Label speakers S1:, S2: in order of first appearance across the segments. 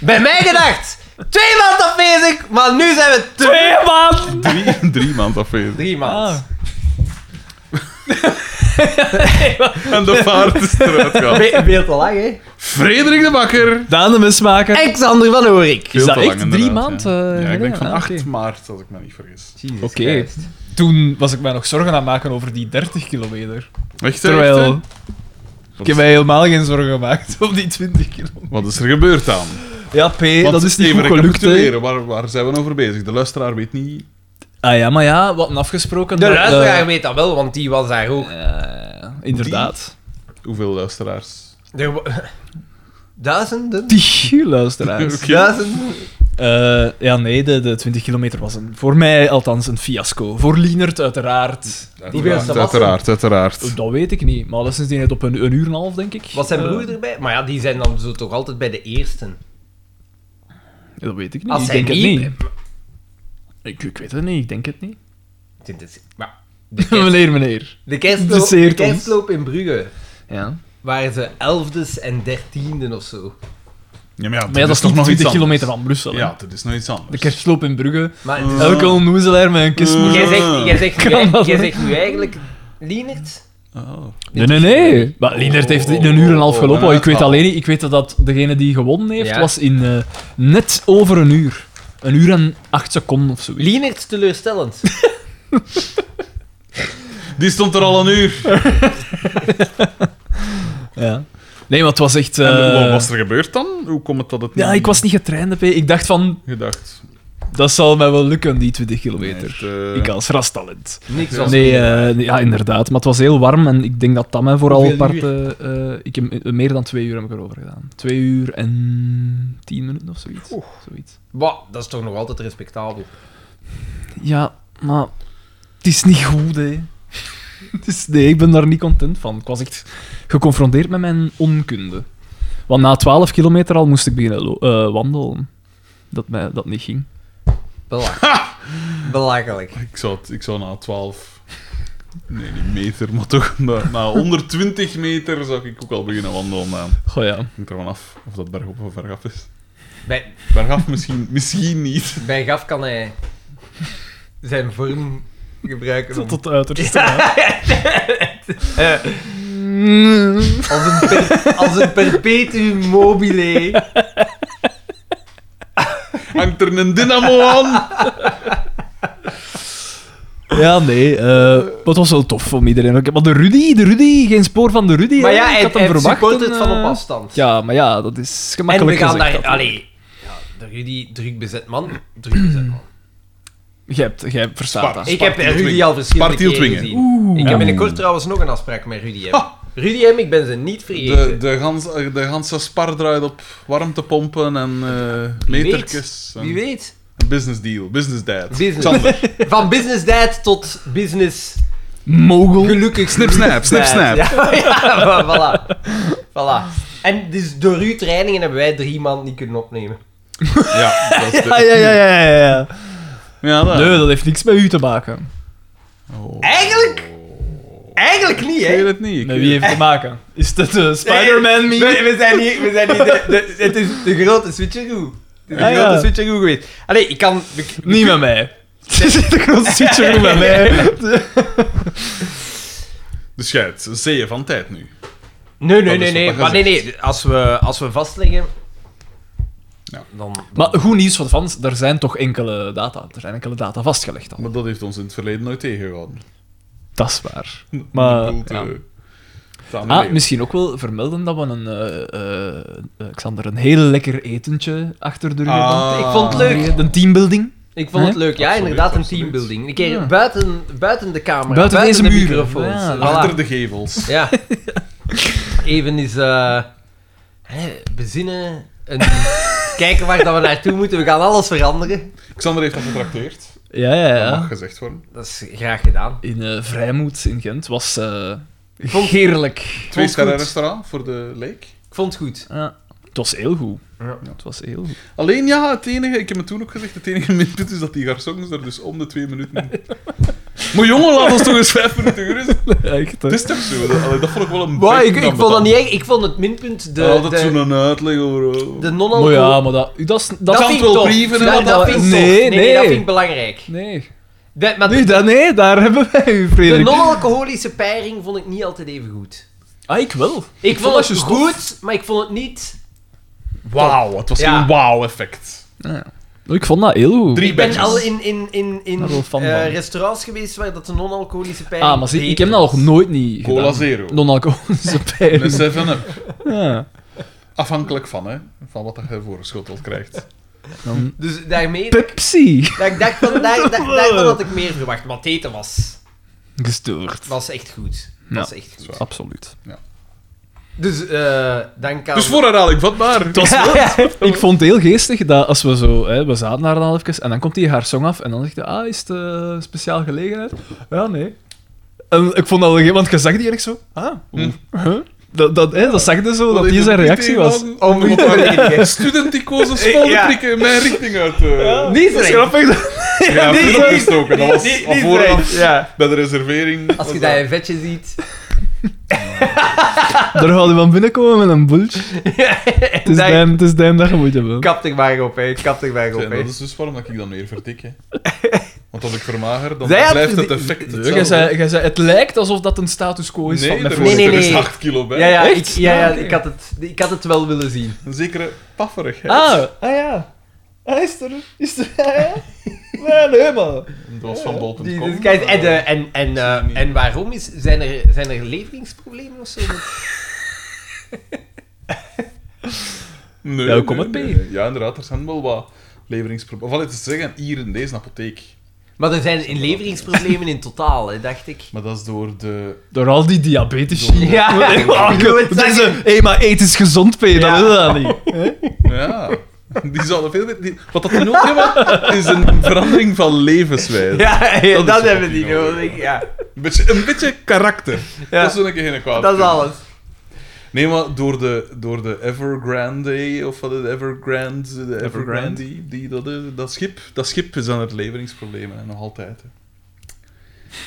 S1: bij mij gedacht. Twee maanden afwezig, maar nu zijn we te-
S2: Twee man!
S3: Drie, drie maanden afwezig.
S1: drie maanden.
S2: Ah.
S3: En de vaart is eruit gehaald.
S1: Be- Veel te lang, hè?
S3: Frederik de Bakker.
S2: Daan de mismaker.
S1: Alexander van Oorik.
S3: Veel
S2: dat
S3: te
S2: echt
S3: lang,
S2: drie
S3: inderdaad,
S2: maanden,
S3: Ja,
S2: eh,
S3: Ja, ik denk
S2: ja,
S3: van
S2: ah,
S3: 8
S2: oké.
S3: maart, als ik me niet vergis.
S1: Oké.
S2: Oké. Toen was ik mij nog zorgen aan het maken over die 30 kilometer.
S3: Echt,
S2: Terwijl...
S3: echt,
S2: ik heb mij helemaal geen zorgen gemaakt om die 20 kilometer.
S3: hè? Wat is er gebeurd dan?
S2: Ja, P,
S3: Want
S2: dat is niet
S3: even
S2: goed gelukt. hè.
S3: recapituleren, Waar, waar zijn we over bezig? De luisteraar weet niet.
S2: Ah ja, maar ja, wat een afgesproken...
S1: De
S2: dat,
S1: luisteraar
S2: eh,
S1: weet dat wel, want die was daar ook.
S2: eh, inderdaad.
S3: Hoeveel luisteraars?
S1: Er wa- Duizenden?
S2: Die luisteraars.
S3: Oké.
S1: Duizenden?
S2: Eh, ja, nee, de, de 20 kilometer was een, voor mij althans een fiasco. Voor Lienert uiteraard.
S1: Hoeveel
S3: Uiteraard,
S1: was
S3: uiteraard, uiteraard.
S2: Dat weet ik niet, maar sinds die net op een, een uur en een half, denk ik.
S1: Was zijn
S2: Eh,
S1: broer erbij? Maar ja, die zijn dan zo toch altijd bij de eerste.
S2: ja, dat weet ik niet.
S1: Als
S2: ik
S1: hij
S2: denk
S1: niet-
S2: het niet. Ik, ik weet het niet, ik denk het niet.
S1: Dit is- maar De, kerst,
S2: meneer, meneer.
S1: de, kerstloop, de
S2: Interesseert ons.
S1: kerstloop in Brugge
S2: Ja.
S1: waren ze elfdes en dertienden of zo.
S3: Ja, maar ja,
S2: Maar ja, dat is
S3: toch
S2: nog
S3: nog
S2: 20
S3: iets
S2: kilometer
S3: anders.
S2: van Brussel. hè.
S3: Ja, dat is nog iets anders.
S2: De kerstloop in Brugge.
S1: Maar het is-
S2: Elke onnoezelaar met een kist.
S3: Eh.
S1: jij, zegt, jij, zegt nu,
S2: Mm. Kan
S1: eigenlijk-
S2: dat
S1: jij
S2: niet?
S1: zegt nu eigenlijk, Lienert?
S3: Oh.
S2: Nee, nee, nee. Maar Lienert heeft in een uur en een half
S3: Oh,
S2: gelopen.
S3: oh,
S2: ik weet
S3: oh.
S2: alleen niet, ik weet dat degene die gewonnen heeft,
S1: Ja.
S2: was in eh, net over een uur. Een uur en acht seconden of zoiets.
S1: Lienert teleurstellend.
S3: Die stond er al een uur.
S2: Ja. Nee, maar het was echt...
S3: En
S2: eh,
S3: wat was er gebeurd dan? Hoe komt het dat het
S2: Ja, ik was niet getraind, P. Ik dacht van,
S3: gedacht?
S2: dat zal mij wel lukken, die 20 kilometer.
S3: Nee, het, eh,
S2: Ik als rastalent.
S1: Niks was
S2: Nee,
S1: meer.
S2: eh, nee, ja, inderdaad. Maar het was heel warm en ik denk dat dat mij vooral
S1: Hoeveel
S2: apart... eh, eh, ik heb eh, meer dan twee uur heb ik erover gedaan. Twee uur en tien minuten of zoiets. zoiets.
S1: Bah, dat is toch nog altijd respectabel.
S2: Ja, maar het is niet goed, hè. Het is- nee, ik ben daar niet content van. Ik was echt geconfronteerd met mijn onkunde. Want na 12 kilometer al moest ik beginnen lo- eh, wandelen. Dat, mij, dat niet ging.
S1: Belachelijk. Belachelijk.
S3: Ik zou, het- ik zou na 12... Nee, niet meter, maar toch na, na 120 meter zou ik ook al beginnen wandelen. Dan.
S2: Goh ja.
S3: Hangt er van af of dat bergop of bergaf is.
S1: Bij,
S3: Bergaf misschien, misschien niet.
S1: bij Gaf kan hij zijn vorm gebruiken om,
S2: Tot het uiterste. Mm.
S1: als, een per- als een perpetuum mobile.
S3: Hangt er een dynamo aan?
S2: Ja, nee. eh wat was wel tof om iedereen. ook- Maar de Rudy, de Rudy, geen spoor van de Rudy.
S1: Maar
S2: hè.
S1: ja,
S2: ik
S1: hij,
S2: had hem
S1: hij
S2: verwacht.
S1: support het
S2: en,
S1: van
S2: eh,
S1: op afstand.
S2: Ja, maar ja, dat is
S1: en we
S2: gemakkelijk
S1: gaan
S2: gezegd,
S1: daar...
S2: dat-
S1: Allee. Ja, de Rudy, druk bezet man. Druk bezet man.
S2: Jij hebt, jij verstaat
S3: Spar-
S2: dat.
S1: Ik heb
S3: Spartiel
S1: Rudy
S3: dwingen.
S1: al verschillende
S3: Spartiel
S1: keren
S3: dwingen.
S1: gezien.
S2: Oeh.
S1: Ik
S2: Ja.
S1: heb binnenkort trouwens nog een afspraak met Rudy M.
S3: Ha.
S1: Rudy M, ik ben ze niet
S3: De,
S1: vergeten.
S3: de, gans, de ganse spar draait op warmtepompen en eh
S1: Wie weet,
S3: metertjes. en-
S1: Wie weet.
S3: Een business deal, business dad.
S1: Business.
S3: Xander.
S1: Van business dad tot business
S2: Mogel.
S1: gelukkig.
S3: Snip, snap, snip, snap.
S1: Ja, ja, voilà. voilà. En dus door uw trainingen hebben wij drie man niet kunnen opnemen.
S3: Ja, dat is de-
S2: Ah, Ja, ja, ja, ja, ja, ja.
S3: Ja, dat.
S2: Nee, dat heeft niks met u te maken.
S3: Oh.
S1: Eigenlijk- Eigenlijk niet,
S3: Ik weet
S1: hè?
S3: het niet. ik
S2: Met
S3: weet
S2: wie
S3: het
S2: heeft het te maken? Is dat de Spider-Man
S1: eh,
S2: meme?
S1: Nee, We, we zijn niet... We zijn niet de, de- het is de grote switcheroo. Het is de
S2: Ah, ja.
S1: grote switcheroo geweest. Allee, ik kan... we- we-
S2: Niet met mij. Ze zit een grote switcher met mij.
S3: niet. Dus jij het zeeën van tijd nu.
S1: Nee, nee,
S3: Dat
S1: nee,
S3: is
S1: nee.
S3: wat
S1: Maar nee, nee. Als we, als we vastleggen...
S3: Ja.
S1: Dan...
S2: Maar goed nieuws voor de fans, er zijn toch enkele data. Er zijn enkele data vastgelegd al.
S3: Maar dat heeft ons in het verleden nooit tegengehouden.
S2: Dat is waar. Maar,
S3: Ik bedoel,
S2: ja.
S3: eh, samen
S2: Ah,
S3: leven.
S2: misschien ook wel vermelden dat we een, eh, eh, eh, Xander, een heel lekker etentje achter de rug hebben.
S3: Ah.
S1: Ik vond het leuk.
S2: Een teambuilding.
S1: Ik vond het leuk. Ja,
S3: Absoluut,
S1: inderdaad, een
S3: absoluut.
S1: teambuilding. Een keer
S2: Ja.
S1: buiten, buiten de camera,
S2: Buiten deze
S1: buiten, de
S2: muren.
S1: microfoons.
S2: Ja.
S1: Voilà.
S3: Achter de gevels.
S1: Ja. Even eens eh, hè, bezinnen. En kijken waar dat we naartoe moeten. We gaan alles veranderen.
S3: Xander heeft dat getrakteerd.
S2: Ja, ja,
S3: Dat mag
S2: ja.
S3: gezegd worden.
S1: Dat is graag gedaan.
S2: In eh Vrijmoed in Gent was eh heerlijk.
S3: Twee
S1: het goed.
S3: sterren restaurant voor de leek.
S1: Ik vond het goed.
S2: Ja. Het was heel goed.
S1: Ja.
S2: Het was heel goed.
S3: Alleen ja, het enige, ik heb me toen ook gezegd, het enige minpunt is dat die garçons er dus om de twee minuten Maar jongen, laat ons toch eens vijf minuten gerust.
S2: Echt, hè.
S3: Het is toch zo? Dat, allee, dat vond ik wel een
S1: Maar ik,
S3: beetje
S1: ik vond dat
S3: ambetant.
S1: niet echt. Ik vond het minpunt
S3: Hij had
S1: de,
S3: altijd
S1: de,
S3: zo'n uitleg over... eh,
S1: de non
S2: Maar ja, maar dat... Dat, is- dat,
S3: Dat
S2: kan
S1: vind ik
S3: wel
S1: tof.
S3: brieven en
S1: Dat-
S3: wat
S1: dat
S2: dat-
S1: vind ik tof.
S2: Nee,
S1: nee,
S2: nee.
S1: dat vind ik belangrijk.
S2: Nee.
S1: De, maar
S2: Nu,
S1: de,
S2: dat, nee, daar hebben wij u, Frederik.
S1: non-alcoholische peiring vond ik niet altijd even goed.
S2: Ah, ik wel.
S1: Ik vond,
S2: dat
S1: het
S2: juist tof.
S1: goed, maar ik vond het niet...
S3: Wauw, het was
S1: Ja.
S3: een wauw-effect.
S2: Ik vond dat heel goed.
S3: Drie
S1: Ik ben
S3: bedjes.
S1: al in, in, in, in
S2: Daar wel fan
S1: eh,
S2: van.
S1: restaurants geweest waar dat de non-alcoholische peiring
S2: Ah, maar zie, ik
S1: beter
S2: heb dat nog
S1: was.
S2: nooit niet
S3: Cola
S2: gedaan.
S3: Zero.
S2: Non-alcoholische
S3: Een
S2: pijn.
S3: 7-up.
S2: Ja.
S3: Afhankelijk van, hè. Van wat je voorgeschoteld krijgt.
S2: Dan
S1: Dus daarmee...
S2: Pepsi.
S1: Dat ik dacht van, daar, daar, daarvan had ik meer verwacht. Maar het eten was,
S2: Gestoord.
S1: was echt goed. Was echt goed.
S3: Zwaar.
S2: Absoluut.
S1: Dus eh dank aan...
S3: Dus voor herhaling vatbaar. Het was
S1: Ja, ja.
S2: Ik vond het heel geestig dat als we zo, hè, we zaten daar dan even en dan komt hij haar song af en dan zegt hij, ah, is het eh, speciaal gelegenheid? Ja, nee. En ik vond dat wel ge- want je zag die echt zo, ah, oeh,
S3: Hm.
S2: huh? dat, dat, hè, dat zag je zo, dat die zijn reactie was.
S3: Om
S1: Om-
S3: een student die koos een smalle
S1: Ja.
S3: prikken in mijn richting uit. eh ja.
S1: Niet
S2: Dat is
S1: streng.
S2: grappig.
S3: Ja,
S1: niet-
S3: niet opgestoken. Dat was
S1: Niet-
S3: al
S1: niet
S3: vooraf
S1: streng, ja.
S3: bij de reservering.
S1: Als je
S3: was
S1: dat een vetje ziet...
S2: Daar gaat iemand binnenkomen met een bultje. Het is
S1: Daar-
S2: dan, het is dan dat je moet hebben.
S1: Kapt ik maar op, hè. Kapt ik maar op,
S3: En
S1: hè.
S3: dat is dus waarom dat ik dan meer vertik. Hè. Want als ik vermager, dan
S1: Zij had-
S3: blijft het effect
S2: Nee, Jij
S3: hetzelfde.
S2: zei, jij zei, het lijkt alsof dat een status quo is
S3: nee,
S2: van
S3: er
S2: mijn
S3: is,
S1: Nee, nee,
S3: er is
S1: nee.
S3: 8 kilo bij.
S1: Ja, ja, ik,
S2: Echt?
S1: ja, ja
S2: Ah, oké.
S1: ik, had het, ik had het wel willen zien.
S3: Een zekere pafferigheid.
S1: Oh.
S2: Ah, ah ja. Hij is er. Is er Ah, ja, ja. Nee, nee, man.
S3: Dat was van bol.com.
S1: Die- dus kijk, en,
S3: Eh,
S1: eh, en, en, eh,
S3: niet.
S1: en waarom? Is, zijn, er, zijn er leveringsproblemen of zo?
S3: Nee,
S2: Ja, hoe komt het bij?
S3: eh, Ja, inderdaad, er zijn wel wat leveringsproblemen. Of al te zeggen, hier in deze apotheek.
S1: Maar er zijn in leveringsproblemen in totaal, hè, dacht ik.
S3: Maar dat is door de...
S2: Door al die diabetici.
S1: Ja.
S2: Hey, maar,
S1: Ik wil het
S2: dat is
S1: zeggen.
S2: een- hey, maar eten is gezond, P.
S1: Ja.
S2: Dat wil dat niet.
S3: Ja. Die zouden veel meer... die- Wat dat die nodig hebben, is een verandering van levenswijze.
S1: Ja,
S3: Dat
S1: ja
S3: is
S1: dat,
S3: wat
S1: hebben
S3: ik
S1: die
S3: nodig
S1: nodig.
S3: heb.
S1: Ja,
S3: Een beetje, een beetje karakter.
S1: Ja.
S3: Dat is wel een keer geen kwaad.
S1: dat is
S3: punt.
S1: alles.
S3: Nee, maar door de, door de Evergrande, of wat is het, Evergrande, de Evergrande,
S2: Evergrande.
S3: die, die, dat, eh, dat, schip, dat schip is aan het leveringsproblemen, en nog altijd. Hè.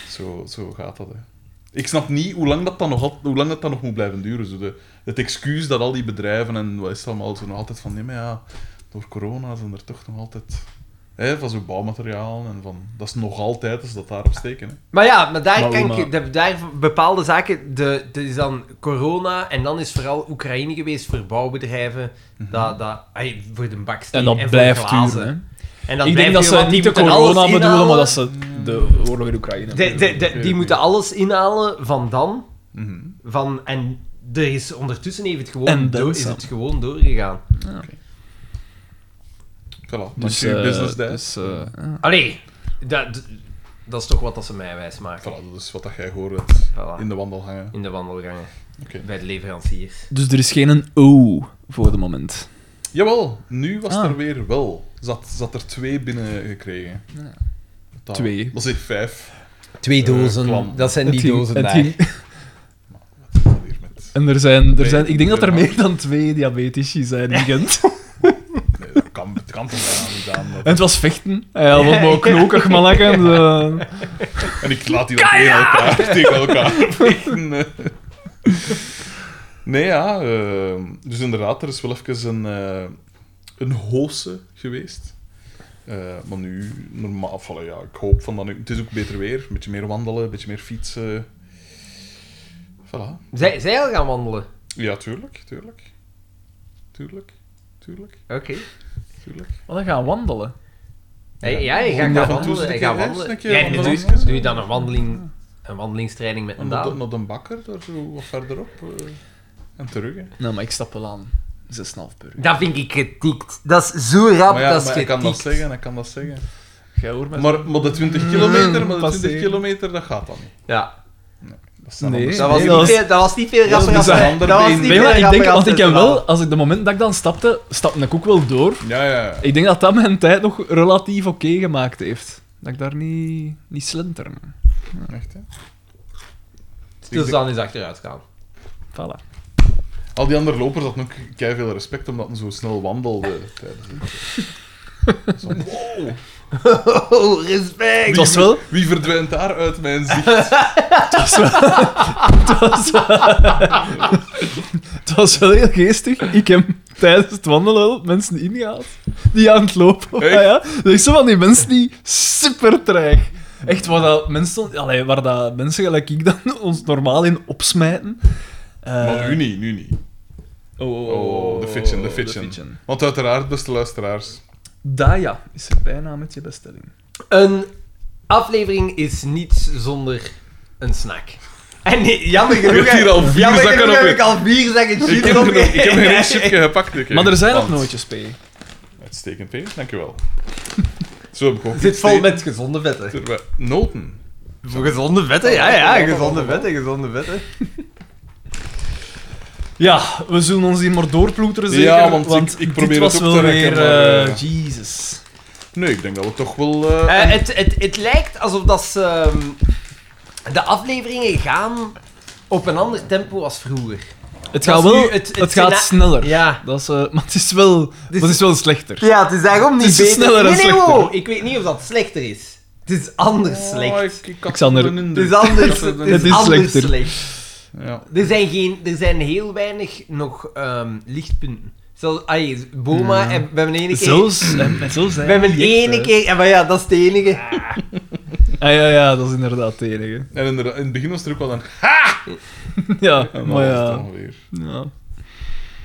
S3: Zo, zo gaat dat, hè. Ik snap niet hoe lang dat, dan nog, al- hoe lang dat dan nog moet blijven duren. Zo de, het excuus dat al die bedrijven en wat is het allemaal, zo nog altijd van, nee, maar ja, door corona zijn er toch nog altijd... Hè, van zo'n bouwmateriaal en van... Dat is nog altijd als dat daarop steken, hè.
S1: Maar ja, maar daar
S2: Maar
S1: kan
S2: Oma-
S1: ik... de- daar bepaalde zaken... De, de is dan corona en dan is vooral Oekraïne geweest voor bouwbedrijven. dat, dat, ai, voor de baksteen
S2: Mhm. En
S1: en,
S2: dat
S1: voor
S2: blijft
S1: glazen.
S2: duren. hè.
S1: En dat
S2: Ik
S1: blijft
S2: denk dat
S1: duren,
S2: ze
S1: want die
S2: niet de
S1: moeten alles
S2: corona bedoelen, maar
S1: inhalen.
S2: dat ze de oorlog in Oekraïne
S1: De- de- de- die moeten alles inhalen van dan.
S3: Mhm.
S1: Van, en er is ondertussen heeft het
S2: En
S1: gewoon,
S2: dan
S1: door, is
S2: Sam.
S1: het gewoon doorgegaan.
S3: Voilà, dus,
S2: Dus, eh,
S3: business day.
S2: dus, eh, ja.
S1: Allee, dat, dat is toch wat dat ze mij wijs maken.
S3: Voilà, dat is wat dat jij gehoord hebt.
S1: Voilà.
S3: In de wandel hangen.
S1: In de wandelgangen.
S3: Oké.
S1: Bij de leveranciers.
S2: dus er is geen een O voor de moment.
S3: Jawel, nu was
S2: Ah.
S3: er weer wel. Zat, zat er twee binnen gekregen. Dat-
S2: Twee.
S3: Dat is echt vijf.
S1: Twee
S3: Eh,
S1: dozen.
S3: klam.
S1: dat zijn die
S2: Het ging-
S1: dozen
S2: het
S1: daar.
S2: ging-
S3: Wat is dat hier met?
S2: En er zijn, er
S3: Nee,
S2: zijn, ik denk dat er
S3: ja.
S2: meer dan twee diabetici zijn in Gent.
S3: Nee, dat kan, het kan toch bijna niet aan. dat-
S2: En het was vechten. Hij had allemaal knokig malakken. eh.
S3: En ik laat die dan tegen elkaar, tegen elkaar vliegen. eh. Nee, ja. eh, dus inderdaad, er is wel even een, eh een hoose geweest. Eh, maar nu, normaal, of, voilà, ja, ik hoop van dat nu... Het is ook beter weer. Een beetje meer wandelen, een beetje meer fietsen. Voilà.
S1: Zij, zij al gaan wandelen.
S3: Ja, tuurlijk, tuurlijk. Tuurlijk, tuurlijk,
S1: Oké.
S3: tuurlijk.
S2: Oh, dan gaan we wandelen.
S1: Hey, ja, je
S3: Om
S1: gaat
S3: dat
S1: gaan
S3: toe
S1: wandelen.
S3: te
S1: Je gaat
S3: krijgen,
S1: wandelen.
S3: een keer
S1: Ja, doe,
S3: wandelen.
S1: doe je dan een, wandeling, een wandelingstraining met
S3: En
S1: een
S3: naar de,
S1: dame?
S3: naar de bakker, daar zo wat verderop. eh, en terug, hè.
S2: Nou, maar ik stap wel aan. 6,5 per uur.
S1: Dat vind ik getikt. Dat is zo rap,
S3: Maar ja,
S1: dat is
S3: maar ik
S1: getikt.
S3: kan dat zeggen, ik kan dat zeggen.
S2: Jij hoort mij zo-
S3: Maar, maar de
S2: Mm,
S3: 20 kilometer, maar de
S2: Passeren.
S3: 20 kilometer, dat gaat dan niet.
S1: Ja.
S3: Dat is dan
S2: Nee.
S3: anders.
S1: Dat was,
S2: Nee,
S1: niet,
S2: dat was-
S1: veel, dat was niet veel
S3: dat was
S1: rapper als-
S3: bizar.
S1: Dat was niet
S3: Nee,
S2: Nee,
S1: veel
S2: maar ik
S1: rapper
S2: denk,
S1: als
S2: want ik
S1: het
S2: heb
S1: verhaal.
S2: wel, als ik de moment dat ik dan stapte, stapte ik ook wel door.
S3: Ja, ja, ja.
S2: Ik denk dat dat mijn tijd nog relatief oké gemaakt heeft. Dat ik daar niet, niet slenter.
S3: Echt, hè.
S1: Stilstaan Dus is achteruit gaan.
S2: Voilà.
S3: Al die andere lopers hadden ook veel respect omdat ze zo snel wandelden tijdens het... Zo, wow.
S1: Oh, respect!
S2: Het was wel...
S3: Wie verdwijnt daar uit mijn zicht?
S2: Het was, het was wel heel geestig. Ik heb tijdens het wandelen wel mensen ingehaald die aan het lopen waren.
S3: Echt?
S2: Ja. Dat is zo van die mensen die super traag. Echt waar dat mensen, allee, waar dat mensen gelijk ik dan ons normaal in opsmijten. Eh,
S3: Maar nu niet, nu niet.
S2: oh, oh,
S3: Oh, de fiction, de fiction. Want uiteraard, beste luisteraars,
S2: Da ja, is er bijna met je bestelling.
S1: Een aflevering is niets zonder een snack. En nee, jammer genoeg...
S3: hebt hier al vier
S1: jammer
S3: zakken
S1: genoeg
S3: op
S1: heb
S3: je-
S1: ik al vier zakken chips
S3: Ik heb,
S1: op
S3: er nog- ik heb er
S1: je-
S3: een chipje gepakt. ik, hè.
S2: Maar er zijn nog
S3: Want-
S2: nootjes, P.
S3: Uitstekend, Peter. Dankjewel. Zo heb ik ook
S1: Het zit vol
S3: steeds-
S1: met gezonde vetten.
S3: Terwijl- Noten.
S1: Voor gezonde vetten? Ja, ja, gezonde vetten, gezonde vetten.
S2: Ja, we zullen ons hier maar doorploeteren, zeker?
S3: Ja, want ik- ik probeer
S2: dit
S3: het
S2: was
S3: op
S2: wel
S3: te rekken,
S2: weer...
S3: maar,
S2: eh,
S3: eh,
S2: Jezus.
S3: Nee, ik denk dat we toch wel... eh,
S1: Eh, het, het, het lijkt alsof dat ze, ehm, de afleveringen gaan op een ander tempo als vroeger.
S2: Het
S1: Dat
S2: gaat
S1: is
S2: wel...
S1: nu
S2: Het,
S1: het
S2: gaat
S1: sena-
S2: sneller.
S1: Ja.
S2: Dat is, eh, maar het is wel... maar het is wel slechter.
S1: Ja, het is daarom niet
S2: Het is
S1: beter.
S2: sneller en
S1: nee, nee,
S2: slechter.
S1: wow, ik weet niet of dat slechter is. Het is anders
S3: oh,
S1: slecht.
S3: ik, ik had
S2: Xander,
S3: wel een
S1: Het
S3: indruk.
S1: is anders,
S3: Ik had
S1: het
S3: wel
S1: is
S3: een-
S2: Het is
S1: anders
S2: slechter.
S1: slecht.
S3: Ja.
S1: Er zijn, geen, er zijn heel weinig nog ehm, lichtpunten. Zelfs, ai, Boma, en we hebben één keer...
S2: Zelfs... eh, zelfs
S1: we hebben ene keer... En, maar ja, dat is de enige.
S2: Ah, ja, ja, dat is inderdaad het enige.
S3: En in, in het begin was er ook wel een...
S2: Ja,
S3: En dan
S2: maar
S3: was het
S2: ja.
S3: dan weer.
S2: ja.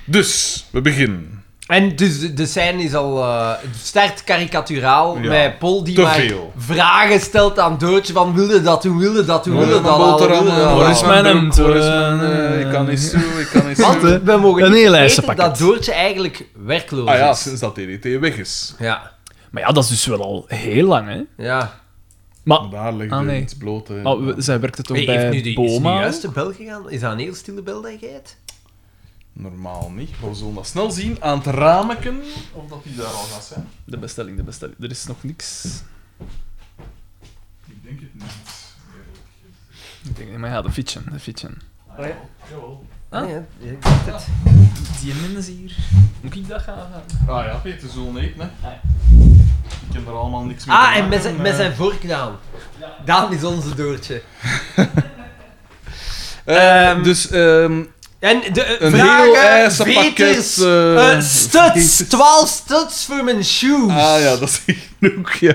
S3: Dus, we beginnen.
S1: En dus de- de scène is al eh start karikaturaal
S3: Ja,
S1: met Paul die
S3: te
S1: maar
S3: veel.
S1: vragen stelt aan Doortje van wilde dat doen, wilde dat doen, wilde dat al, wilde dat al.
S2: waar is mijn
S3: broek?
S2: hemd?
S3: Waar is mijn,
S2: Eh,
S3: eh, Ik kan niet zo, ik kan niet
S1: Want
S2: Wat, hè?
S3: zo.
S1: we mogen
S2: Een
S1: niet
S2: heel
S1: vergeten
S2: ijzerpakket.
S1: dat Doortje eigenlijk werkloos
S3: Ah ja,
S1: is.
S3: sinds dat DDT weg is.
S1: Ja,
S2: Maar ja, dat is dus wel al heel lang, hè?
S1: ja.
S2: Maar...
S3: Daar ligt
S2: Ah,
S3: het
S2: nee.
S3: iets bloot. hè.
S2: maar we- zij werkte toch
S1: Hey,
S2: bij
S1: heeft nu de, is nu
S2: Boma?
S1: juist de bel gegaan? Is dat een heel stille bel dat je hebt?
S3: Normaal niet. Maar we zullen dat snel zien aan het rameken. Of dat die daar al gaat zijn.
S2: De bestelling, de bestelling. Er is nog niks.
S3: Ik denk het niet.
S2: Ik denk, nee, maar ja, de fietsen, de fietsen. Ah.
S1: Nee, hè? Ja, ik weet het.
S2: Die mensen hier. Moet ik dat gaan? gaan?
S3: Ah ja, Peter zullen eten, hè. Ik heb er allemaal niks mee te
S1: Ah, en
S3: maken, eh.
S1: met zijn, met
S3: maar-
S1: zijn vorknaam. Daan is onze Doortje.
S3: Eh,
S1: Ehm,
S3: dus, ehm
S1: En de eh,
S3: Een heel
S1: vragen,
S3: ijzerpakket,
S1: veters,
S3: eh,
S1: eh, studs, 12 studs voor mijn shoes.
S3: ah ja, dat is genoeg, ja.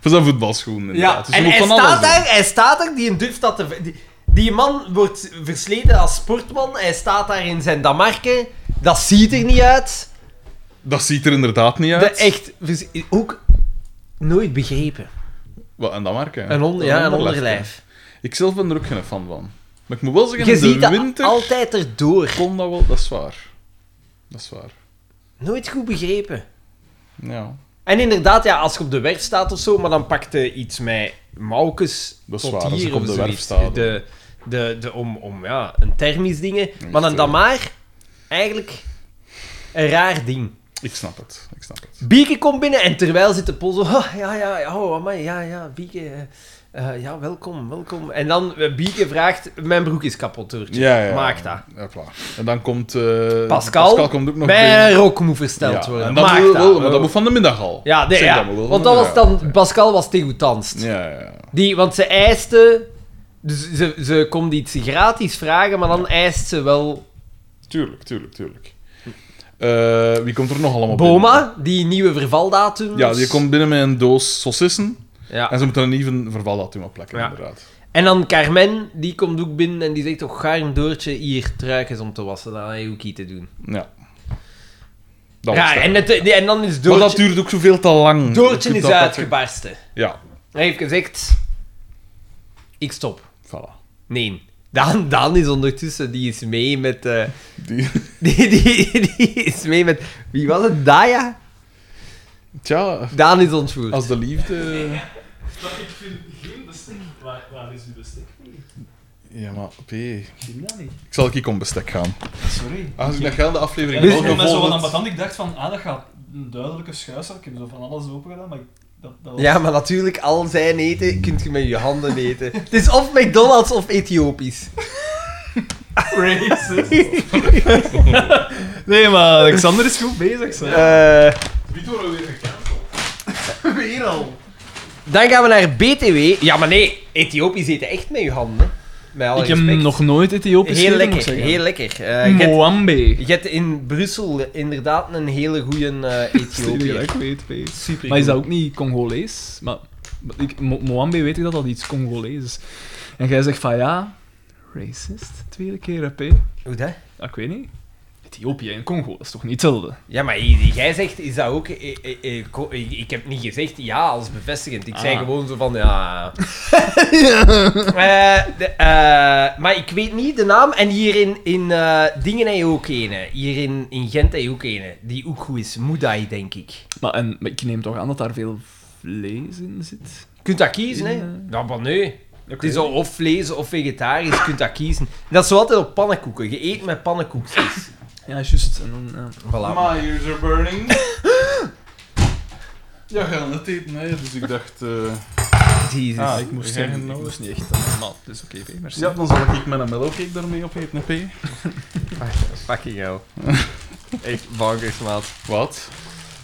S3: Voor zijn voetbalschoenen,
S1: Ja,
S3: inderdaad. Dus je
S1: en
S3: moet
S1: hij
S3: van alles
S1: staat,
S3: doen.
S1: daar, hij staat daar, die durft dat te... ver- Die, die man wordt versleten als sportman, hij staat daar in zijn damarken, dat ziet er niet uit.
S3: Dat ziet er inderdaad niet uit.
S1: Dat echt, vers- ook nooit begrepen.
S3: Wat, en dat merk je.
S1: Een, on, ja, een onderlijf.
S3: Ik zelf ben er ook geen fan van. Maar ik moet wel zeggen,
S1: Je
S3: in de
S1: ziet dat
S3: winter
S1: altijd erdoor.
S3: kon dat wel... Dat is waar. Dat is waar.
S1: Nooit goed begrepen.
S3: Ja,
S1: En inderdaad, ja, als je op de werf staat of zo, maar dan pakt je iets met mouwkes
S3: Dat is
S1: tot
S3: waar, als
S1: hier
S3: ik op
S1: of
S3: de werf
S1: zoiets.
S3: sta,
S1: De, de, de, om, om ja, een thermisch dingen. Maar dan, dan
S3: eh.
S1: maar, eigenlijk een raar ding.
S3: ik snap het. Ik snap het.
S1: Bieke komt binnen en terwijl zit de pol zo... "Ah, ja, ja, ja, oh, amai, ja, ja, Bieke... eh, eh, ja, welkom, welkom. En dan eh, Bieke vraagt, mijn broek is kapot, Doortje. Maak dat.
S3: Ja, klaar. En dan komt... eh,
S1: Pascal,
S3: komt ook nog
S1: Mijn
S3: binnen.
S1: rok moet versteld
S3: Ja,
S1: worden.
S3: en dat
S1: Maak
S3: moet
S1: dat.
S3: wel, maar dat moet van de middag al.
S1: Ja, nee,
S3: Zeg
S1: ja.
S3: dat maar wel van
S1: want
S3: de
S1: dat was
S3: middag al.
S1: dan... Pascal was tegentanst.
S3: Ja, ja, ja.
S1: Die, want ze eiste. Dus ze, ze kon iets gratis vragen, maar dan eist ze wel.
S3: Tuurlijk, tuurlijk, tuurlijk. Eh, wie komt er nog allemaal binnen?
S1: Boma, die nieuwe vervaldatum.
S3: Ja, die komt binnen met een doos saucissen.
S1: Ja.
S3: En ze moeten een even vervaldatum op plekken,
S1: Ja.
S3: inderdaad.
S1: En dan Carmen, die komt ook binnen en die zegt toch: Ga een doortje hier truikens om te wassen. Dan heb je ook iets te doen.
S3: Ja. Dat was
S1: Ja,
S3: het.
S1: en, het, die- en dan is
S3: Maar dat
S1: Doortje.
S3: duurt ook zoveel te lang. Je
S1: Doortje
S3: kunt
S1: is
S3: dat- dat-
S1: uitgebarsten.
S3: Ja,
S1: Hij heeft gezegd: Ik stop.
S3: voilà.
S1: Nee. Daan, Daan is ondertussen, die is mee met. eh,
S3: Die...
S1: die, die, die is mee met. Wie was het? Daya?
S3: Tja,
S1: Daan is ontvoerd.
S3: als de liefde...
S2: ik vind geen bestek. Waar, is uw bestek?
S3: Ja, maar P,
S2: Ik vind dat niet.
S3: ik zal ik om bestek gaan. Ah,
S2: Sorry. Dus-
S3: Als ik naar gaan de aflevering
S1: Ja,
S3: wel
S1: ik vond
S3: gevolgd-
S2: Ik dacht van, ah, dat gaat een duidelijke schuis. Ik heb zo van alles open gedaan, maar dat, dat
S1: Ja, maar natuurlijk, al zijn eten kunt je met je handen eten. Het is of McDonald's of Ethiopisch.
S2: Nee, maar Alexander is goed bezig, zeg.
S1: Eh,
S3: Wie door weer gecanceld?
S2: weer al.
S1: Dan gaan we naar BTW. Ja, maar nee, Ethiopisch eten echt met je handen. Met alle
S2: Ik heb
S1: respect.
S2: nog nooit Ethiopisch
S1: Heel
S2: gegeten, moet ik
S1: lekker,
S2: zeggen.
S1: heel lekker. Eh, je, hebt,
S2: Moambe.
S1: je hebt in Brussel inderdaad een hele goede eh Ethiopiër.
S2: Ik weet, weet.
S1: Super.
S2: Maar is dat ook niet Congolees? Maar maar ik, Mo- Moambe weet ik dat dat iets Congolees is. En jij zegt van ja, racist, tweede keer hè, P.
S1: Hoe dat?
S2: Ja, ik weet niet. Ethiopië en Congo, dat is toch niet hetzelfde?
S1: Ja, maar j- jij zegt, is dat ook... eh, eh, eh, ko- Ik ik heb niet gezegd ja als bevestigend. Ik zei
S2: Ah.
S1: gewoon zo van, ja... Eh, de- eh, maar ik weet niet de naam. En hier in, in eh, Dingen heb je ook ene. Hier in, in Gent heb je ook ene. Die ook goed is. Moedai, denk ik.
S2: Maar, en, maar ik neem toch aan dat daar veel vlees in zit?
S1: Je kunt dat kiezen, hè?
S2: Ja.
S1: Ja, maar nee. Het is al of vlees of vegetarisch. Je kunt dat kiezen. En dat is zo altijd op pannenkoeken. Je eet met pannenkoekjes.
S2: Ja, juist. En dan, ja.
S1: Voilà.
S3: My ears are burning. ja, gaan het eten, hè. Dus ik dacht... eh,
S1: Jezus.
S3: Ah, ik moest zeggen, nou, dat is
S2: niet echt normaal. Dus oké, merci.
S3: Ja, dan zal ik mijn mellowcake daarmee opeten, hè, P.
S1: Fucking hell. Echt bankers, maat.
S3: Wat?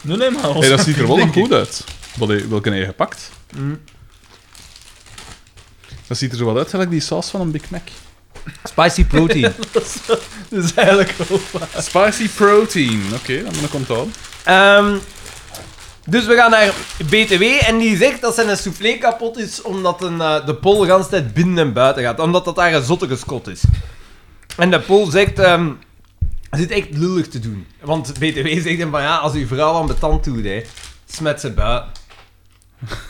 S2: Nee, nee, maar...
S3: Hey, dat ziet er wel nog goed uit. Wat heb- welke heb je gepakt? Dat ziet er zo wat uit, gelijk die saus van een Big Mac.
S1: Spicy protein.
S2: Dat is eigenlijk wel...
S3: Spicy protein. Oké, dan dan komt het aan.
S1: Ehm, dus we gaan naar BTW en die zegt dat zijn een soufflé kapot is omdat een, eh, de pol de hele tijd binnen en buiten gaat. Omdat dat daar een zotte schot is. En de pol zegt... ehm hij zit echt lullig te doen. Want BTW zegt hem van ja, als uw vrouw aan betand doet, hè, smet ze buiten.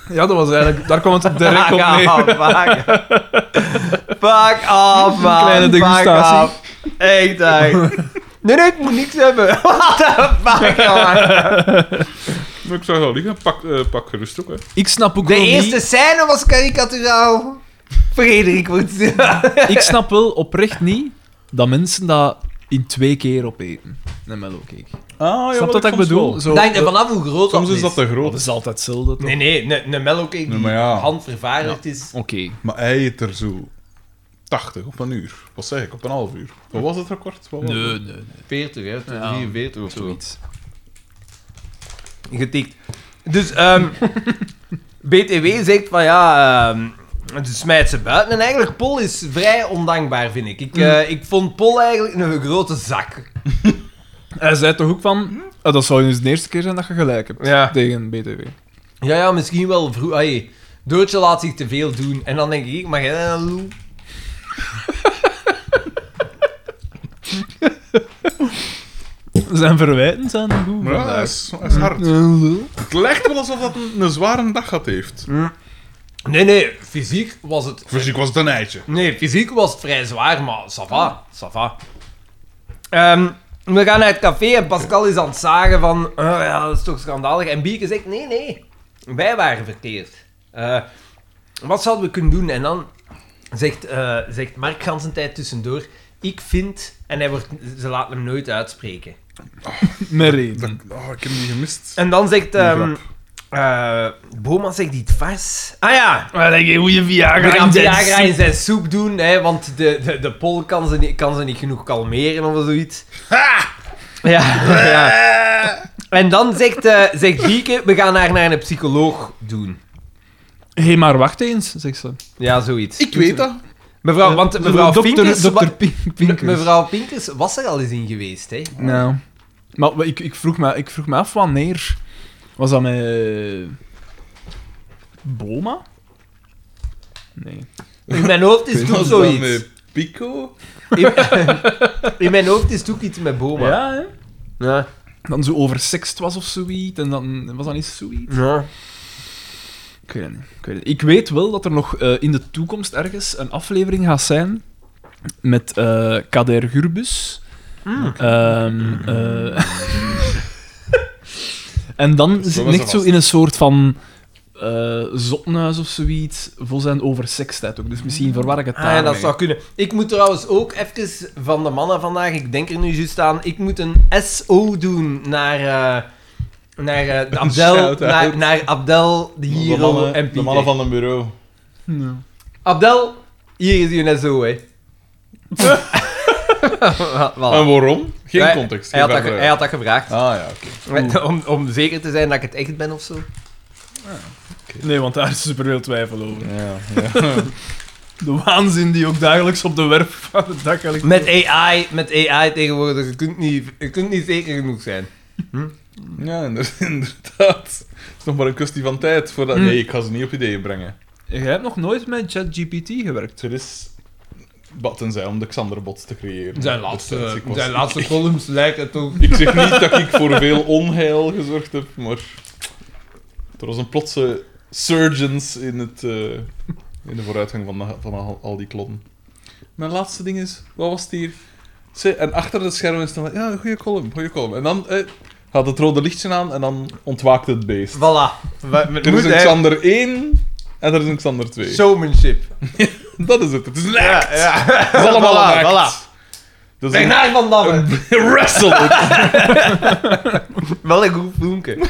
S2: Ja, dat was eigenlijk... Daar kwam het direct op
S1: Fuck
S2: neer.
S1: off, fuck. Fuck off, man.
S2: kleine
S1: fuck
S2: degustatie.
S1: off. Echt, echt. Nee, nee, ik moet niks hebben. What the fuck, man.
S3: Maar ik zou wel liggen. Pak, eh, pak gerust ook, hè.
S2: Ik snap ook
S1: De
S2: wel
S1: eerste scène was karikaturaal. Frederik wordt stil.
S2: niet... Ik snap wel oprecht niet dat mensen dat in twee keer opeten. Een mellowcake.
S3: Ah,
S2: snap dat dat ik bedoel? Zo,
S1: Denk er
S2: dat,
S1: vanaf hoe groot eh,
S3: Soms
S1: dat
S3: is dat te groot.
S2: dat is altijd hetzelfde, toch?
S1: Nee, nee, ne- een melk die
S3: Nee, maar ja.
S1: handvervaardigd is.
S2: Oké.
S3: Maar hij eet er zo 80 op een uur. Wat zeg ik, op een half uur. Wat was het record? Wat was het?
S2: Nee, nee, nee.
S1: 40, hè? tot
S2: Ja,
S1: 43 of zo.
S2: Zoiets.
S1: Getikt. Dus, ehm BTW zegt van ja. ehm dus smijt ze buiten. En eigenlijk, Pol is vrij ondankbaar, vind ik. Ik, eh, ik vond Pol eigenlijk een grote zak.
S2: Hij zei toch ook van... ah, dat zou dus de eerste keer zijn dat je gelijk hebt
S1: Ja.
S2: tegen BTW.
S1: Ja, ja, misschien wel vroeg. Ai, Doortje laat zich te veel doen. En dan denk ik, maar jij nou een loe.
S2: Zijn verwijten zijn goed.
S3: Maar ja, hij is, hij is hard. Het lijkt wel alsof dat een, een zware dag gehad heeft.
S1: Nee, nee, fysiek was het.
S3: Fysiek was het een eitje.
S1: Nee, fysiek was het vrij zwaar, maar ça va, ça va. Ehm, we gaan naar het café en Pascal is aan het zagen van... "Ah, ja, dat is toch schandalig. En Bieke zegt, nee, nee. Wij waren verkeerd. Eh, wat zouden we kunnen doen? En dan zegt, eh, zegt Mark gans een tijd tussendoor... Ik vind... En hij wordt, ze laten hem nooit uitspreken.
S2: Met reden.
S3: Dat- oh, ik heb die gemist.
S1: En dan zegt...
S3: Die
S1: ehm eh, Boma zegt iets vars. Ah ja,
S2: Maar dat je goede
S1: We
S2: Viagra
S1: gaan Viagra in zijn soep doen, hè, want de, de, de pol kan ze, niet, kan ze niet genoeg kalmeren of zoiets. Ja,
S2: Eh!
S1: ja. En dan zegt, eh zegt Bieke, we gaan haar naar een psycholoog doen.
S2: Hé, hey, maar wacht eens, zegt ze.
S1: Ja, zoiets.
S3: Ik weet dat.
S1: Mevrouw, want mevrouw
S2: Eh, dokter,
S1: Pinkers...
S2: dokter
S1: wa-
S2: Pink- Pinkers.
S1: Mevrouw Pinkers was er al eens in geweest, hè.
S2: Nou. Maar wa- ik, ik, vroeg me, ik vroeg me af wanneer... Was dat met... eh, Boma? Nee.
S1: In mijn hoofd is
S3: Weet
S1: het ook
S3: je dat
S1: zoiets.
S3: met Pico?
S1: In, in mijn hoofd is het ook iets met Boma.
S2: Ja, hè?
S1: Ja.
S2: Dan zo oversext was of zoiets. En dan was dat niet zoiets.
S1: Ja.
S2: Ik weet het niet. Ik weet, het niet. Ik weet wel dat er nog eh, in de toekomst ergens een aflevering gaat zijn met eh, Kader Gurbus.
S1: Ah,
S2: Ehm,
S3: Mm.
S2: eh, en dan
S3: was
S2: zit
S3: er
S2: echt zo
S3: vast.
S2: in een soort van eh zottenhuis of zoiets voor zijn oversekstijd ook. Dus misschien verwar ik het
S1: Ah, ja, dat
S2: daarmee.
S1: zou kunnen. Ik moet trouwens ook even van de mannen vandaag, ik denk er nu juist aan, ik moet een SO doen naar, eh, naar eh, de Abdel,
S3: shout-out.
S1: naar, naar Abdel, de Hero en Pieter.
S3: van het bureau.
S2: Ja.
S1: Abdel, hier is je SO, hè. Voilà.
S3: Ah. En waarom? Geen
S1: Hij-
S3: context.
S1: Hij
S3: geen
S1: had, dat ge-
S3: verder.
S1: hij had dat gevraagd.
S3: Ah ja, oké.
S1: Om, om zeker te zijn dat ik het echt ben of zo.
S3: Oké.
S2: Nee, want daar is superveel twijfel over.
S3: Ja, ja.
S2: De waanzin die ook dagelijks op de werf van het dak ligt.
S1: Met AI, met AI tegenwoordig, je kunt niet, je kunt niet zeker genoeg zijn.
S3: ja inder- inderdaad. Het is nog maar een kwestie van tijd voordat...
S1: Mm.
S2: Hm.
S3: Nee, ik ga ze niet op ideeën brengen.
S2: Jij hebt nog nooit met ChatGPT gewerkt.
S3: Er is... Wat tenzij om de Xander-bots te creëren.
S1: Zijn
S3: Dus, eh,
S1: laatste,
S3: ik was-
S1: zijn laatste columns lijken toch...
S3: Ik zeg niet dat ik voor veel onheil gezorgd heb, maar er was een plotse surgeons in, het, eh, in de vooruitgang van, de- van al, al die klotten. Mijn laatste ding is, wat was het hier? Ze- En achter de schermen is dan, ja, een goede column, goede column. En dan eh, gaat het rode lichtje aan en dan ontwaakt het beest.
S1: Voilà. We- we-
S3: Er is
S1: moet,
S3: een
S1: hè.
S3: Xander 1 en er is een Xander 2.
S1: Showmanship.
S3: Dat is het, het is een act.
S1: Ja, ja.
S3: Het is allemaal
S1: Voilà,
S3: een act. Dat is een
S1: Bernard van Damme.
S3: wrestle.
S1: Wel een goed filmpje.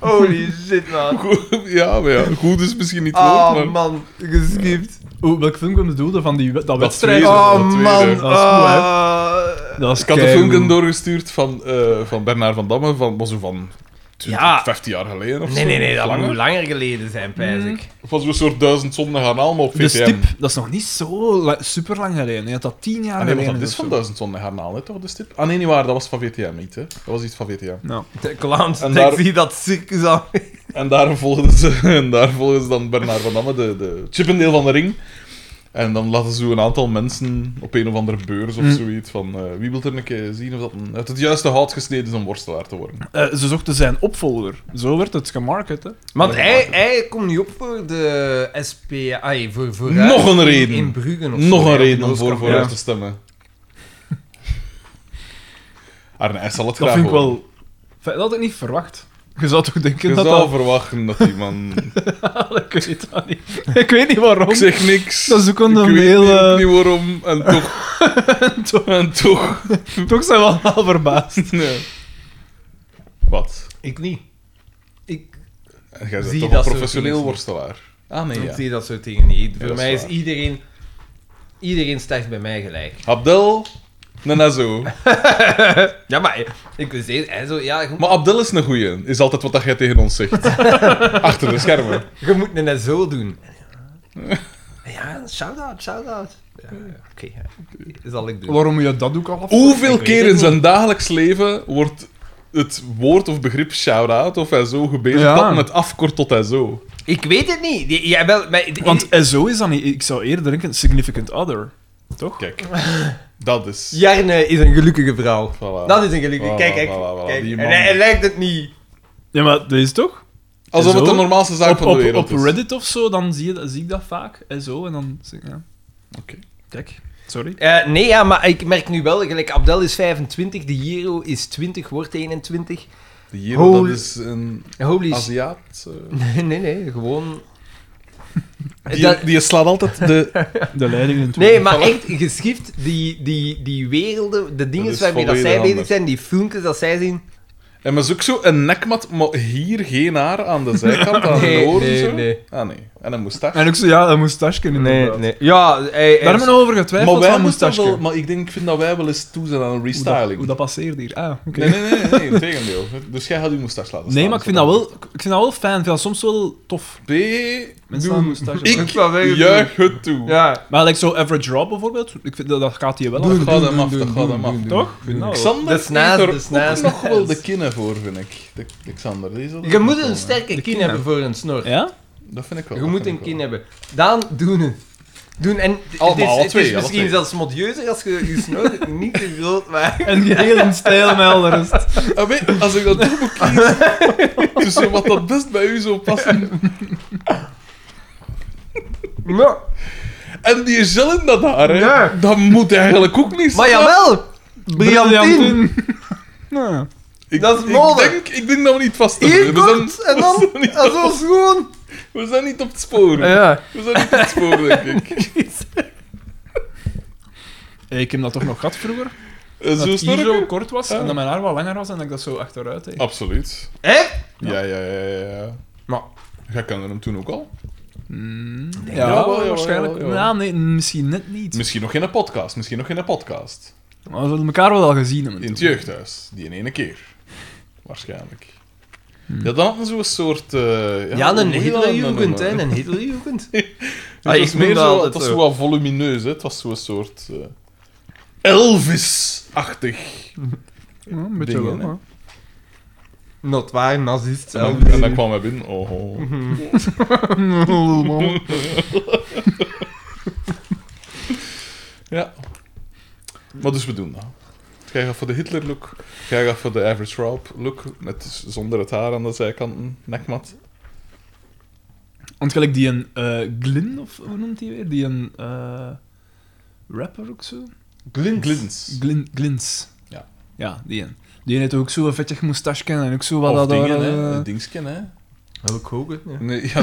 S1: Holy shit, man.
S3: ja, maar ja, goed is misschien niet goed,
S1: Oh,
S3: maar...
S1: man. Geskipt.
S2: Oh, welk filmpje bedoelde van die, we- dat wedstrijd?
S3: tweede.
S1: Oh,
S3: dat
S1: man.
S3: tweede.
S2: Dat is goed, hè.
S1: Oh.
S2: Dat is
S3: Dus Ik had een
S2: kei-
S3: filmpje doorgestuurd van, eh, van Bernard van Damme, van, was zo van 20,
S1: Ja.
S3: 15 jaar geleden of zo.
S1: Nee, nee, nee. Dat
S3: Langer.
S1: moet langer geleden zijn, pijs ik.
S3: Van zo'n soort duizend zonden gaan allemaal op
S2: De
S3: VTM.
S2: stip, dat is nog niet zo la- super lang geleden. Je had dat tien jaar
S3: Ah, nee,
S2: geleden.
S3: want dat
S2: of
S3: is van
S2: zo.
S3: duizend zonden gaan halen, hè, toch, de stip? Ah, nee, niet waar, dat was van VTM niet, hè. Dat was iets van VTM.
S2: Nou,
S1: De clowns,
S3: Mhm. En
S1: ik
S3: daar-
S1: zie dat circus aan.
S3: En daar volgden ze, en daar volgden ze dan Bernard van Damme, de, de chippendeel van de ring. En dan laten ze zo een aantal mensen op een of andere beurs of
S2: Mm.
S3: zoiets van... eh, wie wil er een keer zien of dat een, uit het juiste hout gesneden is om worstelaar te worden?
S2: eh, ze zochten zijn opvolger. Zo werd het gemarket, hè.
S1: Want
S3: Ja,
S1: hij,
S3: maar-
S1: hij komt niet op voor de SP... Ai, voor, voor
S3: Nog een
S1: in-
S3: reden.
S1: In Bruggen of
S3: Nog
S1: zo,
S3: een
S1: hè,
S3: reden
S1: op
S3: om
S1: de
S3: voor
S1: Oscar.
S3: vooruit
S2: ja.
S3: te stemmen. Arne, hij zal
S2: Dat
S3: het graag
S2: vind ik
S3: horen.
S2: wel... Enfin, dat had ik niet verwacht. Je zou toch denken
S3: Je
S2: dat
S3: zou
S2: dat...
S3: verwachten dat die man...
S2: ik weet dat niet. Ik weet niet waarom.
S3: ik zeg niks.
S2: Dat is ook een
S3: ik weet
S2: heel,
S3: niet,
S2: eh,
S3: ook niet waarom. En toch... en toch...
S2: Toch zijn we allemaal verbaasd.
S3: Nee. Wat?
S1: Ik niet. Ik,
S3: Jij bent
S1: Zie
S3: toch
S1: dat
S3: een
S1: soort
S3: professioneel
S1: mensen.
S3: worstelaar? Ah, nee,
S1: ik
S3: ja.
S1: zie dat soort dingen niet. Voor
S3: dat is
S1: mij is
S3: waar.
S1: iedereen... Iedereen start bij mij gelijk.
S3: Abdel... Nanazo.
S1: Ja, maar ik wist eerst... Hij zo, ja, je moet,
S3: Maar Abdel is een goeie. Is altijd wat dat jij tegen ons zegt. Achter de schermen.
S1: je moet het net zo doen. Ja, shout-out, shout-out. Ja, Oké, ja. dat zal ik doen.
S2: Waarom je dat ook al af?
S3: Hoeveel
S1: Ik weet
S3: keer
S1: het
S3: in
S1: niet.
S3: zijn dagelijks leven wordt het woord of begrip shout-out of hij zo gebezigd
S2: Ja.
S3: dat met afkort tot hij zo?
S1: Ik weet het niet. J- Jij wel, maar,
S2: Want zo is dat niet. Ik zou eerder denken significant other. Toch?
S3: Kijk, dat is...
S1: Jarne is een gelukkige vrouw.
S3: Voilà.
S1: Dat is een gelukkige.
S3: Voilà,
S1: kijk, kijk.
S3: voilà, voilà.
S1: kijk.
S3: Die
S1: En
S3: man.
S1: hij, hij lijkt het niet.
S2: Ja, maar dat is toch?
S3: Alsof het
S2: Zo?
S3: de normaalste zaak
S2: Op,
S3: van de
S2: op,
S3: wereld
S2: op
S3: is.
S2: Reddit of zo, dan zie, je, dat- zie ik dat vaak. zo en dan zeg ik, ja.
S3: Oké.
S2: Kijk, sorry.
S1: Eh, nee, ja, maar ik merk nu wel, gelijk Abdel is 25, de Jero is 20, wordt 21.
S3: De Jero, dat
S1: Holy-
S3: is een
S1: Holy s-
S3: Aziat. eh,
S1: Nee, nee, nee, gewoon...
S3: Die,
S1: Dat-
S3: die slaat altijd de...
S2: De leiding in
S1: Nee, maar echt, geschift, die, die, die werelden, de dingen
S3: is
S1: waarmee dat
S3: volledig
S1: zij bezig
S3: anders.
S1: zijn, die filmpjes dat zij zien.
S3: En maar is ook zo een nekmat, maar hier geen haar aan de zijkant, aan
S1: Nee,
S3: de oren
S1: nee,
S3: zo.
S1: nee.
S3: Ah nee, en een moustache.
S2: En ook zo, ja, een moustache kunnen
S1: Ja, hij,
S2: Daar hebben we nog over getwijfeld,
S3: maar wij
S2: van
S3: moeten
S2: moustache.
S3: wel... Maar ik denk, ik vind dat wij wel eens toe zijn aan een
S2: Hoe dat,
S3: restyling.
S2: hoe dat passeert hier. Ah, oké.
S3: Nee, nee, nee, nee, in tegendeel. Dus jij gaat uw moustache laten staan.
S2: Nee, maar ik vind dat wel, ik vind dat wel fijn. Ik vind dat soms wel tof.
S3: B,
S2: Mensen
S3: doe-
S2: aan moustache.
S3: Ik
S1: Ik zou zeggen,
S3: juich het toe.
S1: Ja.
S2: Maar like, zo Average Rob bijvoorbeeld, ik vind, dat, dat gaat hier wel
S3: Dat
S2: af.
S3: gaat hem af, dat gaat hem af.
S2: Toch? Ik vind dat wel.
S3: Xander
S1: Dat is naast,
S3: heeft er
S1: dat is naast.
S3: ook nog wel de kinnen voor, vind ik. De, de Xander, die is wel-
S1: Je moet een sterke
S2: De
S1: kin
S2: kin,
S1: hebben voor een snor.
S2: Ja?
S3: Dat vind ik wel.
S1: Je
S3: dat
S1: moet
S3: vind
S1: een
S3: ik
S1: kin
S3: wel.
S1: hebben. Daan, doen het. Doen en t-
S3: Allemaal,
S1: het is,
S3: alle
S1: het
S3: twee,
S1: is
S3: alle
S1: misschien
S3: twee.
S1: zelfs modieuzer als je je snor niet te groot maakt.
S2: En geheel in stijl met al de rest.
S3: Ah, weet, als ik dat doe, moet kiezen tussen wat dat best bij u zou passen.
S1: Ja.
S3: En die gel in dat haar, hè.
S1: Ja.
S3: Dat moet eigenlijk ook niet
S1: Maar
S3: staan.
S1: jawel, briljantien.
S2: Nou,
S3: Ik-
S1: dat is
S3: ik
S1: nodig.
S3: denk- Ik denk dat we niet vast
S1: Hier
S3: hebben. We zijn-
S1: kort en dan,
S3: we zijn niet
S1: en zo
S3: op-
S1: schoon.
S3: We zijn niet op het spoor.
S1: Ja.
S3: We zijn niet op het spoor, denk ik.
S2: ik heb dat toch nog gehad vroeger?
S3: Eh,
S2: Dat
S3: Zo
S2: het hier zo
S3: sterk?
S2: kort was en dat mijn haar wat langer was en dat ik dat zo achteruit
S3: Ah.
S2: deed.
S3: Absoluut.
S1: Hè?
S3: Ja, ja, ja, ja. ja.
S1: Maar-
S3: Jij kende hem toen ook al.
S2: Mm, ja,
S3: ja, wel, ja,
S2: waarschijnlijk.
S3: wel, ja.
S2: Ja, nee, misschien net niet.
S3: Misschien nog in een podcast, misschien nog in een podcast.
S2: Maar we hadden elkaar wel al gezien. hebben
S3: In het
S2: toen.
S3: jeugdhuis, die in ene keer. Waarschijnlijk. Ja, dan hadden ze een soort... eh,
S1: Ja,
S3: hoe
S1: een
S3: moet je dat dan
S1: Hitlerjugend,
S3: noemen?
S1: hè. Een Hitlerjugend.
S3: dus Het
S1: Ah, ik
S3: was
S1: noem
S3: meer
S1: dat
S3: zo,
S1: altijd
S3: het was
S1: zo.
S3: zo wat volumineus, hè. Het was zo'n soort... eh, Elvis-achtig.
S2: een
S3: beetje Dingen, wel, hè.
S1: Notwaar nazist
S3: En,
S1: zelf.
S3: dan- en dan kwam hij binnen. Oh, oh.
S1: Mhm.
S3: Ja. Maar dus we doen dat. Jij gaat voor de Hitler-look. Jij gaat voor de Average Rob-look. Met, zonder het haar aan de zijkanten. Nekmat.
S2: Want gelijk die een eh Glyn, of hoe noemt die weer? Die een eh, rapper ook zo?
S3: Glins. Glins.
S2: Glyn, Glins.
S3: Ja.
S2: Ja, die een. Die heeft ook zo'n vettig moustache en ook zo wat
S3: Of
S2: dat daar,
S3: dingen,
S2: eh,
S3: hè. Een dingsken, hè.
S1: Hulk Hogan, ja.
S3: Nee, ja,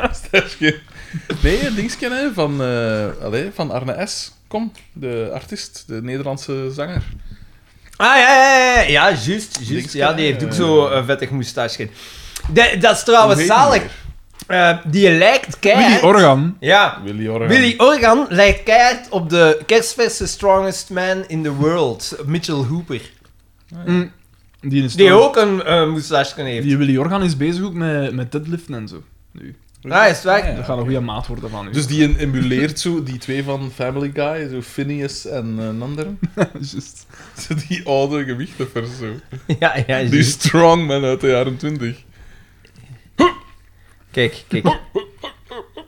S3: dat- Sterfje. Nee, een dingsken, hè, van, eh allee, van Arne S. Kom, de artiest, de Nederlandse zanger.
S1: Ah, ja, ja, ja, ja, ja, juist, juist.
S3: Niks
S1: Ja, die heeft ook
S3: gedaan,
S1: zo
S3: eh.
S1: een vettig moustache. De- Dat is
S3: Hoe
S1: trouwens
S3: heet die
S1: Ah, zalig.
S3: weer?
S1: Eh, die lijkt keihard...
S2: Willy Organ.
S1: Ja.
S3: Willy Organ.
S1: Willy Organ lijkt keihard op de kerstverse Strongest Man in the World, Mitchell Hooper.
S2: Mm. Die, is
S1: Die
S2: trouwens-
S1: ook een eh moustache heeft.
S2: Die Willy Organ is bezig ook met, met deadliften en zo. Nu.
S1: Ah, is het waar?
S2: Dat gaat een goede maat worden van u.
S3: Dus die em- emuleert zo die twee van Family Guy, zo Phineas en eh, een ander.
S2: Just.
S3: Zo Die oude gewichtenvers zo.
S1: Ja, ja,
S3: Die
S1: juist.
S3: strongman uit de jaren 20.
S1: Kijk, kijk. oh,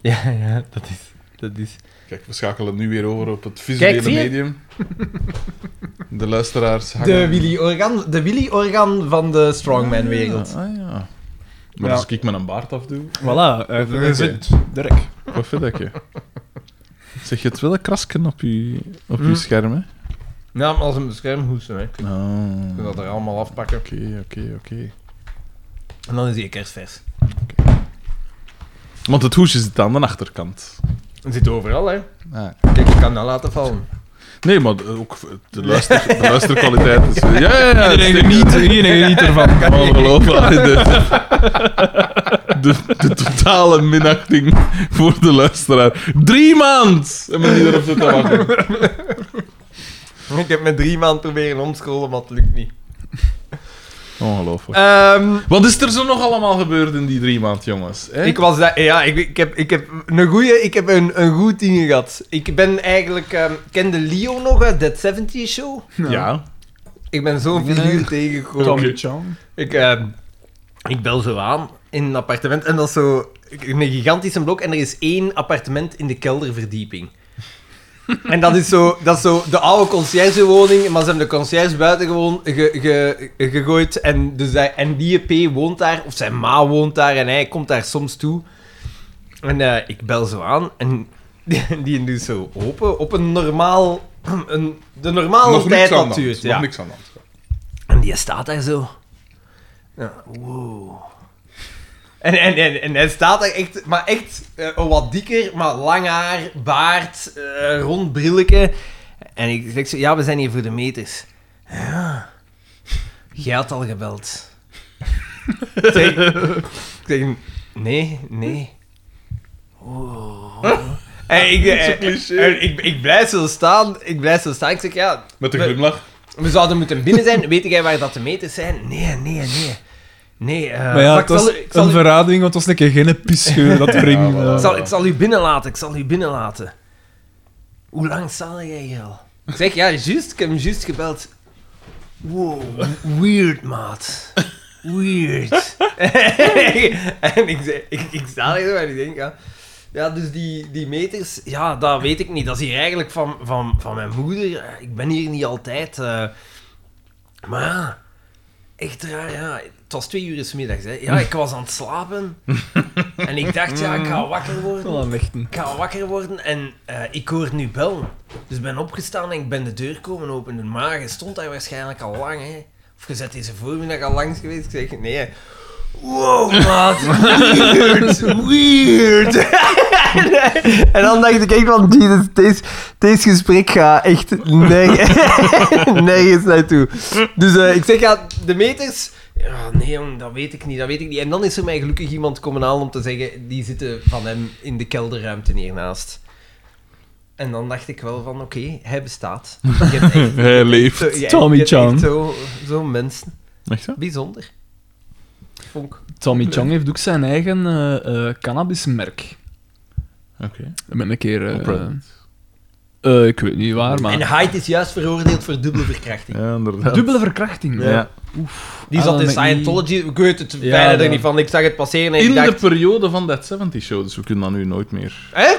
S1: Ja, ja, dat is... Dat is...
S3: Kijk, we schakelen nu weer over op het visuele
S1: Kijk, zie je?
S3: medium. De luisteraars hangen...
S1: De Willy Organ, de Willy Organ van de strongman-wereld.
S3: Ah, ah, ja. Maar
S2: Ja.
S3: als ik met een baard afdoe...
S2: Voilà, uh,
S3: Oké.
S2: zit Dirk.
S3: Wat vind ik je? Zeg je het wel een krasken op je, op je
S1: Hm.
S3: scherm, hè?
S1: Ja, maar als een beschermhoesten, hè. Ik
S3: Oh.
S1: kan dat
S3: Oké,
S1: er allemaal afpakken.
S3: oké, oké.
S1: En dan is die kerstvers.
S3: Want het hoesje zit aan de achterkant.
S1: Het zit overal, hè.
S3: Ah.
S1: Kijk, ik kan dat laten vallen.
S3: Nee, maar de- ook de, luister, de luisterkwaliteit is... Ja, ja, ja.
S2: Iedereen geniet, iedereen geniet ervan.
S3: Ongelooflijk. De, de, de totale minachting voor de luisteraar. Drie maand! En men die erop zit te wachten.
S1: Ik heb met drie maanden proberen omscrollen, maar het lukt niet.
S3: Ongelooflijk.
S1: Ehm,
S3: Wat is er zo nog allemaal gebeurd in die drie maand, jongens? hè?
S1: ik was daar... Ja, ik, ik, heb, ik heb een goeie... Ik heb een, een goed ding gehad. Ik ben eigenlijk... ehm, kende Leo nog uit Dead 70 Show?
S2: nou.
S3: Ja.
S1: Ik ben zo'n
S2: Nee.
S1: figuur tegengekomen.
S2: Tommy Chong.
S1: Ik, ehm, ik bel zo aan in een appartement en dat is zo een gigantische blok en er is één appartement in de kelderverdieping. En dat is zo, dat is zo de oude conciërgewoning, maar ze hebben de conciërge buiten gewoon ge- ge- ge- gegooid. En, dus hij, en die P woont daar, of zijn ma woont daar en hij komt daar soms toe. En eh, ik bel zo aan en die, die doet zo open op een normaal, een, de normale
S3: Nog
S1: tijd
S3: niks aan de
S1: natuurlijk.
S3: hand. Nog niks aan de hand.
S1: En die staat daar zo. Ja, wow. En, en, en, en hij staat daar echt, maar echt eh, wat dikker, maar lang haar, baard, eh, rond brilletje. En ik zeg zo, ja, we zijn hier voor de meters. Ja. Jij had al gebeld. ik, zeg, ik zeg, nee, nee. Wow. En ik, eh,
S3: Zo'n cliché.
S1: en ik, ik blijf zo staan, ik blijf zo staan. Ik zeg, ja,
S3: Met de
S1: we-
S3: glimlach.
S1: we zouden moeten binnen zijn. Weet jij waar dat de meters zijn? Nee, nee, nee. Nee, eh,
S2: maar ja,
S1: maar
S2: het was
S1: ik, zal,
S2: een
S1: u- ik, zal, u-
S2: verrading, want het was een keer geen pisgeur dat
S3: Ja,
S2: brengt.
S3: voilà.
S2: eh.
S1: ik, zal, ik zal u binnenlaten, ik zal u binnenlaten. Hoe lang sta jij hier al? Ik zeg, ja, juist, ik heb hem juist gebeld. Wow, weird, maat. Weird. en ik, zeg- ik, ik sta hier zo en ik denk, ja... Ja, dus die, die meters, ja, dat weet ik niet. Dat is hier eigenlijk van, van, van mijn moeder. Eh, Ik ben hier niet altijd. eh. Maar ja, echt raar, ja. Het was twee uur 's middags, hè. Ja, ik was aan het slapen. en ik dacht, ja, ik ga wakker worden.
S2: Wel aan lichten.
S1: Ik ga wakker worden en eh, ik hoor nu bellen. Dus ik ben opgestaan en ik ben de deur komen openen. Maar je stond daar waarschijnlijk al lang, hè. Of je bent deze voormiddag al langs geweest. Ik zeg, nee. Wow, maat. Weird. Weird. en dan dacht ik echt van, Jesus, deze, deze gesprek gaat echt nerg- nergens naartoe. Dus eh, ik zeg, ja, de meters... Ja, nee, jong, dat weet ik niet, dat weet ik niet. En dan is er mij gelukkig iemand komen halen om te zeggen, die zitten van hem in de kelderruimte hiernaast. En dan dacht ik wel van, oké, hij bestaat. Je hebt echt-
S3: Hij leeft.
S1: zo- je-
S2: Tommy
S1: je hebt echt
S2: Chan.
S1: zo- Zo'n mensen.
S3: Echt, hè?
S1: Bijzonder. vond ik.
S2: Tommy Chong heeft ook zijn eigen eh, eh, cannabismerk.
S3: Oké.
S2: Ik ben een keer... eh,
S3: Opruimend.
S2: eh, ik weet niet waar, maar...
S1: En Hyde is juist veroordeeld voor dubbele verkrachting.
S3: Ja, inderdaad.
S2: Dubbele verkrachting.
S3: Ja.
S1: Die
S2: Ah,
S1: zat
S2: dan
S1: in
S2: ben ik niet-
S1: Scientology. Ik weet het
S2: Ja,
S1: bijna er
S2: ja.
S1: niet van. Ik zag het passeren en
S3: In
S1: ik
S3: de
S1: dacht...
S3: periode van That 70 Show, dus we kunnen dat nu nooit meer.
S1: Hè?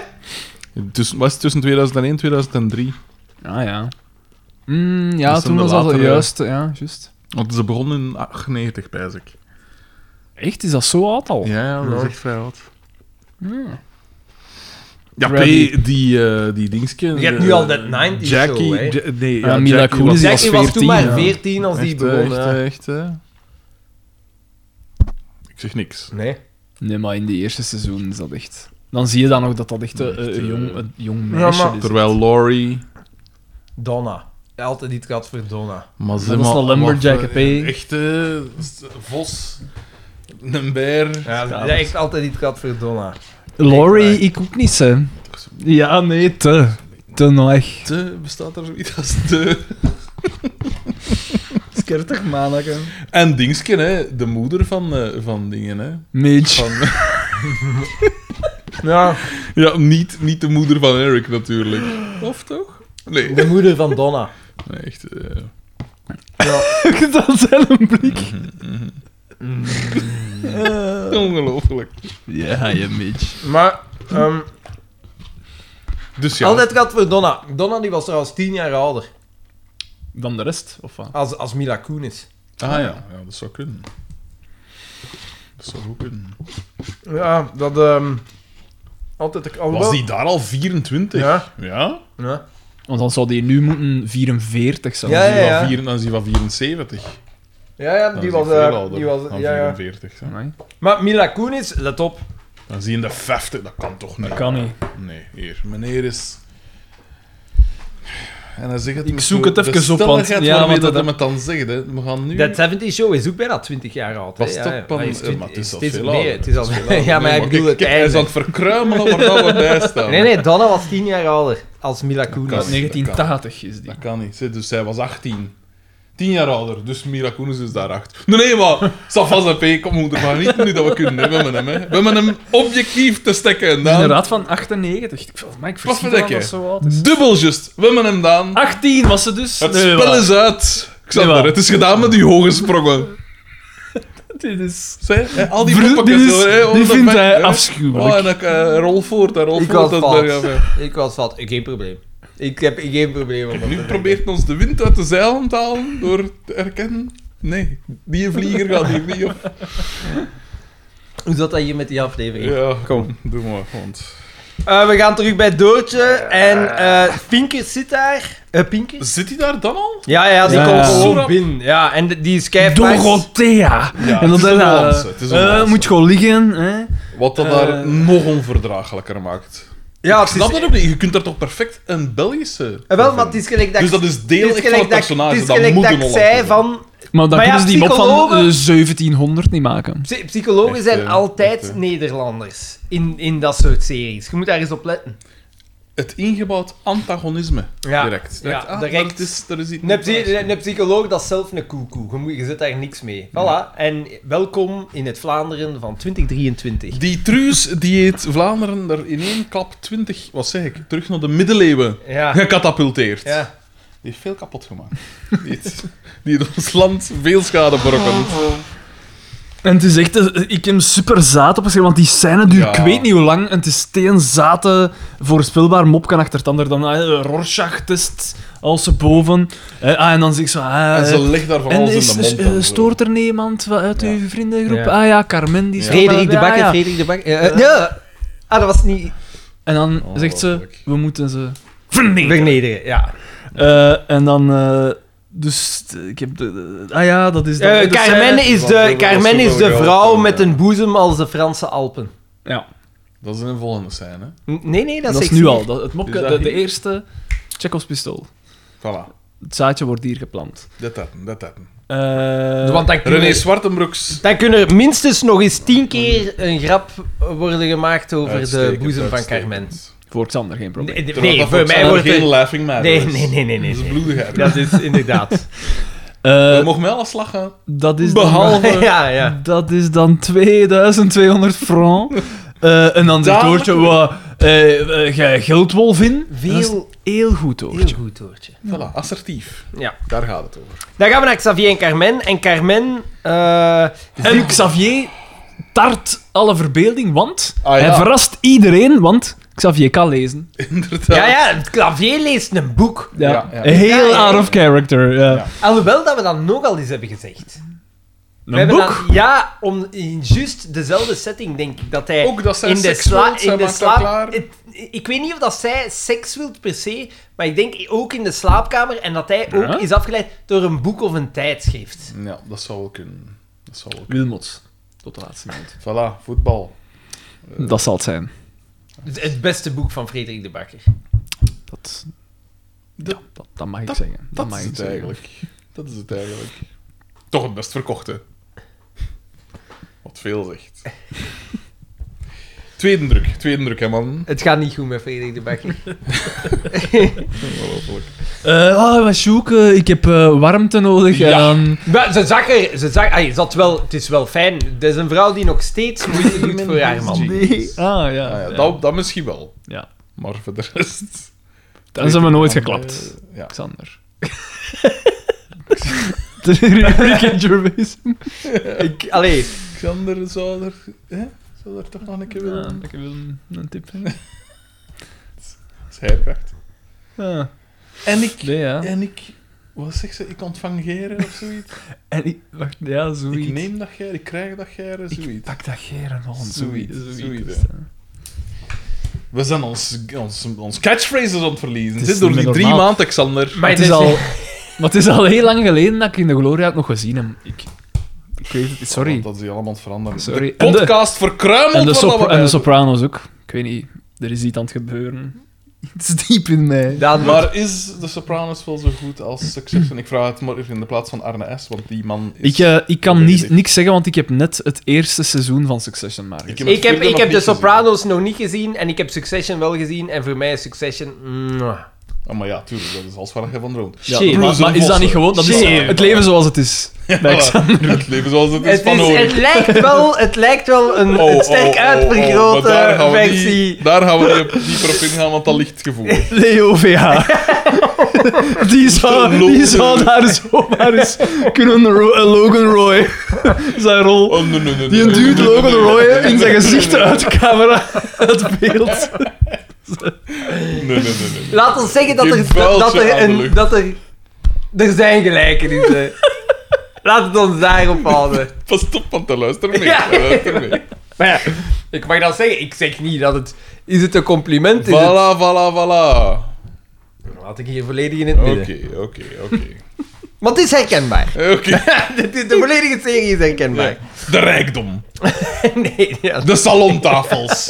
S3: Tussen, was het tussen 2001 en 2003?
S2: Ah ja. Mm, ja,
S3: Dat is
S2: toen
S3: dan
S2: was
S3: de
S2: dat
S3: latere-
S2: juist. Ja, juist.
S3: Want ze begonnen in 98, pijs ik.
S2: Echt, is dat zo oud al? Ah.
S3: Ja, ja, Oh. dat is
S1: Ja.
S3: echt vrij oud.
S2: Ja.
S3: Ja, P,
S2: Gravity.
S3: die, eh die dingske...
S1: Je hebt
S3: eh,
S1: nu al dat 90s show,
S3: Jackie,
S1: hè.
S3: Ja- nee,
S2: Ah, Mila
S3: Jackie
S2: Kunis
S3: was
S2: was
S1: Jackie was toen
S2: 14,
S1: maar
S2: ja.
S1: 14 als die
S3: echt, eh,
S1: begon.
S3: Echt,
S1: hè.
S3: eh, echt, eh. Ik zeg niks.
S1: Nee.
S2: Nee, maar in de eerste seizoen is dat echt... Dan zie je dan nog dat dat echt eh,
S3: Echt,
S2: een,
S3: eh,
S2: jong, een jong meisje
S1: maar-
S2: is.
S3: Terwijl Laurie...
S1: Donna. Altijd iets gehad voor Donna.
S3: Maar
S2: Dat is een lumberjack, P.
S3: Echte vos. Een beer.
S1: Ja,
S2: Ja,
S1: dat
S2: dat-
S1: echt altijd iets gehad voor Donna.
S2: Laurie, ik ook niet, hè. Ja, nee, te. Te nog.
S3: Te bestaat er zoiets als te.
S2: Skertig manneken.
S3: En Dingske, hè, de moeder van, eh, van dingen. Hè.
S2: Midge.
S3: Van,
S1: Ja,
S3: ja, niet, niet de moeder van Eric natuurlijk. Of toch? Nee,
S1: de moeder van Donna.
S3: nee echt. eh,
S2: dat zijn een blik.
S1: Eh.
S3: ongelooflijk.
S2: Ja, je Midge.
S1: Maar, ehm,
S3: Dus ja,
S1: altijd gehad voor Donna. Donna die was trouwens 10 jaar ouder
S2: Dan de rest, of wat?
S1: als, als Mila Kunis.
S3: Ah ja, ja, dat zou kunnen. Dat zou goed kunnen.
S1: Ja, dat... ehm altijd... alhoewel-
S3: Was die daar al 24?
S1: Ja.
S3: Ja?
S1: Ja.
S2: Want dan zou die nu moeten 44 zijn.
S1: Ja,
S3: Dan is die
S1: ja,
S3: van
S1: ja.
S3: vier- Dan is die van 74.
S1: Ja, ja,
S3: Dan
S1: die
S3: is die
S1: was...
S3: veel
S1: eh,
S3: ouder
S1: die was
S3: dan
S1: ja, ja.
S3: 44. hè.
S2: Amai.
S1: Maar Mila Kunis, let op.
S3: Dan zie je in de 50, dat kan toch niet?
S2: Dat kan niet.
S3: Nee, hier. Meneer is. En dan zeg het
S2: Ik
S3: met
S2: zoek
S3: zo-
S2: het even
S3: de
S2: op, want-
S3: stelligheid
S2: ja,
S3: waarmee
S2: want
S3: dat
S2: dat-
S3: hem het dan zegt. Hè. We gaan nu.
S1: Dat 70 Show is ook bijna 20 jaar oud. hè.
S3: Was
S1: Ja,
S3: dat
S1: ja.
S3: dan-
S1: Hij is
S3: eh,
S1: twint-
S3: maar het is al
S1: steeds
S3: veel
S1: meer,
S3: ouder.
S1: het is al- Ja, maar
S3: Nee,
S1: ik bedoel
S3: kijk,
S1: het
S3: kijk, Hij is aan
S1: einde.
S3: het verkruimelen waar dat we bij staan.
S1: Nee, nee, Donna was 10 jaar ouder als Mila
S3: kan
S1: Kunis.
S3: niet.
S2: 1980 is die.
S3: Dat kan niet. Zie, Dus zij was 18. 10 jaar ouder, dus Mira Kunis is daar achter. Nee, nee, maar Safas en P, kom, we moeten maar niet nu dat we kunnen hebben met hem. Hè. We hebben hem objectief te stekken. en
S2: is
S3: dan-
S2: inderdaad van 98. Ik, maar ik
S3: Wat
S2: verschiet
S3: verdikke.
S2: dat dat zo oud is.
S3: Dubbel just, we hebben hem dan.
S2: 18 was ze dus.
S3: Het
S2: Nee,
S3: spel
S2: wat?
S3: is uit. Xander,
S2: Nee, wat?
S3: het is gedaan met die hoge sprongen.
S2: Dit is...
S3: Zij, hè, al die
S2: Vro-
S3: poppakjes
S2: dit is-
S3: zo, hè,
S2: dit
S3: onder
S2: vindt
S3: de-
S2: hij
S3: hè.
S2: afschuwelijk.
S3: Oh, en dan eh, rol voort, hè, rol
S1: Ik was
S3: voort. dat
S1: fout.
S3: daar, ja.
S1: Ik was fout. Geen probleem. Ik heb geen probleem om dat
S3: Nu
S1: te
S3: probeert ons de wind uit de zeilen te halen door te erkennen... Nee, die vlieger gaat hier niet op.
S1: zeggen. Hoe zat dat hier met die aflevering?
S3: Ja,
S1: Kom.
S3: doe maar, want...
S1: Eh, we gaan terug bij Doortje. En eh Pinker zit daar. Eh Pinker?
S3: Zit hij daar dan al?
S1: Ja, ja, die
S2: Ja.
S1: komt gewoon
S3: Soerap.
S1: binnen. Ja, en de- die is keivers.
S2: Dorothea!
S3: Ja,
S2: en
S3: het
S2: dan
S3: is een
S2: zei hij,
S3: nuance, het is een
S2: eh,
S3: nuance.
S2: moet gewoon liggen, hè.
S3: Wat dat
S2: Eh.
S3: daar nog onverdraaglijker maakt.
S1: Ja, het
S3: Ik snap
S1: is...
S3: dat ook niet. Je kunt daar toch perfect een Belgische...
S1: Eh, wel,
S3: van
S1: maar het is gelijk dat...
S3: Dus dat is deel
S1: het
S3: echt
S1: is
S3: van
S1: gelijk
S3: het
S1: dat ik-
S3: personage,
S1: Het is
S3: dat
S1: gelijk
S3: moet
S1: dat
S3: een
S1: ik
S3: Hollander
S1: zei
S3: zijn.
S1: van...
S2: Maar dan
S1: Maar ja,
S2: kunnen ze die mop van
S1: psychologen-
S2: eh, 1700 niet maken.
S1: psy- Psychologen
S3: Echt,
S1: zijn
S3: eh,
S1: altijd
S3: echt, eh.
S1: Nederlanders in, in dat soort series. Je moet daar eens op letten.
S3: Het ingebouwd antagonisme.
S1: Ja,
S3: Direct.
S1: ja,
S3: Ah,
S1: direct.
S3: maar het is, er is iets...
S1: Een, psy- een psycholoog dat is zelf een koekoe. Je, moet- je zit daar niks mee. Voilà. En welkom in het Vlaanderen van 2023.
S3: Die truus die heeft Vlaanderen er in één klap 20, wat zeg ik, terug naar de middeleeuwen
S1: Ja.
S3: gecatapulteerd.
S1: Ja.
S3: Die heeft veel kapot gemaakt. die, heeft, die heeft ons land veel schade berokkend.
S1: Ah.
S2: En het is echt... eh, Ik heb super zaad op want die scène duurt
S3: Ja.
S2: ik weet niet hoe lang. En het is teenzate voorspelbaar mopken achter het ander. Dan eh, Rorschach-test, als ze boven. Eh, ah, en dan zeg ik zo... ah,
S3: En
S2: eh,
S3: ze legt daar van
S2: en
S3: alles
S2: is,
S3: in de mond.
S2: eh,
S3: en zo.
S2: stoort er niemand wa- uit uw vriendengroep?
S1: Ja.
S2: Ah ja, Carmen, die
S3: Ja.
S2: staat
S1: Frederik de
S2: daarbij,
S1: Bakker,
S2: ah, ja.
S1: Frederik de Bakker. Eh, eh, ja. Ah, dat was niet...
S2: En dan
S3: Oh,
S2: zegt ze,
S3: ongelooflijk.
S2: we moeten ze...
S1: Vernederen, ja.
S2: Eh, en dan... eh, dus t- ik heb de, de- Ah ja, dat is... dan
S1: Eh,
S2: weer de
S1: Carmen
S2: scène.
S1: is
S3: Want we
S1: de,
S3: hebben
S1: Carmen
S3: dat
S1: is de
S3: zoveel
S1: vrouw
S3: gehad,
S1: met
S3: ja.
S1: een boezem als de Franse Alpen.
S2: Ja,
S3: Dat is een volgende scène.
S1: N- Nee, nee, dat
S2: dat,
S1: is
S2: is
S1: sexy.
S2: nu al. Dat, het mopke,
S3: Is dat
S2: de, de
S3: hier?
S2: eerste... Chekhovs pistool.
S3: Voilà.
S2: Het zaadje wordt hier geplant.
S3: Dat dat, dat dat. Dus
S2: Eh,
S1: Want dan kunnen,
S3: René Zwartenbroeks.
S1: dan kunnen er minstens nog eens tien keer een grap worden gemaakt over de
S3: Uitstekend,
S1: boezem van
S3: uitstekend.
S1: Carmen.
S2: Voor Xander, geen probleem.
S1: Nee, nee,
S3: Terwijl dat
S1: voor mij
S3: Xander
S1: wordt
S3: geen
S1: het...
S3: laughing matter
S1: Nee,
S3: is.
S1: nee, nee, nee, nee.
S3: Dat is bloedigheid.
S1: Dat is inderdaad.
S2: Eh,
S3: we mogen wel aan slag gaan.
S2: dat is dan-
S3: Behalve...
S1: ja, ja.
S2: Dat is dan 2200 francs. Eh, en dan zegt
S3: Daar-
S2: Doortje, wat, eh, eh, jij geldwolf in? Dat is
S1: Veel,
S2: heel goed, Doortje.
S1: heel goed, Doortje.
S3: Voilà, assertief.
S1: Ja.
S3: Daar gaat het over.
S1: Dan gaan we naar Xavier en Carmen. En Carmen... eh,
S2: En Xavier tart alle verbeelding, want
S3: Ah, ja.
S2: hij verrast iedereen, want Xavier kan lezen.
S3: Inderdaad.
S1: ja, ja, het Xavier leest een boek.
S2: Ja.
S3: Ja, ja.
S2: Heel
S1: Ja, ja.
S2: out of character. Ja.
S3: Ja.
S1: Alhoewel dat we dat nogal eens hebben gezegd. We
S2: Een
S1: hebben
S2: boek?
S1: dan- ja, om, in juist dezelfde setting, denk ik. Dat hij
S3: Ook dat zij
S1: in de,
S3: seks
S1: sla,
S3: wil, zij
S1: in de
S3: maakt dat
S1: slaap...
S3: klaar.
S1: Het, ik weet niet of dat zij seks wil per se, maar ik denk ook in de slaapkamer en dat hij ook
S2: Ja?
S1: is afgeleid door een boek of een tijdschrift.
S3: Ja, dat zou wel kunnen. Dat zou wel
S2: Wilmots. Tot de laatste minuut.
S3: kunnen. Voilà, voetbal.
S2: Dat zal het zijn.
S1: Het, het beste boek van Frederik de Bakker.
S2: Dat,
S3: Dat-
S2: ja, dat, dat mag ik zeggen. Dat,
S3: Dat
S2: mag
S3: is
S2: ik
S3: het
S2: zeggen.
S3: eigenlijk. Dat is het eigenlijk. Toch het best verkochte. Wat veel zegt. Tweede druk, tweede druk, hè man.
S1: Het gaat niet goed met Frederik de Bakker.
S3: Ongelooflijk.
S2: Eh, ah, maar Sjoek, eh, ik heb eh, warmte nodig.
S3: Ja.
S2: En dan...
S1: maar ze zag er... Ze zag, ay, ze had wel, het is wel fijn. Het is een vrouw die nog steeds moeite doet voor haar man.
S2: Nee. Ah, ja.
S3: Ah, ja, dat, dat misschien wel,
S2: Ja.
S3: maar voor de rest.
S2: Dan zijn we nooit geklapt,
S3: Eh, ja.
S2: Xander. De rubriek in Gervais.
S1: Ik, allee,
S3: Xander zou er, hè? zou er toch nog een keer willen.
S2: Ah, ik wil een, tip.
S3: Dat is herkracht.
S2: Ja.
S3: En ik,
S2: Ah, Nee, ja.
S3: en ik, wat zegt ze? Ik ontvang geren of zoiets.
S2: En ik... Wacht, ja, zoiets.
S3: Ik neem dat geren, ik krijg dat geren,
S2: Ik
S3: zoiets.
S2: pak dat geren al.
S3: Zoiets,
S2: Zoiets.
S3: zoiets,
S2: zoiets,
S3: ja. We zijn ons, ons, ons catchphrases aan het verliezen.
S2: Het
S3: Dit
S2: is
S3: door
S2: niet
S3: die drie
S2: normaal.
S3: maanden, Xander.
S1: Maar
S2: Maar het, is
S1: dit-
S2: al, maar het is al heel lang geleden dat ik in de Gloria het nog gezien heb. Ik, ik weet het, sorry.
S3: Want Dat is hier allemaal aan het veranderen.
S2: Sorry.
S3: De
S2: En de-
S3: podcast verkruimelt
S2: En de,
S3: wat
S2: sop-
S3: dat we
S2: en de
S3: bij-
S2: Sopranos ook. Ik weet niet, er is iets aan het gebeuren. Iets diep in mij.
S1: dan...
S3: Maar is de Sopranos wel zo goed als Succession? En ik vraag het maar even in de plaats van Arne S, want die man is...
S2: Ik, eh, ik kan
S3: Nee,
S2: niet,
S3: nee.
S2: niks zeggen, want ik heb net het eerste seizoen van Succession maar gezien.
S3: heb het
S1: Ik heb,
S3: tweede
S1: ik
S3: nog
S1: heb
S3: niet
S1: de
S3: gezien.
S1: Sopranos nog niet gezien en ik heb Succession wel gezien. En voor mij is Succession. mwah.
S3: Oh, maar ja, tuurlijk, dat is als waar je van droomt.
S2: Ja,
S1: Shit.
S2: maar, maar is dat niet gewoon? Dat is
S1: Shit.
S2: het leven zoals het is. Bij Xander.
S3: Het leven zoals het is
S1: Het,
S3: van
S1: is,
S3: horen.
S1: het, lijkt wel, het lijkt wel een,
S3: Oh,
S1: een
S3: oh,
S1: sterk
S3: oh, oh, maar
S1: uitvergrote
S3: daar gaan we niet-
S1: versie.
S3: Daar gaan we niet op- dieper op ingaan, want dat ligt gevoelig.
S2: Leo VH. die, zou, die zou daar zomaar eens kunnen ro- eh, Logan Roy zijn rol.
S3: Oh, nee, nee, nee,
S2: Die een
S3: nee, nee,
S2: dude
S3: nee,
S2: Logan
S3: nee,
S2: Roy
S3: nee,
S2: in zijn
S3: nee,
S2: gezicht uit de camera, het beeld.
S3: Nee, nee, nee, nee, nee.
S1: Laat ons zeggen dat
S3: Geen
S1: er,
S3: vuiltje
S1: dat er,
S3: aan de
S1: een,
S3: lucht.
S1: dat er. Er zijn gelijkenissen. Laat het ons daarop houden.
S3: Pas op, want daar luister mee.
S1: Ja.
S3: daar luister mee.
S1: Maar ja, ik mag dat zeggen. Ik zeg niet dat het. Is het een compliment? Is het-
S3: Voilà, voilà, voilà.
S1: Laat ik hier volledig in het midden.
S3: Oké, oké, oké.
S1: Want het is herkenbaar.
S3: Oké.
S1: Dit is- De volledige serie is herkenbaar.
S3: De rijkdom.
S1: Nee, ja,
S3: De salontafels.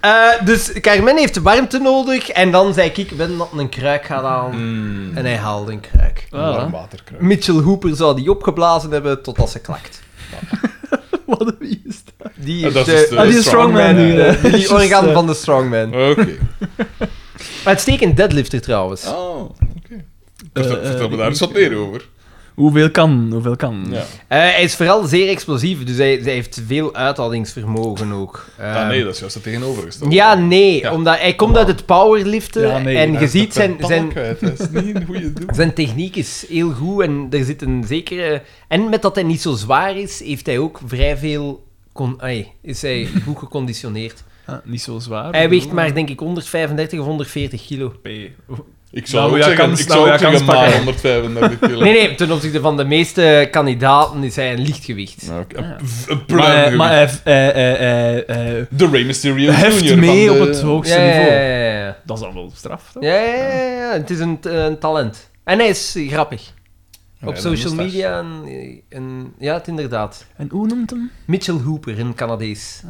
S1: Eh, dus Carmen heeft warmte nodig en dan zei ik, ben dat een kruik gaan halen.
S3: Mm.
S1: En hij haalde een kruik.
S3: Warm
S2: Voilà.
S3: waterkruik.
S1: Mitchell Hooper zou die opgeblazen hebben totdat ze klakt.
S2: Wat een wie is dat?
S1: Die
S3: Eh,
S1: is,
S3: dat
S1: de,
S3: is de
S2: Ah, die is
S3: strongman,
S2: strongman nu.
S3: ja.
S2: hè.
S1: die
S2: Juist,
S1: orgaan
S2: eh.
S1: van de strongman. Maar
S3: Oké.
S1: uitstekend deadlifter trouwens.
S3: Oh, oké.
S2: Eh, eh,
S3: Vertel me
S2: die-
S3: daar eens wat meer over.
S2: Hoeveel kan, hoeveel kan.
S3: Ja.
S1: Eh, hij is vooral zeer explosief, dus hij, hij heeft veel uithoudingsvermogen ook.
S3: Ah,
S1: Ehm,
S3: nee, dat is juist het tegenovergestelde.
S1: ja, nee,
S3: Ja.
S1: omdat hij komt uit het powerliften
S2: Ja, nee,
S1: en
S2: hij
S1: je
S3: Hij is
S1: ziet
S3: de
S1: zijn,
S3: pedal
S1: zijn,
S3: kwijt, Dat is niet een goede doel.
S1: Zijn techniek is heel goed en er zit een zekere... En met dat hij niet zo zwaar is, heeft hij ook vrij veel... Con... ai, is hij goed geconditioneerd.
S2: Ah, niet zo zwaar.
S1: Hij weegt maar, denk ik, 135 of 140 kilo.
S3: Ik zou
S2: Nou,
S3: ook
S2: ja,
S3: zeggen,
S2: kans-
S3: ik
S2: nou,
S3: zou ook
S2: ja, kans
S3: zeggen maar
S2: pakken.
S3: 135 kilo.
S1: Nee, nee, ten opzichte van de meeste kandidaten is hij een lichtgewicht.
S3: Nou, oké.
S2: Ja.
S3: Een v- Een
S2: Maar, hij-
S3: pluimgewicht.
S2: eh, maar hij, hij, hij- hij- hij
S3: De Rey Mysterio
S2: eh, heft
S3: Jr.
S2: mee
S3: van
S2: op
S3: de-
S2: het hoogste
S1: Ja, ja,
S2: niveau.
S1: ja, ja.
S2: Dat is dan wel straf, toch?
S1: Ja, ja, ja, ja. Het is een, t- een talent. En hij is grappig.
S3: Ja,
S1: Op
S3: de
S1: social
S3: moustache.
S1: media en... en- ja, het inderdaad.
S2: En hoe noemt hem?
S1: Mitchell Hooper, een Canadees.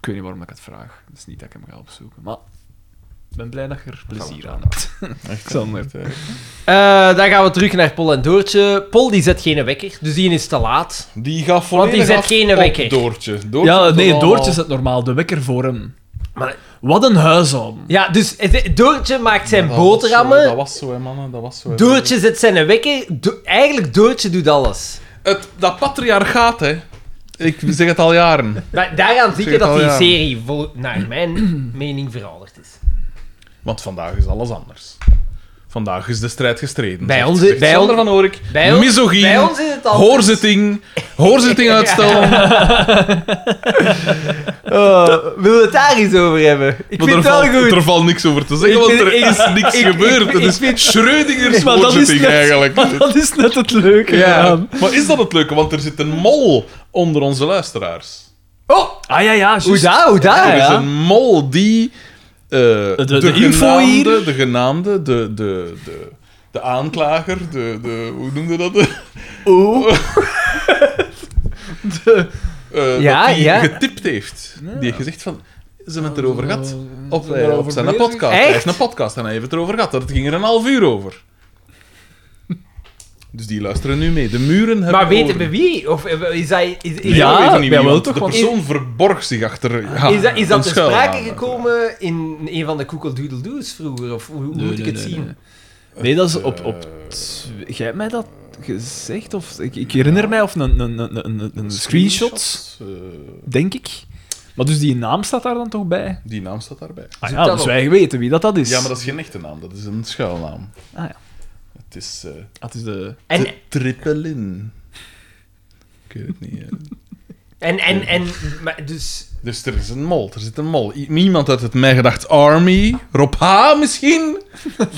S2: Ik weet niet waarom ik het vraag. Het is niet dat ik hem ga opzoeken. Maar ik ben blij dat je er plezier aan hebt.
S3: Echt,
S2: Xander.
S3: echt, echt.
S1: Eh, dan gaan we terug naar Paul en Doortje. Paul die zet geen wekker, dus die is te laat.
S3: Die gaat volledig
S1: zet
S3: af
S1: geen
S3: op
S1: wekker.
S3: Doortje. Doortje
S2: Ja,
S3: doet
S2: nee,
S3: allemaal-
S2: Doortje zet normaal de wekker voor hem.
S1: Maar
S2: Wat een huishouden.
S1: Ja, dus het- Doortje maakt zijn
S3: Dat was
S1: boterhammen.
S3: zo, Dat was zo, hè, mannen. Dat was zo. hè.
S1: Doortje zet zijn wekker. Do- Eigenlijk, Doortje doet alles.
S3: Het, dat patriarchaat, hè. Ik zeg het al jaren.
S1: Maar daaraan zie
S3: Zeg
S1: je
S3: het al,
S1: dat die
S3: ja.
S1: serie, vol- naar mijn mening, veranderd is.
S3: Want vandaag is alles anders. Vandaag is de strijd gestreden.
S1: Bij
S3: zegt-
S1: ons-
S3: zegt
S1: bij
S3: Sander
S1: ons-
S3: van Oorik.
S1: bij ons-
S3: misogyne,
S1: bij ons is het anders.
S3: hoorzitting, hoorzitting uitstellen.
S1: Eh, willen we het daar eens over hebben? Ik
S3: Maar
S1: vind
S3: er,
S1: het wel
S3: valt,
S1: goed.
S3: er valt niks over te zeggen,
S1: Ik
S3: want
S1: vind-
S3: er
S1: ik-
S3: is niks
S1: ik-
S3: gebeurd.
S1: ik-
S3: Het
S1: ik
S3: is
S1: vind-
S3: Schrödinger's
S2: Maar dat is
S3: hoorzitting
S2: net-
S3: eigenlijk.
S2: Maar dat is net het leuke.
S3: Ja.
S2: eraan.
S3: Maar is dat het leuke? Want er zit een mol onder onze luisteraars.
S1: Oh,
S2: Ah ja, ja,
S1: hoe
S2: juist.
S1: daar, hoe daar,
S3: er is
S1: ja.
S3: een mol die eh, de,
S2: de info
S3: genaamde,
S2: hier.
S3: de genaamde, de, de, de, de aanklager, de, de, hoe noemde dat?
S2: Oh.
S3: Eh,
S1: Ja,
S3: dat die
S1: ja.
S3: getipt heeft. Die heeft gezegd van, ze hebben het erover gehad. Op, eh,
S2: zijn erover
S3: op zijn
S2: bezig.
S3: podcast. Hij
S1: Echt?
S3: heeft een podcast en hij heeft het erover gehad. Dat ging er een half uur over. Dus die luisteren nu mee. De muren hebben
S1: Maar weten we
S3: oren.
S1: wie? Of eh, is dat, is, is,
S3: Nee,
S2: Ja,
S3: we weten niet wie,
S2: jawel,
S3: want
S2: toch,
S3: De
S2: want-
S3: persoon verborg zich achter... ja,
S1: is dat, is dat
S3: een
S1: te
S3: schuilnaam,
S1: sprake gekomen in een van de Koekeldoedeldoes vroeger? Of hoe, hoe moet ik het zien?
S2: Nee, dat is op... op
S3: Eh,
S2: tw- Jij hebt mij dat gezegd? Of, ik, ik herinner mij of een, een, een, een, een, een screenshot,
S3: eh,
S2: denk ik. Maar dus die naam staat daar dan toch bij?
S3: die naam staat daarbij.
S2: Ah
S1: Zoek
S2: ja,
S1: dat
S2: dus
S1: op.
S2: wij weten wie dat, dat is.
S3: Ja, maar dat is geen echte naam, dat is een schuilnaam.
S2: Ah ja.
S3: Het is eh
S2: Dat is de...
S1: En,
S3: de Trippelin. Ik weet het niet. hè.
S1: en, en, en, maar dus...
S3: Dus er is een mol, er zit een mol. I- Iemand uit het Mij Gedacht Army, Rob H. misschien?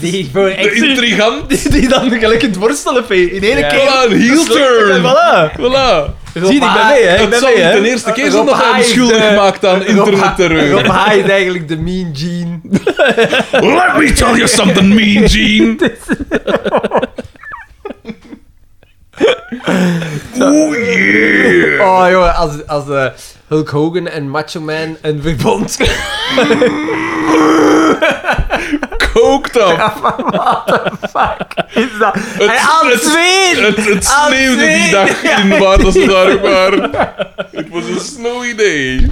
S1: Die voor
S3: De
S1: echt...
S3: intrigant.
S2: Die, dan gelijk in het worstelenvee in één
S1: Ja.
S2: keer.
S3: Voilà, een heel turn.
S2: Voilà.
S3: Voilà.
S2: Zie, ik ben mee, hè. Ik
S3: Het
S2: ben
S3: zal
S2: mee,
S3: niet
S2: hè.
S3: de eerste keer zijn
S1: Rob
S3: dat
S1: H.
S3: hij hem
S1: is
S3: schuldig
S1: de-
S3: maakt aan
S1: Rob
S3: internetterreur.
S1: H is eigenlijk de mean gene.
S3: Let me tell you something, mean Gene. Oeh, yeah.
S1: Oh jongen, als, als eh, Hulk Hogan en Macho Man een verbond...
S3: Kookt op.
S1: Fuck, is dat?
S3: Het-
S1: en aan
S3: het-
S1: het zweet!
S3: Het, het
S2: Ah,
S1: Aan
S3: sneeuwde die
S1: zee.
S3: dag in waar dat ze daar waren. Het was een snowy day.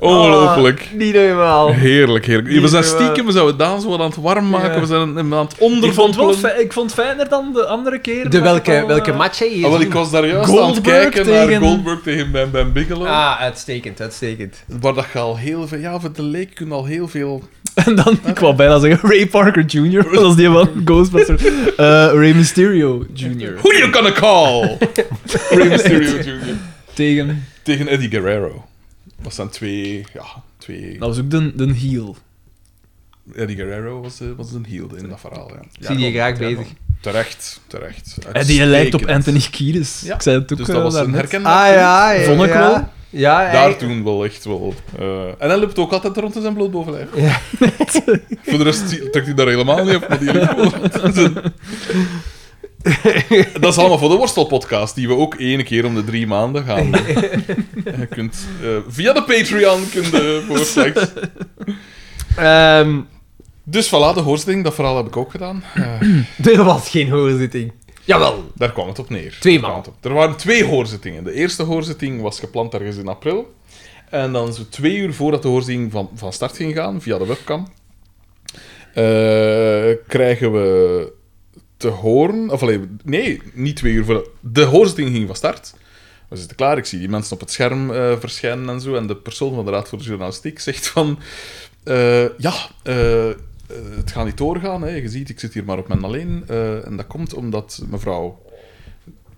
S3: Ongelooflijk.
S1: Oh, niet normaal.
S3: Heerlijk, heerlijk. We zijn
S1: Niet normaal.
S3: stiekem, we zouden Daan zo wat aan het warm maken,
S2: eh, Ja.
S3: we zijn hem aan het
S2: Ik vond, wel
S3: onderdompelen.
S2: fi- ik vond het fijner dan de andere keer. eh,
S1: De welke, welke match hè, hier?
S3: Ah, wel,
S1: zien?
S3: ik was daar juist aan het
S2: Goldberg
S3: kijken naar
S2: tegen-
S3: Goldberg tegen Ben, ben Bigelow.
S1: Ah, uitstekend, uitstekend.
S3: Waar dat je al heel veel... Ja, voor de leek kun je al heel veel...
S2: En dan, ik wou bijna zeggen, Ray Parker Jr. Dat is die van Ghostbusters. Eh, Ray Mysterio Jr.
S3: Who you gonna call? Rey Mysterio Jr.
S2: Tegen...
S3: Tegen Eddie Guerrero. Dat zijn twee... Ja, twee...
S2: Dat was ook de, de heel.
S3: Eddie Guerrero was, eh, was een heel in dat verhaal, ja.
S1: Zie je graag
S3: Ja,
S1: bezig.
S3: Terecht, terecht.
S2: En die lijkt op
S3: Uitstekend.
S2: Anthony Kiedis.
S3: Ja.
S2: Ik zei het ook
S3: Dus dat
S2: eh,
S3: was een
S2: daarnet.
S3: herkenbaar.
S1: Ah ja,
S3: punt.
S1: ja.
S2: Vond ik
S1: ja.
S2: wel.
S1: Ja,
S3: Daar
S1: eigenlijk.
S3: toen wel echt wel. eh, en hij loopt ook altijd rond in zijn bloot bovenlijf.
S1: Ja.
S3: Voor de rest zie- trekt hij daar helemaal niet op, maar die ligt wel. Dat is allemaal voor de Worstelpodcast, die we ook één keer om de drie maanden gaan. doen. En je kunt eh, via de Patreon kunt je voor slechts.
S1: Ehm,
S3: Dus voilà, de hoorsting, dat verhaal heb ik ook gedaan. Eh,
S1: er was geen hoorzitting. Jawel.
S3: Daar kwam het op neer.
S1: Twee
S3: Daar kwam
S1: maal.
S3: het op. Er waren twee hoorzittingen. De eerste hoorzitting was gepland ergens in april. En dan zo twee uur voordat de hoorzitting van, van start ging gaan, via de webcam, eh, krijgen we te horen... Of alleen, nee, niet twee uur voordat... De hoorzitting ging van start. We zitten klaar, ik zie die mensen op het scherm eh, verschijnen en zo. En de persoon van de Raad voor de Journalistiek zegt van... eh, ja, eh, eh, het gaat niet doorgaan. Hè. Je ziet, ik zit hier maar op mijn alleen. Eh, en dat komt omdat mevrouw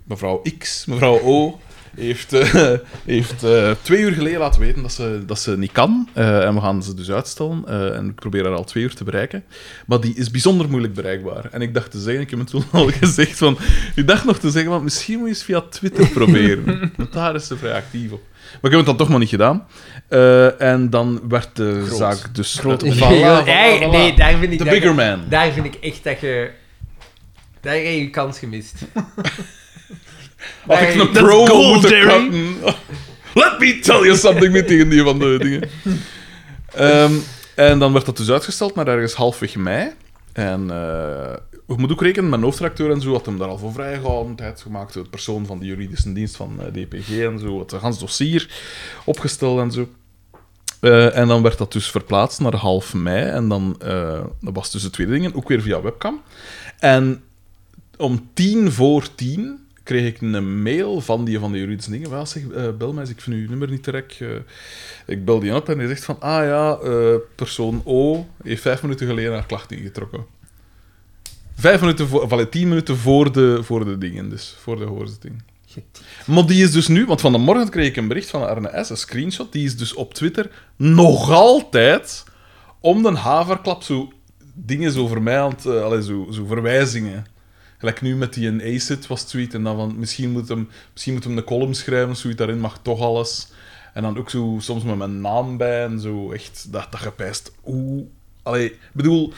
S3: mevrouw X, mevrouw O, heeft, eh, heeft eh, twee uur geleden laten weten dat ze, dat ze niet kan. Eh, en we gaan ze dus uitstellen. Eh, en ik probeer haar al twee uur te bereiken. Maar die is bijzonder moeilijk bereikbaar. En ik dacht te zeggen, ik heb het toen al gezegd van... Ik dacht nog te zeggen, want misschien moet je eens via Twitter proberen. want daar is ze vrij actief op. Maar ik heb het dan toch maar niet gedaan. Eh, en dan werd de
S2: Groot.
S3: zaak dus...
S2: Groot.
S3: eh, voilà,
S1: Ja,
S3: voilà,
S1: eigenlijk-
S3: voilà.
S1: Nee, daar vind ik...
S3: The
S1: daar-
S3: bigger man.
S1: Daar vind ik echt dat je... Daar heb je je kans gemist.
S3: Had ik
S1: Nee,
S3: een
S2: dat is
S3: promo
S2: gold,
S3: moeten
S2: Derry.
S3: cutten. Let me tell you something met tegen die van de dingen. Ehm, en dan werd dat dus uitgesteld naar ergens halfweg mei. En eh ik moet ook rekenen, mijn hoofdredacteur en zo had hem daar al voor vrijgehouden. Tijd gemaakt, de persoon van de juridische dienst van eh, DPG en zo. Het gans dossier opgesteld en zo. Eh, Eh, en dan werd dat dus verplaatst naar half mei. En dan eh, dat was dus de tweede ding, en ook weer via webcam. En om tien voor tien kreeg ik een mail van die van de juridische dingen. Wel, zeg, eh, bel mij, eens, ik vind uw nummer niet direct. eh." ik bel die op en die zegt van, ah ja, eh, persoon O heeft vijf minuten geleden haar klacht ingetrokken. Vijf minuten voor, of allee, tien minuten voor de, voor de dingen, dus voor de hoorzitting. Maar die is dus nu, want van de morgen kreeg ik een bericht van de Arne S, een screenshot, die is dus op Twitter nog altijd om de haverklap zo dingen zo voor mij aan het, eh, allee, zo, zo verwijzingen. Gelijk nu met die een ACID was tweet en dan van misschien moet hem, misschien moet hem een column schrijven, of zoiets daarin mag toch alles. En dan ook zo soms met mijn naam bij en zo echt dat, dat gepijst. Oeh. Allee, ik bedoel,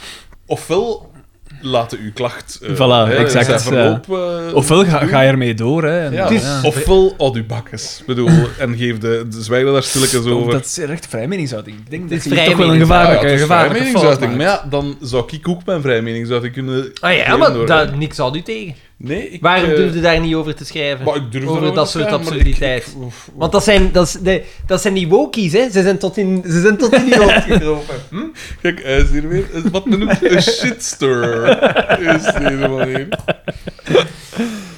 S3: ofwel laten uw klacht. eh,
S2: Voilà,
S3: hè, in
S2: exact,
S3: zijn
S2: ja.
S3: verloop, eh,
S2: Ofwel ga, ga je ermee door, hè. En,
S3: ja,
S1: Het is-
S2: ja.
S3: Ofwel Odubakkes. bedoel, en geef de, de zwijgen daar stilletjes over.
S2: Dat is echt vrij meningsuiting. Ik denk
S1: Het
S2: dat
S1: is
S2: je
S1: vrij
S2: toch wel een
S3: Ah ja,
S2: gevaarlijke,
S3: het is vrij
S2: gevaarlijke fout
S3: meningsuiting.
S2: maakt.
S3: Maar ja, dan zou ik ook mijn vrij meningsuiting kunnen...
S1: Ah ja,
S3: geven
S1: maar
S3: door-
S1: dat, niks had u tegen.
S3: Nee, ik...
S1: Waarom
S3: eh,
S1: durfde daar niet over te schrijven?
S3: maar ik durf
S1: over
S3: daarover
S1: dat
S3: te
S1: soort
S3: schrijven, maar
S1: absurditeit.
S3: ik- ik- oef,
S1: Want dat zijn, dat, is- nee, dat zijn die wokies, hè. Ze zijn tot in, ze zijn tot in die hoofd gekropen. Hm?
S3: Kijk, hij is hier weer. eh, Wat men noemt een shitster. Is deze man hier.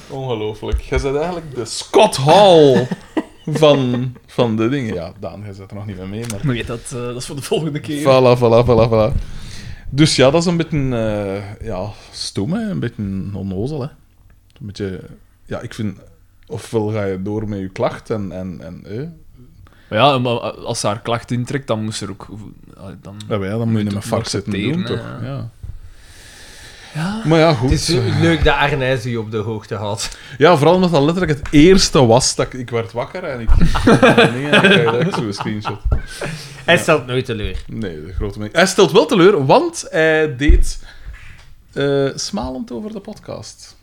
S3: Ongelooflijk. Jij bent eigenlijk de Scott Hall van, van de dingen. Ja, Daan, jij zit er nog niet mee mee, maar...
S2: Maar weet dat, eh, dat is voor de volgende keer.
S3: Voilà, voilà, voilà, voilà. Dus ja, dat is een beetje eh, ja, stom, hè? een beetje onnozel. Hè? Een beetje, ja, ik vind, ofwel ga je door met je klacht en. en, en eh,
S2: Maar ja, maar als ze haar klacht intrekt, dan moest ze er ook... Dan...
S3: ja, maar ja, dan moet je niet met
S2: moet
S3: vark zitten doen,
S2: accepteren,
S3: toch?
S2: hè,
S3: Ja.
S2: Ja.
S3: Maar ja,
S1: Het
S3: goed.
S1: is leuk dat Arnijs u op de hoogte had.
S3: Ja, vooral omdat dat letterlijk het eerste was dat ik, ik werd wakker en ik. nee, en ik krijg direct zo'n screenshot.
S1: Hij stelt nooit teleur.
S3: Nee, de grote mening. Hij stelt wel teleur, want hij deed eh, smalend over de podcast.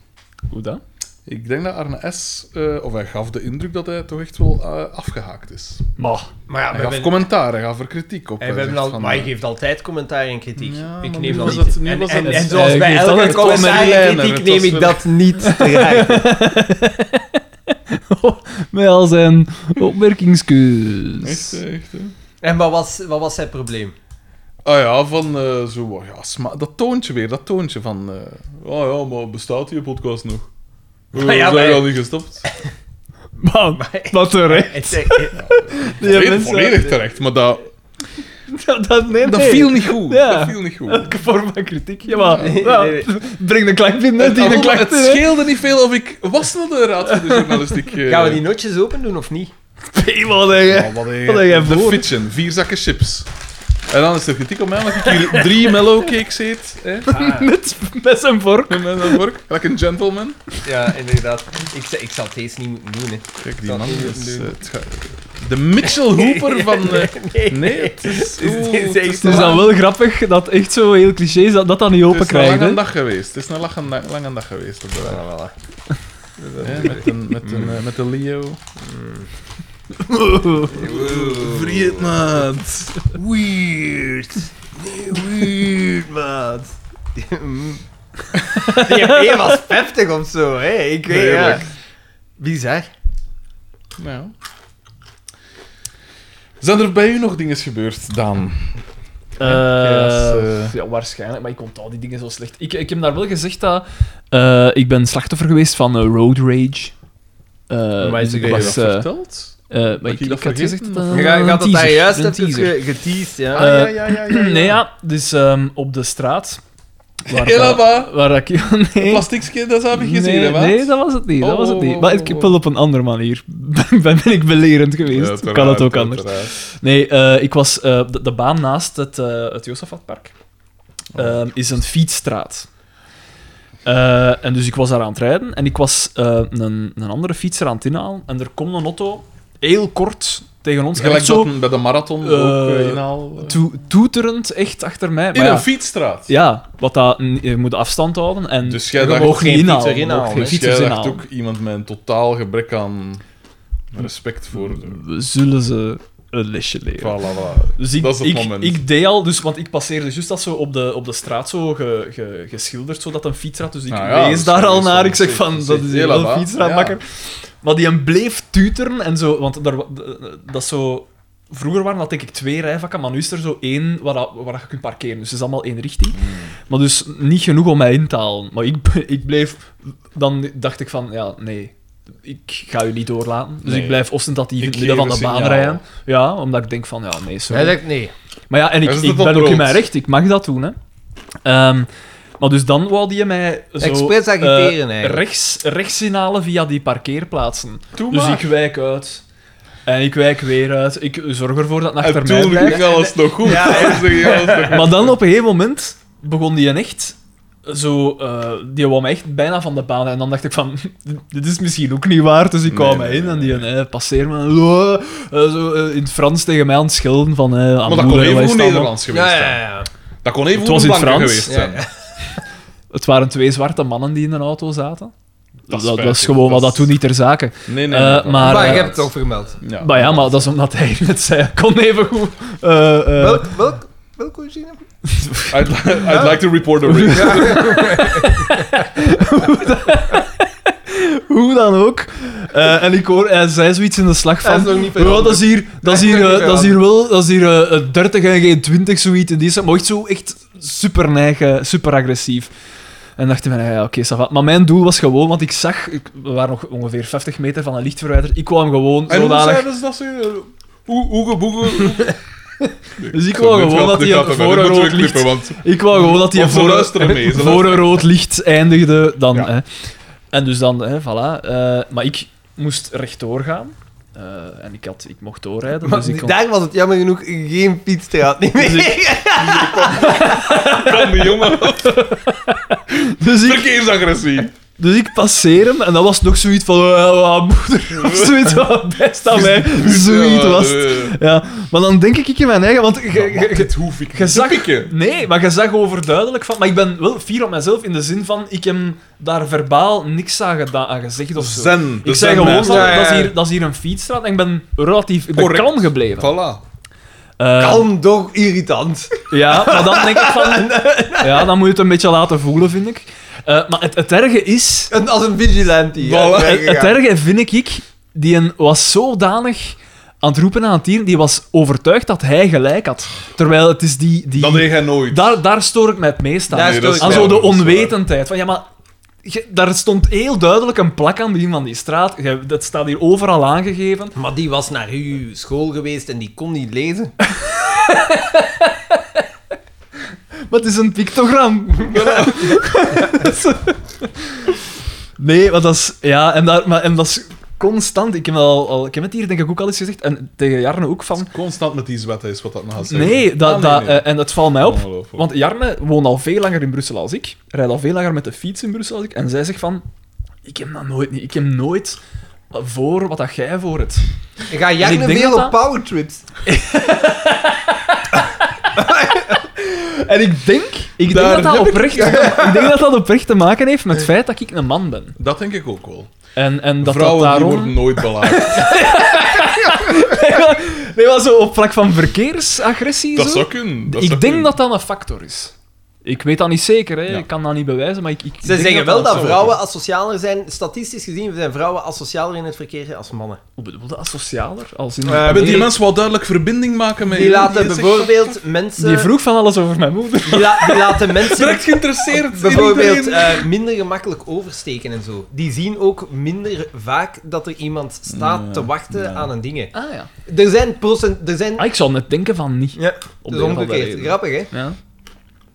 S2: Hoe dan?
S3: Ik denk dat Arne S. eh, of hij gaf de indruk dat hij toch echt wel eh, afgehaakt is.
S2: Maar...
S1: Ah, Maar ja,
S3: Hij
S1: we
S3: gaf
S1: hebben-
S3: commentaar, hij gaf er kritiek op.
S1: en
S3: Hij
S1: we hebben
S3: zegt
S1: al,
S3: van,
S1: maar je
S3: eh,
S1: geeft altijd commentaar en kritiek.
S3: Ja, maar
S1: ik
S3: nu
S1: neem dat
S3: was
S1: niet.
S3: het- nu
S1: en,
S3: was
S1: en,
S3: het-
S1: en
S2: Eh,
S1: zoals
S2: je
S1: bij
S2: geeft
S1: elke
S2: altijd
S1: commentaar en
S3: commentaar.
S1: kritiek
S3: Het was
S1: neem ik
S3: wel-
S1: dat niet te graag.
S2: Met al zijn opmerkingskeus.
S3: Echt, eh, echt, hè?
S1: En wat was, wat was zijn probleem?
S3: Ah ja, van eh, zo, oh ja, sma- dat toontje weer, dat toontje van. eh, oh ja, maar bestaat die podcast nog? We
S1: Ah ja,
S3: zijn
S1: maar-
S3: al niet gestopt.
S2: Maar, wat terecht.
S1: Het- eh,
S2: Die
S3: Volledig-
S2: mensen-
S3: volledig terecht, maar dat,
S2: Dat, dat, nee,
S3: dat
S2: nee.
S3: viel niet goed.
S2: Ja.
S3: Dat viel niet goed.
S2: Elke vorm van kritiek. Ja, maar...
S1: Nee,
S2: ja,
S1: nee,
S2: Breng de klacht binnen, die de
S3: Het,
S2: klacht
S3: het
S2: in, hè.
S3: scheelde niet veel of ik was naar de raad van de journalistiek. eh,
S1: Gaan we die notjes open doen of niet?
S2: Hey, wat een ge-
S3: Ja, Oh,
S2: Wat
S3: wat
S2: heb jij
S3: een De
S2: voor?
S3: fitchen, vier zakken chips. En dan is er kritiek op mij, omdat ik hier drie mellow cakes eet. Hè?
S1: Ah,
S2: Met, met zijn vork.
S3: Met mijn vork. Gelijk een gentleman.
S1: Ja, inderdaad. Ik, zou- ik zal het eens niet moeten doen. Hè.
S3: Kijk, die
S1: Dat
S3: man
S1: is
S3: is...
S1: een
S3: eh, het ga- de Mitchell Hooper van... eh,
S1: Nee.
S3: Nee, het is...
S1: is-
S3: oeh,
S1: het is
S3: het
S1: echt
S3: is
S2: Het is dan wel grappig dat echt zo heel cliché is dat dat dan niet
S3: het
S2: open
S3: is een
S2: krijgt.
S3: lange
S2: hè.
S3: dag geweest. Het is een lange, da- lange dag geweest. Op de dag.
S1: Voilà, voilà.
S3: Hè, met, een, met, een, eh, met een Leo.
S1: Vriend, maat. Weird. Weird, maat. Die EP E was 50 of zo, hè? Ik weet ja.
S3: Heerlijk.
S1: Bizar.
S3: Nou. Zijn er bij u nog dingen gebeurd, Daan? Ja, dat is, eh,
S2: Ja, waarschijnlijk, maar ik onthoud die dingen zo slecht. Ik, ik heb daar wel gezegd dat eh, ik ben slachtoffer geweest van eh, road rage. Eh,
S1: Maar is
S2: dus ik
S3: Heb je
S2: was,
S3: dat
S2: eh,
S3: verteld?
S2: eh, maar
S3: je
S2: ik, ik
S3: dat
S2: had
S3: vergeten?
S2: gezegd dat dat
S1: Je gaat,
S2: een
S1: gaat dat daar
S2: teaser-
S1: juist
S2: een
S1: hebt
S2: teaser.
S1: ge- geteased, ja.
S3: Ah, ja, ja, ja, ja, ja.
S2: Nee, ja, dus ehm, op de straat. Waar,
S3: Helemaal.
S2: dat- waar ik. Nee,
S3: Plastiekje, dat heb ik gezien,
S2: nee,
S3: hè, maat?
S2: nee, dat was het niet. Dat
S3: Oh,
S2: was het
S3: oh,
S2: niet. Maar ik
S3: oh, oh.
S2: heb wel op een andere manier. Ben, ben ik belerend geweest.
S3: Ja,
S2: kan het
S3: uiteraard,
S2: ook anders.
S3: uiteraard.
S2: Nee, eh, ik was eh, de, de baan naast het, eh het Josafatpark.
S3: Oh.
S2: Ehm, is een fietsstraat. Eh, en dus ik was daar aan het rijden en ik was eh, een, een andere fietser aan het inhalen. En er komt een auto heel kort tegen ons.
S3: Gelijk
S2: echt zo
S3: dat een- bij de marathon
S2: Eh,
S3: ook eh, inhaal. eh.
S2: toe- toeterend echt achter mij.
S3: in
S2: Maar ja,
S3: een fietsstraat.
S2: ja, wat dat, je moet afstand houden en
S3: Dus jij
S2: je
S3: dacht-
S2: mag
S1: geen
S2: geen inhalen.
S1: fietser
S2: je mag
S1: inhalen,
S2: geen
S1: hè?
S3: Jij
S2: fietsers
S3: dacht
S2: inhalen.
S3: ook iemand met een totaal gebrek aan respect voor. De...
S2: We zullen ze een lesje leren.
S3: Voilà, voilà.
S2: Dus ik,
S3: Dat is het
S2: ik,
S3: moment.
S2: ik deed al, dus, want ik passeerde juist dat zo op de, op de straat zo ge, ge- geschilderd, zodat een fietsraad. Dus ik
S3: Ah ja,
S2: wees
S3: dus
S2: daar
S3: dat
S2: al
S3: is
S2: naar.
S3: dan
S2: Ik zeg
S3: zeker,
S2: van, dat
S3: zeker.
S2: is
S3: Heel
S2: heel een
S3: wat,
S2: fietsraadmakker. Maar die hem bleef tuteren en zo, want daar, wa- d- dat is zo Vroeger waren dat denk ik twee rijvakken, maar nu is er zo één waar, dat- waar dat je kunt parkeren. Dus het is allemaal één richting.
S3: Hmm.
S2: Maar dus niet genoeg om mij in te halen. Maar ik, ik bleef... Dan dacht ik van, ja, nee. Ik ga u niet doorlaten. Dus
S3: Nee.
S2: ik blijf ostentatief in
S3: Ik
S2: het midden
S3: geef
S2: van de
S3: een
S2: baan
S3: signaal.
S2: rijden. Ja, omdat ik denk van, ja, nee, sorry.
S1: Hij zegt nee.
S2: Maar ja, en ik,
S3: Dat is
S2: ik
S3: de
S2: ben ook in
S3: toprood.
S2: mijn recht, ik mag dat doen. Hè. Ehm, maar dus dan wou die mij zo,
S1: Expres
S2: eh,
S1: agiteren, eigenlijk.
S2: rechts, rechts inhalen via die parkeerplaatsen.
S3: Doe
S2: dus
S3: maar.
S2: ik wijk uit. En ik wijk weer uit. Ik zorg ervoor dat het achter
S3: En
S2: mij
S3: toen
S2: blijft.
S3: ging alles nog goed. Toen ging alles nog goed.
S2: Maar dan op een gegeven moment begon die echt zo... eh, die wou me echt bijna van de baan. En dan dacht ik van, dit is misschien ook niet waar. Dus ik kwam
S3: Nee,
S2: me
S3: nee,
S2: in en
S3: nee,
S2: die eh, passeer me. eh, eh, zo, eh, in het Frans tegen mij aan het schelden van... eh, aan
S3: Maar dat kon
S2: moeder,
S3: even
S2: wij
S3: goed
S2: staan dan.
S3: Nederlands geweest
S1: Ja,
S3: zijn.
S1: ja, ja.
S3: Dat kon even
S2: Het
S3: goed
S2: was in het
S3: blanke
S2: Frans.
S3: geweest zijn.
S1: Ja,
S2: Het waren twee zwarte mannen die in een auto zaten. Dat,
S3: is
S2: dat,
S3: spijtig.
S2: is gewoon, maar dat doet niet ter zake.
S3: Nee, nee,
S2: Eh,
S3: nee, dat-
S2: maar-
S1: Maar je
S2: eh,
S1: hebt het toch vermeld.
S3: Ja.
S2: Maar ja, maar dat is omdat hij net zei, ik kon even goed. eh,
S1: Welk, welk, welk origine?
S3: I'd, li- I'd like to report the rape.
S2: hoe dan ook. Eh, en ik hoor, hij zei zoiets in de slag
S1: Hij is nog
S2: van,
S1: niet
S2: "Ja,
S1: veranderd."
S2: dat is hier, dat is hier,
S1: Hij is nog
S2: eh,
S1: niet
S2: dat is hier wel, dat is hier eh, eh, 30 en geen 20 zoiets. En die is maar echt zo echt super neigen, super agressief. En dacht ik van, ja, ja, oké, ça va. Maar mijn doel was gewoon, want ik zag, ik, we waren nog ongeveer 50 meter van een licht verwijderd, ik kwam gewoon
S3: En hoe
S2: zodanig...
S3: zeiden ze eh, dat ze... Oe- Oege, boege...
S2: Dus ik wou gewoon dat die voor een rood licht...
S3: Want
S2: Ik wou gewoon dat die
S3: Want ze
S2: voor,
S3: luisteren mee, ze
S2: voor een
S3: luisteren.
S2: rood licht eindigde. Dan,
S3: Ja.
S2: hè. En dus dan, hè, voilà. eh, maar ik moest rechtdoor gaan. Eh, en ik, had, ik mocht doorrijden.
S1: Maar
S2: dus ik kon...
S1: Daar was het jammer genoeg geen fietsstraat niet meer.
S2: Dus
S3: kom, jongen,
S2: dus, ik,
S3: verkeersagressie.
S2: dus ik passeer hem. En dat was nog zoiets van... eh, wat moeder, of zoiets wat best aan mij. Zoiets
S3: Ja,
S2: was het.
S3: eh,
S2: Ja, maar dan denk ik in mijn eigen... Want je- je-
S3: maar
S2: je-
S3: Dit hoef ik
S2: je
S3: niet te
S2: zag-
S3: pikken.
S2: Nee, maar je zag overduidelijk van... Maar ik ben wel fier op mezelf in de zin van... Ik heb daar verbaal niks aan, gedaan, aan gezegd of zo.
S3: Zen. de
S2: Ik zei
S3: zen
S2: gewoon
S3: mensen.
S2: van,
S1: ja, ja.
S2: dat, is hier, dat is hier een fietsstraat en ik ben relatief ik ben
S3: Correct.
S2: kalm gebleven.
S3: Voilà.
S2: Eh,
S1: Kalm, toch irritant.
S2: Ja, maar dan denk ik van... Ja, dan moet je het een beetje laten voelen, vind ik. Eh, maar het, het erge is...
S1: En als een vigilante. hè.
S3: Voilà.
S1: Ja,
S2: Het, eh, het
S1: ja.
S2: erge vind ik, ik, die een was zodanig aan het roepen aan het dier, die was overtuigd dat hij gelijk had. Terwijl het is die... die
S3: Dat deed jij nooit.
S2: daar, daar stoor ik mij het meest aan.
S1: Daar
S3: Nee, dat is
S2: aan
S1: stoor ik
S2: zo de
S3: waar, dat is waar.
S2: onwetendheid. Van, ja, maar je- daar stond heel duidelijk een plak aan begin van die straat. Je- Dat staat hier overal aangegeven.
S1: Maar die was naar uw school geweest en die kon niet lezen.
S2: Maar het is een pictogram. nee, maar dat is... Ja, en, daar, maar, en dat is constant. Ik heb, al, al, ik heb het hier denk ik ook al eens gezegd. En tegen Jarne ook van...
S3: Constant met die zwetten is wat dat nou gaat zeggen.
S2: Nee, dat,
S3: Ah,
S2: dat,
S3: nee. Oh,
S2: eh, en dat valt mij op.
S3: Ongelooflijk.
S2: Want Jarne woont al veel langer in Brussel als ik. Rijdt al veel langer met de fiets in Brussel als ik. En zij zegt van... Ik heb dat nooit niet. Ik heb nooit voor wat dat jij voor het.
S1: Ga jij
S2: ik denk
S1: veel
S2: dat
S1: op powertrips?
S2: En ik denk... Ik
S3: Daar
S2: denk dat dat
S3: heb ik-
S2: oprecht... ik denk dat dat oprecht te maken heeft met het feit dat ik een man ben.
S3: Dat denk ik ook wel.
S2: En, en dat
S3: Vrouwen
S2: dat
S3: die
S2: daarom...
S3: worden nooit belaagd.
S2: Nee, maar zo op vlak van verkeersagressie.
S3: dat
S2: zo.
S3: zou kunnen. Dat
S2: ik
S3: zou
S2: denk
S3: kunnen.
S2: dat dat een factor is. Ik weet dat niet zeker, hè.
S3: Ja.
S2: ik kan dat niet bewijzen, maar ik. ik
S1: Ze
S2: denk
S1: zeggen wel dat
S3: zo
S1: vrouwen asocialer zijn. Statistisch gezien zijn vrouwen asocialer in het verkeer als mannen.
S2: Hoe Oh, bedoel je dat? Socialer? Als in...
S1: Eh,
S3: Hebben die
S1: Nee.
S3: mensen wel duidelijk verbinding maken met
S1: Die laten
S3: is echt- eh,
S1: bijvoorbeeld mensen...
S2: Die vroeg van alles over mijn moeder.
S1: die la- die laten mensen
S3: Direct geïnteresseerd in
S1: bijvoorbeeld
S3: iedereen.
S1: eh, minder gemakkelijk oversteken en zo. Die zien ook minder vaak dat er iemand staat
S3: Ja,
S1: te wachten
S3: ja.
S1: aan een dingen.
S2: Ah ja.
S1: Er zijn procent... Er zijn...
S2: Ah, ik zou net denken van niet.
S1: Ja,
S2: Om
S1: dat
S2: de
S1: is
S2: een of andere
S1: omgekeerd.
S2: reden.
S1: Grappig, hè?
S2: Ja.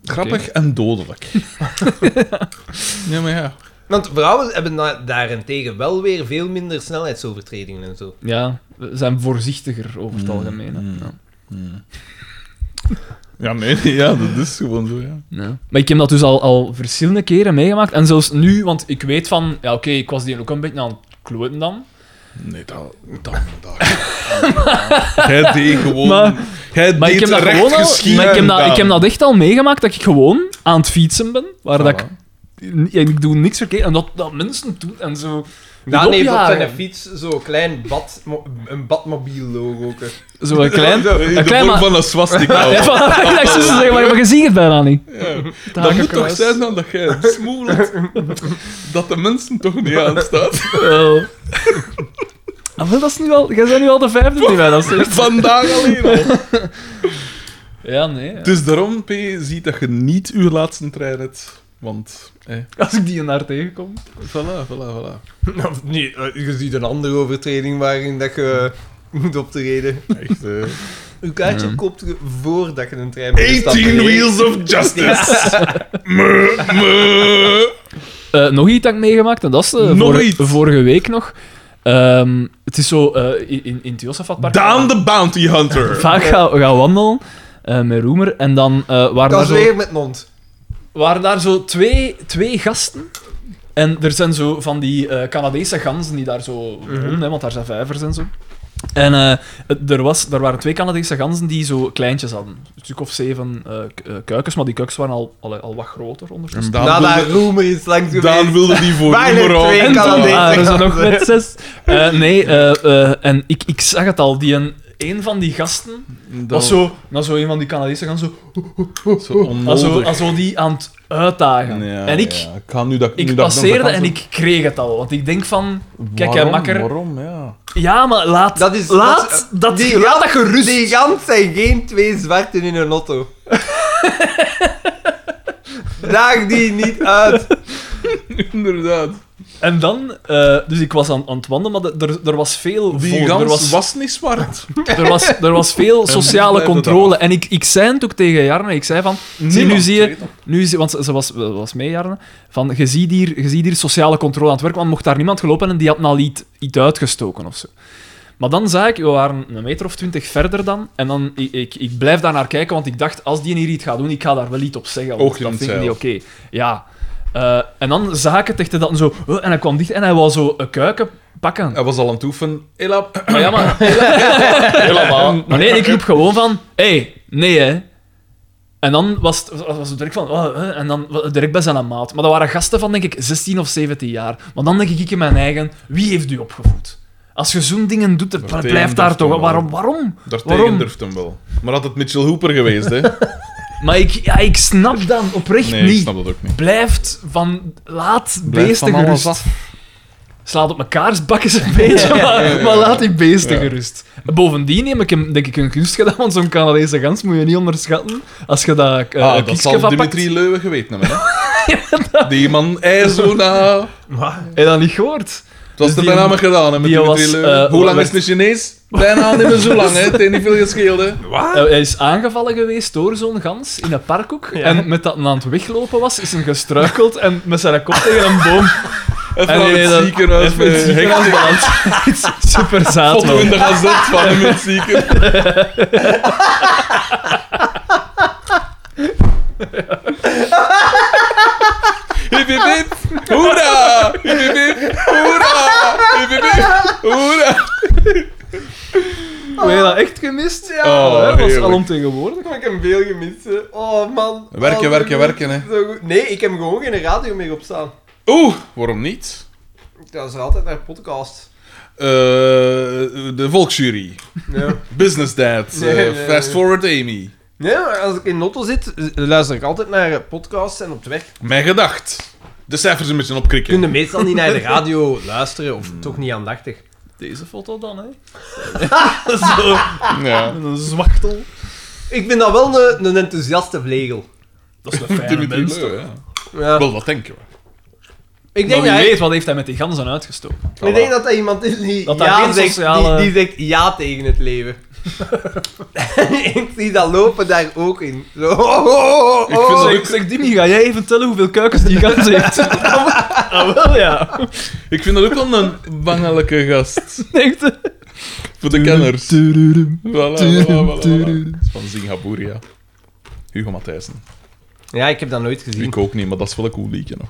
S3: Grappig en dodelijk. ja, maar ja.
S1: Want vrouwen hebben da- daarentegen wel weer veel minder snelheidsovertredingen en zo.
S2: ja, we zijn voorzichtiger over het algemeen. hè.
S3: mm.
S2: Ja.
S3: Ja, nee, nee, ja, dat is gewoon zo, ja.
S2: Ja. Maar ik heb dat dus al, al verschillende keren meegemaakt. En zelfs nu, want ik weet van... Ja, oké, ik was die ook een beetje aan het kloten dan.
S3: Nee, dat... dat, dat. Jij deed gewoon...
S2: Maar-
S3: jij
S2: Maar ik
S3: deed
S2: heb dat
S3: recht
S2: gewoon al...
S3: geschieden
S2: Maar ik, heb dat, ik heb
S3: aan.
S2: dat echt al meegemaakt, dat ik gewoon aan het fietsen ben. Waar dat ik
S3: Voilà.
S2: en ik doe niks verkeerd. En dat, dat mensen doen en zo.
S1: Daan heeft op
S2: opjaren.
S1: zijn fiets zo'n klein bad, een badmobiel logo. ook, hè.
S2: Zo een klein.
S1: Zo,
S3: In
S2: Een
S3: de
S2: klein
S3: vorm
S2: maar-
S3: van een swastika.
S2: Ja, van- ik dacht zo te zeggen, maar je ziet het bijna niet.
S3: Ja.
S2: Daar
S3: Dat
S2: kan
S3: moet
S2: ik wel
S3: toch
S2: eens-
S3: zijn dan dat jij smoelt dat de mensen toch niet aanstaat.
S2: Wel. Ah, wel, dat is nu al... Jij bent nu al de vijfde die mij dat zegt.
S3: Vandaag alleen al.
S2: Ja, nee. ja.
S3: Dus daarom, P, ziet dat je niet uw laatste trein hebt. Want, eh,
S2: Als ik die naar tegenkom.
S3: voilà, voilà, voilà.
S1: Of niet, eh, je ziet een andere overtreding waarin dat je eh, moet optreden.
S3: Echt, eh,
S1: Uw kaartje koopt je voordat je een trein bestapt.
S3: 18 Wheels of Justice! Meh, meh.
S2: Eh, nog iets dat ik meegemaakt, en dat is eh,
S3: Nog
S2: vorige-
S3: iets?
S2: vorige week nog. Ehm, het is zo, eh, in, in het Josaphatpark...
S3: Daan de Bounty Hunter!
S2: Vaak gaan ga gaan wandelen eh, met Roemer, en dan eh, waren
S1: Dat
S2: daar
S1: is
S2: zo...
S1: weer met Nond.
S2: waren daar zo twee, twee gasten. En er zijn zo van die eh, Canadese ganzen die daar zo
S1: Mhm.
S2: wonen, hè, want daar zijn vijvers en zo. En eh, het- er, was, er waren twee Canadese ganzen die zo kleintjes hadden. Een stuk of zeven eh, k- eh, kuikens, maar die kuikens waren al, al, al wat groter ondertussen.
S1: Na
S3: Daan
S1: daar
S3: wilde,
S1: roemer is langs
S3: Daan
S1: geweest.
S3: wilde die voor
S1: Bijna
S3: nummer
S1: twee
S3: houden.
S2: En toen
S1: Canadese
S2: waren ze
S1: ganzen.
S2: nog met zes. Eh, nee, eh, eh, en ik, ik zag het al. Die een, een van die gasten was zo... Nou, zo een van die Canadese ganzen zo...
S3: zo onnodig.
S2: Als zo, als zo die aan het uitdagen.
S3: Ja,
S2: en ik...
S3: ja. Ik, ga nu dat, nu
S2: Ik
S3: dat
S2: passeerde
S3: dat
S2: en
S3: kan
S2: ik kreeg het al. Want ik denk van...
S3: zo-
S2: kijk, hè,
S3: waarom,
S2: makker.
S3: Waarom, ja.
S2: Ja, maar laat...
S1: Dat is-
S2: laat
S1: dat
S2: dat, dat,
S1: die-
S2: laat dat gerust.
S1: Die gans zijn geen twee zwarten in een auto. Daag die niet uit.
S3: Inderdaad.
S2: En dan... eh, dus ik was aan, aan het wandelen, maar er- er, er was veel
S3: Die
S2: volk.
S3: gans
S2: er was,
S3: was... niet zwart.
S2: er was, er was veel sociale
S3: blijven
S2: controle. En ik, ik zei het ook tegen Jarne. Ik zei van... Zie, nu
S3: Niemand
S2: zie je...
S3: weet dat.
S2: Nu zie, want ze, ze was, was mee, Jarne. Van, je ziet, hier, je ziet hier sociale controle aan het werk. Want mocht daar niemand gelopen en die had al iets, iets uitgestoken of zo. Maar dan zag ik, we waren een meter of twintig verder dan. En dan, ik, ik, ik blijf daar naar kijken, want ik dacht, als die hier iets gaat doen, ik ga daar wel iets op zeggen. Want
S3: Oogje
S2: dat
S3: in het
S2: vinden die
S3: zeil.
S2: oké. Ja. Eh, en dan zag ik het echt, dat zo... eh, en hij kwam dicht en hij wou zo een kuiken pakken.
S3: Hij was al aan het oefenen. Ela,
S2: Maar ja, maar...
S3: helemaal.
S2: Maar nee, ik roep gewoon van... Hé, hey, nee, hè. En dan was het, was was het direct van... oh, hè, en dan wa- direct bij zijn maat. Maar dat waren gasten van, denk ik, 16 of 17 jaar. Maar dan denk ik in mijn eigen... Wie heeft u opgevoed? Als je zo'n dingen doet, er
S3: Daartegen
S2: blijft daar
S3: durft
S2: toch...
S3: hij wel.
S2: Waarom? Waarom?
S3: Daartegen
S2: Waarom?
S3: durft hem wel. Maar had het Mitchell Hooper geweest, hè?
S2: Maar ik, ja, ik snap dan oprecht
S3: Nee, ik
S2: niet.
S3: snap dat ook niet.
S2: Blijft van... Laat
S3: Blijf
S2: beesten
S3: van alles
S2: gerust.
S3: af.
S2: Slaat op mekaars bakken een beetje, maar, maar laat die beesten gerust. Bovendien heb ik hem, denk ik, een kunst gedaan, want zo'n Canadese gans moet je niet onderschatten. Als je dat eh
S3: ah, dat
S2: kiekske
S3: zal
S2: van
S3: Dimitri Leuwe geweten hebben, hè? Die man, hij zo na...
S1: Maar,
S2: pakt, heb je dat niet gehoord?
S3: Het
S2: Dus
S3: was er
S2: die-
S3: bijna maar gedaan, hè, met
S2: die
S3: Dimitri
S2: was,
S3: Leuwe.
S2: eh,
S3: Hoe lang
S2: wat-
S3: is het een Chinees? Bijna niet meer zo lang, hè? Het heeft niet veel gescheeld, hè?
S1: wat?
S2: Eh, Hij is aangevallen geweest door zo'n gans in een parkhoek. En met dat hij aan het weglopen was, is hij gestruikeld en met zijn kop tegen een boom.
S3: Even
S2: En
S3: aan
S2: die-
S3: het
S2: dat-
S3: ziekenhuis.
S2: even in het
S3: eh,
S2: ziekenhuis
S3: hectisch.
S2: beland. Super zaad,
S3: Foto
S2: man.
S3: in de gazet van hem in het ziekenhuis. Hip hip hip, hoera! Hip hip hip, hoera! Hip hip hip, hoera!
S2: Hoe heb je dat echt gemist? Ja,
S3: Oh,
S2: hè, was
S3: heerlijk.
S2: al tegenwoordig.
S1: Ik heb hem veel gemist. hè. Oh man.
S3: Werken,
S1: Oh,
S3: werken,
S1: zo
S3: werken, hè.
S1: goed, zo goed. Nee, ik heb gewoon geen radio meer op staan.
S3: Oeh, waarom niet?
S1: Dat is er altijd naar podcast.
S3: Eh, de volksjury.
S1: Ja.
S3: Business Dad.
S1: Nee, nee,
S3: eh,
S1: nee.
S3: fast Forward Amy.
S1: Nee, maar als ik in Notto zit, luister ik altijd naar eh, podcasts en op de weg.
S3: Mijn gedacht. De cijfers een beetje
S1: Je kunt
S3: opkrikken.
S1: meestal niet naar de radio luisteren, of toch niet aandachtig.
S2: Deze foto dan, hè.
S1: Zo.
S3: Ja.
S2: Een zwachtel.
S1: Ik vind dat wel een, een enthousiaste vlegel.
S2: Dat is een fijne
S3: Dimitri
S2: mens, toch?
S3: Leu, ja.
S1: Ja.
S3: Wel, dat denken we.
S1: Ik
S2: Maar
S1: denk,
S2: wie
S1: dat, hij-
S2: weet, wat heeft hij met die ganzen uitgestoken?
S1: ik denk dat dat iemand is die,
S2: Dat daar
S1: ja
S2: geen
S1: zegt,
S2: sociale-
S1: die, die zegt ja tegen het leven. ik zie dat lopen daar ook in. Zo, oh, oh, oh,
S3: Ik vind
S1: oh.
S3: dat
S2: Zeg, zeg Dimi, ga jij even tellen hoeveel kuikens die gans heeft? ah, wel ja.
S3: Ik vind dat ook wel een bangelijke gast.
S2: Echt.
S3: Voor de kenners.
S2: Tudurum.
S3: Voilà, voilà, voilà, voilà. Dat is van Zingaburia. Hugo Matthijssen.
S1: Ja, ik heb dat nooit gezien.
S3: Ik ook niet, maar dat is wel een cool liedje nog.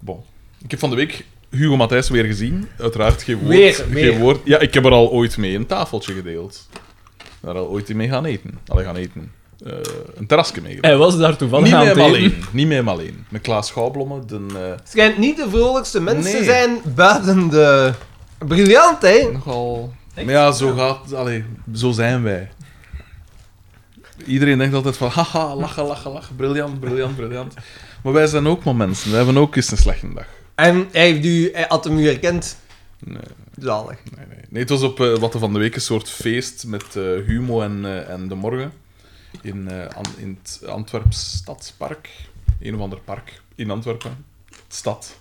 S3: Bon. Ik heb van de week Hugo Matthijssen weer gezien. Uiteraard geen woord.
S1: Weer,
S3: geen
S1: weer.
S3: woord. Ja, ik heb er al ooit mee een tafeltje gedeeld. Daar al ooit mee gaan eten. Allee, gaan eten. Eh, een terrasje mee.
S2: Hij was daar toevallig
S3: Niet
S2: aan
S3: met
S2: het
S3: hem
S2: eten.
S3: alleen. Niet met hem alleen. Met Klaas Schouwblomme, de... eh,
S1: schijnt niet de vrolijkste mensen
S3: Nee.
S1: te zijn buiten de... Briljant, hè?
S3: Nogal. Maar ja, zo gaat... Allee, zo zijn wij. Iedereen denkt altijd van, haha, lachen, lachen, lachen, briljant, briljant, briljant. Maar wij zijn ook maar mensen, wij hebben ook eens een slechte dag.
S1: En hij heeft u, hij had hem u herkend.
S3: Nee,
S1: Zalig.
S3: nee, nee. Nee, het was op eh, wat er van de week een soort feest met eh, Humo en, eh, en De Morgen. In, eh, An- in het Antwerps Stadspark. Een of ander park in Antwerpen. Stad.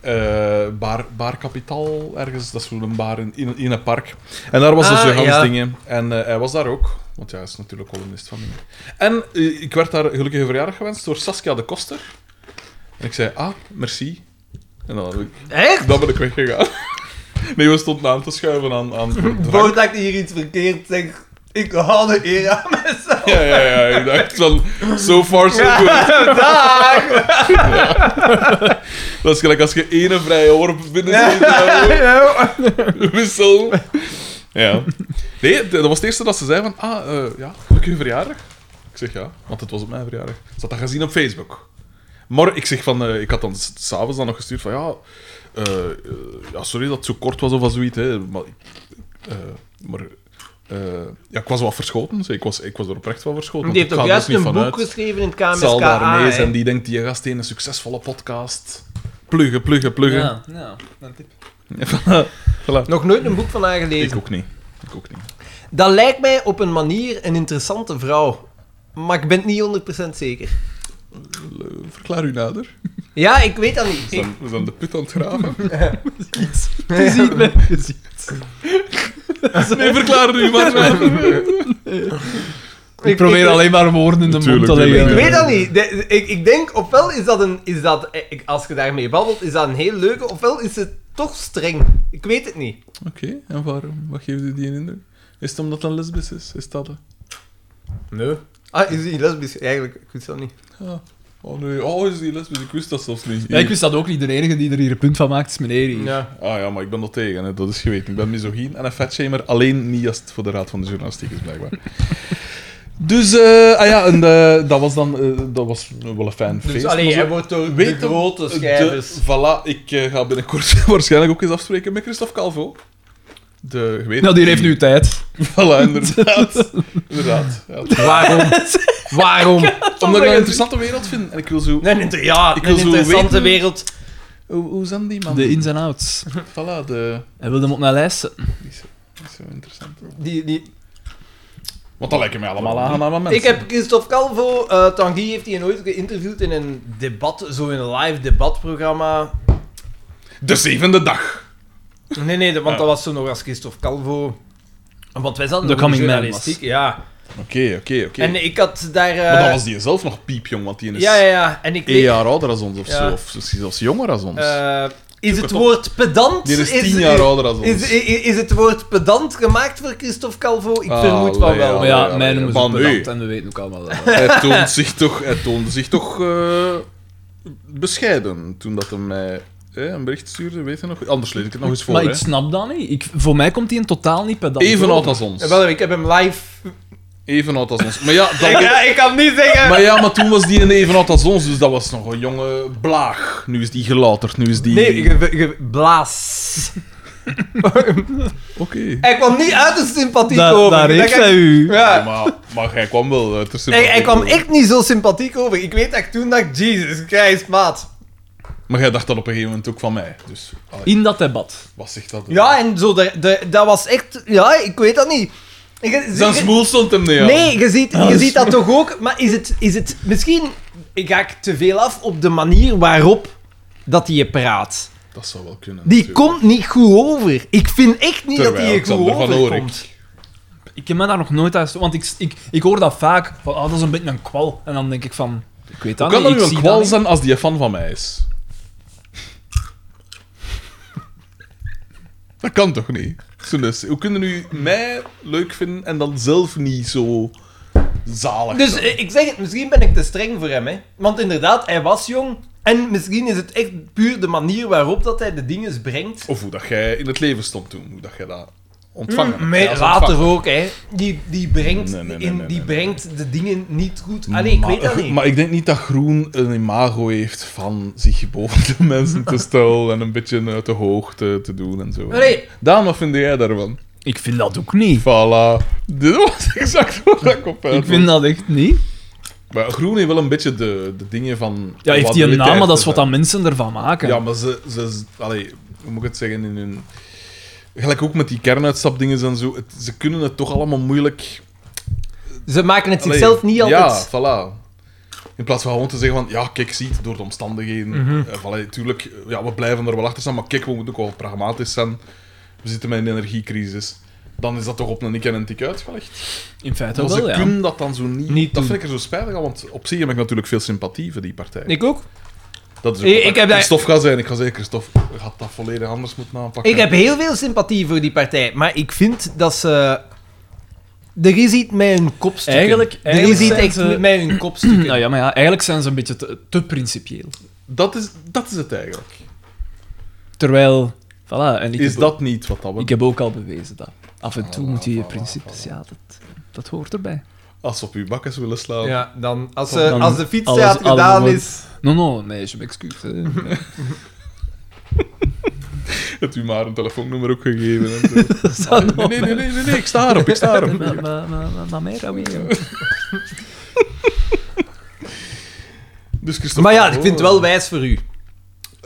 S3: Eh bar, bar Capital, ergens. Dat is zo'n bar in, in, in een park. En daar was dus
S1: Ah,
S3: een gans
S1: ja.
S3: dingen. En eh, hij was daar ook. Want ja, hij is natuurlijk columnist van dingen. En eh, ik werd daar gelukkige verjaardag gewenst door Saskia de Koster. En ik zei, ah, merci. En dan heb ik
S1: Echt?
S3: dan ben ik weggegaan. Nee, we stonden aan te schuiven aan... aan de drank.
S1: Voordat ik hier iets verkeerd zeg, ik haal de eer aan mezelf.
S3: Ja, ja, ja. Ik dacht van, so far so good.
S1: Dag!
S3: Dat is gelijk als je ene vrije oor binnen zit. eh, Wissel. Ja. Nee, dat was het eerste dat ze zei van, ah, eh, ja, gelukkige verjaardag. Ik zeg ja, want het was op mijn verjaardag. Ze had dat gezien op Facebook. Maar ik zeg van, eh, ik had dan s- s'avonds dan nog gestuurd van, ja, eh, eh, ja, sorry dat het zo kort was of zoiets, hè, maar... ik- eh, maar eh, ja, ik was wat verschoten. zeg, Ik was, ik was er oprecht wel verschoten.
S1: Die
S3: want
S1: heeft
S3: ik
S1: ook
S3: ga er dus
S1: juist
S3: niet
S1: een boek
S3: van uit.
S1: geschreven in het
S2: Ah,
S3: Het zal
S1: KMSKA.
S3: daar mee
S1: hè.
S3: zijn. Die denkt, die gast heeft een succesvolle podcast. Pluggen, pluggen, pluggen.
S2: ja, een tip.
S3: Voilà.
S1: Nog nooit een boek van haar gelezen.
S3: Ik ook niet. Ik ook niet.
S1: Dat lijkt mij op een manier een interessante vrouw. Maar ik ben het niet 100% zeker.
S3: L- Verklaar u nader.
S1: Ja, ik weet dat niet.
S3: We zijn, we zijn de put aan het graven.
S2: Je ziet me. Je ziet.
S3: Nee, verklaar u maar nader.
S2: Ik probeer alleen maar woorden in de mond
S3: Tuurlijk,
S2: te leggen.
S1: Ik
S3: tuurlijk.
S1: weet dat niet. De- de- ik, ik denk, ofwel is dat een... Is dat, eh, ik- als je daarmee babbelt, is dat een heel leuke. Ofwel is het toch streng. Ik weet het niet.
S3: Oké, en waarom? Wat geeft u die indruk? Is het omdat het een lesbisch is? Is dat het?
S1: Nee. Ah, is die lesbisch? Eigenlijk, ik weet dat niet.
S3: Ja. Oh nee, oh is die lesbisch? Ik wist dat zelfs niet.
S2: Ja, ik wist dat ook niet. De enige die er hier een punt van maakt is meneer hier.
S1: Ja.
S3: Ah ja, maar ik ben dat tegen, hè. dat is geweten. Ik ben misogyn en een fatshamer, alleen niet als het voor de Raad van de Journalistiek is, blijkbaar. Dus, eh, ah ja, en, eh, dat was dan eh, dat was wel een fijn
S1: Dus
S3: feest.
S1: alleen
S3: Maar zo-
S1: jij wordt door
S3: Weet
S1: de grote
S3: de-
S1: schrijvers.
S3: voilà, ik eh, ga binnenkort waarschijnlijk ook eens afspreken met Christophe Calvo. De, je weet-
S2: Nou, die heeft nu tijd.
S3: Voilà, inderdaad. inderdaad. Ja.
S1: Waarom? Waarom?
S3: Omdat ik een interessante wereld vind. En ik wil zo...
S1: Een inter- ja,
S3: Ik
S1: ik
S3: wil
S1: een
S3: zo
S1: interessante
S3: weten-
S1: wereld.
S3: Hoe, hoe zijn die man?
S2: De ins en outs.
S3: Voilà, de...
S2: Hij wilde hem op mijn lijst zetten.
S3: Die is, die is zo interessant.
S1: Die, die...
S3: Want dat lijken mij allemaal aangename mensen.
S1: Ik heb Christophe Calvo, eh Tanguy heeft hij nooit geïnterviewd in een debat, zo in een live debatprogramma.
S3: De zevende dag.
S1: Nee, nee, de- want
S3: Ja.
S1: dat was zo nog als Christophe Calvo. Want wij zaten
S2: De
S1: nog in
S2: coming man
S1: journalistiek, ja.
S3: Oké, oké, oké.
S1: En ik had daar... eh,
S3: Maar dan was dus die zelf nog piepjong, want die is
S1: Ja, ja, ja. En ik
S3: één
S1: weet...
S3: jaar ouder als ons of
S1: Ja.
S3: zo. Of misschien zelfs jonger als ons.
S1: eh, is het
S3: het op.
S1: woord pedant...
S3: die is tien jaar ouder als ons.
S1: Is, i- i- is het woord pedant gemaakt voor Christophe Calvo? Ik
S3: Ah,
S1: vermoed van
S3: allee,
S1: wel.
S2: Maar
S3: allee,
S2: ja,
S3: allee.
S2: mijn noemen ze
S3: Maar nu.
S2: pedant en we weten ook allemaal dat.
S3: Hij toont zich toch, hij toonde zich toch eh, bescheiden toen dat hij mij eh, een bericht stuurde, weet je nog? Anders lees ik het nog eens voor.
S2: maar
S3: hè.
S2: ik snap dat niet. Ik, voor mij komt hij in totaal niet pedant
S3: Even oud
S2: over.
S3: als ons.
S1: Jawel, Eh, ik heb hem live...
S3: Even oud als ons. Maar ja, dat-
S1: Ja, ik kan niet zeggen...
S3: maar ja, maar toen was die een even oud als ons, dus dat was nog een jonge blaag. Nu is die gelouterd, nu is die...
S1: Nee, ge, ge- blaas.
S3: Oké.
S1: Hij kwam niet uit de sympathiek
S2: Da-
S1: over.
S2: daar
S1: Dat
S2: heeft
S1: ik-
S2: hij u.
S1: Ja.
S3: Maar, maar hij kwam wel eh, ter
S1: Hij,
S3: sympathie.
S1: hij kwam echt niet zo sympathiek over. Ik weet dat ik toen dacht, Jesus Christ, maat.
S3: Maar jij dacht dat op een gegeven moment ook van mij. Dus allee,
S2: In dat debat.
S3: wat zegt dat?
S1: Ja, en zo, de, de- dat was echt... Ja, ik weet dat niet. Ik-
S3: Zijn
S1: ik-
S3: Dus smoel stond hem neer.
S1: Nee, je ziet,
S2: dat
S1: je
S2: is-
S1: ziet dat toch ook. Maar is het, is het misschien ga ik te veel af op de manier waarop dat hij praat.
S3: Dat zou wel kunnen.
S1: Die
S3: natuurlijk.
S1: komt niet goed over. Ik vind echt niet
S3: Terwijl
S1: dat hij goed
S3: Xander van
S1: over
S3: Oerik.
S1: komt.
S2: Ik heb me daar nog nooit uit... Want ik, ik, ik hoor dat vaak. Van, ah, dat is een beetje een kwal. En dan denk ik van... Ik weet dat
S3: Hoe kan
S2: niet,
S3: Ah, dat
S2: ik
S3: nu
S2: zie
S3: een kwal
S2: dat niet.
S3: zijn als die een fan van mij is? Dat kan toch niet? Zo dus, Hoe kunnen nu mij leuk vinden en dan zelf niet zo zalig?
S1: Dus
S3: zijn?
S1: eh, ik zeg het, misschien ben ik te streng voor hem. Hè? Want inderdaad, hij was jong. En misschien is het echt puur de manier waarop dat hij de dingen brengt.
S3: Of hoe dat jij in het leven stond toen, hoe dat jij dat ontvangen hebt.
S1: Maar
S3: Ja, als
S1: later
S3: ontvangen.
S1: ook, hè. Die, die brengt,
S3: Nee, nee, nee,
S1: in,
S3: nee,
S1: die
S3: nee, nee.
S1: brengt de dingen niet goed. Allee, ik
S3: maar,
S1: weet dat niet.
S3: Maar ik denk niet dat Groen een imago heeft van zich boven de mensen te stellen en een beetje uit de hoogte te doen en zo.
S1: Nee.
S3: Daan, wat vind jij daarvan?
S2: Ik vind dat ook niet.
S3: Voilà. Dit was exact wat ik op
S2: Ik
S3: uit
S2: vind dat echt niet.
S3: Maar groen heeft wel een beetje de, de dingen van...
S2: Ja, heeft
S3: wat
S2: die een
S3: weet
S2: naam,
S3: hij
S2: maar dat
S3: te
S2: is wat
S3: zijn.
S2: dat mensen ervan maken.
S3: Ja, maar ze... ze ze- allee, hoe moet ik het zeggen? In hun... Gelijk ook met die kernuitstapdingen en zo. het- ze kunnen het toch allemaal moeilijk...
S1: Ze maken het
S3: Allee,
S1: zichzelf niet altijd.
S3: Ja, voilà. In plaats van gewoon te zeggen van, ja, kijk, ziet, door de omstandigheden.
S1: Mhm.
S3: eh, van, allee, tuurlijk, eh, ja, we blijven er wel achter staan, maar kijk, we moeten ook wel pragmatisch zijn. We zitten met een energiecrisis. Dan is dat toch op een ik en een tik uitgelegd.
S2: In feite
S3: Maar ze
S2: wel, ja.
S3: kunnen dat dan zo niet.
S1: Niet
S3: dat
S1: doen.
S3: vind ik er zo spijtig aan, want op zich heb ik natuurlijk veel sympathie voor die partij.
S1: Ik ook.
S3: dat is ook
S1: ik-
S3: wat
S1: ik heb daar-
S3: Christophe gaat zijn. Ik ga zeggen, Christophe je gaat dat volledig anders moeten aanpakken.
S1: Ik heb heel veel sympathie voor die partij, maar ik vind dat ze. Er is iets met hun kopstukken.
S2: Eigenlijk-
S1: er is
S2: eigenlijk
S1: iets
S2: zijn
S1: echt
S2: ze-
S1: met hun kopstukken.
S2: Nou ja, maar ja, eigenlijk zijn ze een beetje te, te principieel.
S3: Dat, is, dat is het eigenlijk.
S2: Terwijl, voilà, en ik,
S3: is
S2: heb,
S3: dat niet wat dat we...
S2: ik heb ook al bewezen dat. Af en toe
S3: Voilà,
S2: moet je je
S3: voilà,
S2: principes,
S3: voilà.
S2: ja, dat, dat hoort erbij.
S3: Als ze op uw bakkes willen slaan...
S1: Ja, dan, als,
S2: Kom,
S1: ze-
S2: dan
S1: als de fiets
S2: alles-
S1: had
S2: alles
S1: gedaan
S2: wordt-
S1: is.
S2: No, no, meisje, excuus. eh. hè. Nee.
S3: Het u maar een telefoonnummer ook gegeven. En zo.
S2: zou
S3: nee, nee, nee, nee, nee, nee, ik sta erop, ik sta erop.
S2: Maar- maar- maar- maar- maar meer, alweer.
S3: Dus Christophe
S1: Maar ja, ik
S3: Colombo,
S1: vind het wel wijs voor u.
S3: eh,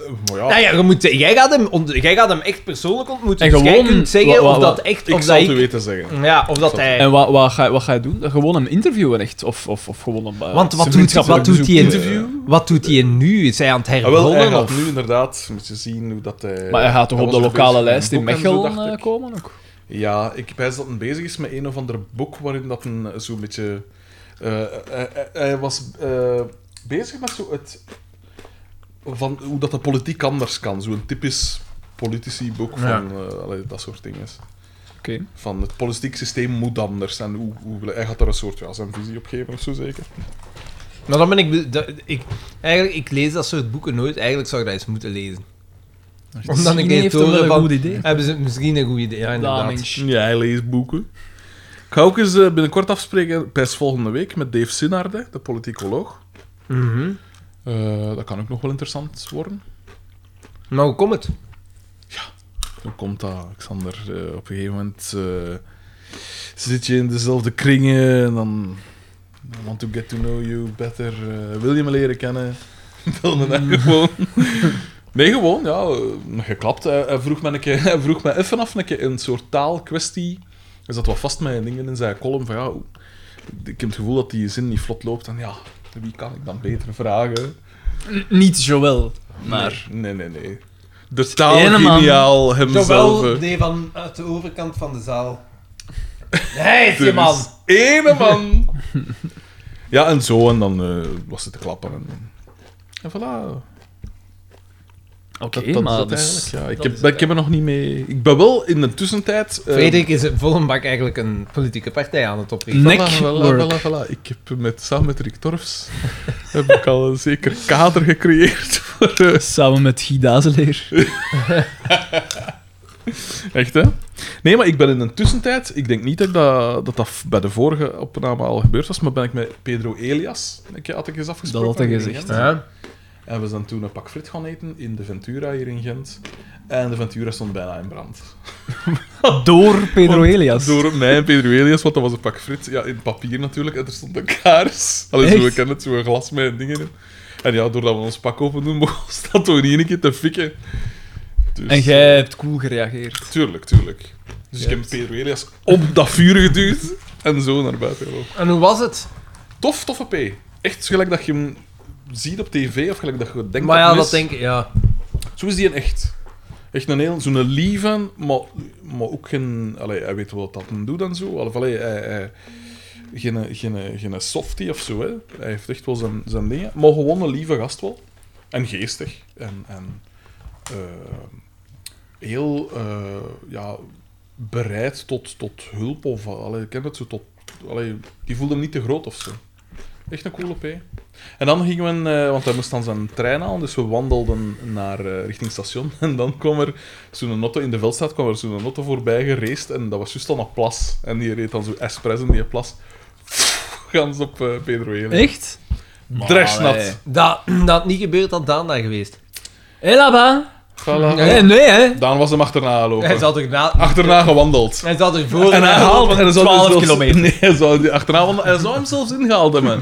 S3: Maar ja,
S1: Nou ja, je moet, jij, gaat hem ont- jij gaat hem echt persoonlijk ontmoeten.
S2: En
S1: dus jij
S2: gewoon-
S1: kunt zeggen
S2: wa- wa-
S1: of
S2: wa-
S1: dat echt.
S3: ik
S1: Of
S3: zal
S1: dat
S3: het u
S1: ik, Mm.
S3: weten zeggen.
S1: ja, of dat
S3: zal-
S1: hij.
S2: En wat, wat, ga, wat ga je doen? Gewoon hem interviewen, echt? Of, of, of gewoon een... eh,
S1: Want wat doet,
S2: vriendschappelijk
S1: wat, doet hij
S2: bezoek, eh.
S1: interview? wat doet hij nu? Is hij aan het
S3: Ah, wel, hij
S1: herbonnen?
S3: gaat
S1: Of...
S3: nu inderdaad, moet je zien hoe dat hij...
S2: Eh, Maar hij gaat toch op
S3: was
S2: de
S3: er
S2: lokale
S3: bezig met
S2: lijst
S3: een
S2: in
S3: boek en zo,
S2: Mechelen
S3: dacht
S2: eh,
S3: ik.
S2: komen ook?
S3: Ja, ik wijs dat hij bezig is met een of ander boek waarin dat een eh, zo'n beetje... eh, eh, eh, hij was eh, bezig met zo het... Van hoe dat de politiek anders kan. Zo'n typisch politici-boek van
S1: Ja.
S3: eh, allee, dat soort dingen.
S2: Oké.
S3: van het politiek systeem moet anders. En hoe, hoe, hij gaat daar een soort ja, zijn visie op geven of zo zeker.
S1: Nou, dan ben ik, be- dat- ik. Eigenlijk, ik lees dat soort boeken nooit. Eigenlijk zou ik dat eens moeten lezen. Omdat ik
S2: Misschien
S1: niet
S2: heeft hem wel
S1: horen
S2: een
S1: van.
S2: goed idee.
S1: Hebben ze misschien een goed idee? Ja, inderdaad.
S2: Damings.
S3: Ja, hij leest boeken. Ik ga ook eens eh, binnenkort afspreken, best volgende week, met Dave Sinarde, de politicoloog.
S1: Mhm.
S3: Eh, dat kan ook nog wel interessant worden.
S1: Maar hoe komt het?
S3: Hoe komt dat, Alexander? Eh, op een gegeven moment eh, zit je in dezelfde kringen en dan... I want to get to know you better. eh, wil je me leren kennen? Bel me dan gewoon. Nee, gewoon, ja. eh, Geklapt. Hij hij vroeg me, een keer, hij vroeg me even af een, keer een soort taalkwestie. Hij zat wat vast met dingen in zijn column. Van, ja, hoe- ik heb het gevoel dat die zin niet vlot loopt. En ja, wie kan ik dan beter vragen?
S2: N- Niet Joël, maar...
S3: Nee, nee, nee. De taal
S2: Ene man.
S3: geniaal hemzelf. eh.
S1: Zowel de van uit de overkant van de zaal. Hé,
S3: Dus
S1: je man!
S3: Ene man. ja, en zo. En dan eh, was het te klappen. En, en voilà.
S2: Oké,
S3: Dat, dat
S2: maar
S3: is het
S2: dus...
S3: eigenlijk. Ja, ik,
S2: dat
S3: heb,
S2: is
S3: ik heb er nog niet mee... Ik ben wel in de tussentijd... eh,
S1: Frederik is een volle bak eigenlijk een politieke partij aan het oprichten.
S2: Nek
S3: voilà, voilà,
S2: work.
S3: voilà, voilà. Ik heb met, samen met Rick Torfs heb ik al een zeker kader gecreëerd. Voor, eh,
S2: Samen met Guy Dazeleer.
S3: echt, hè? Nee, maar ik ben in de tussentijd... Ik denk niet dat ik dat, dat, dat bij de vorige opname al gebeurd was, maar ben ik met Pedro Elias... Ik had ik eens afgesproken.
S2: had hij
S3: in
S2: gezegd,
S3: Gent.
S1: Ja.
S3: En we zijn toen een pak frit gaan eten in de Ventura hier in Gent. En de Ventura stond bijna in brand.
S2: Door Pedro
S3: Want
S2: Elias.
S3: Door mij en Pedro Elias, want dat was een pak frit. Ja, in papier natuurlijk. En er stond een kaars. Allee,
S2: Echt?
S3: zo, we kennen het, zo'n glas met dingen in. En ja, doordat we ons pak open doen, mocht dat toch niet een keer te fikken. Dus,
S2: En jij hebt cool gereageerd.
S3: Tuurlijk, tuurlijk. Dus ik heb Pedro Elias op dat vuur geduwd en zo naar buiten gelopen.
S1: En hoe was het?
S3: Tof, toffe P. Echt gelijk dat je hem ziet op tv of gelijk dat je denkt
S1: maar
S3: dat
S1: ja,
S3: hem
S1: dat
S3: is.
S1: denk ik, ja.
S3: Zo is die een echt. Echt een heel, zo'n lieve, maar, maar ook geen... Allee, hij weet wel wat dat hem doet en zo. Of allee, hij, hij, geen, geen, geen softie of zo, hè. Hij heeft echt wel zijn, zijn dingen. Maar gewoon een lieve gast wel. En geestig. En, en eh, heel eh, ja, bereid tot, tot hulp of... Allee, ik ken het zo, tot... Allee, die voelde hem niet te groot of zo. Echt een coole P. En dan gingen we, eh, want hij moest dan zijn trein halen, dus we wandelden naar eh, richting station. En dan kwam er zo'n auto in de veldstraat, kwam er zo'n auto voorbij gereest en dat was juist dan een plas. En die reed dan zo expres in die plas. Gans op eh, Pedro Helen.
S2: Echt?
S3: Dresnat.
S2: Allee.
S1: Dat, dat niet gebeurd had Daan daar geweest.
S2: Hé, Laba.
S3: Voilà.
S2: Nee, nee, hè.
S3: Daan was hem achterna lopen.
S1: Hij zal er na...
S3: Achterna gewandeld.
S1: Hij zal er voor...
S3: En hij haalde en hij zou
S2: 12
S3: dus zelfs-
S2: kilometer.
S3: Nee, hij zou die achterna wandelen. Hij zou hem zelfs ingehaald hebben.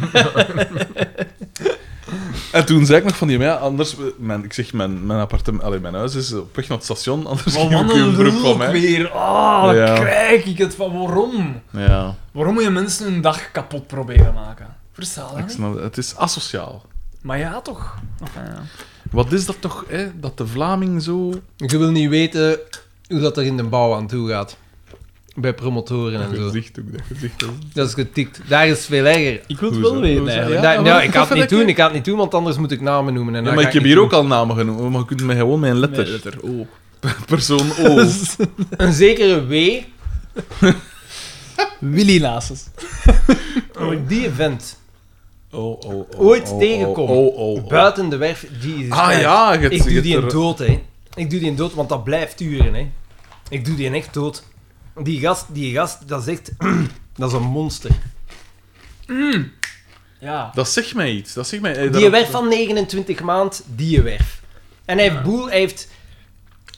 S3: en toen zei ik nog van die, ja, anders, mijn, ik zeg, mijn, mijn appartement, allee, mijn huis is op weg naar het station, anders
S2: Wat
S3: ging ik
S2: wandelen
S3: een
S2: doe
S3: broek
S2: ik
S3: van
S2: ook
S3: mij.
S2: weer. Ah, dan
S3: Ja.
S2: krijg ik het van. Waarom?
S3: Ja,
S2: Waarom moet je mensen hun dag kapot proberen maken? Versta dat
S3: ik
S2: niet?
S3: snap het. Het is asociaal.
S2: Maar ja, toch? Enfin, ja.
S3: Wat is dat toch, hè, dat de Vlaming zo...
S1: Je wil niet weten hoe dat er in de bouw aan toe gaat. Bij promotoren en
S3: Dat
S1: zo.
S3: gezicht ook, dat gezicht. dat is-
S1: Dat is getikt. Daar is het veel erger.
S2: Ik wil
S3: het wel Hoezo? weten, Hoezo? eigenlijk. Ja,
S1: Daar-
S3: maar
S1: nou,
S3: dat-
S1: ik
S3: dat
S1: ga het
S3: vind
S1: niet
S3: ik-
S1: doen, ik ga het niet doen, want anders moet ik namen noemen. En
S3: Ja,
S1: dat
S3: maar
S1: ga
S3: ik heb
S1: niet
S3: hier
S1: doen.
S3: ook al namen genoemd, maar je kunt mij gewoon mijn letter.
S2: letter O.
S3: Persoon O.
S1: Een zekere W.
S2: Willy Nasus.
S1: Die vent.
S3: Oh, oh, oh,
S1: Ooit
S3: oh, oh,
S1: tegenkomen.
S3: oh, oh, oh.
S1: Buiten de werf. Jesus
S3: Ah
S1: Christ.
S3: ja, je hebt-
S1: Ik
S3: je
S1: doe die
S3: hebt
S1: een
S3: er-
S1: dood, hè. Ik doe die een dood, want dat blijft duren, hè. Ik doe die een echt dood. Die gast, die gast, dat is echt... dat is een monster.
S2: Ja.
S3: Dat zegt mij iets. Dat zegt mij... eh,
S1: Die
S3: dat-
S1: werf van 29 maand, die werf. En hij heeft boel, hij heeft,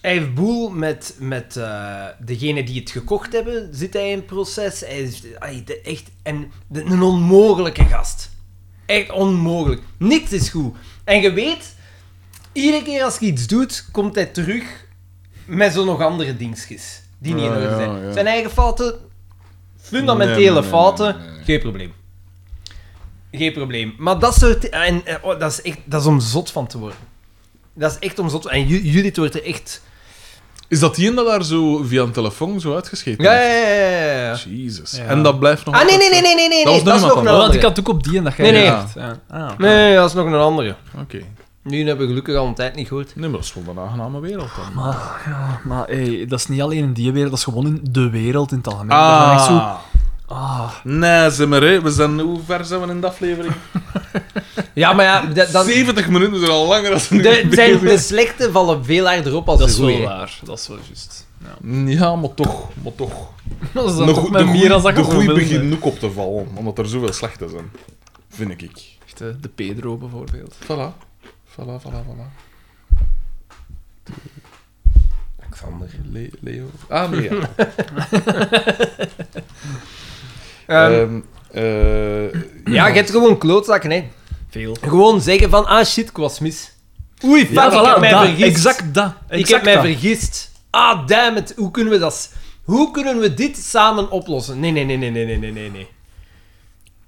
S1: hij heeft boel met, met eh, degene die het gekocht hebben, zit hij in proces. Hij is ai, de- echt en, de- een onmogelijke gast. Echt onmogelijk. Niks is goed. En je weet, iedere keer als hij iets doet, komt hij terug met zo nog andere dingetjes die niet in
S3: Ja,
S1: orde
S3: Ah, ja,
S1: zijn.
S3: ja.
S1: Zijn eigen fouten, fundamentele
S3: Nee, nee, nee,
S1: fouten,
S3: nee, nee, nee.
S1: geen probleem. Geen probleem. Maar dat soort... En, eh, oh, dat, is echt, dat is om zot van te worden. Dat is echt om zot... En Ju- Judith wordt er echt...
S3: Is dat die dat daar zo via een telefoon zo uitgescheten
S1: Ja,
S3: heeft?
S1: ja, ja, ja, ja.
S3: Jezus.
S2: Ja.
S3: En dat blijft nog...
S1: Ah, nee,
S3: altijd
S1: nee, nee, nee, nee, nee.
S3: Dat was
S1: nee, Dat is
S3: nog
S1: nog
S3: iemand
S1: een
S3: anders.
S2: Want ik had
S1: andere.
S2: ook op die en dat jij
S1: Nee, nee.
S2: dacht. Ja. Ah, oké.
S1: Nee, dat is nog een andere.
S3: zo. Oké.
S1: Die hebben we gelukkig al een tijd niet gehoord.
S3: Nee, maar dat is gewoon een aangename wereld dan.
S2: Maar, ja, maar hey, dat is niet alleen in die wereld, dat is gewoon in de wereld in het algemeen. Dat is echt zo,
S3: Ah.
S2: ah,
S3: Nee, zeg maar, hè. We zijn... Hoe ver zijn we in de aflevering?
S1: Ja, maar ja... Dat, dat,
S3: 70 minuten zijn al langer dan een
S1: de,
S3: uur
S1: zijn, de
S3: bezig.
S1: slechte vallen veel harder op als
S2: dat
S1: de
S2: is wel
S1: goeie.
S2: waar. Dat is wel juist. Ja.
S3: Ja, maar toch. Maar toch.
S2: Dat is dan
S3: De
S2: toch
S3: goe-
S2: met
S3: de
S2: meer
S3: goeie-
S2: dan dat
S3: de
S2: ik gewoon
S3: goeie
S2: wilde.
S3: beginnen ook op te vallen, omdat er zoveel slechte zijn. Vind ik.
S2: Echt, eh, De Pedro bijvoorbeeld.
S3: Voilà. Voilà, voilà, voilà.
S1: Alexander.
S3: Le- Leo. Ah, nee, ja.
S1: Ehm,
S3: Ehm, eh,
S1: ja, je hebt gewoon klootzakken, hè.
S2: Veel.
S1: Gewoon zeggen van, ah shit, ik was mis. Oei, fuck, ik heb mij
S2: dat,
S1: vergist.
S2: exact dat.
S1: ik heb
S2: exact
S1: mij
S2: dat.
S1: vergist. Ah, damn it, hoe kunnen we dat... s- Hoe kunnen we dit samen oplossen? Nee, nee, nee, nee, nee, nee, nee, nee, nee.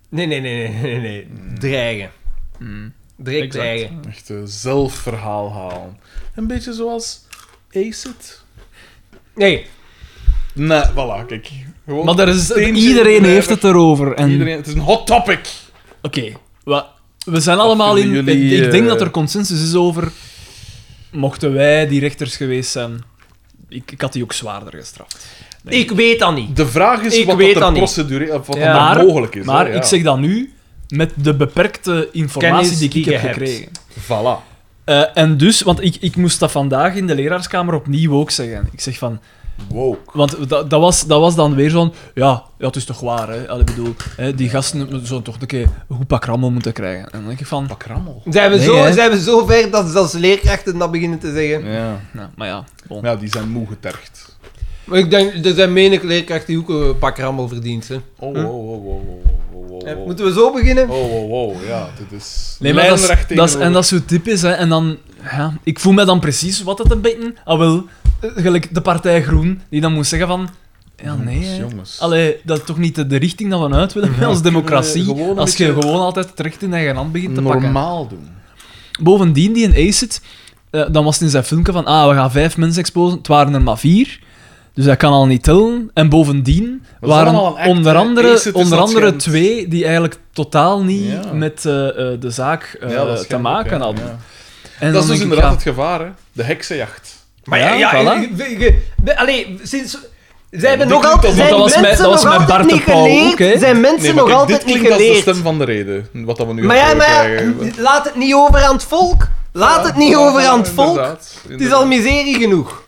S1: Nee, nee, nee, nee, nee, nee. Dreigen.
S2: Mm.
S1: Direct
S2: Exact.
S1: dreigen.
S3: Echt eh, zelfverhaal halen. Een beetje zoals Acid.
S1: Nee,
S3: Nee, voilà, kijk. Gewoon
S2: Maar er is,
S3: steentje
S2: iedereen
S3: opdrijven.
S2: heeft het erover. En...
S3: Iedereen, het is een hot topic.
S2: Oké, wa- we zijn allemaal in.
S3: vinden jullie,
S2: ik, ik denk
S3: eh,
S2: dat er consensus is over. Mochten wij die rechters geweest zijn, ik, ik had die ook zwaarder gestraft. Nee.
S1: ik weet dat niet.
S3: De vraag is
S1: Ik
S3: wat
S1: weet
S3: dat
S1: dat
S3: er
S1: niet.
S3: procedure of wat
S1: Ja.
S3: dat
S2: Maar-
S3: er mogelijk is.
S2: maar
S3: hè,
S2: ik
S3: ja.
S2: zeg dat nu met de beperkte informatie
S1: Kennis
S2: die ik
S1: die je
S2: heb
S1: hebt.
S2: gekregen.
S3: Voilà.
S2: Eh, en dus, want ik, ik moest dat vandaag in de leraarskamer opnieuw ook zeggen. Ik zeg van,
S3: Woke.
S2: Want dat, dat, was, dat was dan weer zo'n... Ja, ja het is toch waar, hè. Allee, bedoel, hè, die gasten zouden toch een keer een goed pak rammel moeten krijgen. En dan denk ik van...
S3: Pak rammel.
S1: Zijn we,
S2: Nee,
S1: zo,
S2: hè.
S1: zijn we zo ver dat zelfs leerkrachten dat beginnen te zeggen?
S3: Ja.
S2: Nou, maar ja, bon.
S3: ja, die zijn moe getergd.
S1: Maar ik denk, er zijn menig leerkrachten die ook een pak rammel verdient. Hè.
S3: Oh, oh, oh, oh, oh, oh, oh, oh.
S1: Eh, Moeten we zo beginnen?
S3: Oh, oh, oh, ja, dit is...
S2: Nee, maar dat is-
S3: lijnrecht
S2: dat is- en
S3: tegenover-
S2: dat is zo typisch, hè. En dan... Ja, ik voel me dan precies wat het een beetje... Ah, wel, eh, gelijk de partij Groen, die dan moest zeggen van... Ja, nee, hè.
S3: Jongens.
S2: Allee, dat is toch niet de- de richting dat we uit willen als democratie.
S3: kunnen we Eh, gewoon een
S2: als je
S3: beetje-
S2: gewoon altijd het recht in eigen hand begint te pakken.
S3: Normaal doen.
S2: Bovendien, die in Acid, eh dan was het in zijn filmpje van, ah, we gaan vijf mensen exposen. Het waren er maar vier. Dus dat kan al niet tellen. En bovendien
S3: is
S2: waren
S3: allemaal een act,
S2: onder
S3: hè.
S2: andere,
S3: Acid is
S2: onder
S3: dat
S2: andere
S3: schijnt.
S2: twee die eigenlijk totaal niet
S3: Ja.
S2: met eh, eh, de zaak eh,
S3: Ja, dat
S2: te
S3: schijnt
S2: maken
S3: ook,
S2: hadden.
S3: ja, ja.
S2: En
S3: Dat
S2: dan
S3: is dus
S2: denk ik,
S3: inderdaad
S2: ja,
S3: het gevaar, hè? De heksenjacht.
S1: Maar ja, ja,
S2: Ja, voilà.
S1: je- je- je- de- allee, sinds... Zij hebben
S3: dit
S1: nog
S3: klinkt
S1: altijd...
S3: als-
S1: Zijn
S2: dat was
S1: mensen
S2: mijn- dat was
S1: nog
S2: mijn
S1: altijd
S2: Bart de
S1: niet
S2: Pauw ook,
S1: geleerd?
S2: hè?
S1: zijn mensen
S3: maar
S1: nog
S3: kijk,
S1: altijd
S3: dit
S1: niet
S3: klinkt als de
S1: geleerd?
S3: stem van de reden, wat dat we nu
S1: Maar ja,
S3: gaan
S1: maar ja,
S3: krijgen.
S1: laat het niet over aan het volk. Laat het niet
S3: eh, Ja,
S1: over
S3: ja,
S1: aan het volk.
S3: Inderdaad,
S1: Het is al
S3: inderdaad.
S1: miserie genoeg.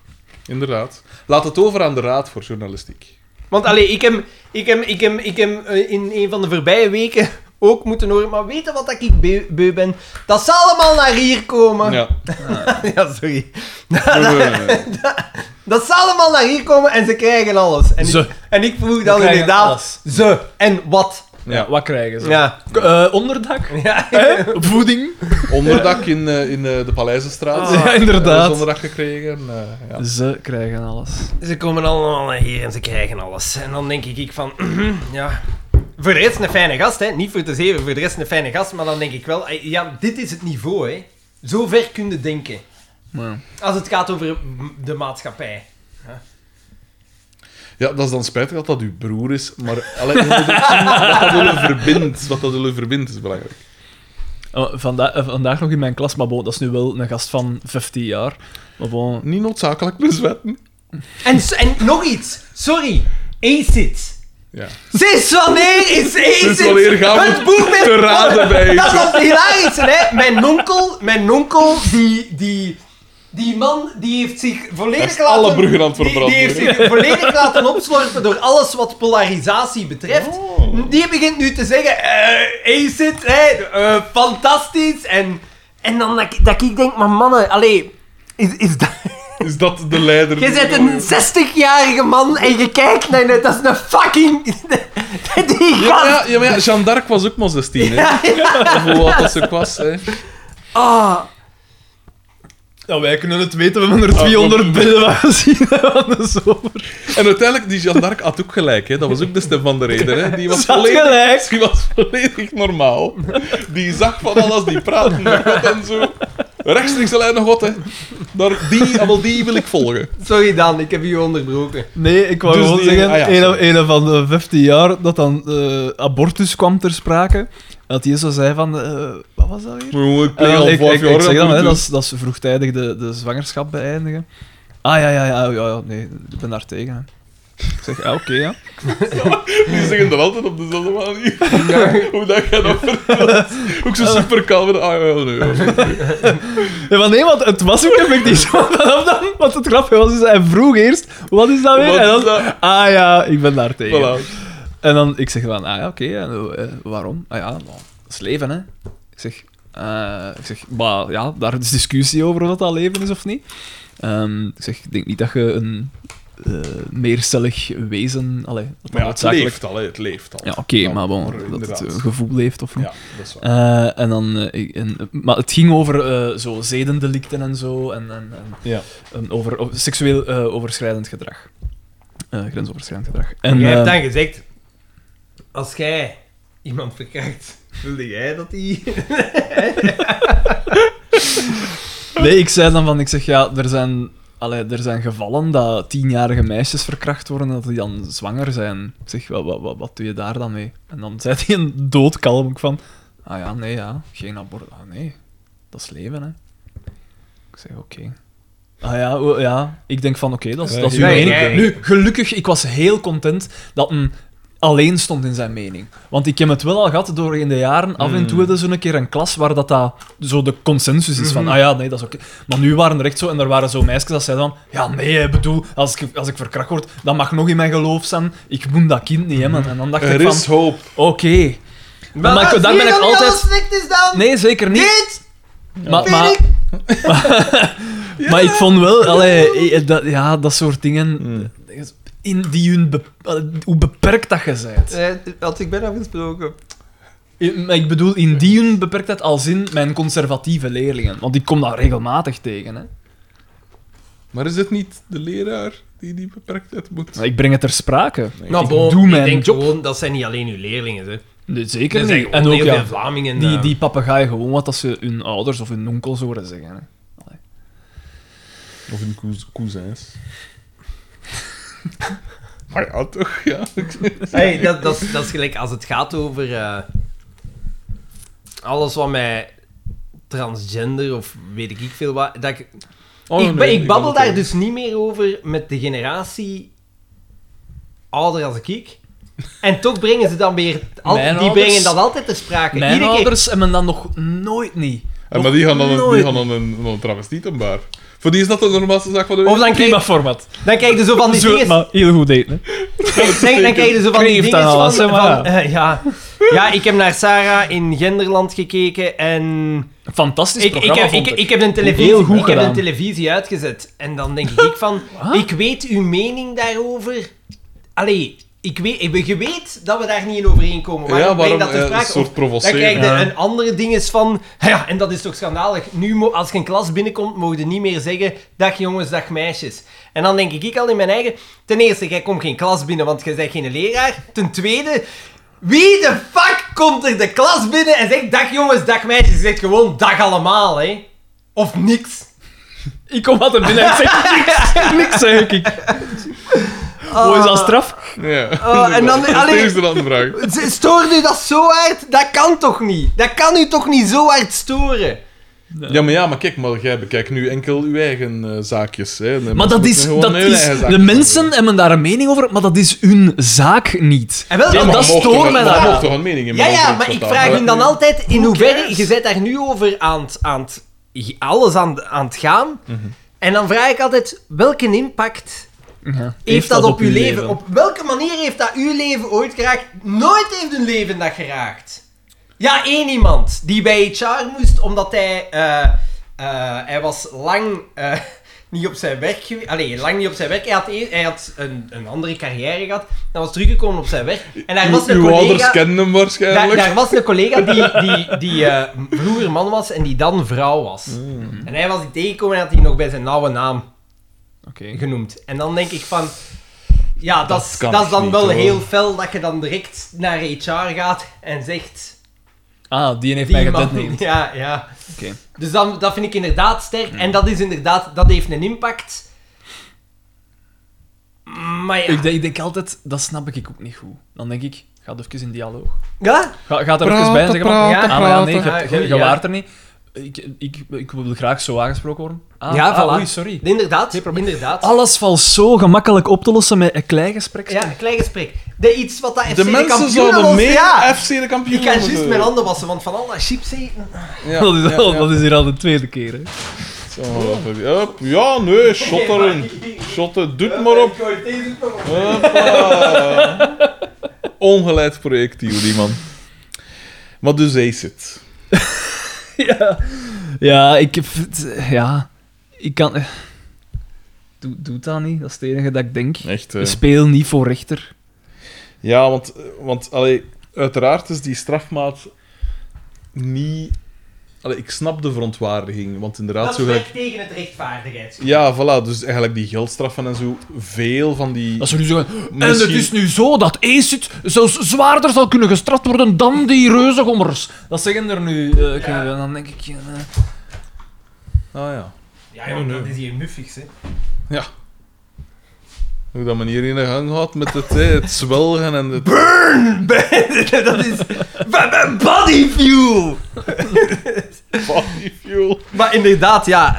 S3: Inderdaad. Laat het over aan de raad voor journalistiek.
S1: Want allee, ik heb, ik heb, ik heb, ik heb eh, in een van de voorbije weken ook moeten horen. Maar weten wat dat ik beu, beu ben? Dat ze allemaal naar hier komen. Ja,
S3: Ja.
S1: sorry.
S3: Nee, nee, nee, nee.
S1: Dat ze allemaal naar hier komen en ze krijgen alles. En,
S2: Ze.
S1: Ik, en ik vroeg dan
S2: krijgen
S1: inderdaad
S2: alles.
S1: ze en wat.
S3: Ja.
S2: Wat krijgen ze?
S1: Ja.
S2: K- eh, onderdak?
S1: ja.
S2: Hè? Voeding?
S3: Onderdak in, eh, in eh, de Paleizenstraat.
S2: Ah. Ja, inderdaad.
S3: Eh, Onderdak gekregen. eh, ja.
S2: Ze krijgen alles.
S1: Ze komen allemaal naar hier en ze krijgen alles. En dan denk ik ik van, ja. Voor de rest een fijne gast, hè. Niet voor te zeven, voor de rest een fijne gast. Maar dan denk ik wel, eh, ja, dit is het niveau, hè. Zo ver kun je denken.
S2: Maar
S1: Als het gaat over m- de maatschappij.
S3: Ja, dat is dan spijtig dat dat uw broer is, maar allee, je moet ook zien wat dat jullie verbindt. Wat dat jullie verbindt is belangrijk.
S2: Eh, vanda- eh, vandaag nog in mijn klas, maar bon, dat is nu wel een gast van 15 jaar. Maar bon,
S3: Niet noodzakelijk plus wetten.
S1: En, s- en nog iets. Sorry. ACID.
S3: Ja.
S1: Sinds wanneer is ACID
S3: Sinds wanneer gaan we
S1: het boek met...
S3: te raden bij
S1: Dat
S3: iets?
S1: was hilarisch, hè. Mijn onkel, mijn onkel, die... die die man die heeft zich volledig
S3: Hij is
S1: laten...
S3: alle bruggen aan het
S1: die- Die,
S3: verbranden,
S1: heeft
S3: hè?
S1: zich volledig laten opslorpen door alles wat polarisatie betreft.
S3: Oh.
S1: Die begint nu te zeggen... eh ACID, hè. eh, fantastisch. En, en dan dat, ik- dat ik denk... Maar mannen, allee... Is, is dat...
S3: Is dat de leider?
S1: Je
S3: die-
S1: bent een 60-jarige man en je kijkt naar net dat is een fucking. Die
S3: Ja, maar
S1: gast.
S3: ja, ja, maar ja, Jeanne d'Arc was ook maar 16, hè?
S1: Ja, ja.
S3: Of hoe oud dat ze ook was, hè?
S1: Ah.
S2: ja, wij kunnen het weten, we hebben er
S3: 200
S2: 200 binnen gezien van de zomer.
S3: En uiteindelijk, die Jeanne d'Arc had ook gelijk, hè? Dat was ook de stem van de reden, hè? Die was
S2: Ze had
S3: volledig,
S2: gelijk.
S3: Die was volledig normaal. Die zag van alles, die praatte met God en zo. Rechtstreeks de lijn naar God, hè? Daar, die, allemaal die wil ik volgen.
S1: Sorry Dan, ik heb je onderbroken.
S2: Nee, ik wou
S3: Dus
S2: gewoon
S3: die-
S2: zeggen,
S3: ah ja, sorry.
S2: een, een van de 15 jaar dat dan eh, abortus kwam ter sprake, dat die zo zei van, eh, wat was dat weer?
S3: Maar ik
S2: Eh,
S3: pleeg al
S2: ik,
S3: vijf
S2: ik-
S3: jaar
S2: ik zeg dan, hè,
S3: aan
S2: dat, is, dat ze vroegtijdig de, de zwangerschap beëindigen. Ah ja, ja, ja, ja, ja nee, ik ben daar tegen. hè. Ik zeg, ah, oké, ja.
S3: Die zeggen dat altijd op dezelfde manier. Hoe dat jij dat vertelt. Ook zo super kalm. en, Ah, ja, ja, nee, ja.
S2: Ja, maar nee, want het was ook effectief zo vanaf dan. Want het grapje was, dus hij vroeg eerst, wat is dat weer?
S3: Wat
S2: en dan,
S3: is dat?
S2: ah ja, ik ben daar tegen.
S3: Voilà.
S2: En dan, ik zeg van, ah ja, oké, en, eh, waarom? Ah ja, nou, dat is leven, hè. Ik zeg, eh, ik zeg, maar ja, daar is discussie over of dat, dat leven is of niet. Ehm, ik zeg, ik denk niet dat je een eh, meercellig wezen, allee, dat
S3: Maar ja, het
S2: noodzakelijk...
S3: leeft al, hè, het leeft al.
S2: Ja, oké, maar bon, dat het
S3: inderdaad.
S2: een gevoel leeft of niet.
S3: Ja, dat is waar.
S2: Eh, en dan, eh, ik- en, eh, maar het ging over eh, zo zedendelicten en zo, en, en, en,
S3: Ja.
S2: en over, over seksueel eh, overschrijdend gedrag. Eh, grensoverschrijdend gedrag.
S1: En,
S2: En,
S1: jij hebt
S2: eh,
S1: dan gezegd: als jij iemand verkracht, wilde jij dat die.
S2: nee, ik zei dan van, ik zeg ja, er zijn, allee, er zijn gevallen dat tienjarige meisjes verkracht worden en dat die dan zwanger zijn. Ik zeg, wat, wat, wat, wat doe je daar dan mee? En dan zei hij een doodkalm ook van, ah ja, nee, ja, geen abortus. Ah nee, dat is leven, hè. Ik zeg, oké. Ah ja, o- ja, ik denk van, oké, dat is,
S3: Ja,
S2: dat is uw
S1: ja,
S2: mening.
S1: ja, ja.
S2: Nu, gelukkig, ik was heel content dat een alleen stond in zijn mening. Want ik heb het wel al gehad door in de jaren. Af en toe hadden ze een keer een klas waar dat, dat zo de consensus is van, ah ja, nee, dat is oké. Maar nu waren er echt zo, en er waren zo meisjes dat zeiden van, ja, nee, ik bedoel, als ik, als ik verkracht word, dat mag nog in mijn geloof zijn. Ik moet dat kind niet hebben. En dan dacht
S3: Er
S2: ik
S3: is
S2: van,
S3: hoop.
S2: oké. Maar dan-
S1: zie
S2: dan
S1: je
S2: ben ik
S1: dat niet
S2: altijd-
S1: alles slecht is dan?
S2: Nee, zeker niet.
S1: Dit!
S2: Maar,
S1: vind
S2: maar,
S1: ik.
S2: maar ik vond wel, allee, eh, dat, ja, dat soort dingen,
S3: Mm.
S2: eh, in die hun be- eh, hoe beperkt dat je bent.
S1: Eh, Had ik ben afgesproken.
S2: In- Eh, maar ik bedoel, in die hun beperktheid als in mijn conservatieve leerlingen. Want ik kom daar regelmatig tegen. Hè.
S3: Maar is het niet de leraar die die beperktheid moet?
S2: Maar ik breng het ter sprake.
S3: Nee,
S1: Nou,
S2: ik
S1: bon,
S2: doe
S1: ik
S2: mijn
S1: denk
S2: job.
S1: gewoon, dat zijn niet alleen uw leerlingen. Hè.
S2: Nee, zeker
S1: Er
S2: niet.
S1: zijn gewoon
S2: en ook
S1: heel
S2: ja,
S1: veel Vlamingen.
S2: die,
S1: eh,
S2: die papegaaien gewoon wat dat ze hun ouders of hun onkels horen zeggen. Hè.
S3: Of hun couz- cousins. Maar ja, toch, Eh, ja.
S1: Hey, dat, dat, is, dat is gelijk als het gaat over eh, alles wat mij transgender of weet ik veel wat. Dat ik,
S2: Oh,
S1: ik, ba- ik babbel daar dus niet meer over met de generatie ouder als ik. En toch brengen ze dan weer. al-
S2: Mijn
S1: die
S2: ouders-
S1: brengen dat altijd ter sprake.
S2: Mijn
S1: Iedere keer.
S2: ouders hebben dat nog nooit niet.
S3: En maar die gaan dan, een, die
S1: nooit.
S3: gaan dan een, een travestietenbaar. Voor die is dat de normaalste zaak van de
S1: Of
S3: wereld.
S1: dan kijk,
S2: format.
S1: dan kijk je zo van die
S2: Zo,
S1: dingen.
S2: maar heel goed eten. hè.
S1: Kijk, denk- dan krijg je zo van die
S2: Kreeft
S1: dinges
S2: aan
S1: van...
S2: alles, hè, maar
S1: van, eh, ja. ja, ik heb naar Sarah in Genderland gekeken en...
S2: Fantastisch
S1: Ik, ik,
S2: programma,
S1: heb, ik,
S2: vond ik.
S1: ik heb een televisie,
S2: Heel goed
S1: ik heb
S2: gedaan.
S1: een televisie uitgezet. En dan denk ik van...
S2: Wat?
S1: Ik weet uw mening daarover. Allee, ik weet, ik- je weet dat we daar niet in overeenkomen. Maar
S3: ja,
S1: ik breng
S3: waarom?
S1: dat
S3: eh,
S1: ter
S3: een
S1: sprake.
S3: soort
S1: Dan
S3: provoceren.
S1: krijg je
S2: Ja.
S1: een andere ding is van... Ja, en dat is toch schandalig. Nu, mo- als je een klas binnenkomt, mogen je niet meer zeggen... Dag jongens, dag meisjes. En dan denk ik, ik al in mijn eigen... Ten eerste, jij komt geen klas binnen, want jij bent geen leraar. Ten tweede... Wie de fuck komt er de klas binnen en zegt... Dag jongens, dag meisjes. Je zegt gewoon dag allemaal, hè. Of niks.
S2: Ik kom altijd binnen en ik zeg niks, niks zeg ik. Hoe is dat straf?
S3: Ja.
S1: Oh, en dan-
S3: dat
S1: allee.
S3: is de andere vraag.
S1: Z- Stoort u dat zo hard? Dat kan toch niet? Dat kan u toch niet zo hard storen?
S3: Ja, maar ja, maar kijk, maar jij bekijkt nu enkel uw eigen eh, zaakjes. Hè. De
S2: Maar
S3: mensen
S2: dat is...
S3: moeten gewoon
S2: Dat
S3: hun eigen
S2: is
S3: zaakjes
S2: de
S3: doen.
S2: mensen hebben daar een mening over, maar dat is hun zaak niet.
S1: En wel,
S2: Ja,
S3: Ja, maar
S2: dat
S3: je mag
S2: stoort
S3: toch-
S2: mij
S3: maar je
S2: daar.
S3: mag toch een mening in
S1: Ja,
S3: hebben
S1: ja,
S3: over
S1: maar
S3: iets
S1: ik
S3: wat
S1: vraag
S3: daar-
S1: u dan altijd in hoeverre...
S2: cares?
S1: Je bent daar nu over aan het, aan het, alles aan, het- aan het gaan. En dan vraag ik altijd, welke impact
S2: Ja,
S1: heeft dat, op uw leven? Op welke manier heeft dat uw leven ooit geraakt? Nooit heeft een leven dat geraakt. Ja, één iemand die bij HR moest omdat hij... eh, eh, hij was lang... eh, niet op zijn werk geweest. Allee, lang niet op zijn werk. Hij had, e- hij had een, een andere carrière gehad. Dan was teruggekomen op zijn werk. En daar was
S3: Uw,
S1: een
S3: uw ouders
S1: collega...
S3: kennen hem
S1: Daar,
S3: waarschijnlijk.
S1: daar was een collega die, die, die eh, vroeger man was en die dan vrouw was.
S2: Mm.
S1: En hij was die tegengekomen en had hij nog bij zijn oude naam
S2: Oké.
S1: genoemd. En dan denk ik van... Ja, dat, is-
S3: kan
S1: dat, is dan
S3: niet,
S1: wel
S3: hoor.
S1: heel fel dat je dan direct naar HR gaat en zegt...
S2: Ah, die heeft
S1: die
S2: mij
S1: man-
S2: gedet neemt. Mm.
S1: Ja, ja.
S2: Oké.
S1: Dus dan, dat vind ik inderdaad sterk. En dat is inderdaad... Dat heeft een impact. Maar ja...
S2: Ik, denk, ik denk altijd, dat snap ik ook niet goed. Dan denk ik, ga even in dialoog.
S1: Ja?
S2: Ga, gaat er
S3: Praten,
S2: even bij en zeggen van,
S3: praten,
S2: ah, maar ja, nee, je,
S1: praten.
S2: hebt- je, je
S1: Ja.
S2: waart er niet. Ik, ik, ik wil graag zo aangesproken worden. Ah,
S1: Ja,
S2: ah,
S1: voilà.
S2: oei, sorry.
S1: Inderdaad.
S2: Geen probleem.
S1: Inderdaad.
S2: Alles valt zo gemakkelijk op te lossen met een klein gesprek.
S1: Ja, een klein gesprek. De, iets wat dat FC
S3: de mensen
S1: kampioen
S3: zouden
S1: was,
S3: meer
S1: ja.
S3: FC de kampioen
S1: Ik ga
S3: worden.
S1: juist mijn handen wassen, want van al dat chips eten...
S3: Ja,
S2: dat, is
S3: ja,
S2: al,
S3: ja.
S2: dat is hier al de tweede keer. Hè.
S3: Zo, wat heb je? Hup, ja, nee, shot erin. Shot er, doet maar op. Hoppa. Ongeleid projectiel, die man. Maar dus hij zit.
S2: ja. ja, ik... heb het- Ja, ik kan... eh, Doe, doe dat niet, dat is het enige dat ik denk.
S3: Echt. eh.
S2: Speel niet voor rechter.
S3: Ja, want, eh, want allee, uiteraard is die strafmaat niet. Allee, ik snap de verontwaardiging, want inderdaad,
S1: Dat
S3: zo
S1: is
S3: gelijk.
S1: tegen het rechtvaardigheids.
S3: Ja, voilà, dus eigenlijk die geldstraffen en zo. Veel van die.
S2: Dat ze nu zeggen, en
S3: Misschien-
S2: het is nu zo dat ACID zelfs zwaarder zal kunnen gestraft worden dan die reuzegommers. Dat zeggen er nu. eh, ik-
S1: Ja.
S2: eh, Dan denk ik... eh,
S3: Ah ja.
S1: Ja, joh,
S3: Oh, nee.
S1: dat is hier muffigs, hè.
S3: Ja. Hoe dat men hier in de gang had met het, hè, het zwelgen en het...
S1: dat is... b- b- Body fuel!
S3: Body fuel.
S1: Maar inderdaad, ja...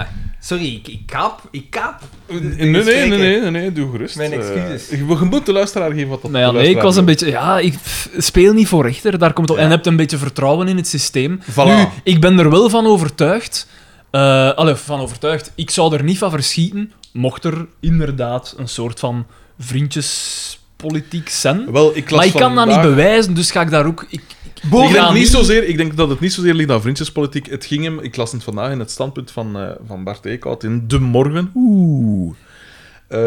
S1: eh, sorry, ik, ik kaap... Ik kaap...
S3: Nee, nee, nee, nee, nee, nee, doe gerust.
S1: Mijn
S3: Eh,
S1: excuses.
S3: je, je moet de luisteraar geven wat dat
S2: Nou ja,
S3: de
S2: nee, ik was een
S3: luisteraar
S2: beetje... Ja, ik pff, speel niet voor rechter, daar komt het op. En hebt een beetje vertrouwen in het systeem.
S3: Voilà.
S2: Nu, ik ben er wel van overtuigd... eh allee, van overtuigd. Ik zou er niet van verschieten, mocht er inderdaad een soort van vriendjespolitiek zijn.
S3: wil. Wel, ik las
S2: Maar ik kan dat niet
S3: vandaag-
S2: bewijzen, dus ga ik daar ook... Ik, ik,
S3: Ik
S2: ik ga
S3: denk, niet zozeer, ik denk dat het niet zozeer ligt aan vriendjespolitiek. Het ging hem, ik las het vandaag in het standpunt van, eh, van Bart Eekhout in De Morgen. Oeh. Eh,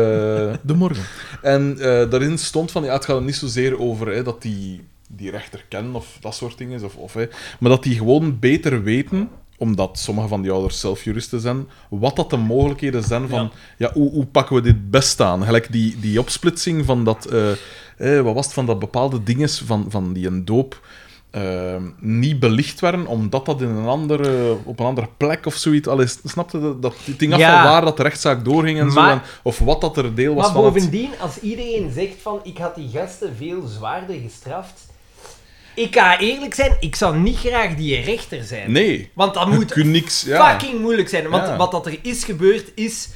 S3: de Morgen. En eh, daarin stond van, ja, het gaat hem niet zozeer over hè, dat die, die rechter kennen of dat soort dingen. Of, of, hè, maar dat die gewoon beter weten, omdat sommige van die ouders zelf juristen zijn, wat dat de mogelijkheden zijn van, ja, hoe, hoe pakken we dit best aan? Gelijk die, die opsplitsing van dat, eh, eh, wat was het, van dat bepaalde dinges van, van die een doop eh, niet belicht werden, omdat dat in een andere, op een andere plek of zoiets... Allee, snapte dat, dat het ding af
S1: Ja.
S3: van waar dat de rechtszaak doorging en
S1: Maar-
S3: zo, en, of wat dat er deel was
S1: Maar
S3: van het-
S1: bovendien, als iedereen zegt van... Ik had die gasten veel zwaarder gestraft... Ik ga eerlijk zijn, ik zou niet graag die rechter zijn.
S3: Nee,
S1: Want dat
S3: je
S1: moet
S3: kunt niks... Ja.
S1: fucking moeilijk zijn. Want
S3: Ja.
S1: wat dat er is gebeurd, is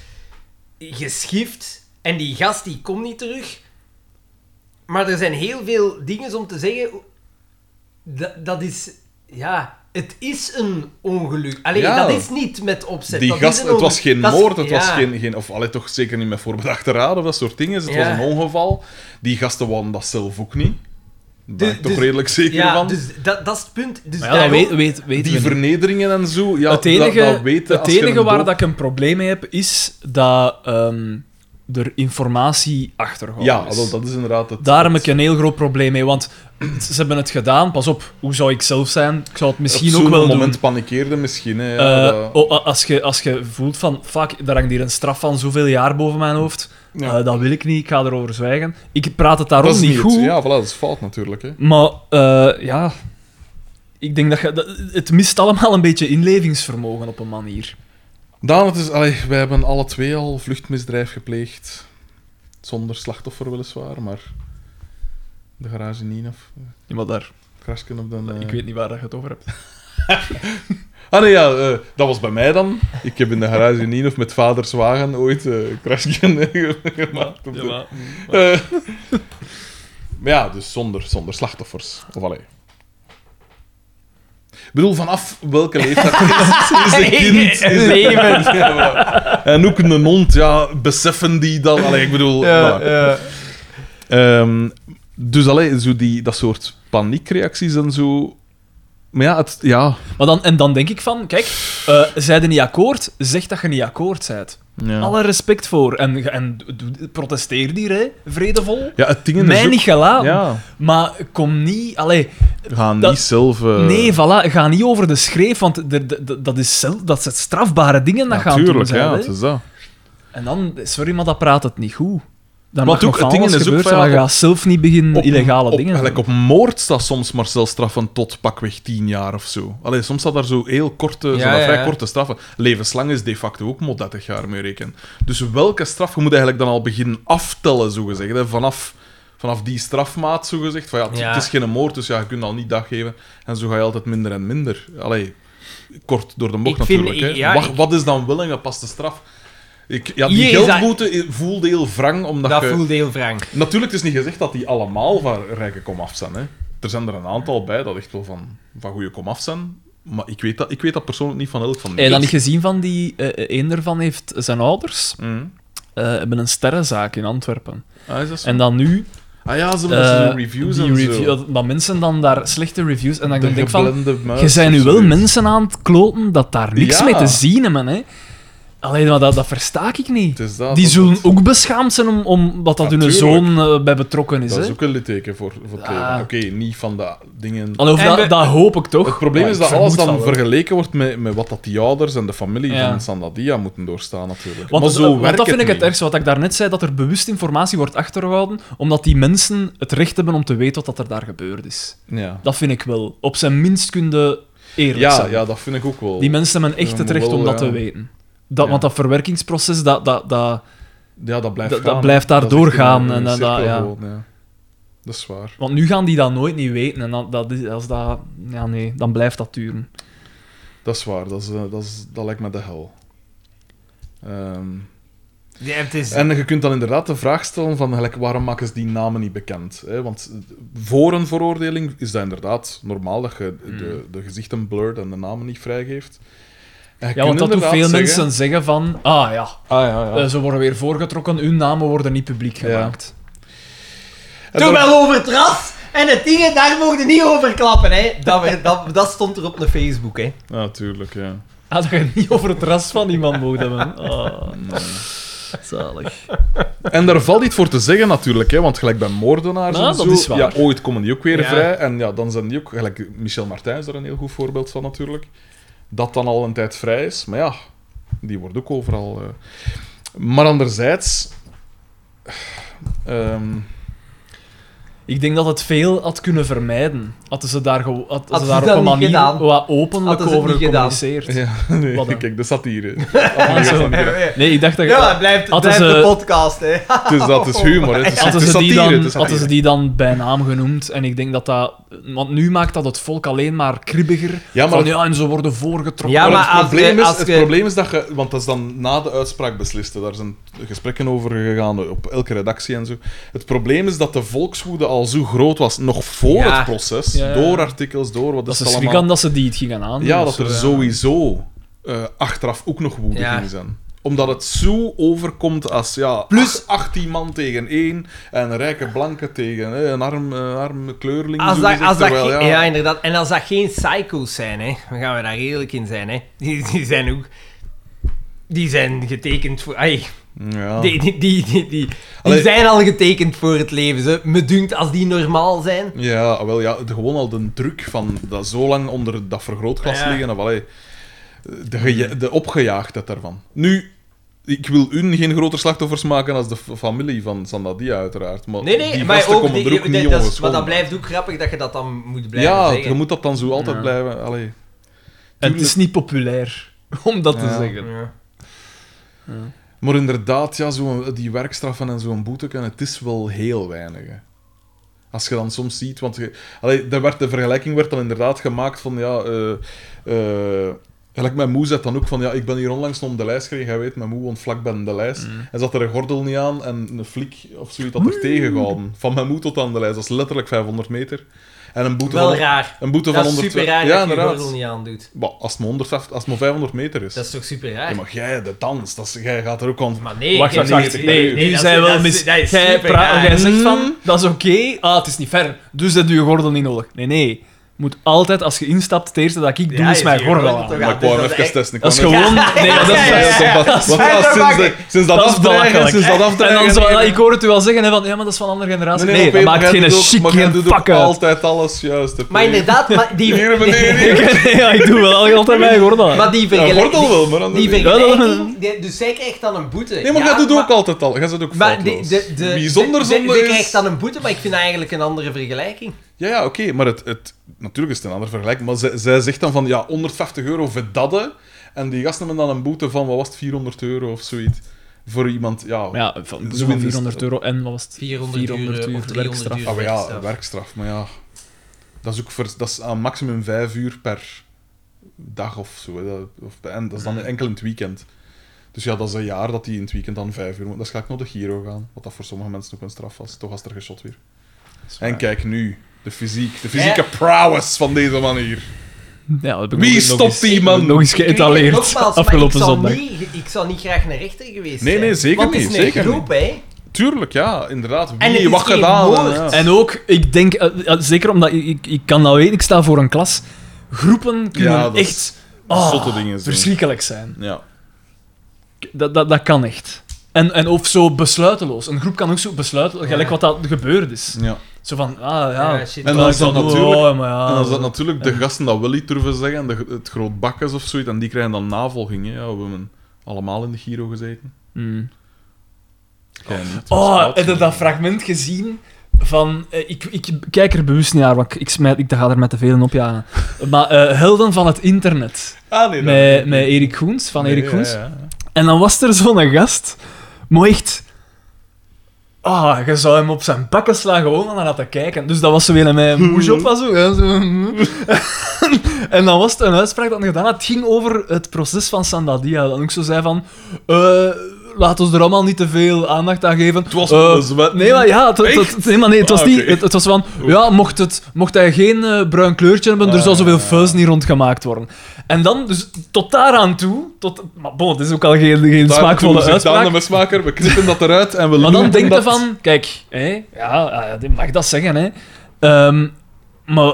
S1: geschift. En die gast die komt niet terug. Maar er zijn heel veel dingen om te zeggen. Dat, dat is Ja, het is een ongeluk. Allee,
S3: Ja.
S1: dat is niet met opzet.
S3: Die
S1: dat is
S3: gast,
S1: een
S3: het was
S1: ongeluk.
S3: geen
S1: Dat is-
S3: moord, het was
S1: ja.
S3: geen, geen... Of allee, toch zeker niet met voorbedachte raden of dat soort dingen. dus Het was
S1: Ja.
S3: een ongeval. Die gasten wouden dat zelf ook niet. Daar ben
S1: Dus-
S3: ik toch
S1: dus-
S3: redelijk zeker
S1: Ja,
S3: van.
S1: dus dat, dat is het punt. Dus
S2: Maar ja, dat
S1: daarom-
S2: weet, weet, weten
S3: die
S2: we niet.
S3: vernederingen en zo, ja,
S2: het enige,
S3: dat, dat weten
S2: het
S3: als je
S2: enige
S3: een
S2: waar
S3: dood-
S2: dat ik een probleem mee heb, is dat ehm, er informatie achtergehouden
S3: Ja,
S2: is.
S3: wel, dat is inderdaad het...
S2: Daar heb ik een heel groot probleem mee, want ze hebben het gedaan. Pas op, hoe zou ik zelf zijn? Ik zou het misschien
S3: op
S2: ook
S3: zo'n
S2: wel
S3: moment
S2: doen.
S3: panikeerde misschien. Hè,
S2: Eh,
S3: ja, dat-
S2: oh, a- als, je, als je voelt van, fuck, daar hangt hier een straf van zoveel jaar boven mijn hoofd.
S3: Ja.
S2: Eh, dat wil ik niet, ik ga erover zwijgen. Ik praat het
S3: dat
S2: daarom
S3: is
S2: niet
S3: het.
S2: goed.
S3: Ja, voilà, dat is fout natuurlijk. Hè.
S2: Maar eh, ja, ik denk dat, je, dat het mist allemaal een beetje inlevingsvermogen op een manier.
S3: Daan, het is, allee, wij hebben alle twee al vluchtmisdrijf gepleegd. Zonder slachtoffer weliswaar, maar... De garage niet af.
S2: Ja, maar daar,
S3: Crashken op de... eh,
S2: ik weet niet waar dat je het over hebt.
S3: Ah nee, ja, eh, dat was bij mij dan. Ik heb in de garage niet of met vaders wagen ooit eh crashken gemaakt. op de- Eh, maar ja, dus zonder, zonder slachtoffers. Of allee. Ik bedoel, vanaf welke leeftijd is, is een kind... Is een-
S1: Leven.
S3: Ja, voilà. en ook een hond, ja, beseffen die dan... Allee, ik bedoel... voilà.
S1: eh,
S3: Ehm, dus allee, zo die, dat soort paniekreacties en zo... Maar ja, het, ja,
S2: Maar dan, en dan denk ik van, kijk, eh zijde niet akkoord, zeg dat je niet akkoord bent.
S3: ja.
S2: Alle respect voor. En, ge- en d- d- protesteer hier, hè, vredevol.
S3: ja het ding is
S2: Mij
S3: ook-
S2: niet gelaten.
S3: Ja,
S2: Maar kom niet... Allee,
S3: we gaan
S2: Dat-
S3: niet zelf... eh,
S2: Nee, voilà, ga niet over de schreef, want d- d- d- dat, is zel- dat zijn strafbare dingen dat gaan doen.
S3: Natuurlijk,
S2: zijn,
S3: ja,
S2: hè.
S3: het is dat.
S2: En dan, sorry, maar dat praat het niet goed. Dan
S3: Maar
S2: mag
S3: ook,
S2: nog van
S3: het ding
S2: alles
S3: is ook
S2: gebeuren,
S3: van, ja,
S2: maar
S3: op-
S2: ga zelf niet beginnen
S3: Op-
S2: illegale
S3: op,
S2: dingen
S3: Gelijk
S2: doen.
S3: op moord staat soms maar zelfstraffen tot pakweg tien jaar of zo. Allee, soms staat daar zo heel korte, zo
S1: ja,
S3: vrij
S1: ja.
S3: korte straffen. Levenslang is de facto ook maar 30 jaar mee rekenen. Dus welke straf, je moet eigenlijk dan al beginnen aftellen, zogezegd. Hè? Vanaf, vanaf die strafmaat, zogezegd. Van, ja, het,
S1: Ja.
S3: het is geen moord, dus ja, je kunt al niet dag geven. En zo ga je altijd minder en minder. Allee, kort door de bocht
S1: Ik vind-
S3: natuurlijk. hè.
S1: ik- ja,
S3: wat,
S1: ik-
S3: wat is dan wel een gepaste straf? Ik, ja, die
S1: Hier is dat-
S3: geldboete voelde heel wrang, omdat
S1: Dat
S3: je...
S1: voelde heel wrang.
S3: Natuurlijk, het is niet gezegd dat die allemaal van rijke komaf zijn. Hè. Er zijn er een aantal bij dat echt wel van, van goede komaf zijn. Maar ik weet, dat, ik weet dat persoonlijk niet van elk van
S2: Heb je dan niet gezien van die... eh een daarvan heeft zijn ouders
S3: Mhm.
S2: eh, hebben een sterrenzaak in Antwerpen.
S3: Ah, is dat zo?
S2: En dan nu...
S3: ah ja, ze
S2: eh,
S3: hebben reviews
S2: die
S3: en
S2: review-
S3: zo.
S2: dat, dat mensen dan daar slechte reviews... En dan
S3: De
S2: denk ik van...
S3: geblende muis
S2: Je zijn
S3: of
S2: nu wel
S3: Ah, zoiets.
S2: mensen aan het kloten dat daar niks
S3: Ja.
S2: mee te zien hebben, hè. Alleen maar dat, dat versta ik niet.
S3: Het is dat,
S2: Die
S3: dat-
S2: zullen ook beschaamd zijn om, omdat dat hun
S3: Natuurlijk.
S2: zoon eh, bij betrokken is,
S3: Dat
S2: hè.
S3: is ook een litteken voor, voor het
S2: Ah.
S3: leven. Oké, niet van de dingen...
S2: Allee, of
S1: En
S2: dat,
S1: we-
S2: dat hoop ik toch.
S3: Het probleem
S2: Maar
S3: is
S2: ik
S3: dat alles
S2: vermoed
S3: dan
S2: van wel.
S3: vergeleken wordt met, met wat dat die ouders en de familie
S2: Ja.
S3: van Sandadia moeten doorstaan, natuurlijk.
S2: Want,
S3: maar
S2: eh,
S3: zo
S2: want
S3: werkt
S2: dat vind ik
S3: niet.
S2: het ergste, wat ik daarnet zei, dat er bewust informatie wordt achtergehouden, omdat die mensen het recht hebben om te weten wat er daar gebeurd is.
S3: Ja.
S2: Dat vind ik wel. Op zijn minst kunde eerlijk
S3: Ja,
S2: zijn.
S3: ja, dat vind ik ook wel.
S2: Die mensen hebben echt
S3: Ja,
S2: het
S3: maar
S2: recht
S3: wel,
S2: om dat
S3: ja.
S2: te weten. Dat,
S3: Ja.
S2: Want dat verwerkingsproces, dat, dat, dat,
S3: Ja, dat blijft
S2: Dat- dat
S3: gaan, hè.
S2: blijft daar
S3: is echt
S2: doorgaan
S3: een- een
S2: en dat-
S3: cirkel
S2: dat- ja.
S3: gewoon, ja. Dat is waar.
S2: Want nu gaan die dat nooit niet weten. En dat, dat is, als dat, ja, nee, dan blijft dat duren.
S3: Dat is waar. Dat, is, eh, dat, is, dat lijkt me de hel. Ehm,
S1: Ja, het is...
S3: en je kunt dan inderdaad de vraag stellen van gelijk, waarom maken ze die namen niet bekend? Hè? Want voor een veroordeling is dat inderdaad normaal dat je
S2: Hmm.
S3: de, de gezichten blurt en de namen niet vrijgeeft. En je
S2: Ja,
S3: kunt
S2: want dat doen
S3: inderdaad
S2: veel
S3: zeggen-
S2: mensen zeggen van... Ah ja,
S3: Ah, ja, ja.
S2: eh, ze worden weer voorgetrokken, hun namen worden niet publiek
S3: Ja.
S2: gemaakt.
S3: En
S1: Toen
S3: daar-
S1: wel over het ras en het ding, daar mogen niet over klappen. Hè. Dat, werd- dat, dat stond er op de Facebook. Hè.
S3: Ja, tuurlijk, ja.
S2: Ah, dat je het niet over het ras van iemand mogen hebben. Ah,
S3: Nee.
S2: zalig.
S3: En daar valt iets voor te zeggen natuurlijk, hè, want gelijk bij moordenaars
S2: Nou,
S3: en
S2: dat
S3: zo,
S2: is waar.
S3: Ja, ooit komen die ook weer
S1: Ja.
S3: vrij. En ja, dan zijn die ook, gelijk Michel Martin is daar een heel goed voorbeeld van natuurlijk, dat dan al een tijd vrij is. Maar ja, die wordt ook overal... eh. Maar anderzijds... ehm,
S2: Ik denk dat het veel had kunnen vermijden. Hadden ze daar, gewoon- had- hadden ze
S1: Hadden ze
S2: daar op een
S1: dat niet
S2: manier
S1: gedaan?
S2: wat openlijk
S1: Hadden ze het
S2: over
S1: niet gedaan?
S2: gecommuniceerd.
S3: ja, nee,
S2: Wat dan?
S3: kijk, de satire.
S2: Ah, zo. Nee, ik dacht dat... je-
S1: Ja, het blijft, het
S2: Hadden
S1: blijft de
S3: eh,
S2: ze-
S1: podcast. Hè.
S3: Het is, dat het is humor, hè. Het is, het
S2: Hadden
S3: is
S2: ze,
S3: satire.
S2: die
S3: het
S2: dan,
S3: is
S2: hadden ze
S3: satire.
S2: die dan bij naam genoemd. En ik denk dat dat... Want nu maakt dat het volk alleen maar kribbiger.
S3: Ja, maar
S2: van,
S3: dat-
S2: ja, en ze worden voorgetrokken.
S1: Ja,
S3: Maar
S1: maar
S3: het,
S1: als
S3: probleem
S1: je-
S3: is,
S1: als
S3: het
S1: je-
S3: probleem is dat je... Want dat is dan na de uitspraak beslist. hè. Daar zijn gesprekken over gegaan op elke redactie en zo. Het probleem is dat de volkswoede al al zo groot was, nog voor
S1: Ja.
S3: het proces,
S2: Ja, ja.
S3: door artikels, door wat
S2: Dat
S3: is
S2: ze
S3: het
S2: schrik
S3: allemaal...
S2: hadden dat ze die het gingen dus, aan.
S3: Ja, dat er sowieso eh, achteraf ook nog woede
S1: Ja.
S3: ging zijn. Omdat het zo overkomt als ja, plus 18 man tegen één en een rijke blanke tegen hè, een arm, eh, arme kleurling.
S1: Als
S3: zo
S1: dat,
S3: gezegd,
S1: als dat
S3: terwijl,
S1: geen- ja.
S3: ja,
S1: inderdaad. En als dat geen psycho's zijn, hè, dan gaan we daar eerlijk in zijn. Hè. Die, die zijn ook... Die zijn getekend voor... ai,
S3: ja.
S1: die, die, die, die, die, die
S3: Allee.
S1: zijn al getekend voor het leven. Ze. Me dunkt, als die normaal zijn...
S3: Ja, ah, wel ja, de- gewoon al de druk van dat zo lang onder dat vergrootglas
S1: Ja.
S3: liggen. Of, allee, de, geja- de opgejaagdheid daarvan. Nu, ik wil hun geen groter slachtoffers maken als de f- familie van Sandadia, uiteraard. Maar
S1: Nee, nee,
S3: die
S1: maar
S3: gasten
S1: ook...
S3: komen
S1: die-
S3: er ook
S1: dat-
S3: niet
S1: dat is- maar
S3: ongeschonden
S1: dat
S3: uit.
S1: blijft ook grappig dat je dat dan moet blijven
S3: ja,
S1: zeggen.
S3: je moet dat dan zo altijd
S2: Ja.
S3: blijven. Allee.
S2: En het is niet populair om dat te
S3: Ja.
S2: zeggen.
S1: Ja.
S3: Maar inderdaad, ja, zo, die werkstraffen en zo'n boete, en het is wel heel weinig. hè. Als je dan soms ziet, want je, allee, daar werd, de vergelijking werd dan inderdaad gemaakt van, ja, eh eh, gelijk mijn moe zet dan ook van, ja, ik ben hier onlangs nog om de lijst gereden, jij weet, mijn moe woont vlakbij de lijst.
S1: Mm.
S3: En zat er een gordel niet aan en een flik of zoiets had er tegengehouden. Van mijn moe tot aan de lijst, dat is letterlijk 500 meter. En een boete
S1: Wel
S3: van...
S1: raar.
S3: Een boete
S1: Dat
S3: van
S1: is super
S3: 120
S1: raar
S3: ja,
S1: dat je je
S3: inderdaad.
S1: gordel niet aandoet.
S3: Bah, als, het maar 150, als het maar 500 meter is.
S1: Dat is toch super raar?
S3: Ja, maar jij, de dans, dat is, jij gaat er ook aan...
S1: Maar nee,
S2: Wacht,
S1: nee,
S2: wacht, wacht.
S1: nee,
S2: Nee,
S1: nee,
S2: nu
S1: dat is-
S2: zijn we
S1: dat
S2: wel
S1: is-
S2: mis.
S1: dat is
S2: Jij,
S1: super
S2: pra-
S1: raar.
S2: jij zegt
S3: Mm.
S2: van, dat is oké, ah, het is niet ver, dus dat doe je gordel niet nodig. Nee, nee, moet altijd, als je instapt, het eerste dat ik doe,
S1: Ja,
S2: is
S1: je
S2: mijn
S1: ziet je
S2: gordel
S1: gordel
S2: aan.
S1: toch-
S3: maar ik wou
S1: dat
S3: hem
S1: is
S3: even
S1: echt-
S3: testen. Ik
S2: Dat is
S3: wou hem
S2: gewoon...
S1: Ja.
S2: Nee, maar dat is...
S1: Ja, ja, ja.
S3: even- Want
S1: Ja,
S3: ja,
S1: dat
S3: sinds,
S1: maakt
S3: de,
S1: niet.
S3: sinds dat,
S2: Dat is
S3: afdreigen,
S2: belachelijk.
S3: sinds dat
S2: En
S3: afdreigen...
S2: dan zo, ah, ik hoor het u wel zeggen, hè, van, ja, maar dat is van een andere generatie. Nee, dat maakt geen chic, geen
S3: pak
S2: fuck uit.
S3: altijd alles juist. hè,
S1: Maar
S3: P.
S1: inderdaad, maar die,
S3: Hier beneden, hier.
S2: Ja, ik doe wel altijd mijn gordel aan.
S1: maar die
S3: Ja,
S1: vergelijking...
S3: gordel wel, maar dan...
S1: Die
S3: Nee,
S1: vergelijking, die- dus zij krijgt dan een boete.
S3: maar
S1: ja,
S3: jij doet ook altijd al. Jij zit ook
S1: maar de,
S3: foutloos.
S1: de, de,
S3: Wie zonder
S1: de- de-
S3: zonde
S1: de
S3: is...
S1: krijgt dan een boete, maar ik vind eigenlijk een andere vergelijking.
S3: Ja, ja, oké, maar het, het, natuurlijk is het een ander vergelijk, maar zij, zij zegt dan van ja, 150 euro voor dadden. En die gasten hebben dan een boete van, wat was het, 400 euro of zoiets. Voor iemand, ja.
S2: Maar ja, van,
S3: Zo
S2: zo van
S3: is het.
S2: 400 euro en wat was het?
S1: 400 uur, of 300
S2: werkstraf.
S1: uur.
S3: ah, maar ja,
S1: werkstraf.
S3: werkstraf. Maar ja, dat is ook voor, dat is aan maximum 5 uur per dag of zo. hè, dat- of, en dat is
S1: Mhm.
S3: dan enkel in het weekend. Dus ja, dat is een jaar dat die in het weekend dan 5 uur moet. Dat is gelijk nog de Giro gaan, wat dat voor sommige mensen ook een straf was. Toch was er geschot weer. En kijk nu, de fysiek, de fysieke prowess van deze man hier.
S2: Ja, dat heb ik
S3: Wie
S2: nog eens-
S3: stopt die
S2: nog
S3: man?
S2: eens- Nog eens
S1: Ik weet het
S2: geëtaleerd
S1: nogmaals, maar
S2: afgelopen
S1: ik zou
S2: zondag.
S1: Niet, ik zou niet graag naar rechter geweest
S3: Nee,
S1: zijn.
S3: nee, zeker
S1: Want het
S3: niet,
S1: is een
S3: zeker
S1: groep, hè.
S3: Tuurlijk, ja, inderdaad.
S1: En het
S3: Wie,
S1: is
S3: wat
S1: geen
S3: gedaan?
S1: moord.
S3: ja.
S2: En ook, ik denk, eh, eh, zeker omdat ik, ik, ik kan dat weten, ik sta voor een klas. Groepen kunnen
S3: Ja, dat is-
S2: echt ah,
S3: zotte dingen zijn.
S2: verschrikkelijk zijn.
S3: Ja.
S2: Dat, dat, dat kan echt. En, en of zo besluiteloos. Een groep kan ook zo besluiteloos, gelijk wat dat gebeurd is.
S3: ja.
S2: Zo van, ah ja.
S1: Ja, shit.
S3: En
S2: dat
S3: dan
S2: is dat
S3: natuurlijk-
S2: oh, maar ja.
S3: En dan zat natuurlijk de gasten dat wel iets durven zeggen, de, het groot bakkes of zoiets, en die krijgen dan navolging. Hè. Ja, we hebben allemaal in de Giro gezeten.
S2: Hmm.
S3: Jij niet, dat is
S2: Oh,
S3: fout.
S2: heb je dat fragment gezien? Van, eh, ik, ik kijk er bewust niet naar, want ik, ik, smijt, ik ga er met te velen op jagen. Maar eh, Helden van het Internet,
S3: Ah, nee, dat-
S2: met, met Erik Goens, van
S3: nee,
S2: Erik
S3: ja,
S2: Goens.
S3: ja, ja.
S2: En dan was er zo'n gast, maar echt... Ah, je zou hem op zijn bakken slaan gewoon om naar te kijken. Dus dat was zo weer met mijn moesje op, was zo, hè, zo. en dan was het een uitspraak dat hij gedaan had. Het ging over het proces van Sandadia. Dan ook zo zei van... eh laat ons er allemaal niet te veel aandacht aan geven.
S3: Het was
S2: Eh,
S3: wel een zwet.
S2: Nee, maar ja, het, het-
S3: Echt?
S2: het- nee, maar nee, het was
S3: Ah,
S2: niet...
S3: oké.
S2: Het, het was van... Ja, mocht, het, mocht hij geen eh, bruin kleurtje hebben, er
S3: Ah,
S2: zou zoveel
S3: ja, ja.
S2: fuzz niet rondgemaakt worden. En dan, dus tot daaraan toe... Tot, maar bon, het is ook al geen, geen
S3: Daar
S2: smaakvolle
S3: doen we zich dan
S2: uitspraak.
S3: de mesmaker, we knippen dat eruit en we
S2: Maar dan
S3: loeren
S2: denk je
S3: dat...
S2: van... Kijk, hè, ja, ah, die mag dat zeggen, hè. Ehm, maar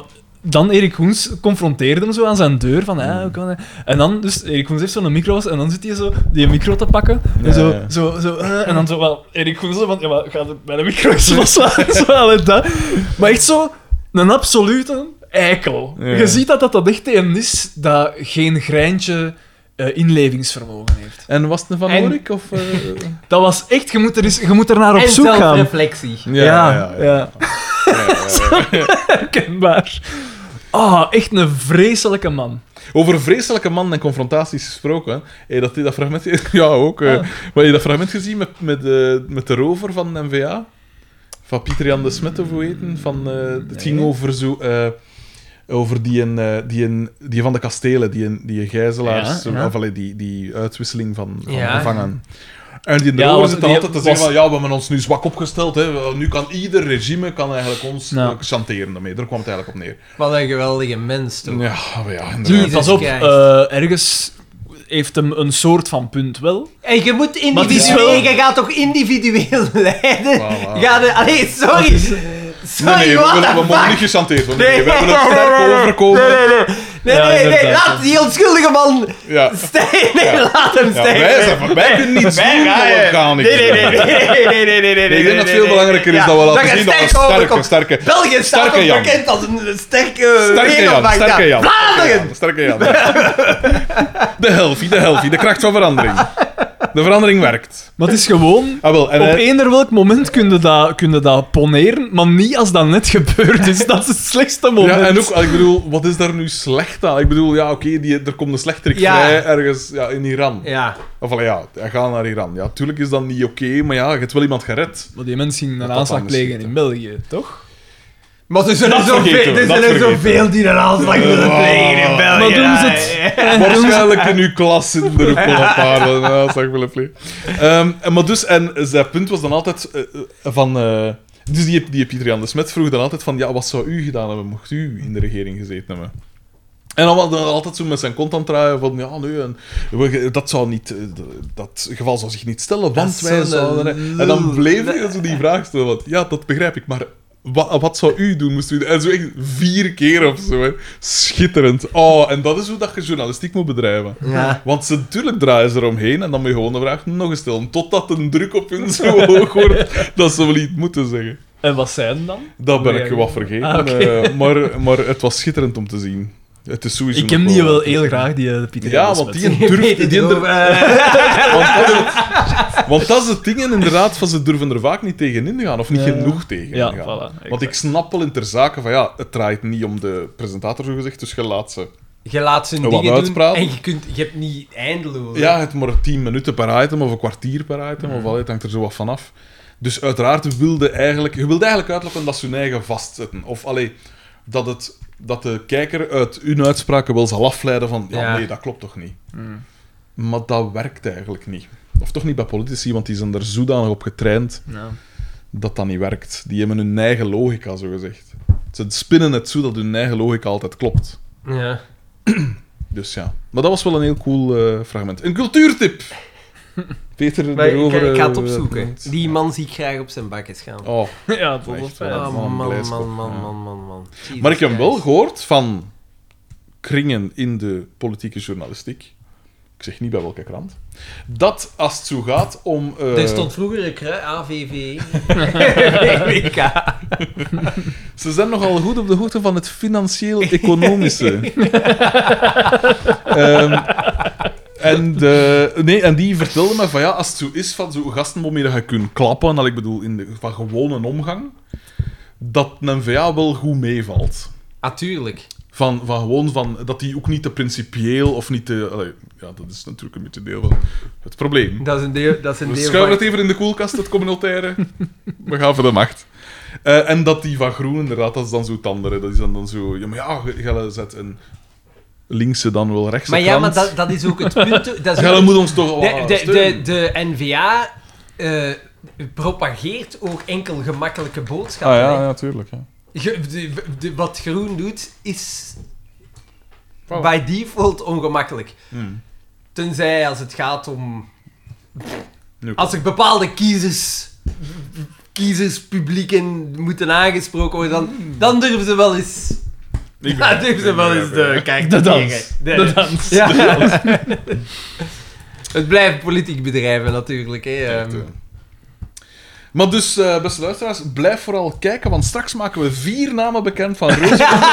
S2: dan Erik Hoens confronteerde hem zo aan zijn deur van... hè, hoe kan dat? en dan, dus Erik Hoens heeft zo'n micro's en dan zit hij zo die micro te pakken.
S3: Ja,
S2: en zo,
S3: ja.
S2: zo, zo, eh, en dan zo wel... Erik Hoens zo van... Ja, maar ga de- bij de micro's loslaten. zo, allee, dat. Maar echt zo... Een absolute eikel.
S3: Ja.
S2: Je ziet dat dat, dat echt een is dat geen greintje eh, inlevingsvermogen heeft.
S3: En was het een Van
S1: En-
S3: Orik? Of, eh,
S2: Dat was echt... Je moet er, eens- je moet er naar op
S1: En
S2: zoek gaan.
S1: zelfreflectie.
S2: Ja, ja.
S3: ja, ja.
S2: Herkenbaar. Ah, echt een vreselijke man.
S3: Over vreselijke mannen en confrontaties gesproken. hè. Hey, dat, dat fragment... Ja, ook.
S2: Ah.
S3: eh. Maar heb je dat fragment gezien met, met, eh, met de rover van de NVA? Van Pieter-Jan de Smet of hoe heet het? Van, eh, Het ging over zo... eh, over die, een, eh, die, een, die van de kastelen, die, een, die gijzelaars,
S2: Ja, ja.
S3: Of, allee, die, die uitwisseling van, van
S1: Ja.
S3: gevangen. En die in de
S2: Ja,
S3: oren
S2: want
S3: zit
S2: die
S3: altijd te
S2: was-
S3: zeggen van ja, we hebben ons nu zwak opgesteld. Hè. Nu kan ieder regime kan eigenlijk ons
S2: Ja.
S3: eh, chanteren daarmee. Daar kwam het eigenlijk op neer.
S1: Wat een geweldige mens, toch?
S3: Ja, maar ja, inderdaad.
S2: Nu,
S1: Jezus
S2: pas op,
S1: Christ.
S2: eh, ergens heeft hem een soort van punt wel.
S1: En je moet
S2: Maar het is
S1: individueel...
S2: wel-
S1: Je gaat toch individueel leiden?
S3: Voilà.
S1: Ga de... Allee, sorry.
S3: Nee,
S1: Sorry,
S3: nee, we,
S1: what
S3: willen-
S1: the
S3: we mogen niet
S1: fuck?
S3: gechanteerd worden.
S1: Nee.
S3: Nee, we willen het sterk overkomen.
S1: Nee,
S2: Ja,
S1: nee, nee,
S2: inderdaad,
S1: laat die onschuldige man...
S3: Ja.
S1: Stijgen, nee,
S3: Ja.
S1: laat hem
S3: Ja,
S1: stijgen.
S3: wij, zijn, wij kunnen niet
S1: Wij
S3: doen, maar we
S1: gaan-
S3: gaan niet.
S1: Nee, nee, nee, nee, nee, nee, nee, nee, nee,
S3: Ik
S1: nee,
S3: denk dat het
S1: nee,
S3: veel
S1: nee,
S3: belangrijker is
S1: nee.
S3: dat we
S1: Ja,
S3: laten
S1: je
S3: zien dat we een
S1: sterk
S3: sterke,
S1: overkomt.
S3: sterke,
S1: België staat
S3: Sterke
S1: ook
S3: Jan.
S1: bekend als een sterke
S3: sterke Jan,
S1: wereldmacht,
S3: sterke
S1: ja.
S3: Jan.
S1: Vlaanderen!
S3: Sterke Jan. De helfie, de helfie, de kracht van verandering. De verandering werkt.
S2: Maar het is gewoon...
S3: Ah, wel, en
S2: Op
S3: hij-
S2: eender welk moment kun je, dat, kun je dat poneren, maar niet als dat net gebeurd is. Dat is het slechtste moment.
S3: Ja, en ook, ik bedoel, wat is daar nu slecht aan? Ik bedoel, ja, oké, die er komt een slechterik
S1: Ja.
S3: vrij ergens ja, in Iran.
S1: Ja,
S3: Of allee, ja, hij gaat naar Iran. Ja, tuurlijk is dat niet oké, maar ja, je hebt wel iemand gered.
S2: Maar die mensen gingen een
S3: Dat dat
S2: aanslag
S3: anders
S2: plegen
S3: zit,
S2: in België, toch?
S1: maar er zijn er
S3: Dat vergeten
S1: zoveel-
S3: we,
S1: er
S3: dat
S1: zijn er
S3: vergeten we.
S1: zoveel die een aanslag willen
S3: Ja.
S1: plegen in België.
S2: Maar doen ze
S1: ja,
S2: het?
S1: ja.
S3: Waarschijnlijk in uw klas zitten er ook wel een paar. eh, nou, zag ik wel even. Ehm, en maar dus, en zijn punt was dan altijd eh, eh, van... eh, dus die, die Pieter Jan de Smet vroeg dan altijd van... Ja, wat zou u gedaan hebben mocht u in de regering gezeten hebben? En dan was hij altijd zo met zijn kont aan het draaien van... Ja, nee, en we- dat zou niet... eh, Dat geval zou zich niet stellen, want
S1: is
S3: wij
S1: zo'n
S3: zouden... En dan bleef hij zo die vraag stellen. Want, ja, dat begrijp ik, maar... Wat, wat zou u doen? Moest u, en zo echt vier keer of zo. Hè. Schitterend. Oh, en dat is hoe dat je journalistiek moet bedrijven.
S1: Ja.
S3: Want ze, natuurlijk draaien ze eromheen en dan moet je gewoon de vraag nog eens stellen. Totdat de druk op hun zo hoog wordt dat ze wel iets moeten zeggen.
S2: En wat zijn dan?
S3: Dat ben
S2: Ja,
S3: ik wat vergeten.
S2: Ah, oké.
S3: eh, maar, maar het was schitterend om te zien. Het is sowieso
S2: Ik ken
S3: nog
S2: die wel heel graag, die eh, Pieter
S3: Ja,
S2: Jan de
S3: want
S2: Smet.
S3: die
S1: Je weet
S3: durft...
S1: het
S3: Die
S1: ook,
S3: durft
S1: eh.
S3: want, dat is het- want dat is het ding inderdaad, van ze durven er vaak niet tegen in te gaan. Of niet
S2: Ja.
S3: genoeg tegen
S2: Ja,
S3: in te gaan.
S2: voilà,
S3: want
S2: exact.
S3: ik snap wel in ter zake van ja, het draait niet om de presentator zo gezegd, dus je laat ze...
S1: Je laat zijn
S3: Wat
S1: dingen doen
S3: uitpraten.
S1: en je, kunt, je hebt niet eindeloos.
S3: Ja, het maar 10 minuten per item of een kwartier per item, of al, het hangt er zo wat vanaf. Dus uiteraard wilde eigenlijk, je wilde eigenlijk uitlokken dat ze hun eigen vastzetten. Of allee, dat, het, dat de kijker uit hun uitspraken wel zal afleiden van, ja,
S1: Ja.
S3: nee, dat klopt toch niet.
S2: Hmm.
S3: Maar dat werkt eigenlijk niet. Of toch niet bij politici, want die zijn er zodanig op getraind
S2: Ja.
S3: dat dat niet werkt. Die hebben hun eigen logica, zogezegd. Ze spinnen het zo dat hun eigen logica altijd klopt.
S1: Ja.
S3: Dus ja. Maar dat was wel een heel cool eh, fragment. Een cultuurtip! Peter,
S1: Maar ik,
S3: erover...
S1: ik ga het
S3: eh,
S1: opzoeken.
S3: eh,
S1: Die man zie ik graag op zijn bakjes gaan. Oh,
S3: Oh.
S2: Ja, dat was
S3: Echt,
S2: fijn.
S3: ja.
S1: man, man,
S3: blijskop,
S1: man, man,
S3: ja.
S1: man, man, man. Jesus
S3: Maar ik heb wel
S1: Christ.
S3: gehoord van kringen in de politieke journalistiek, ik zeg niet bij welke krant, dat als het zo gaat om... eh,
S1: Er stond vroeger een kruid, AVV. WK.
S3: Ze zijn nogal goed op de hoogte van het financieel-economische. Ehm, en, eh, nee, en die vertelde me van ja, als het zo is van zo'n gasten waarmee dat je kunt klappen, dat ik bedoel in de, van gewone omgang, dat een VA wel goed meevalt.
S1: Natuurlijk.
S3: Van, van gewoon van, dat die ook niet te principieel of niet te. allee, ja, dat is natuurlijk een beetje deel van het probleem.
S1: Dat is een deel, dat is een
S3: We
S1: deel
S3: schuiven
S1: van...
S3: het even in de koelkast, het communautaire. We gaan voor de macht. Eh, en dat die van groen, inderdaad, dat is dan zo het andere. Dat is dan, dan zo... Ja, maar ja, ge- gelle zet een linkse dan wel rechtse
S1: Maar ja,
S3: krant.
S1: maar dat, dat is ook het punt. Dat is
S3: Gelle
S1: ook-
S3: moet ons toch wel
S1: de, de, de,
S3: steunen.
S1: de NVA eh, propageert ook enkel gemakkelijke
S3: Ah
S1: boodschappen.
S3: ja,
S1: hè.
S3: ja, tuurlijk. Ja.
S1: Ge- de- de- wat groen doet, is
S3: Voilà.
S1: by default ongemakkelijk.
S3: Hmm.
S1: Tenzij als het gaat om.
S3: Nu.
S1: Als er bepaalde kiezers. kiezerspublieken moeten aangesproken worden, dan,
S2: Hmm.
S1: dan durven ze wel eens.
S3: Ik
S1: Ja,
S3: begrijp-
S1: durven ze
S3: ik
S1: wel eens
S3: begrijp,
S1: de
S3: ja.
S1: kijk
S2: De
S1: te
S2: dans.
S1: tegen.
S2: De dans.
S1: Ja. Het blijft politiek bedrijven natuurlijk. Hè.
S3: Echt,
S1: ehm.
S3: eh. Maar dus, eh, beste luisteraars, blijf vooral kijken, want straks maken we vier namen bekend van roosbloemen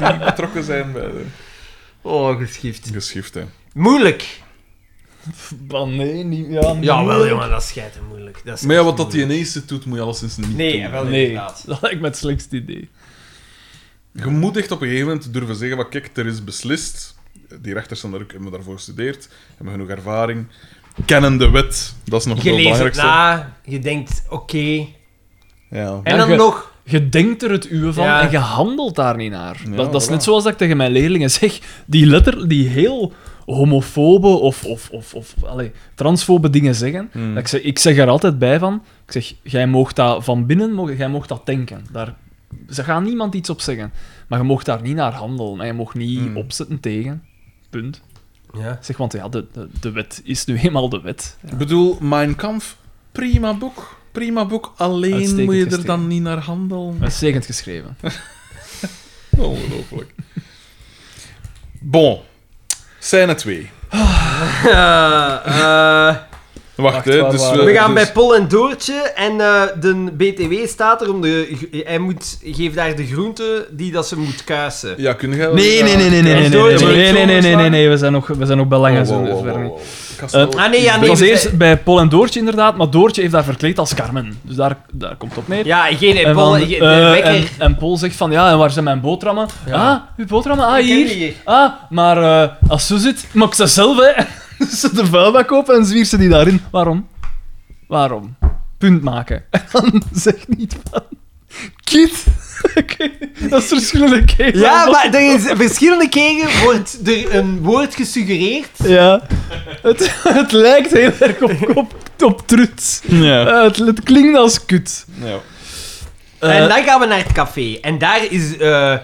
S3: die betrokken zijn bij de
S1: Oh, geschift.
S3: geschiften.
S1: Moeilijk.
S2: Maar nee, niet... Ja, nee.
S1: Jawel, jongen, dat is schijten moeilijk. Dat is
S3: Maar ja,
S1: echt
S3: wat dat die
S1: moeilijk.
S3: ineens doet, moet je alleszins niet doen.
S1: Nee, wel
S2: Nee,
S1: inderdaad.
S2: dat lijkt me het slechtste idee.
S3: Je moet echt op een gegeven moment durven zeggen: van, kijk, er is beslist. Die rechters zijn daar ook- hebben daarvoor gestudeerd, hebben genoeg ervaring, kennen de wet. Dat is nog
S1: Je
S3: wel
S1: leest het
S3: belangrijkste.
S1: na, je denkt oké.
S3: Ja.
S1: En dan
S2: ge-
S1: nog.
S2: Je denkt er het uwe van
S1: Ja.
S2: en je handelt daar niet naar.
S3: Ja,
S2: dat, dat is
S3: voilà.
S2: net zoals dat ik tegen mijn leerlingen zeg. Die letter, die heel homofobe of, of, of, of allee, transfobe dingen zeggen.
S3: Hmm.
S2: Dat ik, zeg, ik zeg er altijd bij van, ik zeg, jij moogt dat van binnen, mogen- jij moogt dat denken. Daar, ze gaan niemand iets op zeggen. Maar je moogt daar niet naar handelen. En je moogt niet
S3: Hmm.
S2: opzetten tegen. Punt.
S1: Ja.
S2: Ik Zeg, want ja, de, de, de wet is nu eenmaal de wet.
S3: Ik bedoel, Mein Kampf, prima boek. Prima boek, alleen
S2: Uitstekend
S3: moet je er
S2: gestegen.
S3: dan niet naar handelen.
S2: Uitstekend geschreven.
S3: Ongelooflijk. Bon, scène 2.
S1: Eh, eh,
S3: Wacht,
S2: Wacht,
S3: hè.
S2: waar
S3: Dus,
S2: waren
S1: we
S3: eh,
S1: gaan
S3: dus-
S1: bij Pol en Doortje en eh, de BTW staat er om de... Hij moet, geeft daar de groente die dat ze moet kuisen.
S3: Ja, kun jij...
S2: Nee, nee, nee, nee, nee, nee, nee,
S1: Zo is
S2: nee,
S1: het
S2: nee,
S1: niet
S2: nee, nee, nee, nee,
S1: zomaar.
S2: nee, we zijn nog, we zijn nog bij lange
S3: Oh,
S2: zo
S3: wow, wow,
S2: ver
S3: wow,
S2: niet.
S3: wow. Castel-
S1: Ah, nee, ja,
S2: Het
S1: nee.
S2: was
S1: dus-
S2: eerst bij Paul en Doortje inderdaad, maar Doortje heeft daar verkleed als Carmen. Dus daar, daar komt het op neer.
S1: Ja, geen...
S2: en,
S1: Pol,
S2: van,
S1: ge- de
S2: eh,
S1: wekker.
S2: en, en Paul zegt van, ja, en waar zijn mijn boterhammen?
S1: Ja.
S2: Ah, uw boterhammen? Ah,
S1: Ik heb die
S2: hier. Ah, maar eh, als ze zit, maak ze zelf, hè. Dus ze de vuilbak open en zwiert ze die daarin. Waarom? Waarom? Punt maken. En dan zeg niet van... Kid! Oké, dat is verschillende keren.
S1: Ja, maar er is, verschillende keren wordt er een woord gesuggereerd.
S2: Ja. Het, het lijkt heel erg op, op, op trut.
S3: Ja.
S2: Eh, het, het klinkt als kut.
S3: Ja.
S2: Eh,
S1: en dan gaan we naar het café. En daar is eh, eh,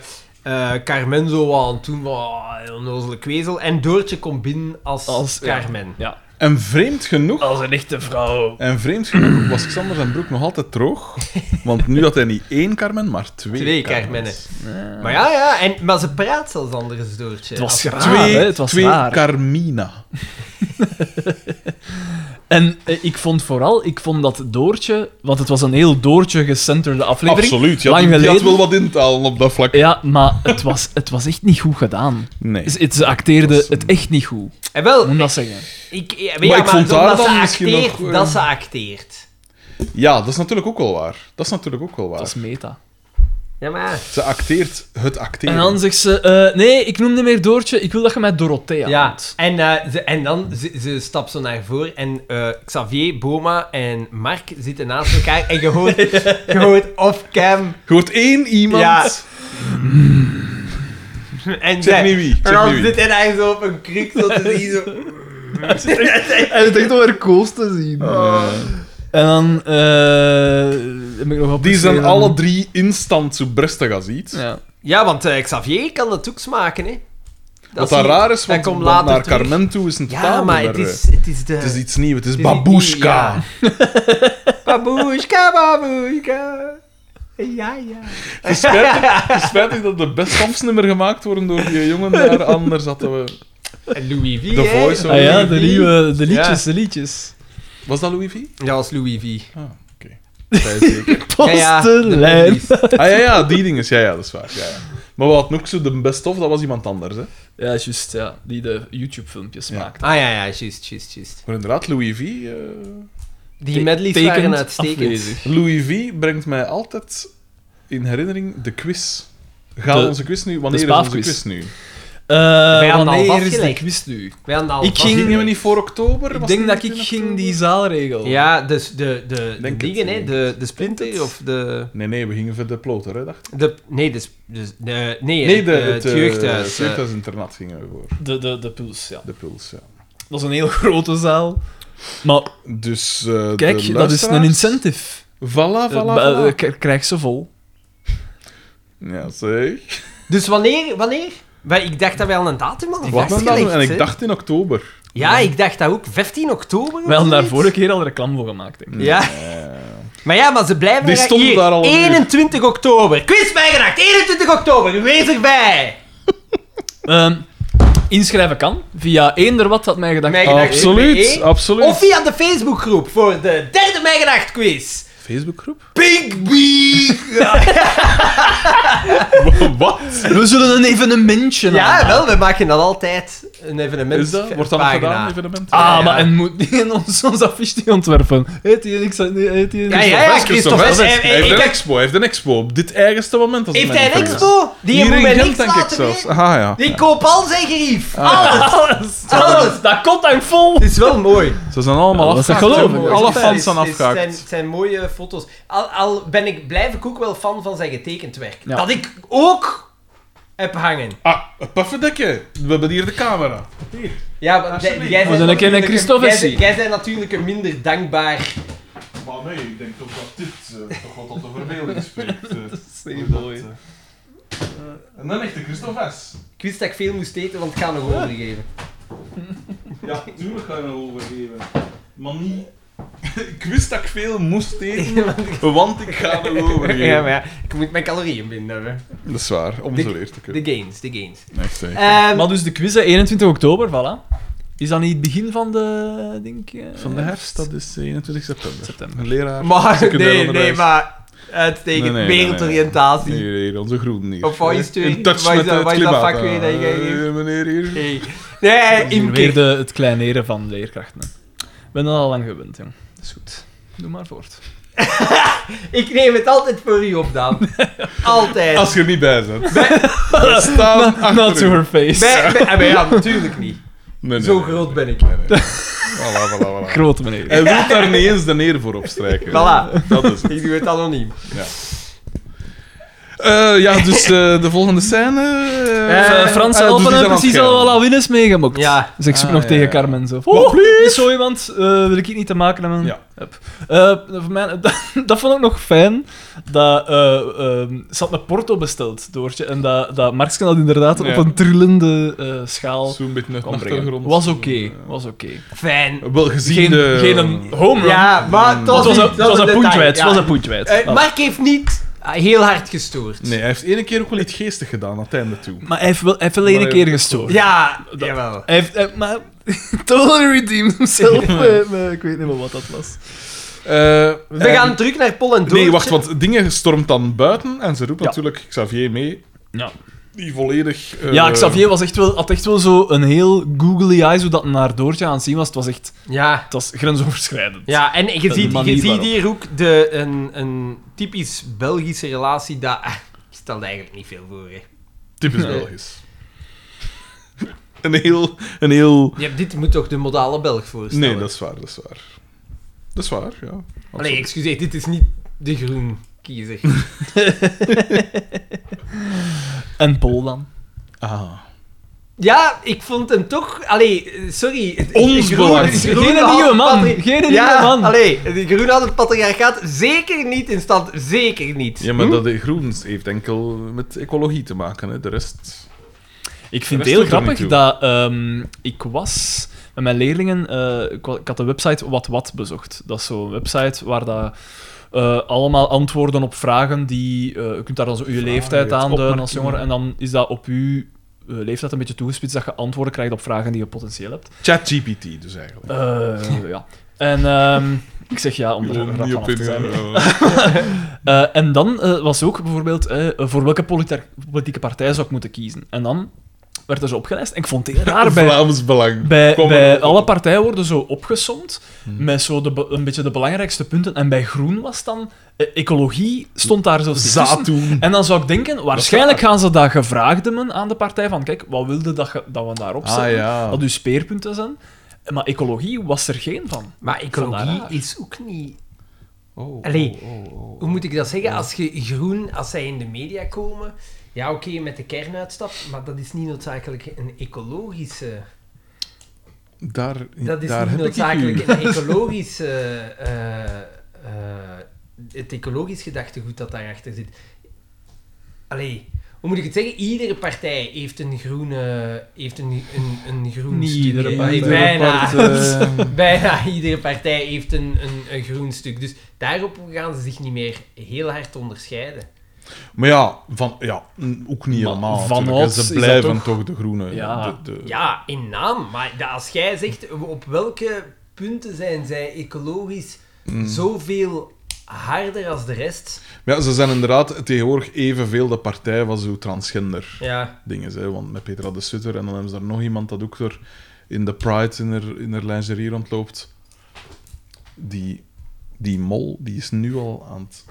S1: Carmen zo aan het doen van oh, een onnozele kwezel. En Doortje komt binnen als,
S2: Als- ja.
S1: Carmen.
S2: ja.
S3: En vreemd genoeg...
S2: Als een echte vrouw.
S3: En vreemd genoeg was Xander zijn broek nog altijd droog. Want nu had hij niet één Carmen, maar twee.
S1: Twee Carmennen. Maar ja, ja. En, maar ze praat zelfs anders, Doortje.
S2: Het was
S1: Als-
S2: raar,
S3: Twee,
S2: hè? Het was
S3: twee
S2: raar.
S3: Carmina.
S2: En eh, ik vond vooral, ik vond dat Doortje, want het was een heel Doortje-gecenterde aflevering.
S3: Absoluut. Je had,
S2: Lang
S3: je had
S2: geleden.
S3: wel wat in te halen op dat vlak.
S2: Ja, maar het was, het was echt niet goed gedaan.
S3: Nee.
S2: Ze- het- Ze acteerde
S3: Dat was-
S2: het echt niet goed. Ik
S1: En wel,
S2: moet dat zeggen.
S1: ik, ja, maar,
S3: Maar
S1: ja,
S3: ik
S1: maar
S3: vond daar
S1: omdat
S3: dan
S1: ze
S3: misschien
S1: acteert,
S3: nog, eh,
S1: dat ze acteert.
S3: Ja, dat is natuurlijk ook wel waar. Dat is natuurlijk ook wel
S2: Het
S3: waar.
S2: was meta.
S1: Ja, maar...
S3: Ze acteert het acteren.
S2: En dan zegt ze, eh, nee, ik noem niet meer Doortje, ik wil dat je mij Dorothea
S1: Ja,
S2: noemt.
S1: en, eh, ze, en dan ze, ze stapt zo naar voren en eh, Xavier, Boma en Mark zitten naast elkaar en je hoort, je hoort off-cam
S3: Je hoort één iemand.
S1: Ja.
S3: Ik
S1: en
S3: Zeg
S1: zij-
S3: niet wie. ik
S1: En
S3: Zeg
S1: dan
S3: niet wie.
S1: zit hij daar zo op een kruk zo te zien. Zo.
S2: En het echt om haar koos te zien.
S1: Ah.
S2: En dan eh heb ik nog wat
S3: Die zijn
S2: beschreven.
S3: alle drie instant zo brestig als iets.
S2: Ja.
S1: Ja, want eh, Xavier kan dat ook smaken, hè.
S3: Wat
S1: zie
S3: dat
S1: je-
S3: raar is,
S1: dat
S3: want
S1: komt
S3: want
S1: later
S3: naar
S1: terug.
S3: Carmen toe is een totaal
S1: Ja, maar
S3: ander,
S1: het is, het is de...
S3: eh, het is iets nieuws. Het is
S1: het is-
S3: babushka.
S1: ja. Babushka, babushka. Ja, ja.
S3: Het is spijtig- het is spijtig dat de best Hofs nummer gemaakt worden door die jongen daar. Anders hadden we...
S1: En Louis V,
S3: The
S1: hè.
S3: Voice,
S2: Ah ja, de,
S1: Louis V.
S2: nieuwe, de liedjes, de liedjes.
S3: Was dat Louis V?
S1: Ja, als Louis V.
S3: Ah, oké. Zij zeker.
S1: Ja, ja,
S2: Vaste
S1: de
S2: lijn.
S1: Bentleys.
S3: Ah ja, ja, die ding is. Ja, ja, dat is waar. Ja, ja. Maar we hadden ook zo de best of, dat was iemand anders. Hè.
S2: Ja, juist, ja. Die de YouTube-filmpjes
S3: Ja.
S2: maakt.
S1: Ah ja, ja, juist, juist, juist.
S3: Maar inderdaad, Louis V... eh,
S1: Die medleys
S2: Tekend
S1: waren uitstekend.
S2: afwezig.
S3: Louis V brengt mij altijd in herinnering de quiz. Gaan
S2: De-
S3: onze quiz nu? Wanneer is onze
S2: spaafquiz.
S3: quiz nu?
S2: Eh
S1: hadden al
S2: wanneer is de
S1: vastgelegd.
S2: quiz nu?
S1: Wij hadden al
S2: Ik
S1: vast-
S2: ging-
S3: Ah, Gingen we niet voor oktober?
S2: Ik
S3: Was
S2: denk
S3: het
S2: dat
S3: niet
S2: ik
S3: in
S2: ging
S3: oktober?
S2: die zaalregel.
S1: Ja, dus de, de, de
S3: Denk
S1: dingen,
S3: het.
S1: hè. De, de splinter of de...
S3: Nee, nee, we gingen voor de ploter, hè, dacht ik.
S1: de nee, de, sp- dus de, nee,
S3: Nee, de,
S1: eh,
S3: het,
S1: het jeugdhuis. eh.
S3: Het jeugdhuisinternat gingen we voor.
S2: De, de, de puls, ja.
S3: De puls, ja.
S2: Dat is een heel grote zaal. Maar
S3: Dus eh, de
S2: kijk, dat is een
S3: luisteraars-
S2: incentive. Eh,
S3: Voilà, voilà,
S2: ba- eh,
S3: voilà.
S2: k- Krijg ze vol.
S3: Ja, zeg.
S1: Dus wanneer? wanneer? Wij- Ik dacht dat wij al een datum hadden
S3: Wat dan?
S1: vastgelegd.
S3: En
S1: hè.
S3: ik dacht in oktober.
S1: Ja, ik dacht dat ook. 15 oktober of
S2: We hadden daar
S1: zoiets?
S2: vorige keer al reclame voor gemaakt, denk ik.
S1: Ja. Maar ja, maar ze blijven
S3: Die
S1: er-
S3: stonden
S1: hier,
S3: daar al een uur.
S1: 21 oktober. Quiz bijgedacht. 21 oktober. Wees erbij.
S2: Ehm, inschrijven kan via
S1: Mij
S2: eenderwat.mijgedacht.nl.
S1: gedacht.
S3: Absoluut,
S1: PE.
S3: absoluut.
S1: Of via de Facebookgroep voor de derde Mijgedacht quiz.
S3: Facebookgroep?
S1: Big Bee.
S2: Oh.
S3: Wat?
S2: We zullen een evenementje
S1: Ja,
S2: aanmaken.
S1: wel. We maken dat altijd. Een evenement.
S3: Is dat? Wordt dat nog
S1: pagina.
S3: gedaan, evenement?
S2: Ah,
S1: Ja, ja.
S2: maar en moet die ons, ons affiche die ontwerpen? Heet die niks aan... Heet die
S1: Ja,
S2: niks
S1: ja,
S2: aan-
S1: ja.
S3: Christophe,
S1: Christophe,
S3: Christophe,
S1: eh, eh,
S3: Hij heeft
S1: ik
S3: een
S1: heb-
S3: expo, hij heeft een expo. Op dit eigenste moment. Als ik
S1: Heeft
S3: me
S1: hij
S3: niet
S1: een
S3: vergis.
S1: expo? Die
S3: Hier
S1: moet
S3: in
S1: bij
S3: Gent,
S1: niks
S3: denk ik
S1: laten
S3: zelfs.
S1: weten.
S3: Aha, ja.
S1: Die koopt al zijn gerief.
S3: Ah.
S1: Alles.
S2: Alles!
S1: Alles.
S2: Dat komt uit vol!
S1: Het is wel mooi.
S3: Ze zijn allemaal
S2: Ja, dat is
S3: afgehaakt.
S2: geloof
S3: hè.
S2: ik.
S3: Alle
S2: Het is-
S3: fans zijn
S1: Het is- Het zijn,
S3: afgehaakt.
S1: het zijn mooie foto's. Al, al ben ik, blijf ik ook wel fan van zijn getekend werk.
S2: Ja.
S1: Dat ik ook heb hangen.
S3: Ah, een puffendekje. We hebben hier de camera. Hier.
S1: Ja, maar jij-
S3: Alsjeblieft.
S1: jij
S3: We
S2: zijn
S1: bent
S2: een keer
S1: natuurlijk
S2: een Christophe
S1: jij-
S2: zien.
S1: Jij bent natuurlijk een minder dankbaar.
S3: Maar nee, ik denk toch dat dit eh, toch wel tot de verbeelding spreekt. eh,
S2: zeer
S3: hoe dat,
S2: mooi.
S3: eh, eh, en dan echt de Christophe S.
S1: Ik wist dat ik veel moest eten, want ik ga nog overgeven.
S3: Ja, tuurlijk ga je nog overgeven. Maar niet... ik wist dat ik veel moest eten, want ik ga nog overgeven.
S1: Ja, maar ja, ik moet mijn calorieën binnen hebben.
S3: Dat is waar, om
S1: De-
S3: zo leer te kunnen.
S1: De gains, de gains.
S3: Echt zeker.
S1: Ehm,
S2: Maar dus de quiz, hè, 21 oktober, voilà. Is dat niet het begin van de... Denk, je?
S3: Van de herfst, dat is 21 september.
S2: September.
S3: Een leraar.
S1: maar,
S3: secundair
S1: nee, nee,
S3: onderwijs.
S1: maar... Uitstekend,
S3: Nee, nee, nee, nee.
S1: wereldoriëntatie.
S3: Hier, hier, onze groen hier. Eh,
S1: Of wat is het weer?
S3: In touch
S1: Wat is
S3: met
S1: dat-
S3: het
S1: wat is dat
S3: klimaat.
S1: vak weer dat jij
S3: Eh,
S1: geeft?
S3: meneer hier.
S1: Hey. Nee,
S2: Weer
S1: Imke.
S2: de, het kleineren van leerkrachten. hè. Ik ben dat al lang gewend, jong. Dat is goed. Doe maar voort.
S1: Ik neem het altijd voor u op, Daan. Altijd.
S3: Als je er niet bij bent. We staan
S2: Not, not to
S3: achter u.
S2: her face.
S1: Oh, Bij, bij, ah, maar ja, natuurlijk niet.
S3: Nee, nee,
S1: Zo
S3: nee,
S1: groot
S3: nee,
S1: ben ik.
S3: nee, nee. Voilà, voilà, voilà.
S2: Grote meneer.
S3: Hij wil daar niet eens de neer voor opstrijken.
S1: Voilà.
S3: Dat is het.
S1: Ik doe het anoniem.
S3: Eh, ja, dus eh, de volgende scène...
S1: Eh,
S2: Eh, Frans Helpen heeft precies al wel
S3: af.
S2: al winnaars meegemokt.
S1: Ja.
S2: Dus ik zoek
S3: Ah,
S2: nog
S3: ja,
S2: tegen
S3: ja.
S2: Carmen zo.
S3: Wat,
S2: Oh,
S3: please?
S2: is zo iemand, eh, wil ik hier niet te maken hebben.
S3: Ja.
S2: Hup. Eh, voor mij, dat vond ik nog fijn, dat eh ehm, ze had een porto besteld, Doortje, en dat, dat Marksken dat inderdaad
S3: Ja.
S2: op een trillende eh, schaal
S3: Zo'n beetje
S2: kon
S3: naar de
S2: brengen.
S3: achtergrond. Eh,
S2: Was oké, was oké.
S1: Fijn.
S3: Wel gezien
S2: Geen,
S3: de...
S2: geen een home run.
S1: Ja, maar
S3: Mm.
S1: het
S2: het
S1: was,
S2: was
S1: niet-
S2: een, het was een
S1: detail,
S2: puntje kwijt,
S1: ja.
S2: het was een puntje kwijt.
S1: Eh,
S2: Voilà.
S1: Mark heeft niet ah, heel hard gestoord.
S3: Oh. Nee, hij heeft één keer ook wel iets geestig gedaan, aan het einde toe.
S2: Maar hij heeft wel, hij heeft wel één
S3: Maar-
S2: keer gestoord.
S1: Ja,
S2: Dat-
S1: jawel.
S2: Hij heeft, hij- maar totally redeemed himself. eh, maar ik weet niet meer wat dat was.
S3: Eh,
S1: We
S3: en-
S1: gaan terug naar Pol en Doortje.
S3: Nee, wacht, want dingen stormt dan buiten en ze roept
S2: Ja.
S3: natuurlijk Xavier mee,
S2: Ja.
S3: die volledig... eh,
S2: Ja, Xavier was echt wel, had echt wel zo een heel googly eye, zodat naar Doortje aan het zien was. Het was echt
S1: Ja.
S2: het was grensoverschrijdend.
S1: Ja, en je
S2: De
S1: ziet,
S2: manier
S1: je ziet
S2: waarop.
S1: hier ook de, een, een typisch Belgische relatie dat... ah, stelt eigenlijk niet veel voor, hè.
S3: Typisch
S1: Nee.
S3: Belgisch. Een heel... Een heel...
S1: Ja, dit moet toch de modale Belg voorstellen?
S3: Nee, dat is waar, dat is waar. Dat is waar, ja. Absoluut.
S1: Nee, excuseer, dit is niet de groen kiezer.
S2: En Paul dan.
S3: Ah.
S1: Ja, ik vond hem toch... Allee, sorry.
S3: Ons
S1: Groen-
S3: belang.
S1: Groen
S2: Geen
S1: had
S2: nieuwe
S1: het
S2: man.
S1: patri-
S2: Geen
S1: ja,
S2: nieuwe man.
S1: allee, de groen had het patriarchaat zeker niet in stand. Zeker niet.
S3: Ja, maar
S2: Hm?
S3: dat de groens heeft enkel met ecologie te maken, hè. De rest...
S2: Ik vind
S3: Dat
S2: het
S3: is
S2: heel
S3: toch er niet
S2: grappig dat ehm, ik was met mijn leerlingen. eh, ik, wa- ik had de website Wat Wat bezocht. Dat is zo'n website waar dat, eh, allemaal antwoorden op vragen die. eh, je kunt daar dan zo je
S3: Vragen,
S2: leeftijd aanduiden als
S3: opmerkingen.
S2: jongere. En dan is dat op je eh, leeftijd een beetje toegespitst dat je antwoorden krijgt op vragen die je potentieel hebt.
S3: ChatGPT dus eigenlijk.
S2: Eh, ja. En ehm, ik zeg ja, om er
S3: Gewoon
S2: rap
S3: niet
S2: vanaf
S3: op eh.
S2: te zijn.
S3: ingaan.
S2: Eh, en dan eh, was ook bijvoorbeeld eh, voor welke polita- politieke partij zou ik moeten kiezen. En dan werd er zo opgelijst. En ik vond het heel raar bij,
S3: Vlaams Belang.
S2: bij,
S3: Kom
S2: bij
S3: erop.
S2: alle partijen worden zo opgesomd met zo de, be- een beetje de belangrijkste punten. En bij Groen was dan eh, ecologie stond daar zo
S3: Zaaddoen.
S2: En dan zou ik denken, waarschijnlijk gaan ze dat gevraagd hebben aan de partij van kijk, wat wilde dat, ge- dat we daarop
S3: Ah,
S2: zetten?
S3: ja.
S2: Dat uw speerpunten zijn. Maar ecologie was er geen van.
S1: Maar
S2: Vond
S1: ecologie
S2: dat raar.
S1: is ook niet...
S3: Oh,
S1: Allee,
S3: oh, oh, oh.
S1: Hoe moet ik dat zeggen? Als je groen, als zij in de media komen... Ja, oké, met de kernuitstap, maar dat is niet noodzakelijk een ecologische...
S3: Daar,
S1: Dat is
S3: daar
S1: niet
S3: heb ik u.
S1: noodzakelijk een ecologisch... eh, eh, eh, het ecologisch gedachtegoed dat daarachter zit. Allee, hoe moet ik het zeggen? Iedere partij heeft een groene... Heeft een, een, een groen
S2: Niet
S1: stuk.
S2: iedere
S1: Eh,
S2: partij.
S1: Bijna.
S3: Apart, eh,
S1: Bijna iedere partij heeft een, een, een groen stuk. Dus daarop gaan ze zich niet meer heel hard onderscheiden.
S3: Maar ja, van, ja, mm, ook niet
S2: Maar
S3: helemaal.
S2: van
S3: natuurlijk,
S2: ouds
S3: hè.
S2: is
S3: Ze
S2: dat
S3: blijven
S2: toch-
S3: toch... de groene.
S2: Ja.
S3: de- de-
S1: Ja, in naam. Maar dat als jij zegt, op welke punten zijn zij ecologisch
S3: Mm.
S1: zoveel harder als de rest?
S3: Maar ja, ze zijn inderdaad tegenwoordig evenveel de partij van zo'n transgender
S1: Ja.
S3: dingen. Hè? Want met Petra de Sutter en dan hebben ze daar nog iemand dat ook er in de Pride in haar, in haar lingerie rondloopt. Die, die mol, die is nu al aan het,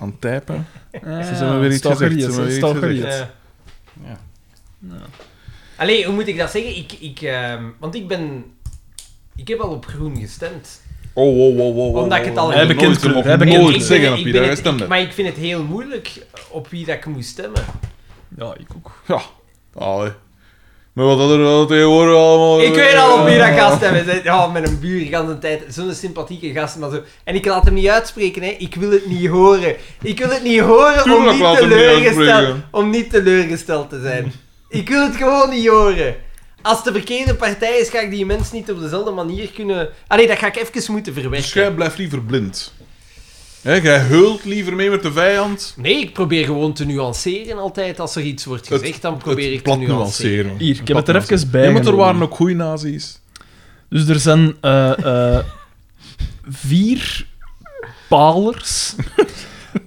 S3: aan het typen. Ze zijn maar weer iets gezegd, ze zijn maar weer iets gezegd.
S1: ja.
S3: Ja.
S1: Allee, hoe moet ik dat zeggen? Ik, ik, ehm, want ik ben... Ik heb al op groen gestemd.
S3: Oh, wow, wow, wow, wow.
S1: Omdat ik het
S3: wow,
S1: al
S3: wow.
S1: heb
S3: Nooit,
S2: bekend-
S3: ze mogen
S2: heb bekend-
S1: Ik
S3: nooit
S1: ben-
S3: zeggen
S1: ik
S3: op
S1: ben
S3: wie dat
S1: het-
S3: gestemd
S1: ik-
S3: hebt.
S1: Maar ik vind het heel moeilijk op wie dat ik moet stemmen.
S2: Ja, ik ook.
S3: Ja, allee. Maar wat dat er wel tegenwoordig allemaal... eh,
S1: Ik weet al op wie dat
S3: Ja.
S1: gast hebben. Zij- Ja, met een buur, de hele tijd. Zo'n sympathieke gast, maar zo. En ik laat hem niet uitspreken, hè. Ik wil het niet horen. Ik wil het niet horen om
S3: Tuurlijk
S1: niet,
S3: laat hem niet
S1: teleurgesteld,
S3: uitspreken.
S1: om niet teleurgesteld te zijn. Ik wil het gewoon niet horen. Als het de verkeerde partij is, ga ik die mensen niet op dezelfde manier kunnen... Allee, dat ga ik even moeten
S3: Dus
S1: verwerken.
S3: jij blijft liever blind. Hè, jij hult liever mee met de vijand.
S1: Nee, ik probeer gewoon te nuanceren altijd. Als er iets wordt
S3: Het-
S1: gezegd, dan probeer ik te
S3: plat
S1: nuanceren.
S3: nuanceren.
S2: Hier, ik heb
S3: Plat
S2: het er
S3: nuanceren.
S2: even bij
S3: Ja, maar er
S2: genomen.
S3: waren ook goede nazi's.
S2: Dus er zijn eh, eh, vier palers.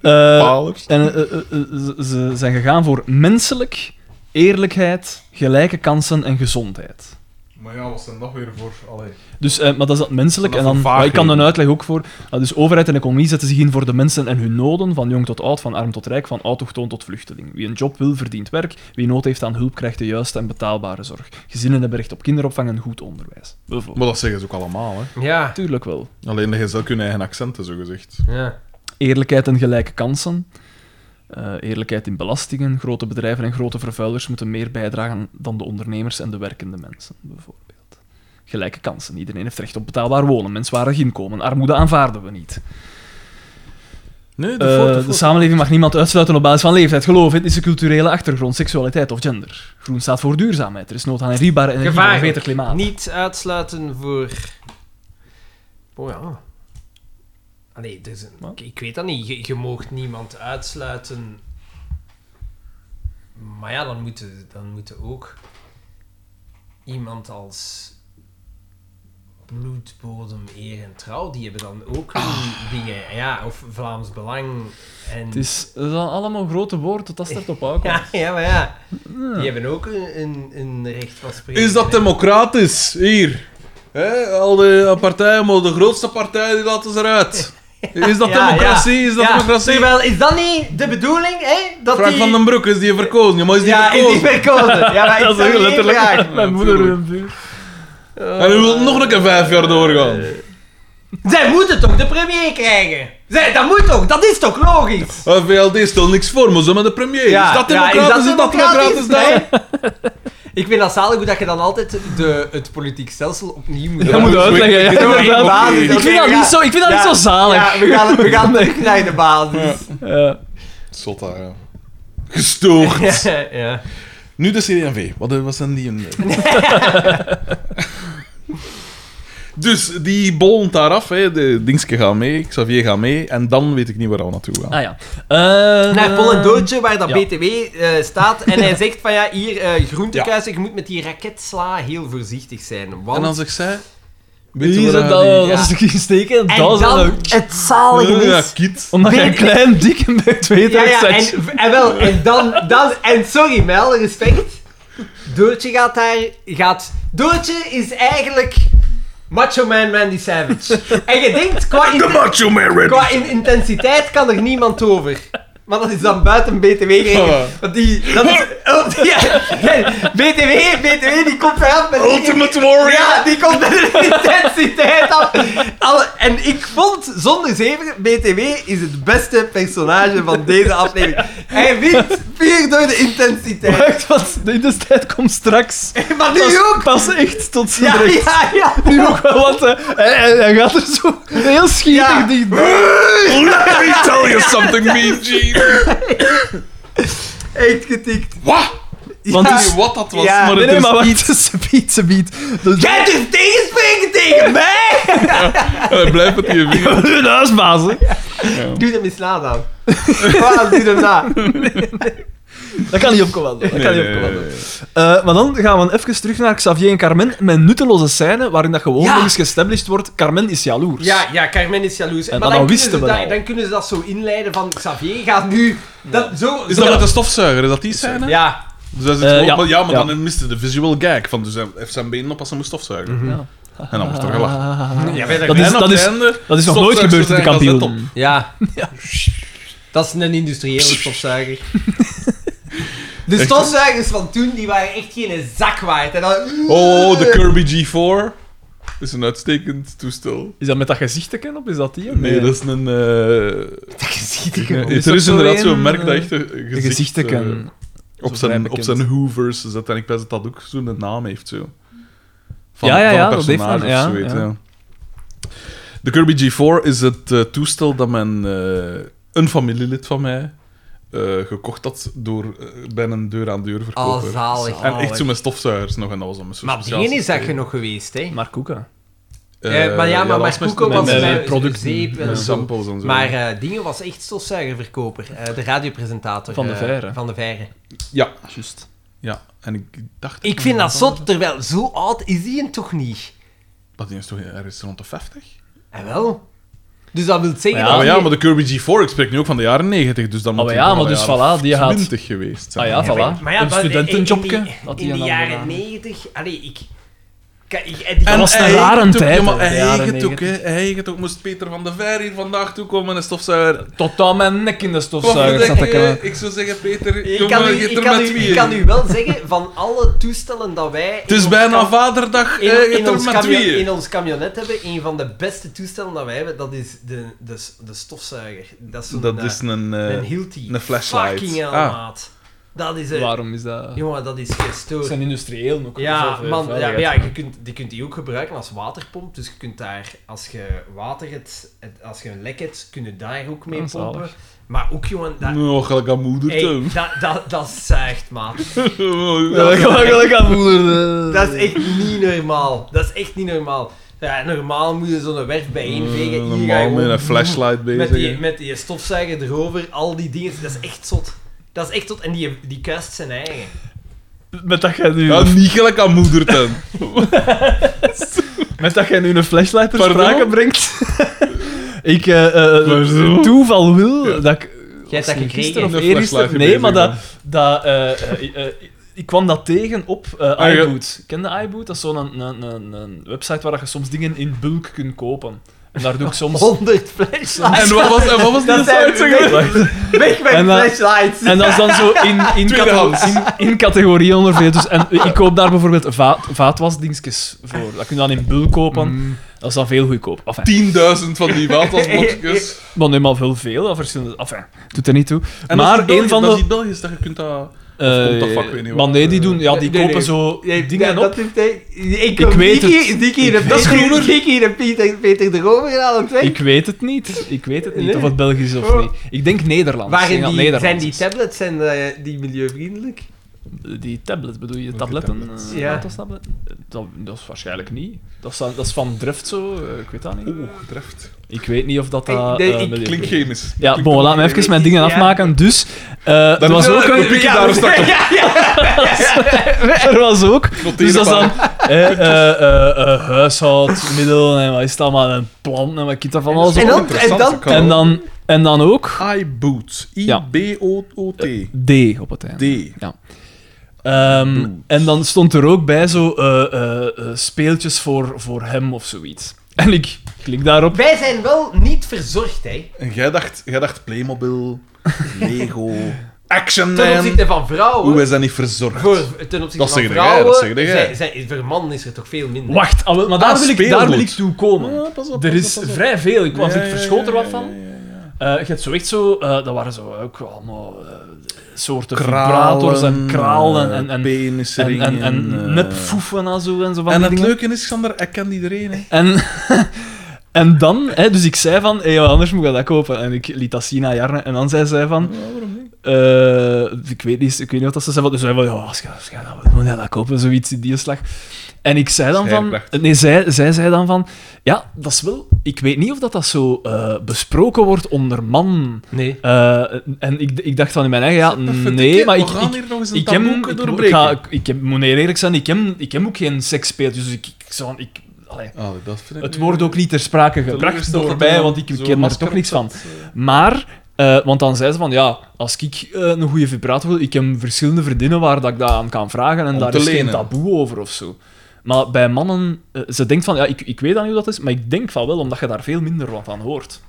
S2: Eh,
S3: Palers.
S2: En eh, eh, eh, ze- ze zijn gegaan voor menselijk, eerlijkheid, gelijke kansen en gezondheid.
S3: Maar ja, wat zijn dat weer voor... Allee.
S2: Dus, eh, maar dat is dat menselijk.
S3: Dat
S2: en
S3: is
S2: dan,
S3: een
S2: maar ik kan
S3: vaagheden.
S2: een uitleg ook voor. Ah, dus overheid en economie zetten zich in voor de mensen en hun noden, van jong tot oud, van arm tot rijk, van autochtoon tot vluchteling. Wie een job wil, verdient werk. Wie nood heeft aan hulp, krijgt de juiste en betaalbare zorg. Gezinnen hebben recht op kinderopvang en goed onderwijs. Bijvoorbeeld.
S3: Maar dat zeggen ze ook allemaal, hè.
S1: Ja,
S2: Natuurlijk wel.
S3: Alleen leggen ze elk hun eigen accenten, zo gezegd.
S1: ja.
S2: Eerlijkheid en gelijke kansen. Eh, eerlijkheid in belastingen. Grote bedrijven en grote vervuilers moeten meer bijdragen dan de ondernemers en de werkende mensen, bijvoorbeeld. Gelijke kansen. Iedereen heeft recht op betaalbaar wonen, menswaardig inkomen. Armoede aanvaarden we niet.
S3: Nee,
S2: Eh, de samenleving mag niemand uitsluiten op basis van leeftijd, geloof, etnische, culturele achtergrond, seksualiteit of gender. Groen staat voor duurzaamheid. Er is nood aan hernieuwbare energie voor een
S1: Gevaarlijk.
S2: beter klimaat.
S1: Niet uitsluiten voor. Oh ja. Allee, er is een-
S2: Wat?
S1: ik, ik weet dat niet. Je, je mag niemand uitsluiten. Maar ja, dan moeten dan moeten ook iemand als bloedbodem, eer en trouw, die hebben dan ook hun dingen. Ja, of Vlaams Belang en...
S2: Ah. Het is dat zijn allemaal grote woorden tot dat start op aankomt.
S1: Ja, ja, maar ja. Die hebben ook een, een, een recht van spreken.
S3: Is dat
S1: hè.
S3: democratisch? Hier. Hè, al de partijen, maar de grootste partij, die laten ze eruit. Is dat
S1: Ja,
S3: democratie? Is dat
S1: Ja,
S3: democratie?
S1: Terwijl, is dat niet de bedoeling, hè? Dat
S3: Frank
S1: die...
S3: van den Broek is die verkozen. Ja, maar is die
S1: Ja, is
S3: verkozen?
S1: die verkozen. Ja, maar ik zou niet vragen.
S2: Mijn moeder
S3: tuurlijk.
S2: en buur.
S3: En u wilt nog een keer vijf jaar doorgaan.
S1: Eh. Zij moeten toch de premier krijgen? Zij, dat moet toch? Dat is toch logisch?
S3: Eh, VLD stelt niks voor, maar zo met de premier. is dat
S1: ja,
S3: democratisch? is dat democratisch?
S1: Nee. Ik vind dat zalig hoe dat je dan altijd de, het politiek stelsel opnieuw moet
S2: Dat moet je
S3: dat is
S2: uitleggen,
S3: goed.
S2: ja,
S3: Ik doe
S2: inderdaad. Ik
S3: geen basis,
S1: oké,
S2: vind dat
S1: we
S2: niet
S1: gaan-
S2: zo, ik vind dat
S1: Ja,
S2: niet zo zalig.
S1: Ja, we gaan, we gaan terug naar de basis.
S2: Eh,
S3: Zot daar, ja. Gestoord.
S1: Ja, ja.
S3: Nu de CD&V. Wat, eh, wat zijn die? eh? Een... dus die bollent daar af. Hè. De Dingske gaat mee, Xavier gaat mee. En dan weet ik niet waar we naartoe gaan.
S2: ah ja. Eh,
S1: Naar Pollendoortje, waar dat
S2: ja.
S1: BTW eh, staat. En hij zegt van ja, hier eh groentekuisen, je moet met die raketsla heel voorzichtig zijn. Want
S3: En dan zegt zij... Weet
S2: Wie
S3: je
S2: is
S3: waar
S2: dat, dat
S3: dat...
S1: ja.
S2: is geen steken?
S1: En
S2: Dat is
S1: dan
S2: een-
S1: het zalige
S3: Ja,
S1: is...
S3: kiet.
S2: Omdat je een
S1: Ben-
S2: klein, dik en bij twee
S1: Ja, ja,
S2: zijn.
S1: en, en wel, en dan, dan... En sorry, met alle respect. Doortje gaat daar... Gaat, Doortje is eigenlijk... Macho Man Randy Savage. En je denkt, qua,
S3: De
S1: in-
S3: macho man Randy.
S1: qua in- intensiteit kan er niemand over. Maar dat is dan buiten BTW
S3: Ja.
S1: geregeld. Want die... Dat is, oh, ja, ja, BTW, BTW, die komt eraf met...
S3: Ultimate warrior.
S1: Ja, die komt met een intensiteit af. Alle- en ik vond, zonder zeven, BTW is het beste personage van deze aflevering. Hij wint puur door de intensiteit.
S2: Wacht, want de intensiteit komt straks.
S1: Maar nu
S2: Pas,
S1: ook!
S2: pas echt tot zijn
S1: Ja,
S2: recht.
S1: ja, ja.
S2: Nu ook wel, want eh, hij, hij- hij gaat er zo heel schietig
S1: Ja.
S2: dichtbij.
S3: Let me tell you something, mean Gene.
S1: Echt getikt.
S3: Wat?
S2: Want
S1: Ja.
S2: het is-
S3: Wat dat was.
S1: Ja,
S3: maar
S2: Nee,
S3: het
S2: nee,
S3: is
S2: maar wacht, ze biedt, ze biedt. Dus-
S1: Jij durft tegenspreken tegen mij!
S3: Hij blijft met die vinger.
S2: Hun huisbaas, hè.
S1: Doe hem eens na dan. Waarom doe hem na?
S2: Dat kan niet op commando. Dat kan niet op
S3: Nee, nee,
S2: commando.
S3: nee, nee.
S2: Eh, maar dan gaan we even terug naar Xavier en Carmen met een nutteloze scène waarin dat gewoon
S1: Ja.
S2: nog eens gestablished wordt. Carmen is jaloers.
S1: Ja, ja, Carmen is jaloers.
S2: En
S1: maar
S2: dan
S1: dan,
S2: wisten
S1: kunnen
S2: we
S1: ze
S2: dat
S1: dat,
S2: al.
S1: dan kunnen ze dat zo inleiden van Xavier gaat nu... Dat, zo,
S3: Is
S1: zo-
S3: dat met de stofzuiger? Is dat die scène?
S1: Ja.
S3: Dus hij zit
S2: Eh,
S3: gewoon-
S2: ja.
S3: maar, ja, maar
S2: Ja.
S3: dan miste de visual gag. Van, dus hij heeft zijn benen op als hij moest stofzuigen.
S2: Ja.
S3: En dan wordt er gelachen.
S2: Ah.
S1: Ja,
S2: Mhm.
S1: verder-
S2: Dat is-
S3: En op het
S2: is-
S3: einde,
S2: Dat is nog nooit
S3: stofzuigers
S2: gebeurd in de
S3: zijn gazet op.
S2: kampioen.
S1: Ja. Dat is een industriële stofzuiger. De
S3: Echt?
S1: stofzuigers van toen die waren echt geen zak waard. En dan,
S3: Oh, de Kirby G4 is een uitstekend toestel.
S2: Is dat met dat gezichtje op? Is dat die?
S3: Nee, dat is een... eh,
S1: Dat gezicht ik
S3: eh,
S1: wel.
S2: is
S3: er
S2: ook
S3: is
S2: zo
S3: inderdaad
S2: een,
S3: zo'n merk dat
S2: eh,
S3: echt een gezicht...
S2: Gezichtje.
S3: eh,
S2: vrij
S3: Op zijn,
S2: bekend.
S3: op zijn Hoovers zet en ik weet dat dat ook zo'n naam heeft. Zo.
S2: Ja, ja, ja,
S3: een
S2: dat heeft
S3: personage
S2: een-
S3: of
S2: ja,
S3: zoiets,
S2: ja.
S3: ja. De Kirby G4 is het eh, toestel dat men, eh, een familielid van mij eh, gekocht had door, eh, bij een deur-aan-deur
S1: Oh,
S3: verkoper.
S1: zalig.
S3: en echt zo met stofzuigers nog en dat was dan met zo'n
S1: Maar op
S3: speciaal
S1: die is dat
S3: systeem.
S1: genoeg geweest, hè?
S2: Maar koeken.
S1: Eh,
S3: Eh,
S1: maar ja, maar
S3: dat
S1: met
S3: was
S1: Koeko
S2: met-
S1: was
S2: met
S1: bij
S2: producten,
S1: zeep en
S3: met
S1: zo.
S3: eh, samples en zo.
S1: Maar eh, Dingen was echt stofzuigerverkoper. eh, de radiopresentator.
S2: Van de
S1: eh,
S2: Veire.
S1: van de Veire.
S3: Ja,
S2: Juist.
S3: ja. En ik dacht...
S1: Ik vind dat zot, terwijl zo oud is hij hem toch niet?
S3: Maar die is toch ergens rond de 50?
S1: En Eh, wel. Dus dat wil zeggen
S2: Ja,
S1: dat...
S3: Ah, maar ja,
S1: die-
S3: maar de Kirby G4, ik spreek nu ook van de jaren 90, dus dan
S2: Ah,
S3: moet
S2: maar
S3: hij
S2: ja,
S3: toch
S2: maar
S3: al
S2: dus
S3: jaren
S2: voilà, die gaat...
S3: 20 geweest zijn.
S2: Ah ja, voilà.
S1: maar ja,
S2: een
S1: dat-
S2: studentenjobje.
S1: In, die-
S2: had
S1: in
S2: die
S1: de
S2: aan
S1: jaren
S2: gedaan.
S1: 90... Allee, ik... Kijk, ik en
S2: Dat
S1: die-
S2: was een
S3: hij
S2: rare
S3: het ook,
S2: tijd,
S3: Ja, maar
S2: hè,
S3: hij
S2: de jaren
S3: het ook, hè.
S2: 90.
S3: Hij het ook. Moest Peter van der Veer hier vandaag toe komen en stofzuiger.
S2: Tot aan mijn nek in de
S3: Wat
S2: stofzuiger zat
S3: verdenk
S2: ik.
S3: je?
S2: eh.
S3: Ik zou zeggen, Peter,
S1: ik
S3: jongen,
S1: kan, u,
S3: je hebt
S1: ik,
S3: er
S1: kan
S3: met
S1: u,
S3: tweeën.
S1: ik kan u wel zeggen, van alle toestellen dat wij...
S3: Het is bijna vaderdag, eh,
S1: In,
S3: je
S1: in
S3: hebt er
S1: ons
S3: met
S1: camio-
S3: tweeën.
S1: in ons camionet hebben, een van de beste toestellen dat wij hebben, dat is de, de, s- de stofzuiger. Dat is zo'n
S3: Dat
S1: eh,
S3: is een... eh,
S1: een Hilti.
S3: een flashlight.
S1: Fucking hell,
S3: Ah.
S1: maat. Dat is... eh,
S2: Waarom is dat?
S1: jongen, dat is
S2: Het
S1: gestoord.
S2: zijn industrieel ook.
S1: Ja,
S2: dus, eh,
S1: man, ja, maar ja,
S2: veiligheid.
S1: je kunt, je kunt die ook gebruiken als waterpomp. Dus je kunt daar, als je water hebt, het- als je een lek hebt, kun je daar ook mee
S2: Ah, zalig.
S1: pompen. Maar ook, jongen, dat,
S3: Nou, gelijk aan moeder
S1: hey,
S3: toe.
S1: dat, dat, dat zuigt, maat.
S2: Ja, ik ga gelijk aan moeder.
S1: Dat is echt niet normaal. Dat is echt niet normaal. Ja, normaal moet je zo'n werf bijeenvegen. Hier ga je
S3: eh, Mm, Normaal met
S1: gewoon
S3: een flashlight bezig.
S1: met die,
S3: hè.
S1: met die stofzuiger erover, al die dingen. Dat is echt zot. Dat is echt zot. En die, die kuist zijn eigen.
S2: Met dat jij nu,
S3: Ja, niet gelijk aan moeder toe.
S2: met dat jij nu een flashlight ter
S3: Pardon?
S2: sprake brengt. ik eh, eh,
S3: Pardon?
S2: toeval wil
S3: Ja.
S2: dat ik...
S1: Jij hebt dat
S2: was het
S1: gekregen?
S2: gisteren of
S3: Een
S2: eergisteren?
S3: flashlight
S2: Nee,
S3: bezig
S2: maar dat...
S3: ben.
S2: dat eh, eh, eh, ik kwam dat tegen op eh,
S3: Ah, ja.
S2: iBoot. Ken je iBoot? Dat is zo'n een, een, een, een website waar je soms dingen in bulk kunt kopen. En daar doe ik soms...
S1: 100 flashlights.
S3: En wat was, en wat was die
S1: Oh, Dat zijn
S3: site? zeg maar?
S1: Weg met
S2: En dan-
S1: flashlights.
S2: En dat is dan zo in, in,
S3: Tweedehands.
S2: cate- in, in categorieën onderverdeeld. Dus, en ik koop daar bijvoorbeeld va vaatwasdingetjes voor. Dat kun je dan in bulk kopen.
S3: Mm.
S2: Dat is dan veel goedkoop. Enfin,
S3: 10.000 van die waterpotjes.
S2: maar nee, maar veel, veel. dat verschillende, enfin, doet er niet toe.
S3: En dat is in
S2: maar
S3: België-
S2: een van
S3: Dat is
S2: de...
S3: in België, dat je kunt dat...
S2: eh,
S3: komt dat vak, weet niet
S2: maar
S3: wat.
S2: nee, die, doen, ja,
S1: Nee,
S2: die
S1: nee,
S2: kopen
S1: nee.
S2: zo
S1: Jij-
S2: dingen
S1: dat-
S2: op.
S1: dat heeft hij- ik,
S2: Ik weet het.
S1: Dik hier een
S2: Dat is
S1: Peter-
S2: groener.
S1: dik hier een Peter, Peter erover gedaan op twee.
S2: Ik weet het niet. Ik weet het niet
S1: Nee.
S2: of het Belgisch is of
S1: Oh.
S2: niet. Ik denk Nederlands. Ik denk
S1: Waarin
S2: dat
S1: die, zijn
S2: Nederlands
S1: die
S2: is.
S1: tablets zijn eh, die milieuvriendelijk?
S2: Die tablet bedoel je?
S3: Welke
S2: Tabletten?
S3: tablets?
S2: eh,
S1: Ja.
S2: laptopstabletten? Dat, dat is waarschijnlijk niet. Dat is, dat is van drift zo, eh, ik weet dat niet.
S3: Oeh, Oh, treft.
S2: Ik weet niet of dat...
S1: Ik-
S2: dat
S1: nee,
S2: eh,
S1: ik-
S2: milieu-
S3: Klinkt chemisch.
S2: Ja, bon, laat me even mijn dingen
S1: Ja.
S2: afmaken. Dus, eh, er, was ook
S3: een
S2: een,
S3: pikje daar een stak op.
S2: er was ook...
S3: Noteren
S2: Dus dat is dan
S3: van.
S2: eh, eh, eh, eh, huishoudmiddelen en wat is dat allemaal, en planten en wat kind dat van alles
S1: En
S2: op.
S1: dan, en dan,
S3: Interessant,
S2: En dan, en dan ook
S3: iBoot.
S2: Ja.
S3: I-B-O-O-T.
S2: D op het einde.
S3: D.
S2: Ehm, en dan stond er ook bij zo eh, eh, eh, speeltjes voor, voor hem of zoiets. En ik klik daarop.
S1: wij zijn wel niet verzorgd, hè.
S3: En jij dacht, jij dacht Playmobil, Lego, Action
S1: Ten
S3: Man.
S1: opzichte van vrouwen...
S3: Hoe is dat niet verzorgd?
S1: voor- ten opzichte
S3: Dat
S1: van
S3: zeg jij,
S1: vrouwen...
S3: dat zeg jij.
S1: Zij, zij, voor mannen is er toch veel minder.
S2: Wacht, ah, wel, maar daar,
S3: Ah,
S2: wil ik, daar wil
S3: speelgoed.
S2: ik toe komen.
S3: Ah, pas op,
S2: Er
S3: pas
S2: is
S3: op, pas op.
S2: vrij veel. Ik,
S3: Ja,
S2: was ik
S3: ja,
S2: verschoot er
S3: ja,
S2: wat
S3: ja,
S2: van.
S3: ja, ja, ja.
S2: Eh, je hebt zo echt zo... eh, dat waren zo ook allemaal eh, soorten vibrators
S3: Kralen,
S2: en kralen en... en en,
S3: penisringen.
S2: en, en
S3: eh.
S2: nepfoeven en zo en zo van
S3: En
S2: die
S3: het
S2: dingen.
S3: leuke is, Sander, ik ken iedereen. Hè.
S2: En, en dan, hè, dus ik zei van, hé, anders moet ik dat kopen. En ik liet dat zien aan Jarne. En dan zei zij van, eh, ik, weet niet, ik weet niet wat dat ze zei. van- Dus zij van, ja, als je als je dat wilt, moet je dat kopen, zoiets in die slag. En ik zei dan van,
S3: Schijnkracht.
S2: nee, zij, zij zei dan van, ja, dat is wel, ik weet niet of dat, dat zo eh, besproken wordt onder man.
S1: Nee.
S2: Eh, en ik, ik dacht van in mijn eigen, ja, nee, maar ik,
S3: We gaan
S2: ik,
S3: hier nog eens een
S2: ik heb,
S3: taboe
S2: ik, ik,
S3: doorbreken.
S2: ga, ik, ik heb, moet heel eerlijk zijn, ik heb, ik heb ook geen seksspeeltjes, dus ik, ik zou, ik, allee,
S3: Ah, dat vind ik
S2: het
S3: nu-
S2: wordt ook niet ter sprake gebracht
S3: Teleurgesteld
S2: door
S3: dat
S2: mij,
S3: er
S2: want ik
S3: zo'n
S2: ken er
S3: masker
S2: toch niks
S3: op
S2: van.
S3: zat.
S2: Maar, eh, want dan zei ze van, ja, als ik eh, een goede vibrator wil, ik heb verschillende vriendinnen waar dat ik dat aan kan vragen en
S3: Om
S2: daar
S3: te
S2: is geen
S3: lenen.
S2: taboe over of zo. Maar bij mannen, eh, ze denkt van, ja, ik, ik weet dan niet hoe dat is, maar ik denk van wel, omdat je daar veel minder wat aan hoort.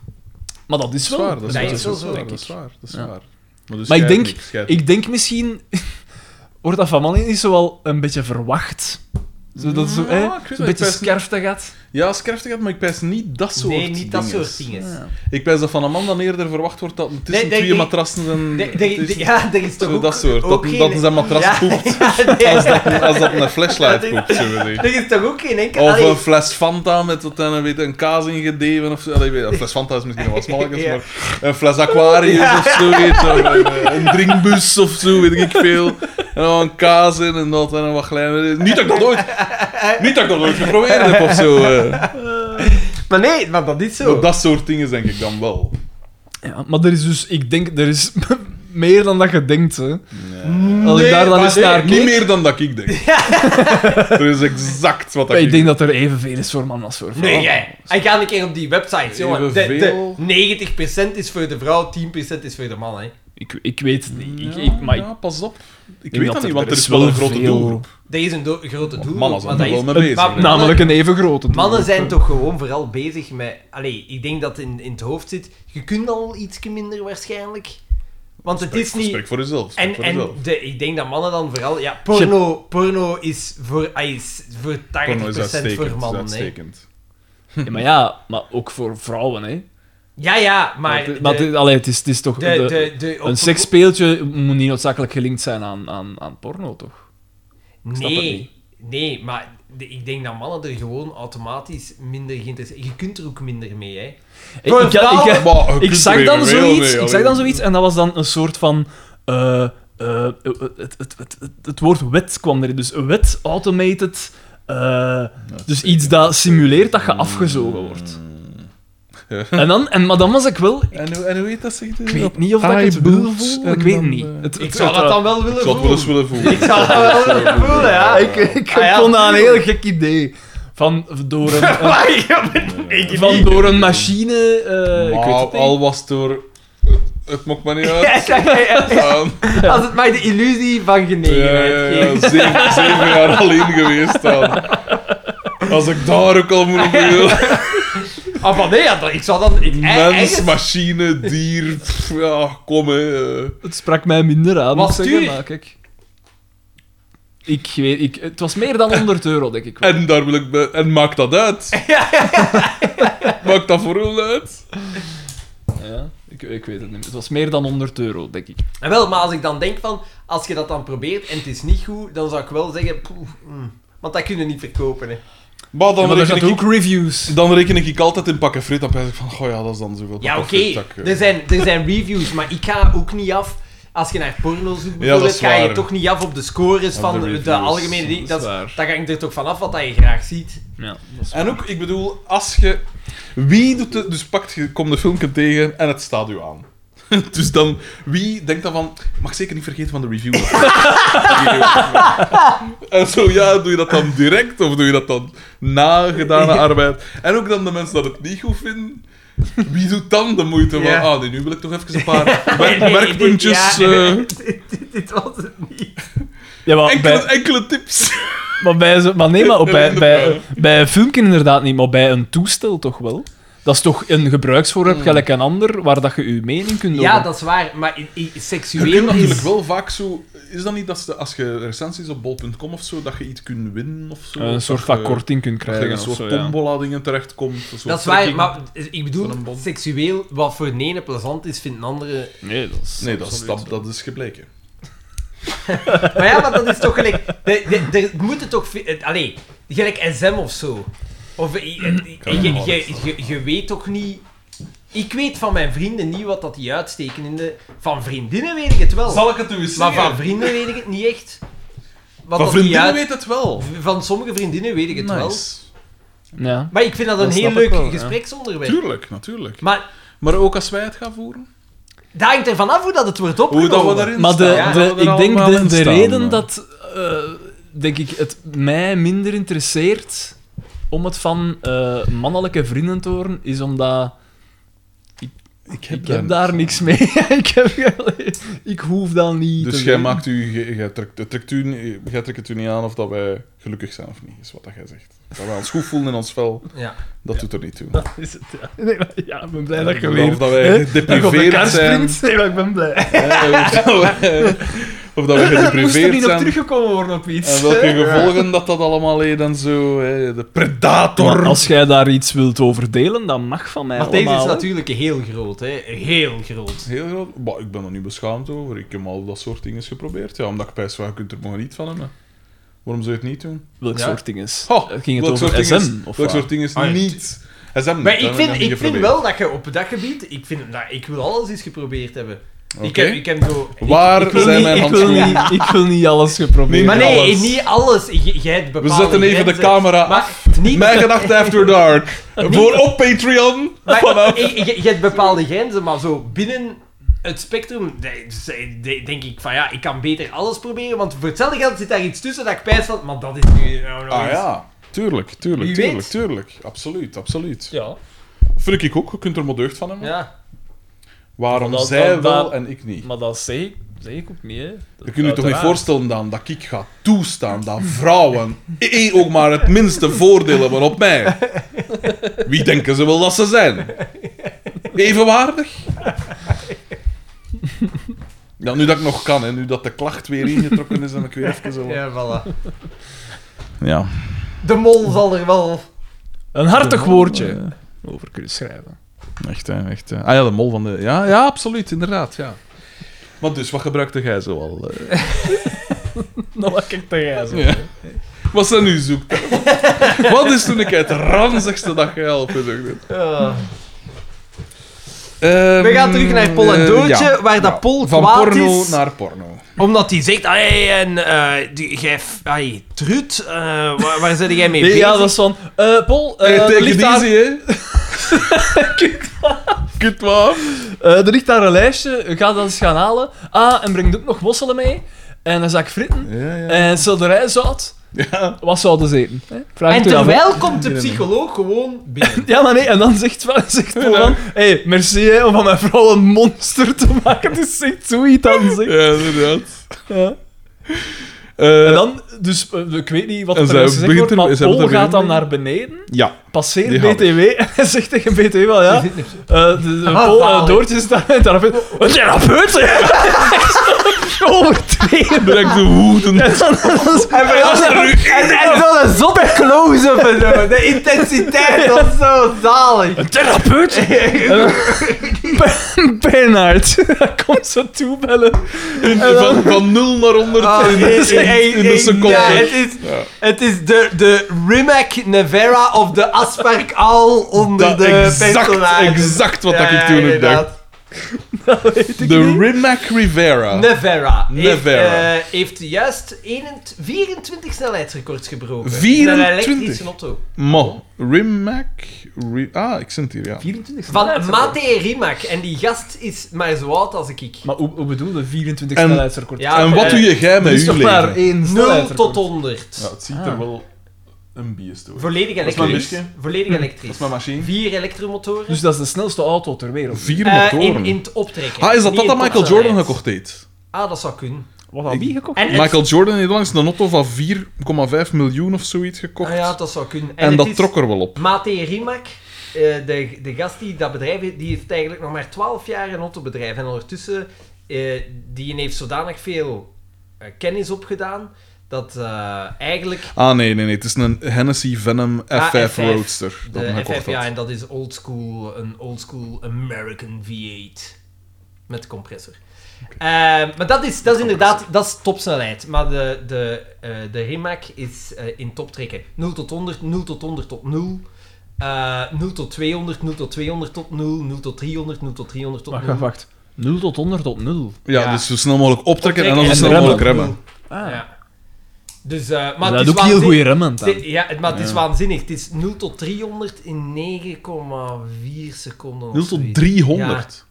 S2: Maar dat is
S3: Dat is
S2: wel...
S3: waar, dat is
S1: Nee,
S3: waar,
S1: dat is wel
S3: dat is
S1: zo,
S3: waar,
S1: denk
S3: dat is waar, dat is
S2: Ja.
S3: waar. Maar, dus
S2: Maar ik
S3: jij
S2: denk-
S3: niks, jij-
S2: Ik denk misschien wordt dat van mannen niet zo wel een beetje verwacht. Zo, dat is zo,
S3: Ja,
S2: hè,
S3: ik weet
S2: zo'n
S3: wel, ik
S2: beetje
S3: pijs-
S2: skerfte gaat.
S3: Ja, als krachtig had, maar ik pijs niet dat soort
S1: Nee, niet dat
S3: dinges.
S1: soort dingen.
S3: Ik pijs dat van een man dan eerder verwacht wordt dat het tussen
S1: Nee, nee,
S3: twee
S1: ik-
S3: matrassen en...
S1: Nee, nee,
S3: het is-
S1: nee, ja, er is toch
S3: zo
S1: ook...
S3: dat soort.
S1: ook
S3: Dat,
S1: geen-
S3: dat zijn matras
S1: Ja,
S3: koopt.
S1: ja, nee,
S3: Als dat, als dat een flashlight
S1: Dat is-
S3: koopt, zullen we zeggen.
S1: Er is toch ook geen enkel...
S3: Of
S1: allee,
S3: een fles Fanta met wat dan, weet, je, een kaas ingedeven of zo. Allee, weet je, Een fles Fanta is misschien wel wat smalletjes,
S1: Ja.
S3: maar een fles Aquarius of zo, weet je, of een, een drinkbus of zo, weet ik veel. En dan een kaas in en dat en wat kleine. Niet dat ik dat ooit, niet dat ik dat ooit geprobeerd heb of zo. eh.
S1: Maar nee, maar dat is zo.
S3: Dat soort dingen denk ik dan wel.
S2: Ja, maar er is dus, ik denk, er is meer dan dat je denkt. Hè. Als
S1: Nee,
S2: ik daar dan
S1: maar
S2: eens
S1: nee,
S2: naar keek,
S3: Niet meer dan dat ik denk. Dat is exact wat dat
S2: ik
S3: ik
S2: denk dat er evenveel is voor man als voor vrouw.
S1: Nee, jij. En ga een keer op die websites, jongen. De,
S3: Evenveel.
S1: de 90% is voor de vrouw, 10% is voor de man, hè.
S2: Ik, ik weet het niet. Ik,
S3: Ja,
S2: ik, maar ik-
S3: ja, pas op. Ik
S2: denk
S3: weet
S2: dat
S3: dat niet,
S2: er-
S3: want
S2: er
S3: er
S2: is
S3: is wel
S2: wel
S3: een grote
S2: veel-
S3: doelgroep.
S1: Dat is een do- grote
S3: Want
S1: doel.
S3: mannen zijn
S1: maar dat
S3: er
S1: is-
S3: wel mee bezig,
S1: maar
S3: hè.
S1: mannen-
S2: namelijk een even grote doelgroep,
S1: Mannen zijn
S2: hè.
S1: toch gewoon vooral bezig met... Allee, ik denk dat in, in het hoofd zit... Je kunt al iets minder waarschijnlijk. Want het is niet...
S3: Spreek voor jezelf. spreek
S1: En,
S3: voor
S1: en
S3: jezelf.
S1: de, ik denk dat mannen dan vooral... Ja, porno, porno is voor, ah, is voor 80%
S3: Porno is uitstekend.
S1: voor
S3: is
S1: mannen. hè.
S3: uitstekend.
S2: Ja, maar ja, maar ook voor vrouwen, hè.
S1: Ja, ja, maar...
S2: Maar, maar het- allee, het, is, het is toch...
S1: de,
S2: de-
S1: de, de, op-
S2: een seksspeeltje moet niet noodzakelijk gelinkt zijn aan, aan, aan porno, toch? snap het
S1: Nee,
S2: niet.
S1: nee, maar de- ik denk dat mannen er gewoon automatisch minder geïnteresseerd... Je kunt er ook minder mee, hè. Voor
S2: Ik- ik-
S1: vrouwen-
S2: ik-
S3: Ah, Maar je
S2: ik
S3: kunt er
S2: zag dan
S3: evenveel
S2: zoiets,
S3: mee,
S2: ik zag
S3: allee.
S2: dan zoiets en dat was dan een soort van. eh, eh, het, het, het, het, het woord wet kwam erin. Dus wet automated. eh, dus iets dat simuleert dat je afgezogen wordt.
S3: Mm.
S2: En dan, en, maar dan was ik wel.
S3: En hoe, en hoe heet dat, zegt u?
S2: Ik weet niet of dat ik
S3: High
S2: het wil
S3: boobs
S2: voelen.
S3: en
S2: Ik weet
S3: dan,
S2: niet.
S3: eh,
S2: Het,
S1: Ik
S2: het-
S1: zou
S2: het,
S1: dat
S2: eh,
S1: dan wel willen
S3: Ik zou het wel eens
S1: voelen.
S3: willen voelen.
S1: Ik zou dat wel willen voelen, ja.
S2: ik, ik
S1: Ah, ja,
S2: vond dat een heel
S1: tuurlijk.
S2: gek idee. Van door een, eh,
S1: Maar ik ben- ik
S2: van
S1: niet.
S2: door een machine. eh, ik weet
S3: Maar
S2: het niet.
S3: al was het door... Het mocht maar niet
S1: Ja,
S3: uit.
S1: ja, ja, ja.
S3: Aan-
S1: Als het mij de illusie van
S3: Ja,
S1: genegenheid
S3: ja, ja,
S1: geeft.
S3: zeven, zeven jaar alleen geweest dan. Als ik daar ook al moet op wil.
S1: Ah, maar nee, ja, dat- ik zou dan... Ik, eh,
S3: Mens,
S1: eigenlijk-
S3: machine, dier... pff, ja, kom hè. eh.
S2: Het sprak mij minder aan, moet ik
S1: Was het
S2: zeggen,
S1: duur?
S2: maar kijk. Ik weet, ik, het was meer dan 100 euro, denk ik. wel.
S3: En daar wil ik bij... En maak dat uit. Maak dat vooral uit.
S2: Ja, ik, ik weet het niet. Het was meer dan 100 euro, denk ik.
S1: En Ah, wel, maar als ik dan denk van... Als je dat dan probeert en het is niet goed, dan zou ik wel zeggen... poeh, mm. Want dat kun je niet verkopen, hè.
S3: Maar dan
S2: maar er
S3: reken
S2: zaten
S3: ik,
S2: ook reviews.
S3: dan reken ik altijd in pakken frit. Dan pijs ik van, goh ja, dat is dan zoveel
S1: Ja,
S3: pakken
S1: oké,
S3: frit dat ik, eh,
S1: er, zijn, er zijn reviews, maar ik ga ook niet af. Als je naar porno zoekt, bijvoorbeeld,
S3: is
S1: ga je
S3: waar.
S1: toch niet af op de scores
S3: Op
S1: van de,
S3: de reviews,
S1: algemene dingen.
S2: dat
S1: Dat,
S2: is waar.
S1: dan ga ik er toch vanaf wat dat je graag ziet.
S2: Ja, dat is
S3: eh, En ook, ik bedoel, als je... Wie doet het... Dus pakt je, komt de filmpje tegen en het staat u aan. Dus dan, wie denkt dan van... Mag zeker niet vergeten van de review. en zo, ja, doe je dat dan direct of doe je dat dan na gedane arbeid? En ook dan de mensen dat het niet goed vinden. Wie doet dan de moeite van...
S1: Ja.
S3: Ah, nee, nu wil ik toch even een paar
S1: Nee,
S3: werk-
S1: nee,
S3: werkpuntjes...
S1: dit- ja, Oh,
S3: eh,
S1: dit, dit was het niet.
S2: ja maar,
S3: enkele,
S2: bij,
S3: enkele tips.
S2: maar, bij, zo- maar nee, maar op, bij,
S3: Enkele
S2: bij,
S3: vraag.
S2: bij een filmpje inderdaad niet, maar bij een toestel toch wel. Dat is toch een gebruiksvoorwerp,
S3: Hmm.
S2: gelijk een ander, waar dat je je mening kunt over...
S1: Ja, dat is waar, maar i- i-
S3: Je kunt
S1: seksueel
S3: natuurlijk
S1: is...
S3: wel vaak zo... Is dat niet dat ze- als je recensies op bol.com of zo, dat je iets kunt winnen of zo?
S2: een
S3: Dat
S2: soort
S3: je-
S2: van korting kunt
S3: Dat je
S2: krijgen
S3: een
S2: of
S3: soort
S2: zo, ja.
S3: tombola-dingen terechtkomt. Een soort
S1: Dat is waar,
S3: trekking.
S1: maar ik bedoel,
S3: Van een bom.
S1: seksueel, wat voor de ene plezant is, vindt een andere...
S2: Nee, dat is...
S3: Nee, dat is,
S2: absoluut
S3: dat, dat is gebleken.
S1: Maar ja, maar dat is toch gelijk... de- de- Er moeten toch... ve- het- Allee, gelijk SM of zo. Of eh, eh, eh, je, je, je, je weet toch niet... Ik weet van mijn vrienden niet wat dat die uitsteken in de... Van vriendinnen weet ik het wel.
S3: ik het u eens
S1: maar van vrienden weet ik het niet echt. Wat
S3: Van
S1: dat die
S3: vriendinnen
S1: uit-
S3: weet het wel.
S1: Van sommige vriendinnen weet ik het wel.
S2: Ja.
S1: Maar ik vind dat een
S2: Dat
S1: heel
S2: snap ik
S1: leuk
S2: wel, ja.
S1: gespreksonderwerp.
S3: Tuurlijk, natuurlijk.
S1: Maar
S3: Maar ook als wij het gaan voeren.
S1: dat hangt ervan af hoe dat het wordt
S3: Hoe
S1: opgenomen.
S3: dat we daarin
S2: Maar de,
S3: staan.
S1: Ja,
S2: de,
S3: Hoe dat we er
S2: ik denk
S3: allemaal
S2: de,
S3: in
S2: de
S3: staan.
S2: reden dat eh, denk ik, het mij minder interesseert om het van eh, mannelijke vrienden te horen, is omdat
S3: Ik
S2: ik heb daar niks mee. ik, heb, gele- ik hoef dat niet
S3: Dus
S2: te
S3: jij
S2: doen.
S3: maakt u... Jij jij trekt, het trekt u, niet- jij trekt het u niet aan of dat wij gelukkig zijn of niet, is wat dat jij zegt. Dat wij ons goed voelen in ons vel,
S1: Ja.
S3: dat doet er niet toe.
S2: Dat is het, ja. Nee, maar, ja, ik ben blij dat je
S3: Of
S2: weer...
S3: dat wij
S2: hè, dat je op
S3: gedepriveerd
S2: elkaar
S3: zijn.
S2: springt. Nee, maar ik ben blij.
S3: Hè, of dat wij- Eh, of dat we
S2: Moest er
S3: gedepriveerd
S2: niet op
S3: zijn.
S2: teruggekomen worden op iets.
S3: En welke gevolgen dat dat allemaal heeft en zo. hè. De predator.
S2: Maar als jij daar iets wilt over delen, dan mag van mij
S1: Maar deze
S2: allemaal.
S1: is
S2: hè.
S1: natuurlijk heel groot, hè. Heel groot.
S3: Heel groot. Maar ik ben er niet beschaamd over. Ik heb al dat soort dingen geprobeerd. Ja, omdat ik pijs van, je kunt er maar niet van hebben. Waarom zou je het niet doen?
S2: Welk
S1: Ja.
S2: soort ding is? Eh,
S3: Oh,
S2: Ging het
S3: welk soort
S2: over
S3: ding
S2: SM?
S3: is-
S2: of
S3: welk
S2: wat?
S3: soort dingen is
S1: Ah, ja.
S3: niet? SM
S1: Maar ik vind, ik vind wel dat je op dat gebied... Ik, vind, nou, ik wil alles eens geprobeerd hebben. Ik,
S3: Oké.
S1: heb, ik heb zo... ik-
S3: Waar
S1: ik wil
S3: zijn
S1: niet-
S3: mijn
S2: ik, wil
S3: handschoenen?
S2: niet, ik wil niet alles geprobeerd.
S1: Maar
S3: niet
S1: nee,
S3: alles.
S1: niet alles. J- Jij bepaalt
S3: We zetten even de
S1: grenzen.
S3: camera
S1: Maar
S3: af.
S1: niet-
S3: Mijn gedachten after dark. Voor op Patreon.
S1: Maar je- je je hebt bepaalde grenzen, maar zo binnen het spectrum nee, dus, eh, de- denk ik van ja, ik kan beter alles proberen, want voor hetzelfde geld zit daar iets tussen dat ik pijs van, maar dat is nu nou nog
S3: Ah
S1: eens-
S3: ja. Tuurlijk, tuurlijk,
S1: Wie
S3: tuurlijk,
S1: weet.
S3: tuurlijk. Absoluut, absoluut.
S2: Ja.
S3: Vind ik ook, je kunt er maar deugd van hebben.
S1: Ja.
S3: Waarom
S2: Dat-
S3: zij
S2: dat-
S3: wel
S2: dat-
S3: en ik niet?
S2: Maar dat zeg ik, zeg ik ook niet, hè.
S3: Je kunt je toch niet
S2: Uiteraard.
S3: voorstellen dan dat ik ga toestaan dat vrouwen eh, ook maar het minste voordeel hebben op mij. Wie denken ze wel dat ze zijn? Evenwaardig? Ja, nu dat ik nog kan, hè, nu dat de klacht weer ingetrokken is, en ik weer even zo...
S1: ja, voilà.
S3: Ja.
S1: De mol zal er wel...
S2: Een hartig woordje over kunnen schrijven.
S3: Echt, hè, echt. Hè. Ah ja, de mol van de... Ja, ja absoluut, inderdaad, ja. Maar dus, wat gebruikte jij zoal? eh?
S2: Nou, wat ik tegen jij zo.
S3: Ja. Wat zijn nu zoekt? Wat is toen ik het ranzigste dat jij al gezocht hebt?
S1: Ja.
S3: Ehm,
S1: We gaan terug naar Pol en
S3: eh,
S1: Doodje,
S3: ja.
S1: waar dat Pol
S3: Van
S1: kwaad
S3: porno
S1: is.
S3: naar porno.
S1: Omdat hij zegt, "Ai, en eh, die- jij... f- ai, Trut, eh, waar, waar zit jij mee bezig?
S2: Ja, dat is van... eh Paul, eh,
S3: Eh,
S2: er,
S3: take
S2: ligt
S3: it
S2: daar,
S3: easy, hè? Kut waar.
S2: eh, er ligt daar een lijstje, ga dat eens gaan halen. Ah, en breng ook nog mosselen mee. En een zak fritten.
S3: Ja,
S1: Eh,
S3: ja.
S2: En selderijzout.
S3: ja.
S2: Wat zouden ze eten? Hè? Vraag
S1: En
S2: het u af, hè.
S1: terwijl komt de psycholoog gewoon binnen.
S2: Ja, maar nee, en dan zegt, wel- zegt Paul dan... Hé, hey, merci hè, om van mijn vrouw een monster te maken. Dus zegt zoiets dan, zeg.
S3: Ja, inderdaad.
S2: Ja.
S3: Eh,
S2: En dan, dus eh, ik weet niet wat
S3: En
S2: er
S3: zij
S2: juist gezegd
S3: begint
S2: wordt,
S3: er-
S2: maar
S3: zij
S2: Paul
S3: begint er
S2: gaat dan
S3: beneden.
S2: naar beneden,
S3: Ja.
S2: passeert
S3: Die gaat dus.
S2: BTW en hij zegt tegen BTW wel, ja, eh, de, de Paul, eh,
S1: zalig.
S2: Doortje is daar en therapeut. Een therapeut? hè? Overdreven.
S3: Direct de woeden.
S2: En dan-
S1: En, en, en zo'n zotte close-up en zo. De intensiteit was zo zalig.
S2: Een therapeut? Ben- Bernard komt zo toebellen.
S3: In- van, van 0 naar 100
S1: Ah,
S3: in,
S1: nee,
S3: in-
S1: nee,
S3: in de
S1: nee,
S3: seconde.
S1: Ja, het is,
S3: Ja.
S1: het is de, de Rimac Nevera of de Asperk Al onder
S3: Dat
S1: de
S3: exact,
S1: personages.
S3: exact wat
S1: Ja,
S3: dat ik
S1: ja,
S3: toen ook
S1: inderdaad.
S3: dacht. De Rimac Rivera.
S1: Nevera,
S3: Nevera.
S1: Heeft, eh, heeft juist 21 24 snelheidsrecords gebroken.
S3: 24?
S1: Met een elektrische auto.
S3: Mo. Rimac... Ri- ah, ik zit hier, ja.
S2: 24
S1: Van Mate Rimac. En die gast is maar zo oud als ik.
S2: Maar hoe, hoe bedoel je 24
S3: En-
S2: snelheidsrecord?
S1: Ja,
S3: en wat
S1: eh,
S3: doe je jij
S2: er
S3: met
S2: is
S3: je
S2: dus toch
S3: leven?
S2: maar één
S1: 0 tot
S2: snelheidsrecord?
S1: 100.
S3: Ja, het ziet
S2: Ah.
S3: er wel een biest door.
S1: Volledig
S3: is mijn
S1: elektrisch.
S3: busje.
S1: Volledig
S3: Hm, Dat is
S1: elektrisch.
S3: mijn machine.
S1: Vier elektromotoren.
S2: Dus dat is de snelste auto ter wereld.
S3: Vier
S1: Eh,
S3: motoren.
S1: in, in het optrekken.
S3: ah, is dat
S1: Niet
S3: dat dat
S1: in
S3: Michael
S1: topsnelheid.
S3: Jordan gekocht heeft?
S1: Ah, dat zou kunnen.
S2: Wat had
S3: Ik-
S2: die gekocht?
S1: En het-
S3: Michael Jordan heeft langs een auto van 4,5 miljoen of zoiets gekocht.
S1: Ah, ja, dat zou kunnen.
S3: en
S1: het
S3: dat
S1: is
S3: trok er wel op.
S1: Mate Rimac, eh, de, de gast die dat bedrijf heeft, die heeft eigenlijk nog maar 12 jaar een autobedrijf. En ondertussen, eh, die heeft zodanig veel eh, kennis opgedaan, dat eh, eigenlijk
S3: Ah, nee, nee, nee. Het is een Hennessy Venom F5,
S1: Ah, F5.
S3: Roadster. Dat hij
S1: de
S3: gekocht
S1: FF, ja,
S3: had.
S1: en dat is old school, een old school American V8 met compressor. Eh, maar dat is, dat is inderdaad dat is topsnelheid. Maar de, de, eh, de Rimac is eh, in toptrekken. 0 tot 100, 0 tot 100 tot 0. eh 0 tot 200, 0 tot 200 tot 0, 0 tot 300, 0 tot 300 tot
S2: Wacht,
S1: 0.
S2: wacht, wacht. 0 tot 100 tot 0.
S3: Ja,
S1: ja.
S3: dus zo snel mogelijk optrekken en dan zo
S2: en
S3: snel
S2: remmen.
S3: mogelijk remmen.
S2: Ah.
S1: Ja. Dus, eh, maar
S2: Maar dat
S1: het
S2: is
S1: is
S2: ook heel
S1: waanzin-
S2: goede remmen dan.
S1: het is- Ja, het- maar het is
S3: Ja.
S1: waanzinnig. Het is 0 tot 300 in 9,4 seconden. of
S3: 0 tot
S1: zoiets.
S3: 300.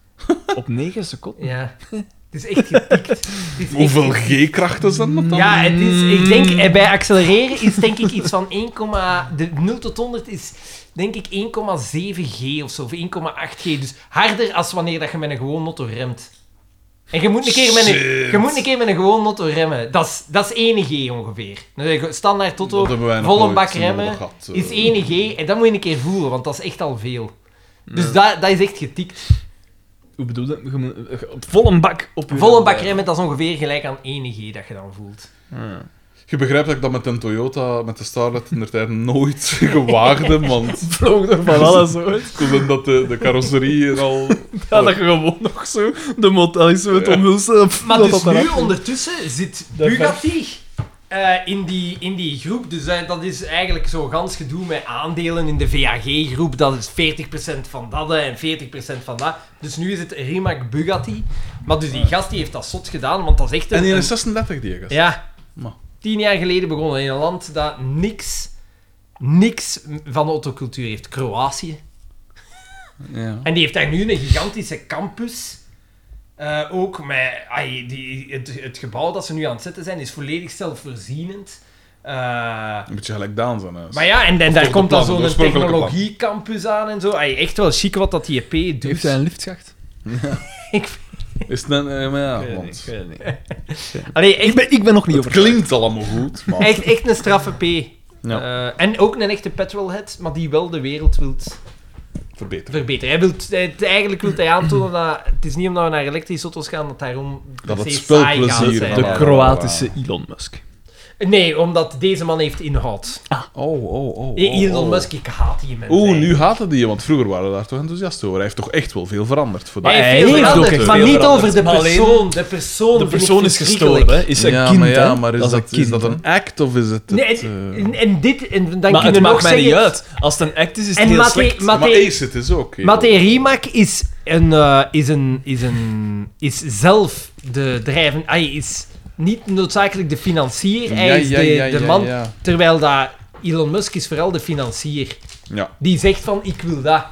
S2: Op 9 seconden.
S1: Ja. Het is echt gepikt. Het is echt-
S3: Hoeveel G-krachten zijn dat dan?
S1: Ja, het is, ik denk, eh, bij accelereren is denk ik iets van 1, de 0 tot 100 is denk ik 1,7G of zo, of 1,8G. Dus harder als wanneer dat je met een gewoon auto remt. En je moet een keer met een,
S3: Shit.
S1: je moet een, keer met een gewoon auto remmen. Dat is, dat is 1G ongeveer. Dus standaard
S3: Dat
S1: auto,
S3: hebben wij nog
S1: volle
S3: nooit
S1: bak
S3: nodig
S1: remmen,
S3: gehad, eh.
S1: is 1G. En dat moet je een keer voelen, want dat is echt al veel. Dus dat, dat is echt getikt.
S2: Hoe bedoel je? Je moet- eh, Op volle bak op je
S1: Volle
S2: rem
S1: bak
S2: blijven.
S1: remmen, dat is ongeveer gelijk aan 1G dat je dan voelt.
S2: Ja.
S3: Je begrijpt dat ik dat met een Toyota, met de Starlet, in de tijd nooit gewaagde, want
S2: Vloog er van alles uit.
S3: tot in dat de, de carrosserie er al...
S2: Ja, dat je gewoon nog zo de motel is zo het
S3: Ja.
S2: omhulsen.
S1: Maar
S2: dat
S1: dus
S2: dat
S1: nu
S2: eruit-
S1: ondertussen zit
S2: Dat
S1: Bugatti eh, in, die, in die groep. Dus eh, dat is eigenlijk zo gans gedoe met aandelen in de VAG-groep. Dat is 40% van dat eh, en 40% van dat. Dus nu is het Rimac Bugatti. Maar dus die gast die heeft dat zot gedaan, want dat is echt
S3: En
S1: een...
S3: die
S1: een-
S3: is 36, die gast.
S1: ja,
S3: Maar.
S1: tien jaar geleden begonnen in een land dat niks, niks van de autocultuur heeft. Kroatië.
S3: Ja.
S1: En die heeft daar nu een gigantische campus. Eh, ook met, ai, die, het, het gebouw dat ze nu aan het zetten zijn is volledig zelfvoorzienend. Eh,
S3: Een beetje gelijk Daan zijn huis.
S1: maar ja, en, en daar
S3: de
S1: komt dan
S3: plannen, de
S1: zo'n
S3: oorspronkelijke
S1: technologiecampus aan en zo. Ai, echt wel chic wat dat E JP doet.
S2: Heeft hij een liftschacht?
S3: Is het een... eh, maar
S2: Ik weet het
S3: ja, want...
S2: niet, ik weet het niet.
S1: Allee,
S2: Ik
S1: echt,
S2: ben, ik ben nog niet
S3: Het
S2: over.
S3: klinkt allemaal goed, maar...
S1: echt, echt een straffe E P.
S3: Ja,
S1: Eh, en ook een echte petrolhead, maar die wel de wereld wilt
S3: verbeterd.
S1: verbeteren. Hij wilt, hij- eigenlijk wil hij aantonen dat het is niet omdat we naar elektrische auto's gaan dat daarom per
S3: Dat het
S1: se saai gaat
S3: spelplezier
S1: zijn.
S3: van-
S2: De Kroatische Elon Musk.
S1: Nee, omdat deze man heeft inhoud.
S3: Oh, oh, oh, oh.
S1: Elon
S3: oh.
S1: Musk, ik haat die mensen.
S3: Oeh, nu
S1: eigenlijk.
S3: haten die je, want vroeger waren we daar toch enthousiast over. Hij heeft toch echt wel veel veranderd. Voor
S1: Hij
S3: dat-
S2: Maar
S1: heeft
S2: hij
S1: veel
S2: heeft ook
S1: veranderd,
S2: echt
S1: maar
S2: veel
S1: niet
S2: veranderd.
S1: over de
S2: Maar alleen-
S1: persoon. De persoon,
S2: De
S1: vind ik
S2: persoon is
S1: verschrikkelijk.
S2: gestorven, is een
S3: ja,
S2: kind.
S3: maar, ja, maar is,
S2: dat
S3: dat,
S2: is een kind.
S3: is dat een act of is het...
S1: Nee,
S3: het,
S1: en,
S3: eh,
S1: en- en dit, en dan
S2: Maar
S1: kun je
S2: het
S1: nog
S2: maakt mij
S1: zeggen...
S2: niet uit. Als het een act is, is het
S1: En
S2: heel
S1: Matthee-
S2: slecht.
S1: Matthee-
S3: Maar Ace, het is ook. heel-
S1: Matthee Riemak is, een, eh, is, een, is, een, is zelf de drijven... Hij is niet noodzakelijk de financier, hij is de, de man.
S3: Ja,
S1: Terwijl dat Elon Musk is vooral de financier.
S3: ja.
S1: Die zegt van, ik wil dat.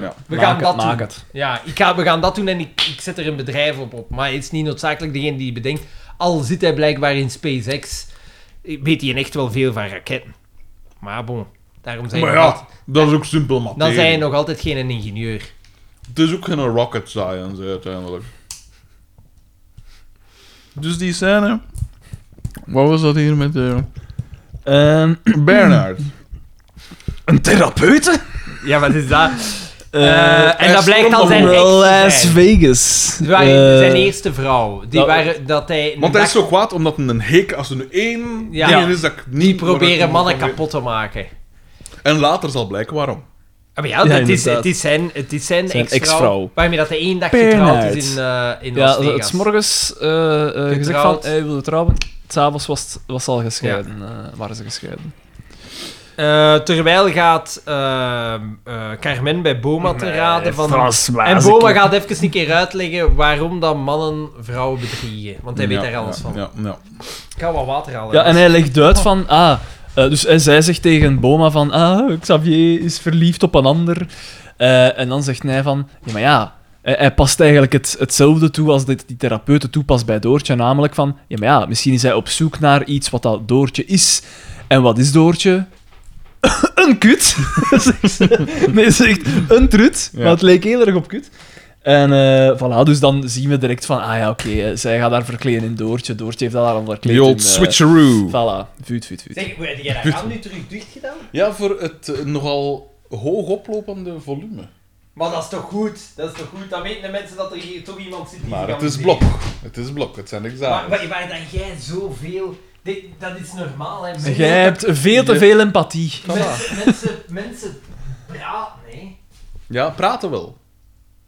S3: ja.
S1: We
S2: Maak
S1: gaan
S2: het,
S1: dat doen.
S2: maak het.
S1: Ja, ik ga, we gaan dat doen en ik, ik zet er een bedrijf op op. Maar het is niet noodzakelijk degene die het bedenkt. Al zit hij blijkbaar in SpaceX, weet hij echt wel veel van raketten. Maar bon, daarom zijn
S3: Maar
S1: nog altijd,
S3: ja, dat is ook simpel materie.
S1: dan zijn je nog altijd geen ingenieur.
S3: Het is ook geen rocket science hè, uiteindelijk. Dus die scène. Wat was dat hier met eh,
S2: Ehm,
S3: Bernard?
S1: Hmm.
S2: een therapeute?
S1: Ja, wat is dat?
S2: Eh,
S1: en dat blijkt dan zijn ex te
S2: Las
S1: zijn.
S2: eh, Vegas.
S1: Het waren
S2: Eh, nou,
S1: zijn eerste vrouw. Die
S2: dat-
S1: waren, dat hij een
S3: Want hij
S1: dag-
S3: is zo kwaad omdat hij een hik, als er nu één
S1: Ja.
S3: ding is dat ik niet
S1: die
S3: correct
S1: proberen
S3: moet
S1: mannen
S3: proberen-
S1: kapot te maken.
S3: En later zal blijken waarom.
S1: Ah, Maar ja,
S2: Ja,
S1: het, is,
S2: inderdaad.
S1: het is zijn, het is zijn,
S2: Zijn
S1: ex-vrouw,
S2: ex-vrouw.
S1: Waarmee dat hij één dag
S2: Bernard.
S1: getrouwd is in, eh in Las
S2: Ja,
S1: Vegas.
S2: het is morgens eh, eh, gezegd van,
S1: Getrouwd.
S2: hij wilde trouwen. S'avonds was, het- was ze al gescheiden. eh, waren ze gescheiden.
S1: Eh, terwijl gaat ehm, eh, Carmen bij Boma te
S2: Eh,
S1: raden van... en Boma
S2: Boma
S1: gaat even een keer uitleggen waarom dat mannen vrouwen bedriegen. Want hij
S3: Ja,
S1: weet daar alles
S3: ja,
S1: van.
S3: Ja, ja.
S1: Ik ga wat water halen.
S2: Ja, en hij legt uit van, ah... eh, dus hij, zij zegt tegen Boma van, ah, Xavier is verliefd op een ander. Eh, en dan zegt hij van, ja, maar ja... Hij, hij past eigenlijk het, hetzelfde toe als dit, die therapeuten toepast bij Doortje. Namelijk van, ja, maar ja, misschien is hij op zoek naar iets wat dat Doortje is. En wat is Doortje? een kut. zegt ze. nee, ze zegt een trut.
S3: Ja.
S2: Maar het leek heel erg op kut. En eh voilà, dus dan zien we direct van, ah ja, oké, eh, zij gaat daar verkleden in Doortje. Doortje heeft dat haar al verkleed
S3: The old
S2: in, eh,
S3: switcheroo.
S2: Voilà, vuut, vuut, vuut.
S1: Zeg, heb jij dat raam nu terug dicht gedaan?
S3: Ja, voor het eh, nogal hoog oplopende volume.
S1: Maar dat is toch goed? Dat is toch goed? Dan weten de mensen dat er hier toch iemand zit die
S3: Maar
S1: ze gaan
S3: het is blok.
S1: bedriegen.
S3: Het is blok. Het zijn
S1: Maar,
S3: examens.
S1: waar, waar dat jij zoveel... Dit, dat is normaal, hè. Mensen-
S2: Jij hebt Ah. veel te
S3: Je-
S2: veel empathie.
S1: Mensen, mensen, mensen praten, hè.
S3: Ja, praten wel.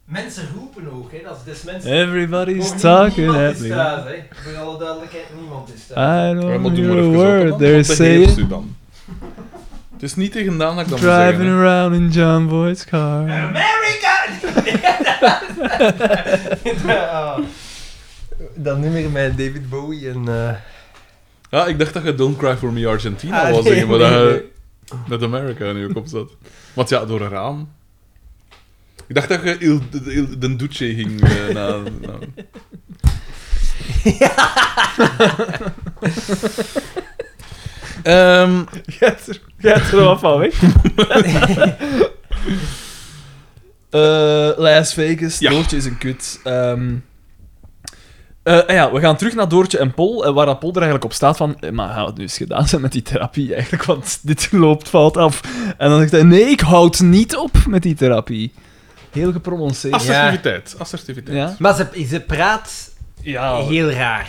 S1: Mensen roepen ook, hè. Dat is dus mensen...
S2: Everybody's
S1: Niemand
S2: talking at
S1: is
S2: me.
S1: thuis, hè. Voor alle duidelijkheid, niemand is thuis.
S2: I
S3: Maar
S2: don't
S3: moet
S2: hear
S3: doen
S2: a
S3: maar even
S2: word
S3: op, want
S2: they're
S3: dat heeft
S2: saying.
S3: u dan. Het is niet tegen Daan dat ik dat moet zeggen.
S2: Driving
S3: hè.
S2: around in John Boy's car.
S1: America! Ah. Dan nu meer met David Bowie en... eh,
S3: Ja, ik dacht dat je Don't Cry For Me Argentina
S1: Ah,
S3: was
S1: nee,
S3: zeggen, maar
S1: nee,
S3: dat je
S1: nee.
S3: met America in je kop zat. Want ja, door een raam. Ik dacht dat je Il, de- Il, Den Duce ging eh, na, na... Ehm,
S2: Jij hebt er- jij hebt er wat van weg. Eh, Las Vegas,
S3: Ja.
S2: Doortje is een kut. Ehm, eh, en ja, we gaan terug naar Doortje en Pol, eh, waar dat Pol er eigenlijk op staat van, eh, maar gaan we het nu eens gedaan zijn met die therapie eigenlijk, want dit loopt fout af. En dan zegt hij, nee, ik houd niet op met die therapie. Heel geprononceerd.
S1: Asse-
S3: Assertiviteit. Assertiviteit.
S2: Ja.
S3: Ja.
S1: Maar ze, ze praat
S2: Ah.
S1: heel raar.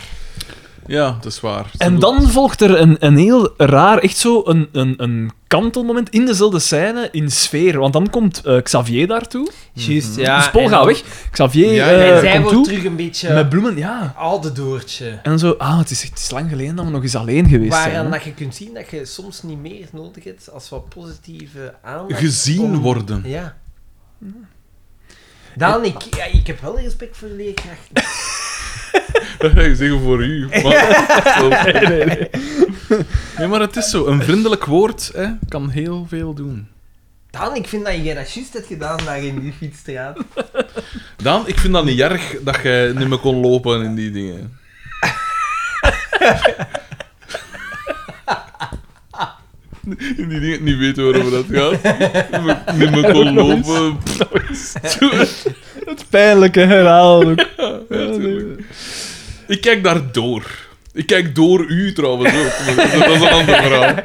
S3: dat is waar. Ze
S2: En
S3: doet-
S2: dan volgt er een, een heel raar, echt zo een, een, een kantelmoment in dezelfde scène in sfeer. Want dan komt eh, Xavier daartoe.
S1: Juist, ja.
S2: dus Paul
S1: en
S2: gaat
S1: dan-
S2: weg. Xavier
S3: Ja,
S2: eh,
S3: ja.
S1: en zij
S2: komt
S1: wordt
S2: toe.
S1: terug een beetje
S2: Met bloemen, ja.
S1: oude doortje.
S2: En zo, ah, het is, het is lang geleden dat we nog eens alleen geweest zijn.
S1: Waaraan
S2: hè.
S1: dat je kunt zien dat je soms niet meer nodig hebt als wat positieve aandacht.
S3: Gezien
S1: om-
S3: worden.
S1: Ja. Dan, ik, ja, ik heb wel respect voor leerkrachten.
S3: Ik zeg voor u. Maar... nee, nee, nee. maar het is zo. Een vriendelijk woord hè, kan heel veel doen.
S1: Dan, ik vind dat je dat juist hebt gedaan daar in die fietsstraat.
S3: Daan, ik vind dat niet erg dat jij niet meer kon lopen in die dingen. In die dingen niet weten waarover dat gaat. Niet meer kon lopen.
S2: Pijnlijke herhaal. ook.
S3: Ik kijk daar door. Ik kijk door u trouwens ook. maar Dat is een ander verhaal.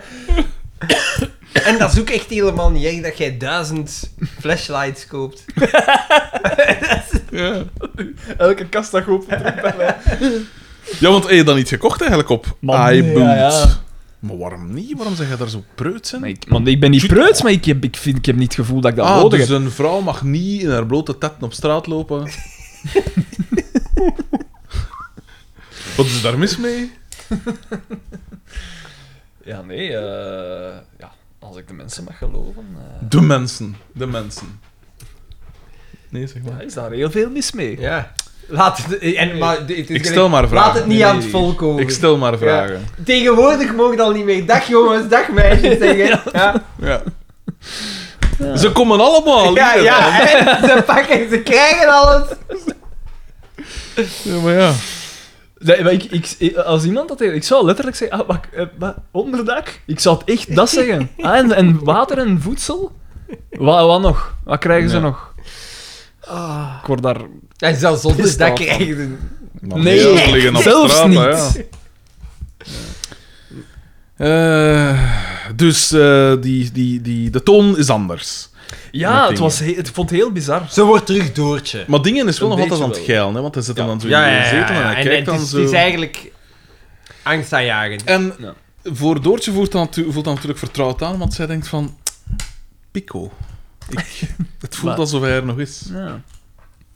S1: En dat is ook echt helemaal niet erg dat jij duizend flashlights koopt.
S3: Ja,
S2: Elke kast dat geopend
S3: ja want heb je dan iets gekocht eigenlijk op
S2: Man,
S3: iBoot?
S2: ja, ja.
S3: Maar waarom niet? Waarom zeg je daar zo preut in?
S2: Maar ik, man, ik ben niet preuts, maar ik heb, ik, vind, ik heb niet het gevoel dat ik dat
S3: Ah,
S2: nodig
S3: dus
S2: heb.
S3: een vrouw mag niet in haar blote tetten op straat lopen. Wat is daar mis mee?
S2: Ja, nee, eh, ja, als ik de mensen mag geloven. eh,
S3: De mensen. De mensen. Nee, zeg
S2: ja,
S3: maar.
S2: is daar heel veel mis mee.
S1: Ja. Laat het, en, maar, het is
S3: Ik
S1: gelijk-
S3: stel maar vragen.
S1: Laat het niet
S3: Nee,
S1: aan het volk over.
S3: Ik stel maar vragen.
S1: Tegenwoordig mogen dat niet meer. Dag jongens, dag meisjes zeggen. Ja,
S3: Ja. Ze komen allemaal
S1: ja,
S3: hier dan.
S1: ja. En ze pakken, ze krijgen alles.
S3: Ja, maar ja.
S2: Nee, maar ik, ik, als iemand dat deed, ik zou letterlijk zeggen, ah, wat, eh, wat, onderdak? Ik zou het echt dat zeggen. Ah, en, en water en voedsel? Wat, wat nog? Wat krijgen ze
S3: Ja.
S2: nog? Ah. Ik word daar...
S1: En zelfs zonder
S2: Pistaal
S1: dat
S2: van.
S1: krijgen ze.
S3: Maar
S2: Nee,
S3: veel liggen op
S2: zelfs
S3: straat,
S2: niet.
S3: hè, ja. Eh, dus eh, die, die, die, de toon is anders. Met
S2: Ja, het
S3: dingen.
S2: was he- het vond het heel bizar.
S1: Ze wordt terug doortje.
S3: Maar dingen is wel
S2: Een
S3: nog altijd aan
S2: beetje
S3: het geilen, hè, want hij zit hem dan zo
S1: Ja,
S3: in
S1: ja,
S3: de
S1: ja.
S3: zetel en hij
S1: En
S3: kijkt
S1: het
S3: dan
S1: is,
S3: zo...
S1: het is eigenlijk angstaanjagend.
S3: En
S2: Ja.
S3: voor Doortje voelt dat, natu- voelt dat natuurlijk vertrouwd aan, want zij denkt van... Pico. Ik, het voelt
S2: Maar-
S3: alsof hij er nog is.
S2: Ja.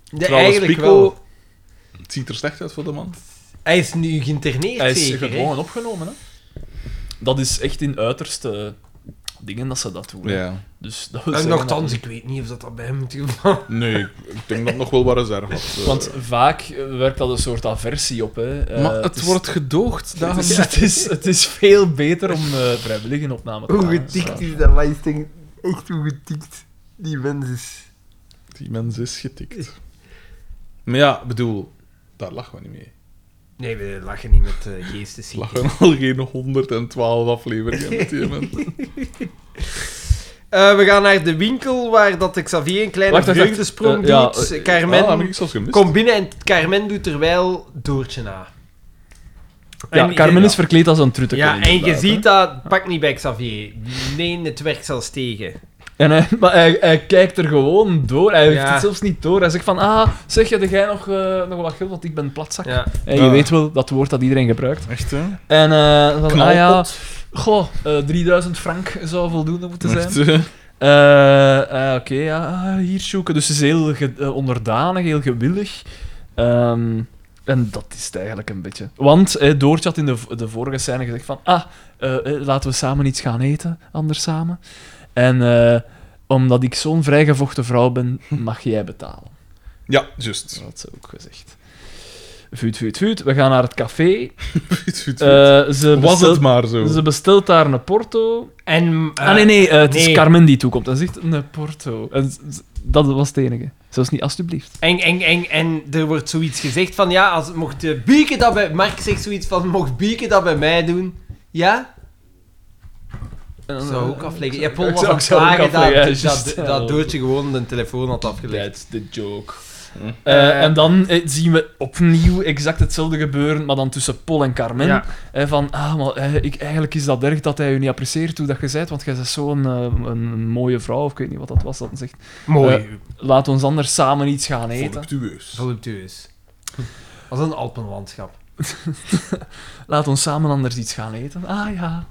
S1: De,
S3: Trouwens,
S1: eigenlijk
S3: Pico-
S1: wel.
S3: Het ziet er slecht uit voor de man.
S1: Hij is nu geïnterneerd,
S2: Hij is
S1: zeker. hè?
S2: gedwongen opgenomen, hè. Dat is echt in uiterste dingen dat ze dat doen. hè.
S3: Ja.
S2: Dus dat wil
S1: En
S2: zeggen
S1: nogthans,
S2: dat-
S1: ik weet niet of dat, dat bij hem het geval is.
S3: Nee, ik, ik denk dat het nog wel wat reserve had. eh.
S2: Want vaak eh, werkt dat een soort aversie op, hè. Eh,
S3: maar het
S2: is-
S3: wordt gedoogd,
S2: Het
S3: Daan.
S2: is, het, is, het is veel beter om eh vrijwillig in opname te
S1: Hoe
S2: gaan. hè.
S1: getikt is dat? Maar ik denk echt hoe getikt die mens is.
S3: Die mens is getikt. Maar ja, ik bedoel, daar lachen we niet mee.
S1: Nee, we lachen niet met eh
S3: We
S1: geestesziekten.
S3: lachen al geen 112 afleveringen met die mens.
S1: Eh, we gaan naar de winkel waar dat Xavier een kleine
S2: Wacht, wacht, wacht.
S1: vreugdesprong
S2: Eh, ja,
S1: doet.
S2: eh,
S1: Carmen
S3: Ah, heb ik zelfs gemist.
S1: komt binnen en Carmen doet terwijl Doortje na.
S2: Ja,
S1: En-
S2: Carmen is verkleed als een trutte.
S1: Ja, en je ziet dat pak niet bij Xavier. Nee, het werkt zelfs tegen.
S2: En hij, maar hij, hij kijkt er gewoon door. Hij heeft
S1: Ja.
S2: het zelfs niet door. Hij zegt van, ah, zeg, heb jij nog, eh, nog wat geld, want ik ben platzak.
S1: Ja.
S2: En je
S3: Ja.
S2: weet wel, dat woord dat iedereen gebruikt.
S3: Echt, hè?
S2: En eh van, ah ja,
S3: Knalpot.
S2: goh, eh, 3000 frank zou voldoende moeten zijn.
S3: Echt, hè?
S2: Eh, eh, Oké, ja, ah, hier zoeken. Dus ze is heel ge- eh, onderdanig, heel gewillig. Ehm, en dat is het eigenlijk een beetje. Want eh, Doortje had in de, v- de vorige scène gezegd van... Ah, eh, eh, laten we samen iets gaan eten, anders samen. En eh, omdat ik zo'n vrijgevochten vrouw ben, mag jij betalen.
S3: Ja, juist.
S2: Dat had ze ook gezegd. Vuut, vuut, vuut. We gaan naar het café.
S3: Goed, goed, goed.
S2: Eh, dus ze,
S3: Was
S2: bestelt,
S3: het maar zo.
S2: ze bestelt daar een porto.
S1: En, eh,
S2: ah, nee, nee, eh, het
S1: nee.
S2: is Carmen die toekomt. En zegt een eh, porto. En z- z- dat was het enige. Zelfs niet alstublieft.
S1: En, en, en, en er wordt zoiets gezegd van, ja, als, mocht eh, Bieke dat bij... Mark zegt zoiets van, mocht Bieke dat bij mij doen? Ja?
S2: En dan-
S1: Zou ook afleggen. Ja, Paul
S2: Ik
S1: was
S2: zou-
S1: aan
S2: ik
S1: het
S2: zou ook
S1: klagen
S2: afleggen,
S1: dat,
S2: ja,
S1: dat,
S2: juist.
S1: dat Doortje gewoon de telefoon had afgelegd.
S2: That's the joke. Eh, en dan eh, zien we opnieuw exact hetzelfde gebeuren, maar dan tussen Paul en Carmen.
S4: Ja.
S2: Eh, van, ah, maar eh, ik, eigenlijk is dat erg dat hij u niet apprecieert hoe dat je bent, want jij bent zo'n eh, een mooie vrouw, of ik weet niet wat dat was, dat hij zegt.
S1: Mooi.
S2: Laat ons anders samen iets gaan eten.
S3: Voluptueus.
S1: voluptueus. Dat is een alpenlandschap.
S2: Laat ons samen anders iets gaan eten. Ah ja.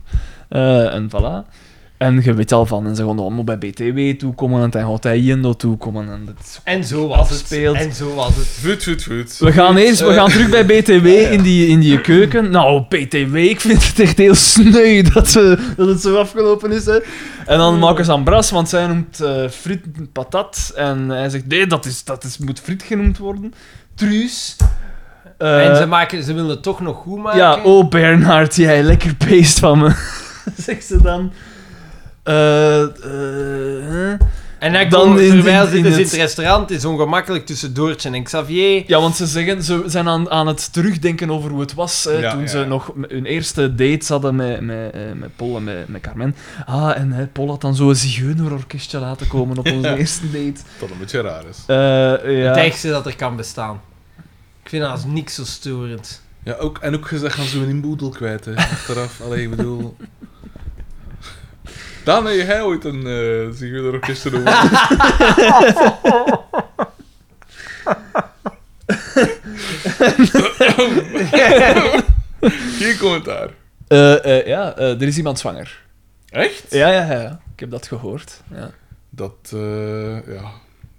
S2: Eh, en voilà. En je weet al van, en ze gaan allemaal bij BTW toekomen, en dan gaat hij Jendo toekomen. En dat...
S1: En zo was
S2: Afspeelt.
S1: het. En zo was het.
S3: Voet, voet, voet.
S2: We gaan eerst, we gaan terug bij BTW in die, in die keuken. Nou, BTW, ik vind het echt heel sneu dat, ze, dat het zo afgelopen is. Hè. En dan maken ze aan Bras, want zij noemt eh friet patat. En hij zegt, nee, dat, is, dat is, moet friet genoemd worden. Truus. Eh,
S1: en ze, maken, ze willen het toch nog goed maken.
S2: Ja, oh Bernhard, jij lekker beest van me. Zegt ze dan. Eh, eh, hè?
S1: en
S2: dan
S1: dan, komen ze
S2: in die-
S1: terwijl ze
S2: in
S1: dus in
S2: het-
S1: het restaurant is ongemakkelijk tussen Doortje en Xavier.
S2: Ja, want ze, zeggen, ze zijn aan, aan het terugdenken over hoe het was hè,
S3: Ja,
S2: toen
S3: ja,
S2: ze
S3: ja.
S2: nog m- hun eerste dates hadden met, met, eh, met Paul en met, met Carmen. Ah, en hè, Paul had dan zo'n zigeunerorkestje laten komen op onze eerste date.
S3: Dat een beetje raar is.
S2: Eh,
S1: Het
S2: ja.
S1: ergste dat er kan bestaan. Ik vind dat als niks zo storend.
S3: Ja, ook, en ook gezegd gaan ze hun inboedel kwijt, hè. Achteraf. Allee, ik bedoel... Dan heb jij ooit een uh, zigeunerorkest te Geen commentaar.
S2: Eh, eh, ja eh, er is iemand zwanger.
S3: Echt?
S2: Ja, ja, ja, ja. Ik heb dat gehoord. Ja.
S3: Dat, eh, ja,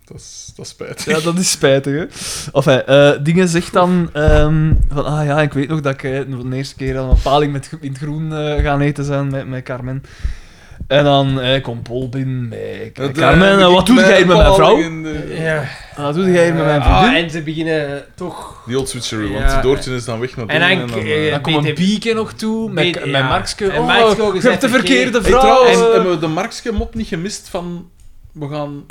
S3: dat is, dat is spijtig.
S2: Ja, dat is spijtig, hè. Of hij, eh, Dingen zegt dan ehm, van, ah ja, ik weet nog dat ik eh, de eerste keer aan een paling met, gro- in het groen eh, gaan eten zijn met, met Carmen. En dan eh, komt Paul binnen met
S3: Dat, eh,
S2: Carmen.
S3: ik
S2: eh, wat doe
S3: ben
S2: jij hier met mijn vrouw?
S3: bepaling in de-
S2: Wat doe jij hier met mijn
S1: Eh, ah,
S2: vriendin?
S1: en ze beginnen toch...
S3: Die old switcheroo, want
S1: Ja,
S3: Doortje is dan weg naar
S1: en
S3: dingen
S1: dan-
S3: eh,
S1: eh,
S2: dan komt een
S1: BTW
S2: Bieke nog toe, met,
S1: BTW,
S2: met
S1: ja.
S2: Markske.
S1: En
S2: Oh,
S1: Markske ook
S2: je
S1: gezegd,
S2: hebt de
S1: oké.
S2: verkeerde
S3: Hey,
S2: vrouw.
S3: trouwens,
S2: eh.
S3: hebben we de Markske mop niet gemist van... We gaan...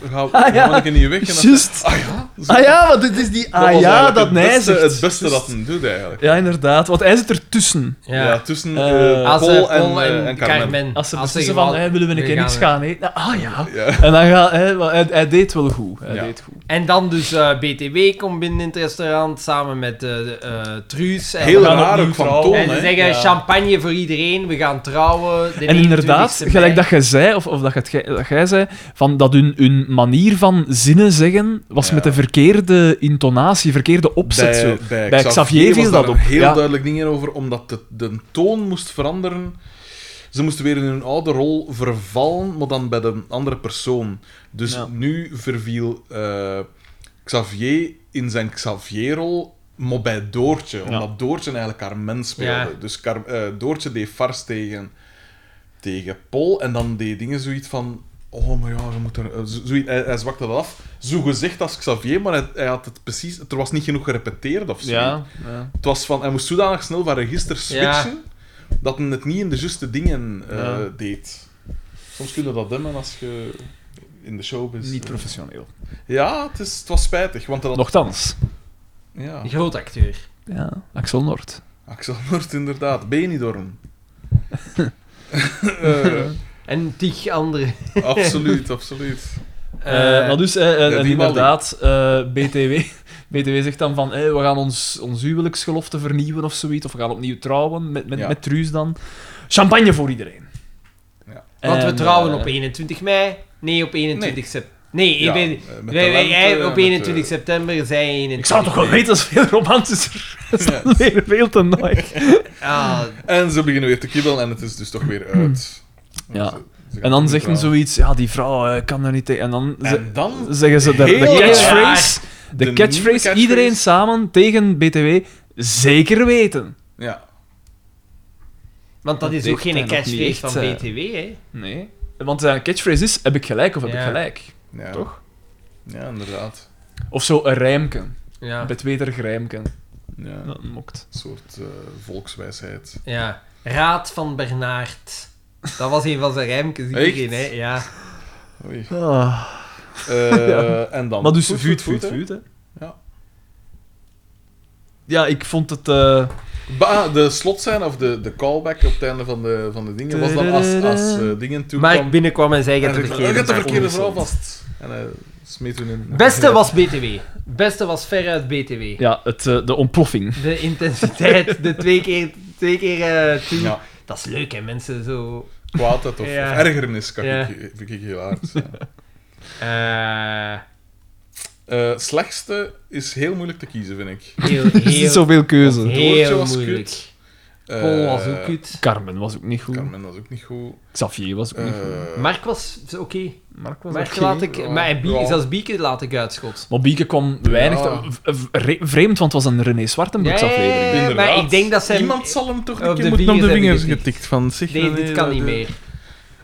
S3: We gaan,
S2: Ah,
S3: we
S2: ja.
S3: gaan een keer niet weg. En dan-
S2: Juist.
S3: Ah ja? Zo.
S2: Ah ja, want dit is die... Ah
S3: was
S2: ja,
S3: eigenlijk
S2: dat
S3: het
S2: nee
S3: beste,
S2: zegt.
S3: Het beste
S2: Juist.
S3: dat hem doet, eigenlijk.
S2: Ja, inderdaad. Want hij zit ertussen.
S3: Ja,
S1: Ja.
S3: tussen
S2: Eh,
S3: eh,
S1: Als,
S3: Paul,
S1: eh,
S3: en, eh, en Carmen.
S2: Als ze beslissen
S1: gewoon-
S2: van, hey, willen we een
S1: Ah, we
S2: keer
S1: gaan,
S2: niks
S1: eh,
S2: gaan eten? Ah ja.
S3: Ja.
S2: En dan gaat hij, wel- hij, hij deed wel goed. Hij
S3: Ja.
S2: deed goed.
S1: En dan dus eh, BTW komt binnen in het restaurant samen met eh, de, eh, Truus. En
S3: Heel
S1: we gaan-
S2: raar
S3: raar
S2: opnieuw
S3: ook van
S2: trouwen.
S3: Toon,
S1: En ze
S3: hè.
S1: zeggen
S2: Ja.
S1: champagne voor iedereen, we gaan trouwen. de
S2: En
S1: 29e
S2: inderdaad,
S1: mei.
S2: gelijk dat jij zei, of, of dat, jij- dat jij zei, van dat hun, hun manier van zinnen zeggen was
S3: Ja.
S2: met de verkeerde intonatie, verkeerde opzet.
S3: bij,
S2: zo.
S3: Bij,
S2: Bij Xavier
S3: was
S2: viel
S3: daar
S2: dat op,
S3: heel
S2: ja.
S3: duidelijk dingen over, omdat de, de toon moest veranderen. Ze moesten weer in hun oude rol vervallen, maar dan bij de andere persoon. Dus
S2: Ja.
S3: nu verviel eh, Xavier in zijn Xavier-rol, maar bij Doortje. Omdat Doortje eigenlijk Carmen speelde.
S1: Ja.
S3: Dus Car- eh, Doortje deed vars tegen, tegen Paul en dan deed dingen zoiets van... Oh, maar ja, we moeten... eh, zo- zoiets- hij, hij zwakte dat af. Zo gezegd als Xavier, maar hij, hij had het precies... Er was niet genoeg gerepeteerd of zo.
S2: Ja, ja.
S3: Het was van... Hij moest zodanig snel van register switchen, dat hij het niet in de juiste dingen eh,
S2: Ja.
S3: deed. Soms kun je dat demmen als je in de show bent.
S2: niet professioneel.
S3: Ja, het, is, het was spijtig, want dat...
S2: Nochtans.
S3: Ja.
S1: Groot acteur.
S2: Ja, Axel Noord.
S3: Axel Noord, inderdaad. Benidorm. Eh
S1: En tig andere.
S3: absoluut, absoluut.
S2: Eh,
S1: eh,
S2: maar dus, eh, eh, en
S3: die
S2: inderdaad, eh, BTW, BTW zegt dan van, eh, we gaan ons, ons huwelijksgelofte vernieuwen of zoiets, of we gaan opnieuw trouwen, met, met,
S3: Ja.
S2: met Truus dan. Champagne voor iedereen.
S3: Ja.
S1: Want we
S2: En,
S1: trouwen
S2: eh,
S1: op 21 mei. Nee, op 21 september. Nee, ik
S3: Ja,
S1: ben-
S3: eh, met
S1: wij- wij-
S3: talenten,
S1: jij op
S3: met, eh,
S1: 21 september, zij 21
S2: Ik zou toch wel weten, dat is veel romantischer. Dat is
S3: Ja.
S2: dan weer veel te nooit.
S1: Ah,
S3: En ze beginnen weer te kibbelen en het is dus toch weer uit.
S2: Ja.
S3: Ze- ze
S2: En
S3: gaan
S2: dan
S3: niet
S2: zegt hij
S3: trouwen.
S2: zoiets, ja, die vrouw eh, kan er niet tegen. En dan ze-
S3: En dan...
S2: zeggen ze de, de
S3: Heel
S2: catchphrase,
S3: De
S2: de
S3: nieuwe
S2: catchphrase,
S3: catchphrase.
S2: iedereen samen tegen BTW, zeker weten.
S3: Ja.
S1: want dat
S2: Dat
S1: is
S2: deed
S1: ook
S2: hij
S1: geen
S2: nog niet
S1: catchphrase
S2: echt,
S1: van
S2: eh.
S1: BTW, hè?
S2: Nee. Want zijn catchphrase is, heb ik gelijk of heb
S1: Ja.
S2: ik gelijk?
S3: ja.
S2: Toch?
S3: Ja, inderdaad.
S2: Of zo een rijmke.
S1: Ja.
S2: Betweterig rijmke.
S3: Ja.
S2: Dat mokt.
S3: Een soort eh, volkswijsheid.
S1: ja. Raad van Bernard. Dat was een van zijn rijmpjes iedereen, hè?
S3: Echt?
S1: Ja.
S3: Oei. Eh, En dan...
S2: Maar dus,
S3: Voet,
S2: vuut,
S3: voet,
S2: vuut,
S3: hè.
S2: vuut, hè.
S3: Ja.
S2: Ja, ik vond het... eh,
S3: Ba- ah, de slotscène of de, de callback op het einde van de, van de dingen was dan als, als eh, dingen toe
S1: Maar
S3: kwam-
S1: ik binnenkwam en zei: Je
S3: en
S1: hebt de
S3: zei van, "Oh, je
S1: verkeerde
S3: hebt
S1: vrouw."
S3: de verkeerde vrouw vast. En hij Smeet hun in.
S1: Beste was BTW. Beste was veruit BTW.
S2: Ja, het, eh, de ontploffing.
S1: De intensiteit, de twee keer, twee keer eh, toe.
S3: Ja,
S1: Dat is leuk, hè, mensen. Zo.
S3: kwaadheid of,
S1: Ja.
S3: of ergernis kan
S1: Ja.
S3: ik, vind ik heel hard. ja.
S1: Eh,
S3: Eh, slechtste is heel moeilijk te kiezen, vind ik.
S1: heel,
S2: Er is niet
S1: heel,
S2: zoveel keuze.
S3: woordje
S1: heel
S3: was kut.
S1: moeilijk.
S3: Eh,
S1: Paul was ook kut.
S2: Carmen was ook niet goed.
S3: Carmen, dat is ook niet goed.
S2: Xavier was ook niet goed.
S3: Eh,
S1: Mark was oké.
S2: Mark was
S1: Mark
S2: ook
S1: laat
S2: geen-
S1: ik...
S3: ja.
S1: Maar en Bieke-
S3: Ja.
S1: zelfs Bieke laat ik uitschot.
S2: Maar Bieke kwam weinig...
S3: Ja.
S2: v- v- re- Vreemd, want het was een René Zwartenbroeks aflevering.
S1: Ja,
S3: inderdaad.
S1: maar ik denk dat zij...
S3: Iemand zal hem toch
S1: op
S3: een
S1: de
S3: keer moeten om de
S1: vingers
S3: vingers
S1: hebben
S3: getikt van zich.
S1: Nee, dit kan niet meer.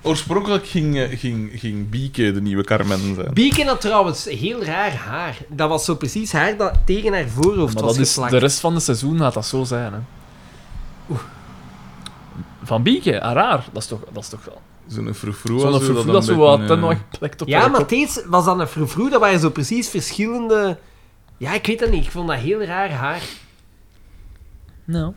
S3: Oorspronkelijk ging, eh, ging, ging Bieke de nieuwe Carmen zijn.
S1: Bieke had trouwens heel raar haar. Dat was zo precies haar dat tegen haar voorhoofd
S2: Maar
S1: was
S2: dat is,
S1: geplakt.
S2: de rest van het seizoen gaat dat zo zijn. Hè. Van Bieke, ah, raar. Dat is toch... Dat is toch wel...
S3: Zo'n froufrou. als
S2: Zo'n
S3: we
S2: vervoer
S3: dan
S2: dat zo
S3: met
S2: wat
S3: een,
S2: ten
S3: eh,
S2: nog geplekt op
S1: Ja,
S2: haar
S1: maar
S2: kop.
S1: steeds was dat een froufrou. Dat waren zo precies verschillende... Ja, ik weet dat niet. Ik vond dat heel raar haar.
S2: Nou.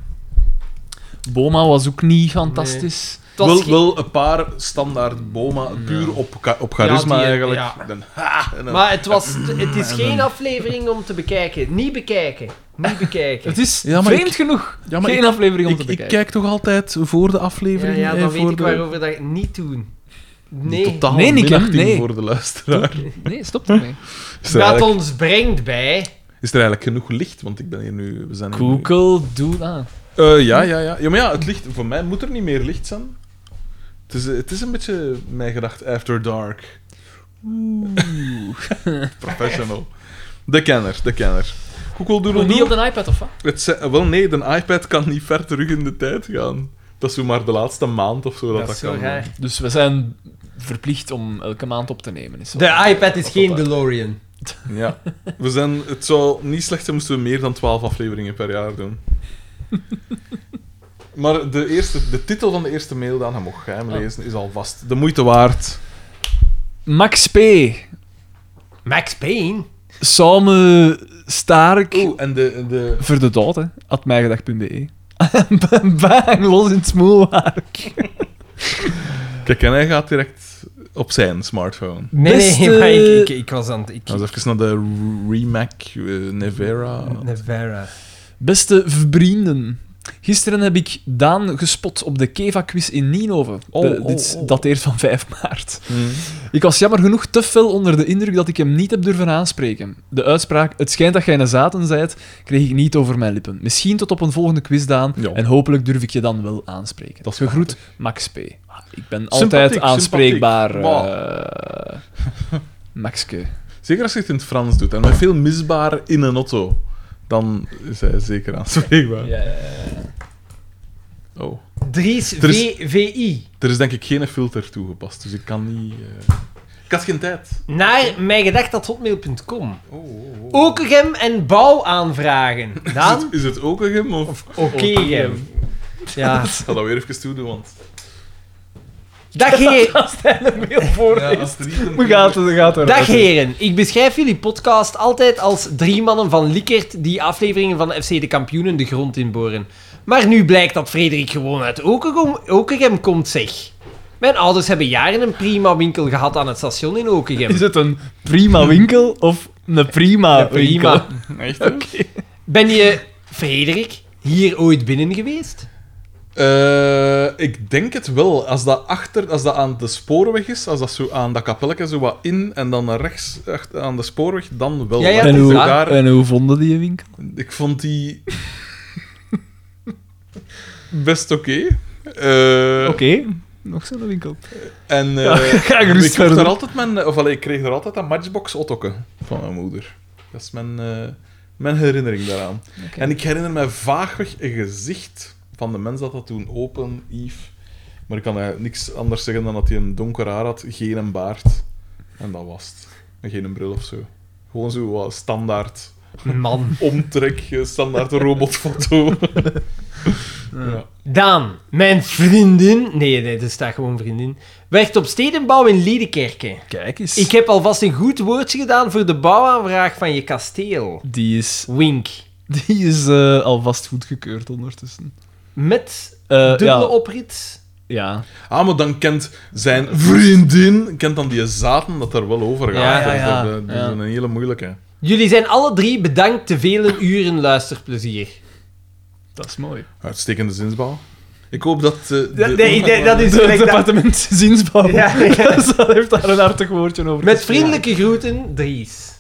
S2: Boma was ook niet fantastisch.
S1: Het was
S3: wel,
S1: geen-
S3: wel een paar standaard Boma, puur op, ka- op charisma
S1: Ja, die, eh,
S3: eigenlijk.
S1: ja.
S3: Dan, ha, en dan-
S1: Maar het, was, het is geen aflevering om te bekijken. Niet bekijken. Niet bekijken.
S2: Het is
S3: Ja, maar
S2: vreemd
S3: ik-
S2: genoeg.
S3: Ja, maar
S2: Geen
S3: ik-
S2: aflevering om
S3: ik,
S2: te
S3: ik
S2: bekijken.
S3: kijk toch altijd voor de
S1: Ja,
S3: aflevering?
S1: ja,
S3: hè,
S1: dan
S3: voor
S1: weet ik
S3: de...
S1: waarover dat niet doen. Nee.
S3: Totaal
S2: Nee, Nick, hè?
S3: minachting
S2: Nee.
S3: voor de luisteraar.
S2: Nee, stop ermee.
S3: Is er,
S1: Dat
S3: eigenlijk,
S1: ons brengt bij...
S3: is er eigenlijk genoeg licht? Want ik ben hier nu... We zijn hier nu-
S2: Google, ah. doe dat.
S3: Eh, ja, ja, ja. Ja, maar ja, het licht... Voor mij moet er niet meer licht zijn. Het is, eh, het is een beetje mijn gedacht after dark. Professional. De kenner, de kenner. Google Doodle
S2: Niet
S3: Doo.
S2: op de iPad of wat?
S3: Het ze- wel nee, de iPad kan niet ver terug in de tijd gaan. Dat is zo maar de laatste maand of zo dat
S1: Dat
S3: dat,
S1: is zo
S3: kan.
S1: raar.
S2: Dus we zijn verplicht om elke maand op te nemen. Is zo.
S1: De iPad is
S2: Wat
S1: geen
S2: dat-
S1: DeLorean.
S3: Ja. We zijn, het zou niet slecht zijn moesten we meer dan 12 afleveringen per jaar doen. Maar de, eerste, de titel van de eerste mail dan, je mocht geheim
S1: Oh.
S2: Ah.
S3: lezen, is alvast de moeite waard.
S2: Max P.
S1: Max Payne?
S2: Samen Stark.
S3: Oeh, en de, de,
S2: Voor de dood, hè. At mijgedag.be. E. Bang, los in het smoelwerk.
S3: Kijk, en hij gaat direct op zijn smartphone.
S1: Nee,
S2: Beste-
S1: nee, maar ik, ik, ik was aan het... Ik,
S3: Hij was even naar de Remac eh, Nevera.
S1: Nevera.
S2: Beste vrienden. Gisteren heb ik Daan gespot op de Keva-quiz in Nienhoven.
S3: Oh,
S2: De-
S3: oh,
S2: dit is-
S3: oh.
S2: dateert van 5 maart.
S3: Hmm.
S2: Ik was jammer genoeg te fel onder de indruk dat ik hem niet heb durven aanspreken. De uitspraak, het schijnt dat jij een zaten zijt, kreeg ik niet over mijn lippen. Misschien tot op een volgende quiz, Daan.
S3: Ja.
S2: En hopelijk durf ik je dan wel aanspreken.
S3: Dat is
S2: Gegroet, Max P. Ik ben altijd aanspreekbaar, eh, Maxke.
S3: Zeker als je het in het Frans doet en met veel misbaar in een auto, dan is hij zeker aanspreekbaar. Oh.
S1: Dries
S3: Er is-
S1: VVI.
S3: Er is denk ik geen filter toegepast, dus ik kan niet. eh, Ik had geen tijd.
S1: Naar mijgedacht.hotmail.com.
S3: Oh, oh, oh.
S1: Okegem en bouwaanvragen.
S3: Is
S1: Dan
S3: het, is het ook een gem of.
S1: Okegem. Ja.
S3: Ik ga dat weer even toedoen, want.
S1: Dag, heer,
S3: Ja, als er niet een-
S1: dag heren. Ik beschrijf jullie podcast altijd als drie mannen van Likert die afleveringen van FC de Kampioenen de grond inboren. Maar nu blijkt dat Frederik gewoon uit Okegem, Okegem komt, zeg. Mijn ouders hebben jaren een prima winkel gehad aan het station in Okegem.
S2: Is het een prima winkel of een prima,
S1: Een prima.
S2: winkel?
S3: Echt? hè?
S1: Ben je, Frederik, hier ooit binnen geweest?
S3: Eh, ik denk het wel. Als dat, achter, als dat aan de spoorweg is, als dat zo aan dat kapelletje zo wat in en dan naar rechts achter- aan de spoorweg, dan wel.
S1: Ja, ja,
S3: Maar
S2: En
S1: dat is
S2: hoe,
S3: daar-
S2: en hoe vonden die je winkel?
S3: Ik vond die best oké. Eh,
S2: Oké, nog zo'n winkel.
S3: En eh,
S2: Ja, ga gerust
S3: ik, kocht
S2: verder.
S3: daar altijd mijn, eh, of, allee, ik kreeg er altijd een matchbox ottokken van mijn moeder. Dat is mijn, eh, mijn herinnering daaraan.
S2: Oké.
S3: En ik herinner mij vaagweg een gezicht van de mens dat dat toen open, Yves. Maar ik kan eigenlijk niks anders zeggen dan dat hij een donker haar had, geen een baard. En dat was het. En geen een bril of zo. Gewoon zo wat standaard
S1: Man.
S3: omtrek, eh, standaard robotfoto. ja.
S1: Daan, mijn vriendin, nee, nee, er staat gewoon vriendin, werkt op stedenbouw in Liedekerke.
S2: Kijk eens.
S1: Ik heb alvast een goed woordje gedaan voor de bouwaanvraag van je kasteel.
S2: Die is,
S1: Wink.
S2: die is eh, alvast goedgekeurd ondertussen.
S1: Met
S2: Eh,
S1: dubbele
S2: ja,
S1: oprit.
S2: Ja.
S3: Ah, maar dan kent zijn vriendin kent dan die zaten dat er wel over gaat.
S2: ja,
S1: Ja,
S2: ja.
S3: Dat is dat is
S2: Ja.
S3: een hele moeilijke.
S1: Jullie zijn alle drie bedankt te vele uren luisterplezier.
S2: Dat is mooi.
S3: Uitstekende zinsbouw. Ik hoop dat... eh, de-
S1: Ja, nee, ik denk dat is
S2: Het
S1: gelijk dat-
S2: departement zinsbouw.
S1: Ja, ja.
S2: Dat heeft daar een hartig woordje over.
S1: Met vriendelijke groeten, Dries.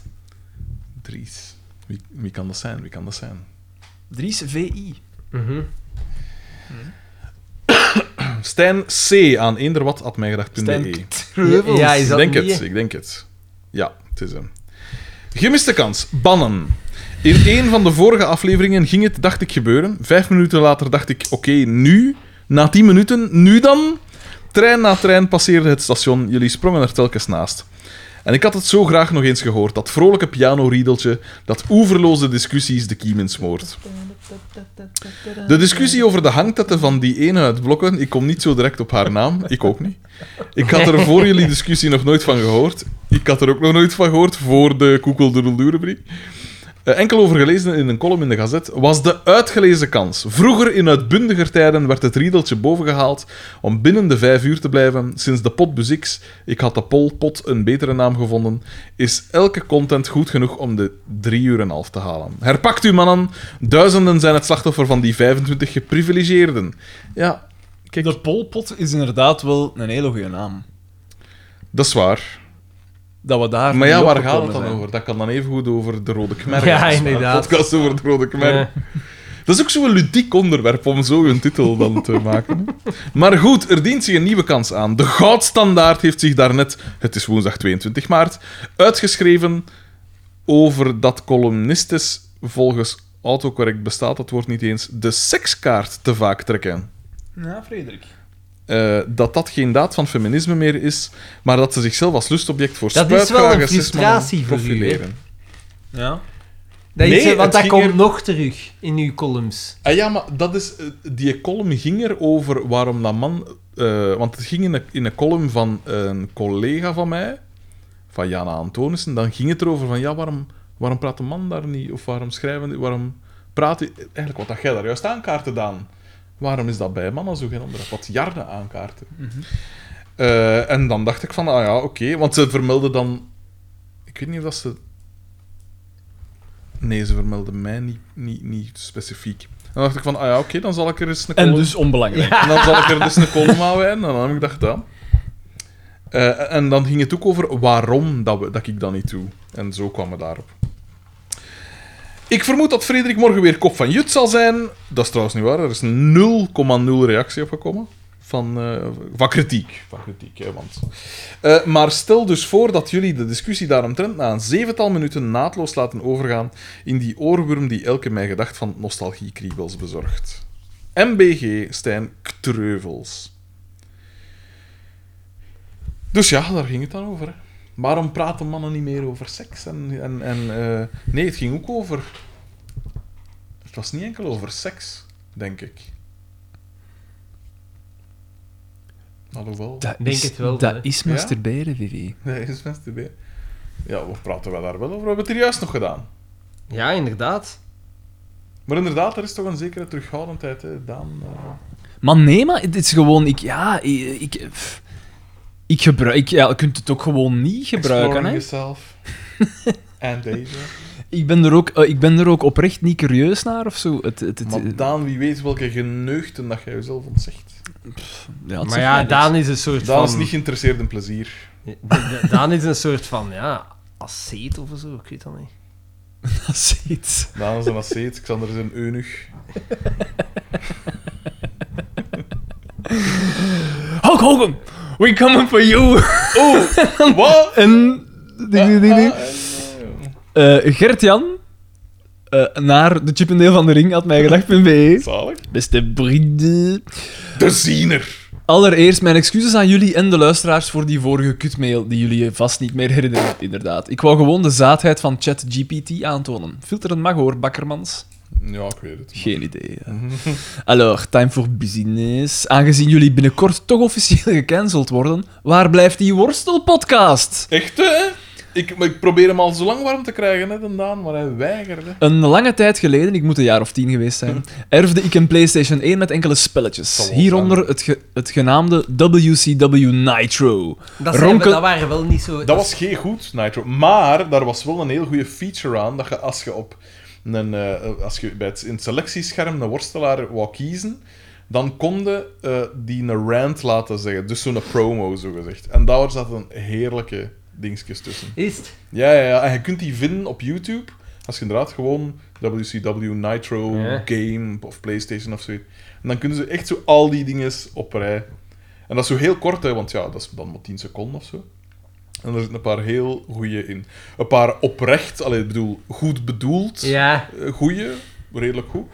S3: Dries. Wie, wie kan dat zijn? Wie kan dat zijn?
S2: Dries VI.
S1: Mhm.
S3: Stijn C. aan eenderwat.mijgedacht.be
S2: Stijn Treuvels.
S1: Ja, is
S3: Ik
S1: dat
S3: denk
S1: niet?
S3: het, ik denk het. Ja, het is hem. Gemiste kans. Bannen. In een van de vorige afleveringen ging het, dacht ik, gebeuren. Vijf minuten later dacht ik, oké, nu. Na tien minuten, nu dan. Trein na trein passeerde het station. Jullie sprongen er telkens naast. En ik had het zo graag nog eens gehoord. Dat vrolijke pianoriedeltje dat oeverloze discussies de kiem in smoort. De discussie over de hangtetten van die ene uit Blokken, ik kom niet zo direct op haar naam, ik ook niet. Ik had er voor jullie discussie nog nooit van gehoord. Ik had er ook nog nooit van gehoord voor de koekeldoedeldoerenbrief. Eh, enkel over gelezen in een column in de Gazet was de uitgelezen kans. Vroeger in uitbundiger tijden werd het riedeltje bovengehaald om binnen de vijf uur te blijven. Sinds de pot Buzix, ik had de polpot een betere naam gevonden, is elke content goed genoeg om de drie uur en een half te halen. Herpakt u mannen, duizenden zijn het slachtoffer van die 25 geprivilegeerden. Ja,
S2: Kijk, de Polpot is inderdaad wel een hele goede naam.
S3: dat is waar.
S2: Dat we daar
S3: Maar ja,
S2: niet
S3: waar gaat
S2: opgekomen
S3: het dan
S2: zijn.
S3: over? Dat kan dan even goed over de Rode Kmer.
S1: Ja,
S3: gaan. Een
S1: inderdaad.
S3: podcast over de Rode Kmer.
S1: Ja.
S3: Dat is ook zo'n ludiek onderwerp om zo een titel dan te maken. Maar goed, er dient zich een nieuwe kans aan. De goudstandaard heeft zich daarnet, het is woensdag 22 maart, uitgeschreven over dat columnistes volgens autocorrect bestaat dat woord niet eens, de sekskaart te vaak trekken.
S2: Ja, Frederik.
S3: Eh, dat dat geen daad van feminisme meer is, maar dat ze zichzelf als lustobject voor
S1: Dat is wel een
S3: spuitkragen, seksmannen
S1: frustratie voor u, hè?
S3: profileren.
S2: Ja.
S1: Dat is,
S3: Nee,
S1: eh, want
S3: het
S1: dat
S3: ging
S1: komt
S3: er-
S1: nog terug in uw columns.
S3: Ah ja, maar dat is, eh, die column ging er over waarom dat man... eh, want het ging in een, in een column van een collega van mij, van Jana Antonissen, dan ging het erover van, ja, waarom, waarom praat de man daar niet? Of waarom schrijven die- Waarom praat die... Eigenlijk wat dat jij daar juist aankaartte, Daan. Waarom is dat bij mannen zo geen andere? Wat Jarne aankaarten. Eh, en dan dacht ik van, ah ja, oké. Want ze vermelden dan... Ik weet niet of dat ze... Nee, ze vermelden mij niet, niet, niet specifiek. En dan dacht ik van, ah ja, oké, dan zal ik er eens een
S2: En
S3: column...
S2: dus onbelangrijk.
S3: En dan zal ik er dus een column aan wijden. En dan heb ik gedacht, ja. Eh, en dan ging het ook over waarom dat, we, dat ik dat niet doe. En zo kwam we daarop. Ik vermoed dat Frederik morgen weer kop van Jut zal zijn. Dat is trouwens niet waar. Er is 0,0 reactie op gekomen. Van, eh, van kritiek. Van kritiek, hè, want... Eh, maar stel dus voor dat jullie de discussie daaromtrent na een zevental minuten naadloos laten overgaan in die oorworm die elke mij gedacht van nostalgiekriebels bezorgt. MBG Stijn Ktreuvels. Dus ja, daar ging het dan over. Hè. Waarom praten mannen niet meer over seks? En, en, en, eh, nee, het ging ook over. Het was niet enkel over seks, denk ik. Alhoewel.
S2: Dat
S1: Denk
S2: is,
S1: het wel,
S2: dat
S1: hè.
S2: is
S3: Ja?
S2: masturberen, Vivi.
S3: Nee, is best idee. Ja, we praten wel daar wel over. We hebben het hier juist nog gedaan.
S1: Ja, inderdaad.
S3: Maar inderdaad, er is toch een zekere terughoudendheid, hè, Daan. eh.
S2: Maar nee, maar het is gewoon... Ik, ja, ik... Ik, pff. ik gebruik... Ik, ja, je kunt het ook gewoon niet gebruiken,
S3: Exploring
S2: hè.
S3: yourself. en deze.
S2: Ik ben, er ook, eh, ik ben er ook oprecht niet curieus naar of zo. Het, het, eh, het,
S3: Maar Daan, wie weet welke geneugten dat jij jezelf ontzegt.
S2: ja, het
S1: maar
S2: zegt mij
S1: ja,
S2: niks.
S1: Daan is een soort
S3: Daan is
S1: van...
S3: niet geïnteresseerd in plezier.
S1: Da- da- Daan is een soort van, ja, asceet of zo, ik weet dat niet.
S2: Dat is iets.
S3: Daan is een asceet, Xander is een eunuch.
S2: Hulk Hogan, we coming for you.
S3: Wat?
S2: En... Ding, ding, ding, ding.
S3: Ah, en, eh,
S2: Eh, Gert-Jan, eh, naar de Chippendeel van de Ring, had mij gedacht.be.
S3: Zalig.
S2: Beste vrienden.
S3: De ziener.
S2: Allereerst mijn excuses aan jullie en de luisteraars voor die vorige kutmail die jullie je vast niet meer herinneren, inderdaad. Ik wou gewoon de zaadheid van ChatGPT aantonen. Filteren mag hoor, bakkermans.
S3: Ja, ik weet het.
S2: Geen idee. ja. Alors, time for business. Aangezien jullie binnenkort toch officieel gecanceld worden, waar blijft die worstelpodcast?
S3: Echt, hè? Ik, maar ik probeer hem al zo lang warm te krijgen, hè, de Daan, maar hij weigerde.
S2: Een lange tijd geleden, ik moet een jaar of tien geweest zijn, erfde ik een PlayStation 1 met enkele spelletjes.
S3: Zal wel
S2: Hieronder
S3: zijn.
S2: het, ge- het genaamde WCW Nitro.
S1: Dat, zijn we,
S2: Ronken-
S1: dat waren wel niet zo...
S3: Dat was geen goed, Nitro. Maar daar was wel een heel goede feature aan, dat je als je, op een, eh, als je bij het, in het selectiescherm een worstelaar wou kiezen, dan kon je eh, die een rant laten zeggen. Dus zo'n promo, zogezegd. En daar zaten heerlijke dingetjes tussen.
S1: Is het?
S3: Ja, ja, ja. En je kunt die vinden op YouTube. Als je inderdaad gewoon WCW Nitro
S1: Ja.
S3: Game of PlayStation of zoiets. En dan kunnen ze echt zo al die dingen op rij. En dat is zo heel kort, hè, want ja, dat is dan maar 10 seconden of zo. En er zitten een paar heel goeie in. Een paar oprecht, allee, ik bedoel, goed bedoeld
S1: Ja.
S3: eh, goeie, redelijk goed.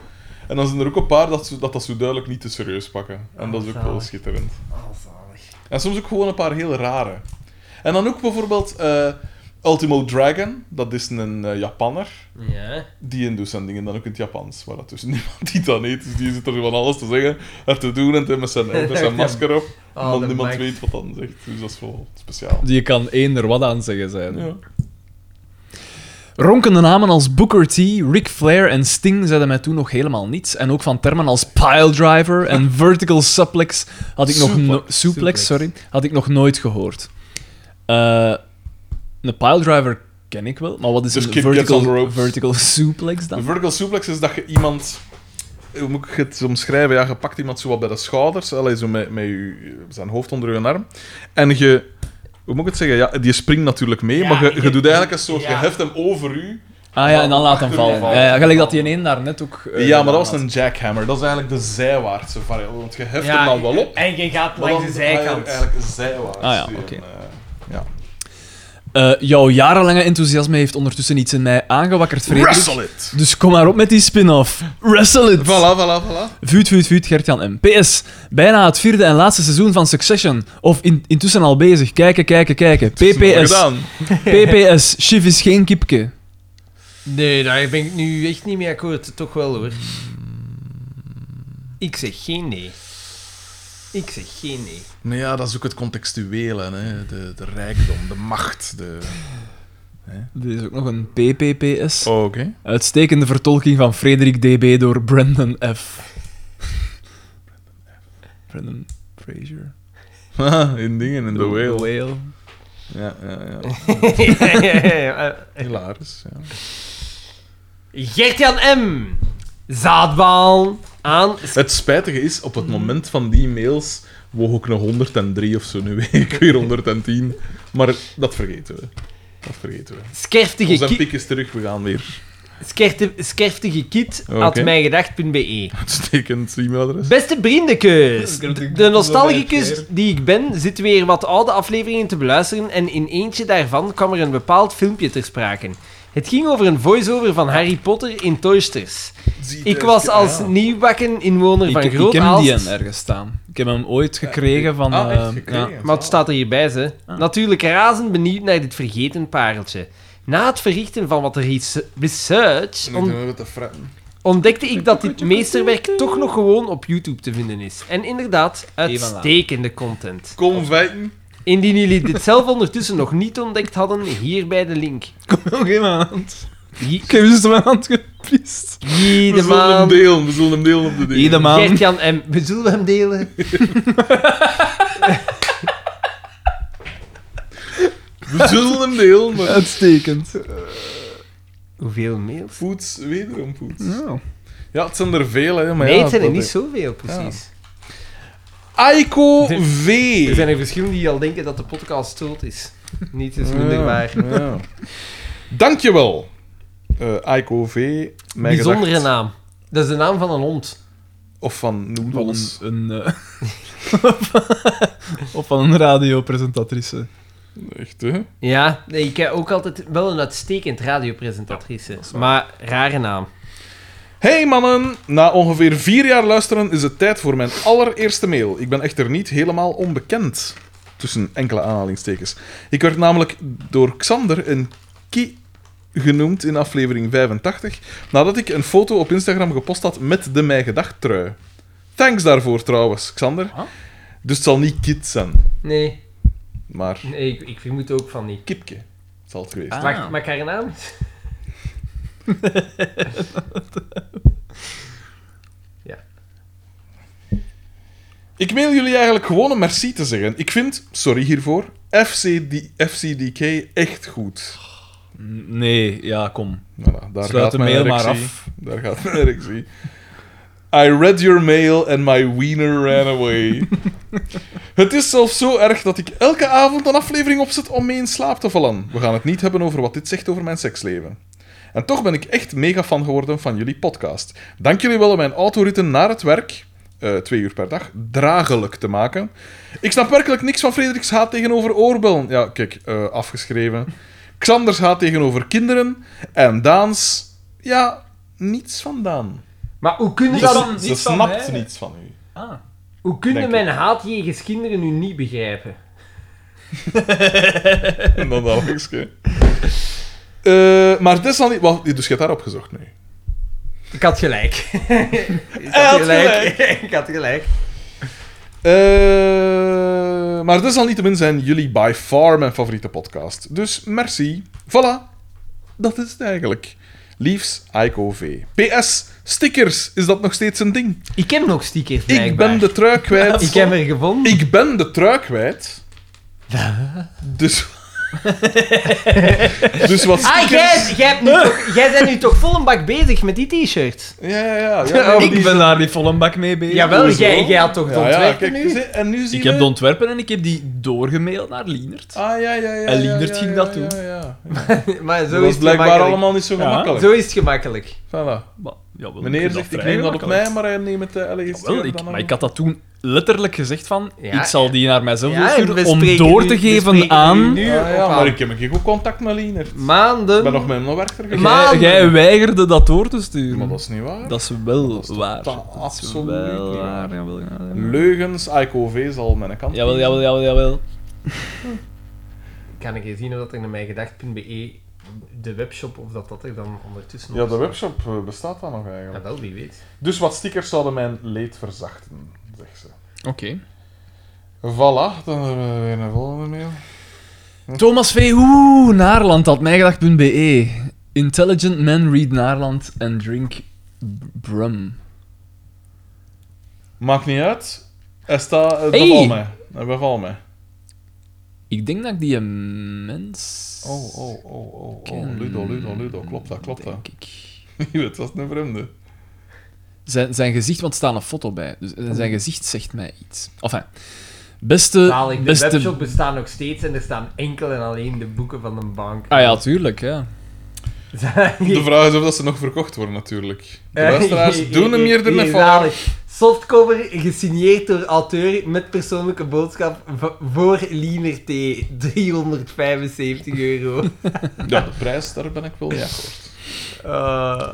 S3: En dan zijn er ook een paar dat, ze- dat dat zo duidelijk niet te serieus pakken. En dat is ook wel
S1: Oh, Zalig.
S3: schitterend.
S1: Oh, zalig.
S3: En soms ook gewoon een paar heel rare. En dan ook bijvoorbeeld eh, Ultimo Dragon, dat is een eh, Japanner.
S1: Ja.
S3: Die in doet zijn dingen dan ook in het Japans, waar dat dus niemand die dan eet. Dus die zit er van alles te zeggen en te doen en te- met zijn, met zijn masker op.
S1: Oh,
S3: maar
S1: de
S3: niemand
S1: Max.
S3: weet wat dan zegt. Dus dat is wel speciaal.
S2: Die kan één er wat aan zeggen zijn.
S3: Ja.
S2: Ronkende namen als Booker T, Ric Flair en Sting zeiden mij toen nog helemaal niets. En ook van termen als piledriver en vertical suplex had ik nog no-
S3: Suplex.
S2: suplex, sorry, had ik nog nooit gehoord. Eh een piledriver ken ik wel, maar wat is
S3: Dus
S2: een
S3: Kid Gets on the
S2: vertical,
S3: Ropes.
S2: vertical suplex
S3: De
S2: dan?
S3: vertical suplex is dat je iemand... Hoe moet ik het omschrijven? Ja, je pakt iemand zo wat bij de schouders, allee, zo met, met je, zijn hoofd onder je arm. En je... Hoe moet ik het zeggen? Ja, die springt natuurlijk mee,
S1: Ja,
S3: maar je, je
S1: je-
S3: doet eigenlijk een soort... Je
S1: ja.
S3: heft hem over u.
S2: Ah ja, en dan laat hem vallen.
S3: Vallen.
S2: Ja, ja, gelijk dat die in daar net ook... eh,
S3: ja, maar dat was
S2: laat.
S3: een jackhammer. Dat is eigenlijk de zijwaartse variant. Want je heft
S1: ja,
S3: hem dan wel op,
S1: En je gaat
S3: maar dan
S1: langs de
S3: draai je hem
S1: zijkant.
S3: eigenlijk zijwaarts.
S2: Ah ja,
S3: Die
S2: oké.
S3: een, eh, ja.
S2: Eh, jouw jarenlange enthousiasme heeft ondertussen iets in mij aangewakkerd, Frederik.
S3: Wrestle it!
S2: Dus kom maar op met die spin-off. Wrestle it!
S3: Voilà, voilà, voilà.
S2: Vuut, vuut, vuut, Gertjan M. PS. Bijna het vierde en laatste seizoen van Succession. Of in, intussen al bezig. Kijken, kijken, kijken.
S3: Dat is nog
S2: PPS.
S3: Gedaan.
S2: PPS. Chief is geen kipke.
S1: Nee, daar ben ik nu echt niet mee akkoord. Toch wel, hoor. Ik zeg geen nee. Ik zeg geen nee.
S3: Maar Nou ja, dat is ook het contextuele. Hè. De, de rijkdom, de macht. De...
S2: Er is ook nog een PPPS.
S3: Oh, oké.
S2: Uitstekende vertolking van Frederik DB door Brandon F. Brandon Fraser.
S3: Ah, in dingen, in de whale.
S2: Whale.
S3: Ja, ja, ja. Hilarisch, ja.
S1: Gert-Jan M. Zaadbal aan...
S3: Het spijtige is, op het moment van die mails woog ook nog 103 of zo, nu weet ik weer 110. Maar dat vergeten we. Dat vergeten we.
S1: Skerftige
S3: Onze
S1: ki
S3: pik is terug, we gaan weer.
S1: skerte- skerftige kit
S3: Oké.
S1: at mijngedacht.be.
S3: Uitstekend e-mailadres.
S1: E. Beste vriendenkeus,
S2: Dat kan ik
S1: de
S2: doen, dat
S1: nostalgicus
S2: weet
S1: die ik ben zit weer wat oude afleveringen te beluisteren en in eentje daarvan kwam er een bepaald filmpje ter sprake. Het ging over een voice-over van Harry Potter in Toysters.
S3: Zie
S1: Ik
S3: de-
S1: was als
S3: Ah.
S1: nieuwbakken inwoner
S2: Ik,
S1: van
S2: ik heb die
S1: Groot-Aalst...
S2: een ergens staan. Ik heb hem ooit gekregen van...
S3: Ah, echt
S2: eh,
S3: gekregen.
S2: ja.
S1: Maar het staat er hierbij, ze.
S2: Ah.
S1: Natuurlijk razend benieuwd naar dit vergeten pareltje. Na het verrichten van wat res- research
S3: Nu
S1: ont-
S3: doen we het te fretten.
S1: ontdekte ik dat dit meesterwerk toch nog gewoon op YouTube te vinden is. En inderdaad,
S2: later.
S1: uitstekende content.
S3: Kom feiten.
S1: Indien jullie dit zelf ondertussen nog niet ontdekt hadden, hierbij de link.
S2: Nog in mijn hand.
S1: J-
S2: Ik heb dus mijn hand gepiest.
S3: We zullen hem
S1: Jiedemaan,
S3: delen, we zullen hem delen op de dingen.
S2: Ieder man.
S1: Gert-Jan M. We zullen hem delen.
S3: We zullen hem delen, maar
S2: Uitstekend.
S1: Hoeveel mails?
S3: poets, wederom poets. Ja, het zijn er veel, hè. Maar
S1: nee,
S3: ja,
S1: het zijn er
S3: dat-
S1: niet zoveel, precies.
S3: Aiko
S1: Er-
S3: V.
S1: Er zijn er verschillende die al denken dat de podcast schuld is. Niet is minder
S3: Ja,
S1: waar.
S3: ja. Dankjewel, eh Aiko V. Mij
S1: Bijzondere
S3: gedacht.
S1: naam. Dat is de naam van een hond.
S3: Of van
S2: Van een,
S3: Noedels.
S2: een, eh, of van een radiopresentatrice.
S3: Echt, hè?
S1: Ja, nee, ik heb ook altijd wel een uitstekend radiopresentatrice. maar rare naam.
S3: Hey mannen, na ongeveer vier jaar luisteren is het tijd voor mijn allereerste mail. Ik ben echter niet helemaal onbekend. Tussen enkele aanhalingstekens. Ik werd namelijk door Xander een ki genoemd in aflevering 85, nadat ik een foto op Instagram gepost had met de Mij Gedacht trui. Thanks daarvoor trouwens, Xander.
S2: Ah.
S3: Dus het zal niet Kit zijn,
S1: Nee,
S3: maar
S1: nee ik, ik vermoed ook van niet.
S3: Kipke. Het zal het geweest.
S2: Ah.
S3: zijn.
S1: Wacht, mag ik haar naam?
S3: Ik mail jullie eigenlijk gewoon een merci te zeggen. Ik vind, sorry hiervoor, FCD, FCDK echt goed.
S2: Nee, ja, kom.
S3: Voilà, daar
S2: Sluit
S3: gaat
S2: de
S3: mijn
S2: mail maar
S3: erectie. Daar gaat mijn erectie. I read your mail and my wiener ran away. het is zelfs zo erg dat ik elke avond een aflevering opzet om mee in slaap te vallen. We gaan het niet hebben over wat dit zegt over mijn seksleven. En toch ben ik echt mega fan geworden van jullie podcast. Dank jullie wel om mijn autoritten naar het werk, eh, twee uur per dag, dragelijk te maken. Ik snap werkelijk niks van Frederiks haat tegenover oorbellen. Ja, kijk, eh, afgeschreven. Xanders haat tegenover kinderen. En Daans, ja, niets van Daan.
S1: Maar hoe kunnen
S2: Niet
S1: dat...
S2: van-
S3: Ze
S2: niets van
S3: snapt
S2: mij.
S3: niets van u.
S2: Ah.
S1: Hoe kunnen
S3: Denk
S1: mijn haat jegens kinderen nu niet begrijpen?
S3: En dan dat lachje. Eh, maar desalniet... Wacht, dus je hebt daarop gezocht nu.
S1: Ik had gelijk. ik
S3: Hij had gelijk.
S1: ik had gelijk.
S3: Eh, maar desalniettemin zijn jullie by far mijn favoriete podcast. Dus merci. Voilà. Dat is het eigenlijk. Liefs, Aiko V. PS, stickers, is dat nog steeds een ding?
S1: Ik heb nog stickers,
S3: Ik
S1: blijkbaar.
S3: ben de trui kwijt.
S1: Ik heb er gevonden.
S3: Ik ben de trui kwijt. Dus... dus wat
S1: Ah,
S3: stickers...
S1: jij, jij, hebt nu toch, jij bent nu toch vol een bak bezig met die t-shirt?
S3: Ja, ja, ja. ja,
S2: ik
S3: die-
S2: ben daar niet vol een bak mee bezig. Dus, eh,
S1: Jawel,
S3: Hoezo?
S1: jij, jij had toch de
S3: Ja, ja,
S1: ontwerpen
S3: kijk,
S1: nu?
S3: zie- en nu zien
S2: Ik heb
S3: we-
S2: de ontwerpen en ik heb die doorgemaild naar Lienert.
S3: Ah, ja, ja, ja.
S2: En
S3: ja,
S2: Lienert
S3: ja,
S2: ging
S3: ja,
S2: dat doen.
S3: Ja, ja.
S1: Maar zo
S3: Dat
S1: is
S3: was
S1: het
S3: blijkbaar
S1: gemakkelijk.
S3: allemaal niet zo
S2: Ja.
S3: gemakkelijk.
S1: Zo is het gemakkelijk.
S3: Voilà.
S2: Maar, jawel, ik
S3: Meneer
S2: vind
S3: zegt, ik
S2: vrij
S3: neem dat op
S2: makkelijk.
S3: mij, maar hij neemt het eh, allee,
S2: Jawel,
S3: stuur
S2: ik,
S3: dan
S2: maar
S3: aan.
S2: ik had dat toen letterlijk gezegd van,
S1: Ja,
S2: ik zal die naar mijzelf
S1: Ja, en we
S2: sturen om
S1: spreken
S2: door
S1: nu-
S2: te
S1: we
S2: geven
S1: spreken
S2: aan...
S1: nu
S3: Ah,
S1: op
S3: ja,
S1: aan.
S3: maar ik heb een goed contact met Lienert. Ik ben nog
S1: Maanden.
S3: met hem naar werk
S2: Jij,
S1: Maar-
S3: gegaan.
S1: maanden.
S2: jij weigerde dat door te sturen.
S3: Maar dat is niet waar.
S2: Dat is wel
S3: Dat is
S2: waar.
S3: totaal
S2: Dat is
S3: absoluut
S2: wel
S3: niet
S2: waar.
S3: waar.
S2: Jawel, ja, ja.
S3: Leugens, IKV zal mijn kant.
S2: jawel, jawel, jawel, jawel.
S1: Kan ik eens zien of dat er naar mijgedacht.be E de webshop of dat dat er dan ondertussen
S3: Ja,
S1: nog
S3: de
S1: staat?
S3: webshop eh, bestaat dan nog
S1: Ja,
S3: eigenlijk.
S1: wel, wie weet.
S3: Dus wat stickers zouden mijn leed verzachten, zegt ze.
S2: Oké.
S3: Voilà, dan hebben we weer een volgende mail.
S2: Thomas V. Hoe, Naarland, had mijgedacht.be. E. Intelligent men read Naarland and drink b- brum.
S3: Maakt niet uit. Hij staat... Het
S2: Hey.
S3: bevalt mij. Het bevalt mij.
S2: Ik denk dat ik die een mens...
S3: Oh, oh, oh, oh,
S2: ken,
S3: oh. Ludo, Ludo, Ludo. Klopt dat, klopt dat.
S2: Denk ik.
S3: Het was een vreemde.
S2: Zijn, zijn gezicht, want er staat een foto bij. Dus
S3: Oh.
S2: zijn gezicht zegt mij iets. Enfin. Beste...
S1: Zalig, de
S2: beste
S1: webshop bestaat nog steeds en er staan enkel en alleen de boeken van een bank.
S2: ah ja, tuurlijk, ja.
S3: De vraag is of dat ze nog verkocht worden, natuurlijk. De
S2: Eh,
S3: luisteraars doen hem hier
S1: Eh,
S3: niet
S1: eh,
S3: van.
S1: zalig. Softcover gesigneerd door auteur met persoonlijke boodschap v- voor Liener T. 375 euro.
S3: Ja, de prijs, daar ben ik wel mee akkoord.
S1: Eh,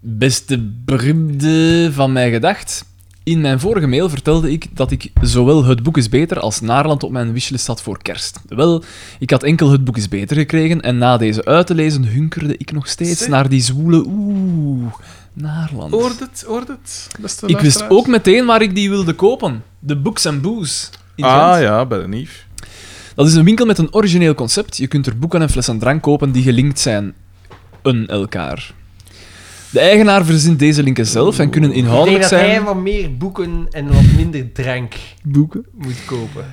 S2: Beste beroemde van mij gedacht. In mijn vorige mail vertelde ik dat ik zowel Het Boek is Beter als Naarland op mijn wishlist had voor kerst. Wel, ik had enkel Het Boek is Beter gekregen en na deze uit te lezen hunkerde ik nog steeds
S3: Zeg.
S2: naar die zwoele oeh, Naarland.
S3: Hoort het, hoort het. Beste
S2: ik wist
S3: luisteraars.
S2: ook meteen waar ik die wilde kopen. De Books and Booze. in Gent.
S3: Ah ja, bij de Nief.
S2: Dat is een winkel met een origineel concept. Je kunt er boeken en flessen drank kopen die gelinkt zijn aan elkaar. De eigenaar verzint deze linken zelf en kunnen
S1: ik denk
S2: inhoudelijk
S1: dat hij
S2: zijn.
S1: wat meer boeken en wat minder drank
S2: Boeken?
S1: moet kopen.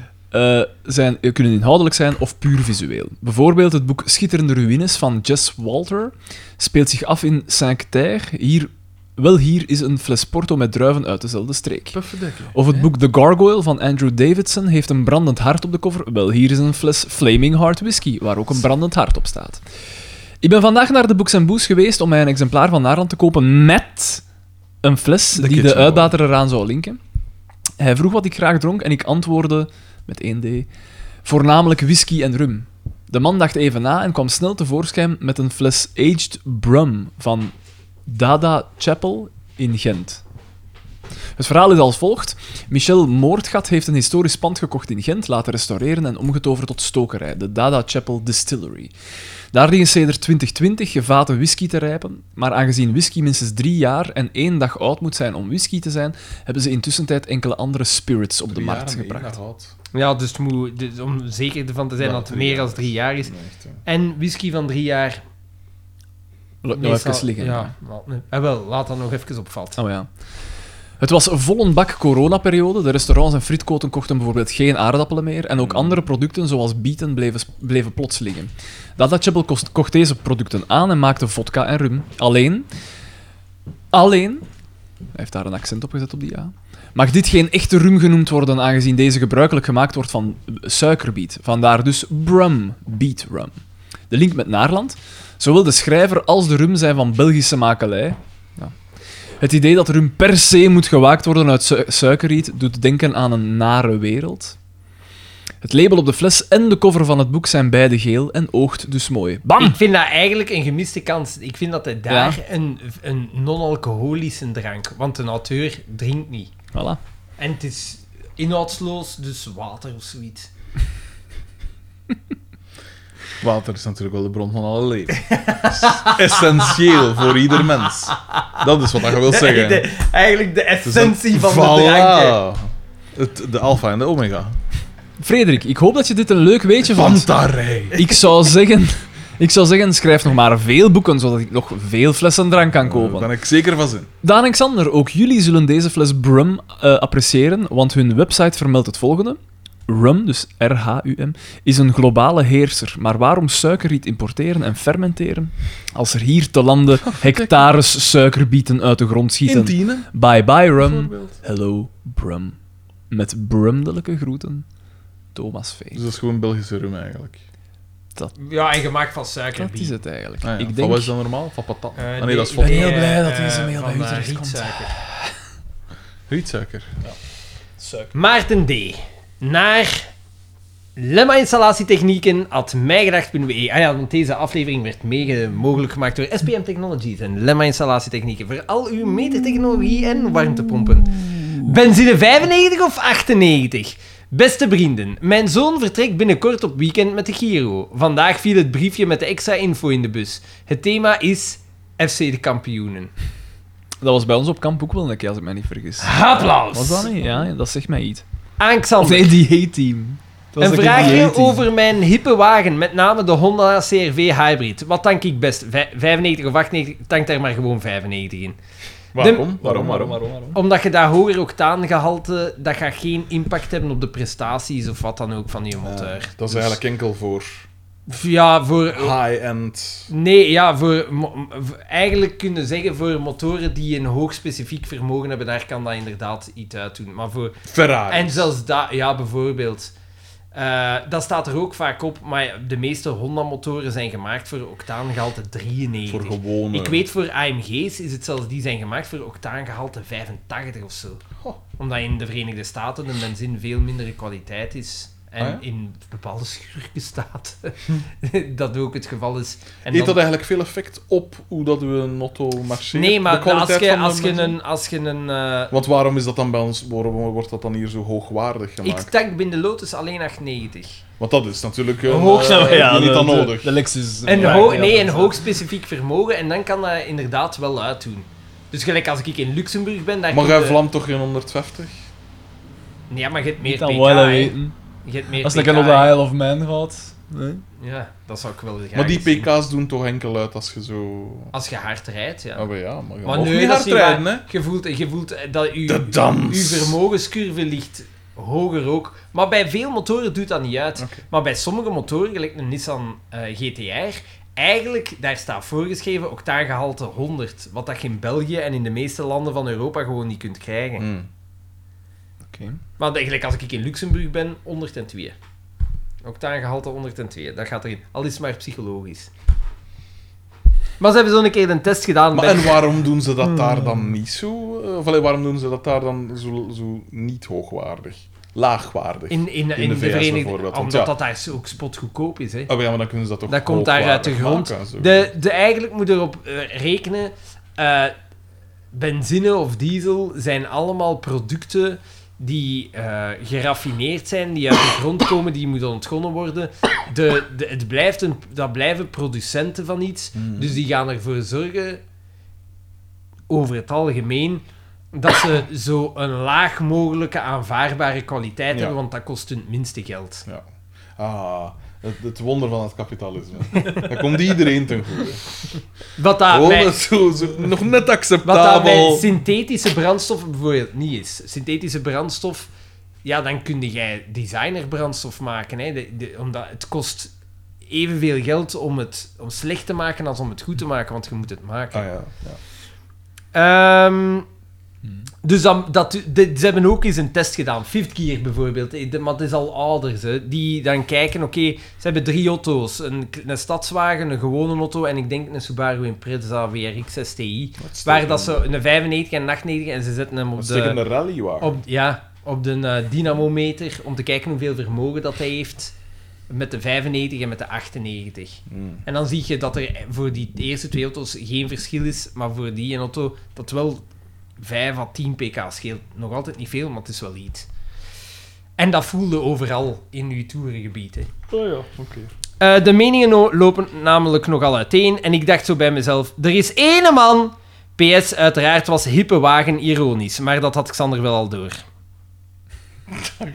S2: zijn, eh, kunnen inhoudelijk zijn of puur visueel. Bijvoorbeeld het boek Schitterende Ruïnes van Jess Walter speelt zich af in Saint-Cataire. Hier, wel hier is een fles porto met druiven uit dezelfde streek. Of het boek The Gargoyle van Andrew Davidson heeft een brandend hart op de cover. Wel, hier is een fles Flaming Heart Whisky, waar ook een brandend hart op staat. Ik ben vandaag naar de Books Boos geweest om mij een exemplaar van Naarland te kopen met een fles die de
S3: Kitchen
S2: uitbater eraan zou linken. Hij vroeg wat ik graag dronk en ik antwoordde met 1D, voornamelijk whisky en rum. De man dacht even na en kwam snel tevoorschijn met een fles Aged Brum van Dada Chapel in Gent. Het verhaal is als volgt. Michel Moordgat heeft een historisch pand gekocht in Gent, laten restaureren en omgetoverd tot stokerij, de Dada Chapel Distillery. Daar liggen sedert 2020 gevaten whisky te rijpen, maar aangezien whisky minstens drie jaar en één dag oud moet zijn om whisky te zijn, hebben ze intussen tijd enkele andere spirits op de
S3: Drie
S2: markt
S3: jaar en één
S2: gebracht.
S3: dag oud.
S1: Ja, dus, het moet, dus om zeker ervan te zijn
S3: Ja,
S1: dat het
S3: drie
S1: meer
S3: jaar
S1: dan drie jaar is.
S3: Nee, echt, hè.
S1: En whisky van drie jaar.
S2: Laat ik nou
S1: meestal-
S2: even liggen.
S1: Ja, wel, nee. Eh, wel, laat dat nog even opvallen.
S2: Oh ja. Het was vol een bak coronaperiode. De restaurants en frietkoten kochten bijvoorbeeld geen aardappelen meer. En ook andere producten, zoals bieten, bleven, bleven plots liggen. Dada Chapel kost- kocht deze producten aan en maakte vodka en rum. Alleen... Alleen... Hij heeft daar een accent op gezet op die A. Mag dit geen echte rum genoemd worden, aangezien deze gebruikelijk gemaakt wordt van suikerbiet. Vandaar dus brum, beet rum. De link met Naarland. Zowel de schrijver als de rum zijn van Belgische makelij. Het idee dat rum per se moet gewaakt worden uit su- suikerriet doet denken aan een nare wereld. Het label op de fles en de cover van het boek zijn beide geel en oogt dus mooi. Bam!
S1: Ik vind dat eigenlijk een gemiste kans. Ik vind dat hij daar een, een non-alcoholische drank... Want een auteur drinkt niet.
S2: Voilà.
S1: En het is inhoudsloos, dus water of zoiets.
S3: Water is natuurlijk wel de bron van alle leven. Dat is Essentieel voor ieder mens. Dat is wat je wil zeggen. Het
S1: De- eigenlijk de
S3: is een-
S1: essentie van de
S3: Voilà.
S1: drank. hè.
S3: Het, de alfa en de omega.
S2: Frederik, ik hoop dat je dit een leuk weetje vond.
S3: Pantarij.
S2: Ik zou zeggen, ik zou zeggen schrijf nog maar veel boeken, zodat ik nog veel flessen drank kan
S3: Daar
S2: kopen.
S3: ben ik zeker van zin.
S2: Daan en Xander, ook jullie zullen deze fles Brum eh, appreciëren, want hun website vermeldt het volgende. Rum, dus R-H-U-M, is een globale heerser. Maar waarom suikerriet importeren en fermenteren? Als er hier te
S3: Oh,
S2: landen hectares suikerbieten uit de grond
S3: In
S2: schieten.
S3: tienen,
S2: Bye bye rum,
S3: bijvoorbeeld.
S2: hello Brum. Met brumdelijke groeten, Thomas V.
S3: Dus dat is gewoon Belgische rum eigenlijk.
S1: Ja, en gemaakt van suiker.
S2: Dat is het eigenlijk.
S3: Ah ja,
S2: ik
S3: Van wat is
S2: denk...
S3: dat normaal? Van patat?
S1: Eh,
S3: ah, nee, dat is
S1: ik
S3: van
S2: ben heel
S1: eh,
S2: blij dat
S1: eh,
S2: deze mail bij
S1: van,
S2: u
S1: eh,
S2: terechtkomt.
S1: rietsuiker.
S3: rietsuiker.
S1: Maarten D. Naar lemma-installatietechnieken at mijgedacht.be. Ah ja, want deze aflevering werd mede mogelijk gemaakt door SPM Technologies en lemma-installatietechnieken voor al uw metertechnologie en warmtepompen. Benzine 95 of 98? Beste vrienden, mijn zoon vertrekt binnenkort op weekend met de Giro. Vandaag viel het briefje met de extra info in de bus. Het thema is FC de kampioenen.
S2: Dat was bij ons op kamp ook wel een keer, als ik mij niet vergis.
S1: Applaus!
S2: Was dat niet? Ja, dat zegt mij iets.
S1: Aan
S2: Of
S1: Xander.
S2: nee, die H-team. Dat was
S1: Een
S2: de keer die
S1: vraagje
S2: H-team.
S1: over mijn hippe wagen, met name de Honda CRV Hybrid. Wat tank ik best? Vij- 95 of 98? Tank daar maar gewoon 95 in.
S3: Waarom? Waarom? Waarom? waarom?
S1: Omdat je dat hoger octaangehalte, dat gaat geen impact hebben op de prestaties of wat dan ook van je motor.
S3: Eh, Dat is
S1: Dus-
S3: eigenlijk enkel voor
S1: Ja,
S3: Oh.
S1: voor...
S3: high-end.
S1: Nee, ja, voor, mo- voor- eigenlijk kunnen zeggen voor motoren die een hoog specifiek vermogen hebben, daar kan dat inderdaad iets uit doen. Maar voor
S3: Ferrari.
S1: En zelfs dat, ja, bijvoorbeeld. Eh, dat staat er ook vaak op, maar de meeste Honda-motoren zijn gemaakt voor octaangehalte 93.
S3: Voor gewone.
S1: Ik weet, voor AMG's is het zelfs, die zijn gemaakt voor octaangehalte 85 of zo.
S3: Goh.
S1: Omdat in de Verenigde Staten de benzine veel mindere kwaliteit is. En
S3: Ah, ja?
S1: in bepaalde schurkenstaten dat ook het geval is. En
S3: Heeft
S1: dan-
S3: dat eigenlijk veel effect op hoe dat we een auto marcheert?
S1: Nee, maar
S3: De kwaliteit
S1: als je,
S3: van de
S1: als je
S3: benzine?
S1: een... Als je een eh,
S3: Want waarom is dat dan bij ons, waarom wordt dat dan hier zo hoogwaardig
S1: ik
S3: gemaakt?
S1: tank binnen Lotus alleen 98.
S3: Want dat is natuurlijk een,
S1: Hoog-
S3: eh,
S1: Ja,
S3: niet
S2: de-
S3: aan
S2: de-
S3: nodig.
S2: De Lexus.
S1: Een
S2: Ja,
S1: hoog,
S2: ja,
S1: nee,
S2: dat
S1: een
S2: is-
S1: hoog specifiek vermogen. En dan kan dat inderdaad wel uitdoen. Dus gelijk als ik in Luxemburg ben, daar
S3: maar
S1: kun
S3: jij
S1: je-
S3: vlamt toch geen 150?
S1: Nee, ja, maar je hebt meer
S2: Niet
S1: pk.
S2: aan willen
S1: hè.
S2: weten.
S1: Je hebt meer
S2: Als
S1: pk.
S2: ik op de Isle of Man gaat.
S1: Ja, dat zou ik wel graag
S3: maar die
S1: zien.
S3: pk's doen toch enkel uit als je zo...
S1: Als je hard rijdt, ja.
S3: Ah, maar ja, maar je
S1: maar
S3: mag
S1: nee,
S3: niet
S1: dat
S3: hard
S1: is niet waar.
S3: rijden, hè.
S1: Je voelt, je voelt eh, dat je,
S3: De dans.
S1: uw vermogenscurve ligt hoger ook. Maar bij veel motoren doet dat niet uit.
S3: Oké.
S1: Maar bij sommige motoren, gelijk een Nissan eh, GTR, eigenlijk, daar staat voorgeschreven octaangehalte 100. Wat dat je in België en in de meeste landen van Europa gewoon niet kunt krijgen.
S3: Hmm.
S2: Oké.
S1: Want eigenlijk als ik in Luxemburg ben, 102. Octaangehalte 102, dat gaat erin. Al is het maar psychologisch. Maar ze hebben zo'n keer een test gedaan.
S3: Maar
S1: bij-
S3: en waarom doen ze dat
S1: Hmm.
S3: daar dan niet zo... eh, Of allee, waarom doen ze dat daar dan zo, zo niet hoogwaardig? Laagwaardig?
S1: In, in, in,
S3: In de
S1: de,
S3: VS
S1: Verenigde
S3: bijvoorbeeld, want
S1: Omdat
S3: ja.
S1: dat daar zo ook spotgoedkoop is. Hè.
S3: Ah, maar ja, maar dan kunnen ze dat toch
S1: Dat komt daar uit de
S3: hoogwaardig
S1: grond.
S3: maken, zo.
S1: De, de, eigenlijk moet je erop eh, rekenen. eh, benzine of diesel zijn allemaal producten die eh, geraffineerd zijn, die uit de grond komen, die moeten ontgonnen worden. De, de, het blijft een, dat blijven producenten van iets,
S3: Mhm.
S1: dus die gaan ervoor zorgen, over het algemeen, dat ze zo een laag mogelijke aanvaardbare kwaliteit
S3: Ja.
S1: hebben, want dat kost hun het minste geld.
S3: Ja. Ah, het, het wonder van het kapitalisme. dat komt iedereen ten goede.
S1: Wat daar
S3: Gewoon
S1: bij-
S3: dat zo, zo-
S1: Ah,
S3: nog net
S1: Wat dat bij
S3: acceptabel.
S1: synthetische brandstof bijvoorbeeld niet is. Synthetische brandstof, ja, dan kun jij designerbrandstof maken. Hè. De- de- omdat het kost evenveel geld om het om slecht te maken als om het goed te maken, want je moet het maken.
S3: Ah, ja, ja.
S1: Ehm, dus dan, dat, de- ze hebben ook eens een test gedaan. Fifth Gear bijvoorbeeld, eh, de- maar het is al ouders. Hè, die dan kijken, oké, ze hebben drie auto's. Een, een stadswagen, een gewone auto en ik denk een Subaru Impreza VRX STI. Waar dat ze een 95 en een 98 en ze zetten hem op
S3: Een
S1: de,
S3: stekende rallywagen.
S1: op, ja, op de eh, dynamometer om te kijken hoeveel vermogen dat hij heeft met de 95 en met de 98.
S3: Hmm.
S1: En dan zie je dat er voor die eerste twee auto's geen verschil is, maar voor die een auto dat wel 5 à 10 pk scheelt. Nog altijd niet veel, maar het is wel iets. En dat voelde overal in uw toerengebied. Hè.
S3: Oh ja, oké.
S1: Eh, de meningen no- lopen namelijk nogal uiteen. En ik dacht zo bij mezelf: er is ene man. PS, uiteraard was hippe wagen ironisch. Maar dat had Xander wel al door.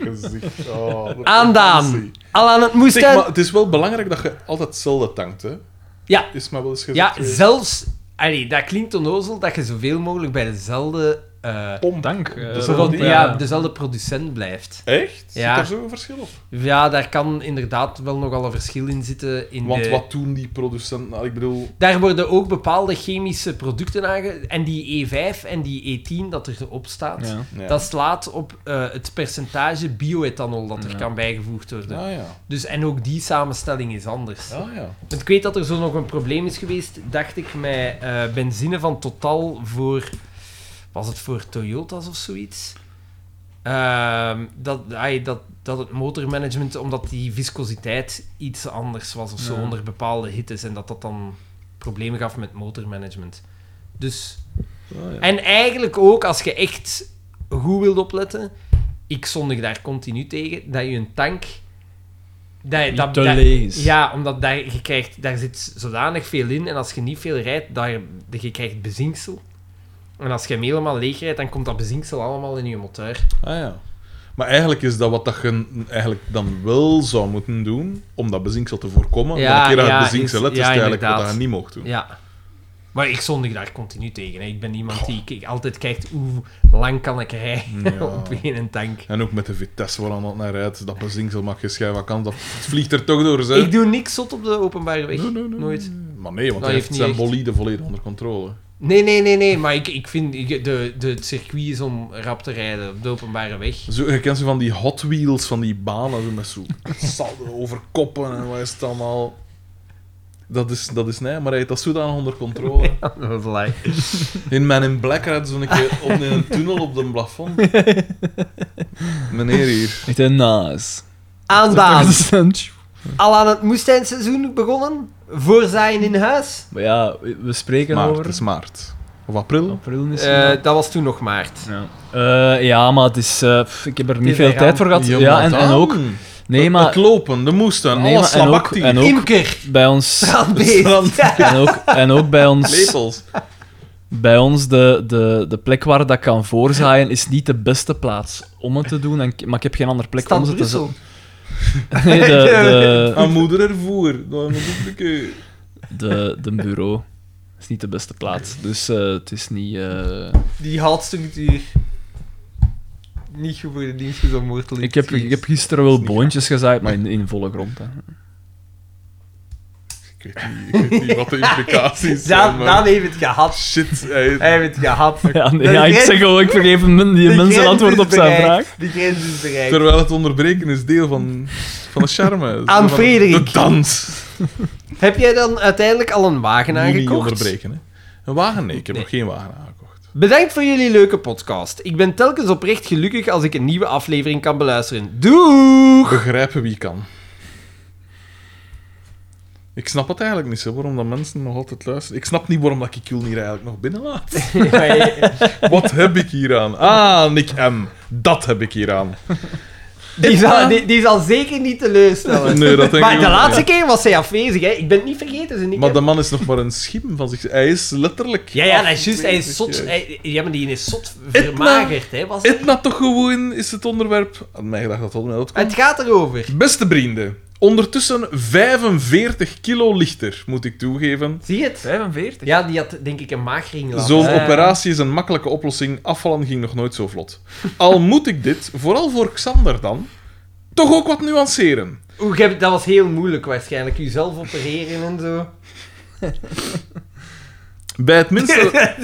S3: Gezicht. Oh, dat
S1: Aandaan.
S3: fancy.
S1: Al aan het
S3: Zeg,
S1: moestuin.
S3: maar het is wel belangrijk dat je altijd hetzelfde tankt, hè?
S1: Ja.
S3: Is maar wel eens
S1: Ja,
S3: gezegd. geweest.
S1: zelfs. Allee, dat klinkt onnozel dat je zoveel mogelijk bij dezelfde. eh,
S2: Dank. eh,
S3: Dat is
S2: Rob.
S3: wel
S1: pro-
S3: die-
S1: ja, dezelfde producent blijft.
S3: Echt?
S1: Ja.
S3: Zit daar zo'n verschil op?
S1: Ja, daar kan inderdaad wel nogal een verschil in zitten. In
S3: Want
S1: de-
S3: wat doen die producenten? Nou, ik bedoel...
S1: Daar worden ook bepaalde chemische producten aange... En die E5 en die E10 dat erop staat.
S2: Ja.
S3: Ja.
S1: Dat slaat op eh, het percentage bioethanol dat er
S2: Ja.
S1: kan bijgevoegd worden.
S3: Ah ja.
S1: Dus, en ook die samenstelling is anders.
S3: Ah ja.
S1: Want ik weet dat er zo nog een probleem is geweest, dacht ik, met eh, benzine van Total voor... Was het voor Toyota's of zoiets? Ehm, dat, ai, dat, dat het motormanagement, omdat die viscositeit iets anders was of zo,
S2: Ja.
S1: onder bepaalde hittes, en dat dat dan problemen gaf met motormanagement. Dus...
S3: Ah, ja.
S1: En eigenlijk ook, als je echt goed wilt opletten, ik zondig daar continu tegen, dat je een tank... Dat, je-
S2: Niet
S1: dat,
S2: te
S1: dat-
S2: leeg is.
S1: Ja, omdat daar, je krijgt, daar zit zodanig veel in, en als je niet veel rijdt, daar, je krijgt bezinksel. En als je hem helemaal leeg rijdt, dan komt dat bezinksel allemaal in je motor.
S3: Ah ja. Maar eigenlijk is dat wat dat je eigenlijk dan wel zou moeten doen, om dat bezinksel te voorkomen.
S1: Ja,
S3: maar een keer aan
S1: ja,
S3: het bezinksel
S1: is-
S3: let, is
S1: ja,
S3: het eigenlijk wat
S1: inderdaad.
S3: je niet mocht doen.
S1: Ja. Maar ik zondig daar continu tegen. hè. Ik ben iemand die ik, ik altijd kijkt hoe lang kan ik rijden
S3: Ja.
S1: op één tank.
S3: En ook met de vitesse waar dat naar rijdt, dat bezinksel mag je schijnen. Wat kan dat? Het vliegt er toch door, zeg.
S1: Ik doe niks zot op de openbare weg.
S3: Nee, nee, nee,
S1: Nooit.
S3: nee. Maar nee, want
S1: Dat
S3: hij
S1: heeft
S3: heeft
S1: niet
S3: zijn
S1: echt.
S3: bolide volledig onder controle.
S1: Nee, nee, nee, nee, maar ik, ik vind ik- de, de, het circuit is om rap te rijden op de openbare weg.
S3: Zo, je kent ze van die Hot Wheels, van die banen, zo met zo saldo over koppen en wat is het allemaal. Dat is, dat is nee, maar hij heeft dat zodanig onder controle.
S1: Dat is lijp.
S3: In mijn in Black rijdt zo'n keer op in een tunnel op de plafond. Meneer hier.
S2: Echt een naas.
S1: Aandaan.
S2: Dat is een-
S1: Al aan het moestuinseizoen begonnen. Voorzaaien in huis.
S2: Maar ja, we we spreken
S3: Maart,
S2: over...
S3: het is maart. Of april?
S2: April misschien.
S1: Eh,
S2: al.
S1: dat was toen nog maart.
S2: Ja. Eh, ja, maar het is, eh, pff, ik heb er niet
S1: is
S2: veel
S1: eraan.
S2: tijd voor gehad. Ja,
S3: Jongen,
S2: en, en
S3: dan.
S2: ook, nee,
S3: Het
S2: maar
S3: lopen, de moestuin,
S2: Nee,
S3: alles
S2: maar- en ook-
S3: slabaktie.
S2: en ook-
S1: Imker.
S2: bij ons,
S1: Strandbeest.
S3: Strand.
S2: en ook, en ook bij ons,
S3: Lepels.
S2: bij ons de, de, de plek waar dat kan voorzaaien, is niet de beste plaats om het te doen. En, ik- maar ik heb geen andere plek om
S1: Stad
S2: het te
S1: Brussel.
S2: zetten. Nee, de,
S3: Aan moeder ervoor. Dat moet ook een keer.
S2: de, de, de bureau is niet de beste plaats. Dus eh, het is niet... eh,
S1: Die houtstructuur. Niet goed voor de dienstgezond wortel.
S2: Ik heb, ik heb gisteren wel boontjes gezaaid, maar in, in volle grond. Hè.
S3: Ik weet niet, ik weet niet wat de implicaties zijn.
S1: Daan,
S3: maar-
S1: Daan heeft het gehad.
S3: Shit, hij-
S1: Hij heeft het gehad.
S2: Ja, nee,
S1: De
S2: ja, ik
S1: grens-
S2: zeg gewoon, ik vergeef men- die
S1: de
S2: mensen
S1: grens
S2: een antwoord
S1: is
S2: op zijn
S1: bereikt.
S2: vraag.
S1: De grens is bereikt.
S3: Terwijl het onderbreken is deel van, van de charme.
S1: Aan
S3: Van
S1: Frederik.
S3: De dans.
S1: Heb jij dan uiteindelijk al een wagen
S3: Moet niet
S1: aangekocht?
S3: onderbreken, hè. Een wagen? Nee, ik heb
S1: Nee.
S3: nog geen wagen aangekocht.
S1: Bedankt voor jullie leuke podcast. Ik ben telkens oprecht gelukkig als ik een nieuwe aflevering kan beluisteren. Doeg!
S3: Begrijpen wie kan. Ik snap het eigenlijk niet, zo, waarom dat mensen nog altijd luisteren. Ik snap niet waarom dat ik Jul hier eigenlijk nog binnenlaat. Wat heb ik hier aan? Ah, Nick M. Dat heb ik hier aan.
S1: Die zal, die, die zal zeker niet teleurstellen.
S3: Nee, dat denk
S1: maar
S3: ik
S1: de
S3: ook
S1: laatste
S3: niet.
S1: keer was zij afwezig. Hè. Ik ben het niet vergeten. Ze niet
S3: Maar de man is nog maar een schim van zich. Hij is letterlijk...
S1: Ja, ja, dat is juist. Hij is
S3: 28
S1: zot.
S3: jaar.
S1: hij- ja, maar die is zot vermagerd. Hè, was hij?
S3: Etna toch gewoon is het onderwerp. Had mij gedacht dat dat wel
S1: het gaat erover.
S3: Beste vrienden, ondertussen 45 kilo lichter, moet ik toegeven.
S1: Zie je het?
S2: 45.
S1: Ja, die had denk ik een maagring laten.
S3: Zo'n
S2: Ja, ja.
S3: operatie is een makkelijke oplossing. Afvallen ging nog nooit zo vlot. Al moet ik dit, vooral voor Xander dan, toch ook wat nuanceren.
S1: Oeh, jij hebt- dat was heel moeilijk waarschijnlijk. Jezelf opereren en zo.
S3: Bij het minste...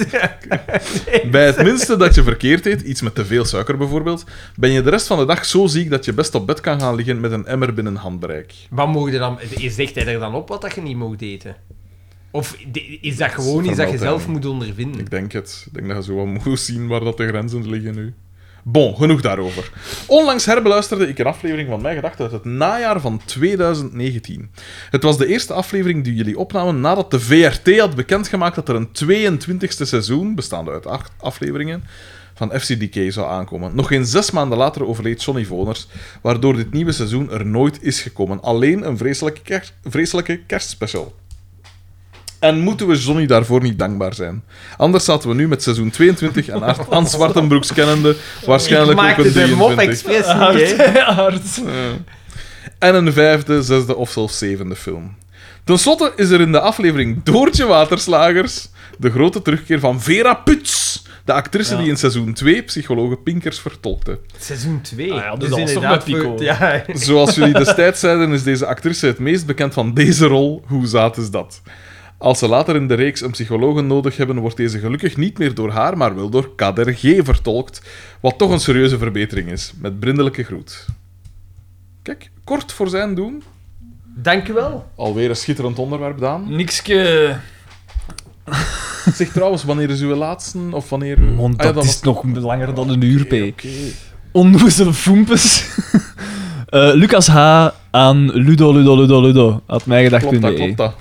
S3: Bij het minste dat je verkeerd eet, iets met te veel suiker bijvoorbeeld, ben je de rest van de dag zo ziek dat je best op bed kan gaan liggen met een emmer binnen handbereik.
S1: Wat mocht je dan... Zegt hij er dan op wat dat je niet mocht eten? Of di- is dat gewoon
S3: Dat
S1: iets dat je
S3: vermeldt
S1: zelf
S3: hij.
S1: moet ondervinden?
S3: Hmm. Ik denk het. Ik denk dat je zo wel moet zien waar dat de grenzen liggen nu. Bon, genoeg daarover. Onlangs herbeluisterde ik een aflevering van Mijn Gedachten uit het najaar van 2019. Het was de eerste aflevering die jullie opnamen nadat de VRT had bekendgemaakt dat er een 22e seizoen, bestaande uit acht afleveringen, van FCDK zou aankomen. Nog geen zes maanden later overleed Johnny Voners, waardoor dit nieuwe seizoen er nooit is gekomen. Alleen een vreselijke, kerst- vreselijke kerstspecial. En moeten we Johnny daarvoor niet dankbaar zijn? Anders zaten we nu met seizoen 22 en Aart- Aan Zwartenbroeks kennende waarschijnlijk
S1: Ik
S3: ook
S1: maakte
S3: een
S1: de mop
S3: 23.
S1: expres niet, hè.
S2: Hard. Hard.
S3: Ja. En een vijfde, zesde of zelfs zevende film. Ten slotte is er in de aflevering Doortje Waterslagers de grote terugkeer van Vera Puts, de actrice
S2: Ja.
S3: die in seizoen 2 psychologe Pinkers vertolkte.
S1: Seizoen 2.
S2: Ah ja, dus dat was toch bij Pico.
S1: Ja,
S3: Zoals jullie destijds zeiden, is deze actrice het meest bekend van deze rol. Hoe zaad is dat? Als ze later in de reeks een psycholoog nodig hebben, wordt deze gelukkig niet meer door haar, maar wel door Kader G vertolkt. Wat toch een serieuze verbetering is. Met brindelijke groet. Kijk, kort voor zijn doen.
S1: dank u wel.
S3: Alweer een schitterend onderwerp, Daan.
S2: Nikske.
S3: Zeg trouwens, wanneer is uw laatste? Of wanneer... uw-
S2: Mond,
S3: Ah ja,
S2: dat is nog langer dan een uur, P. Onnoezel foempes. Eh, Lucas H. aan Ludo, Ludo, Ludo, Ludo. Had mij gedacht
S3: Klopt dat, klopt dat.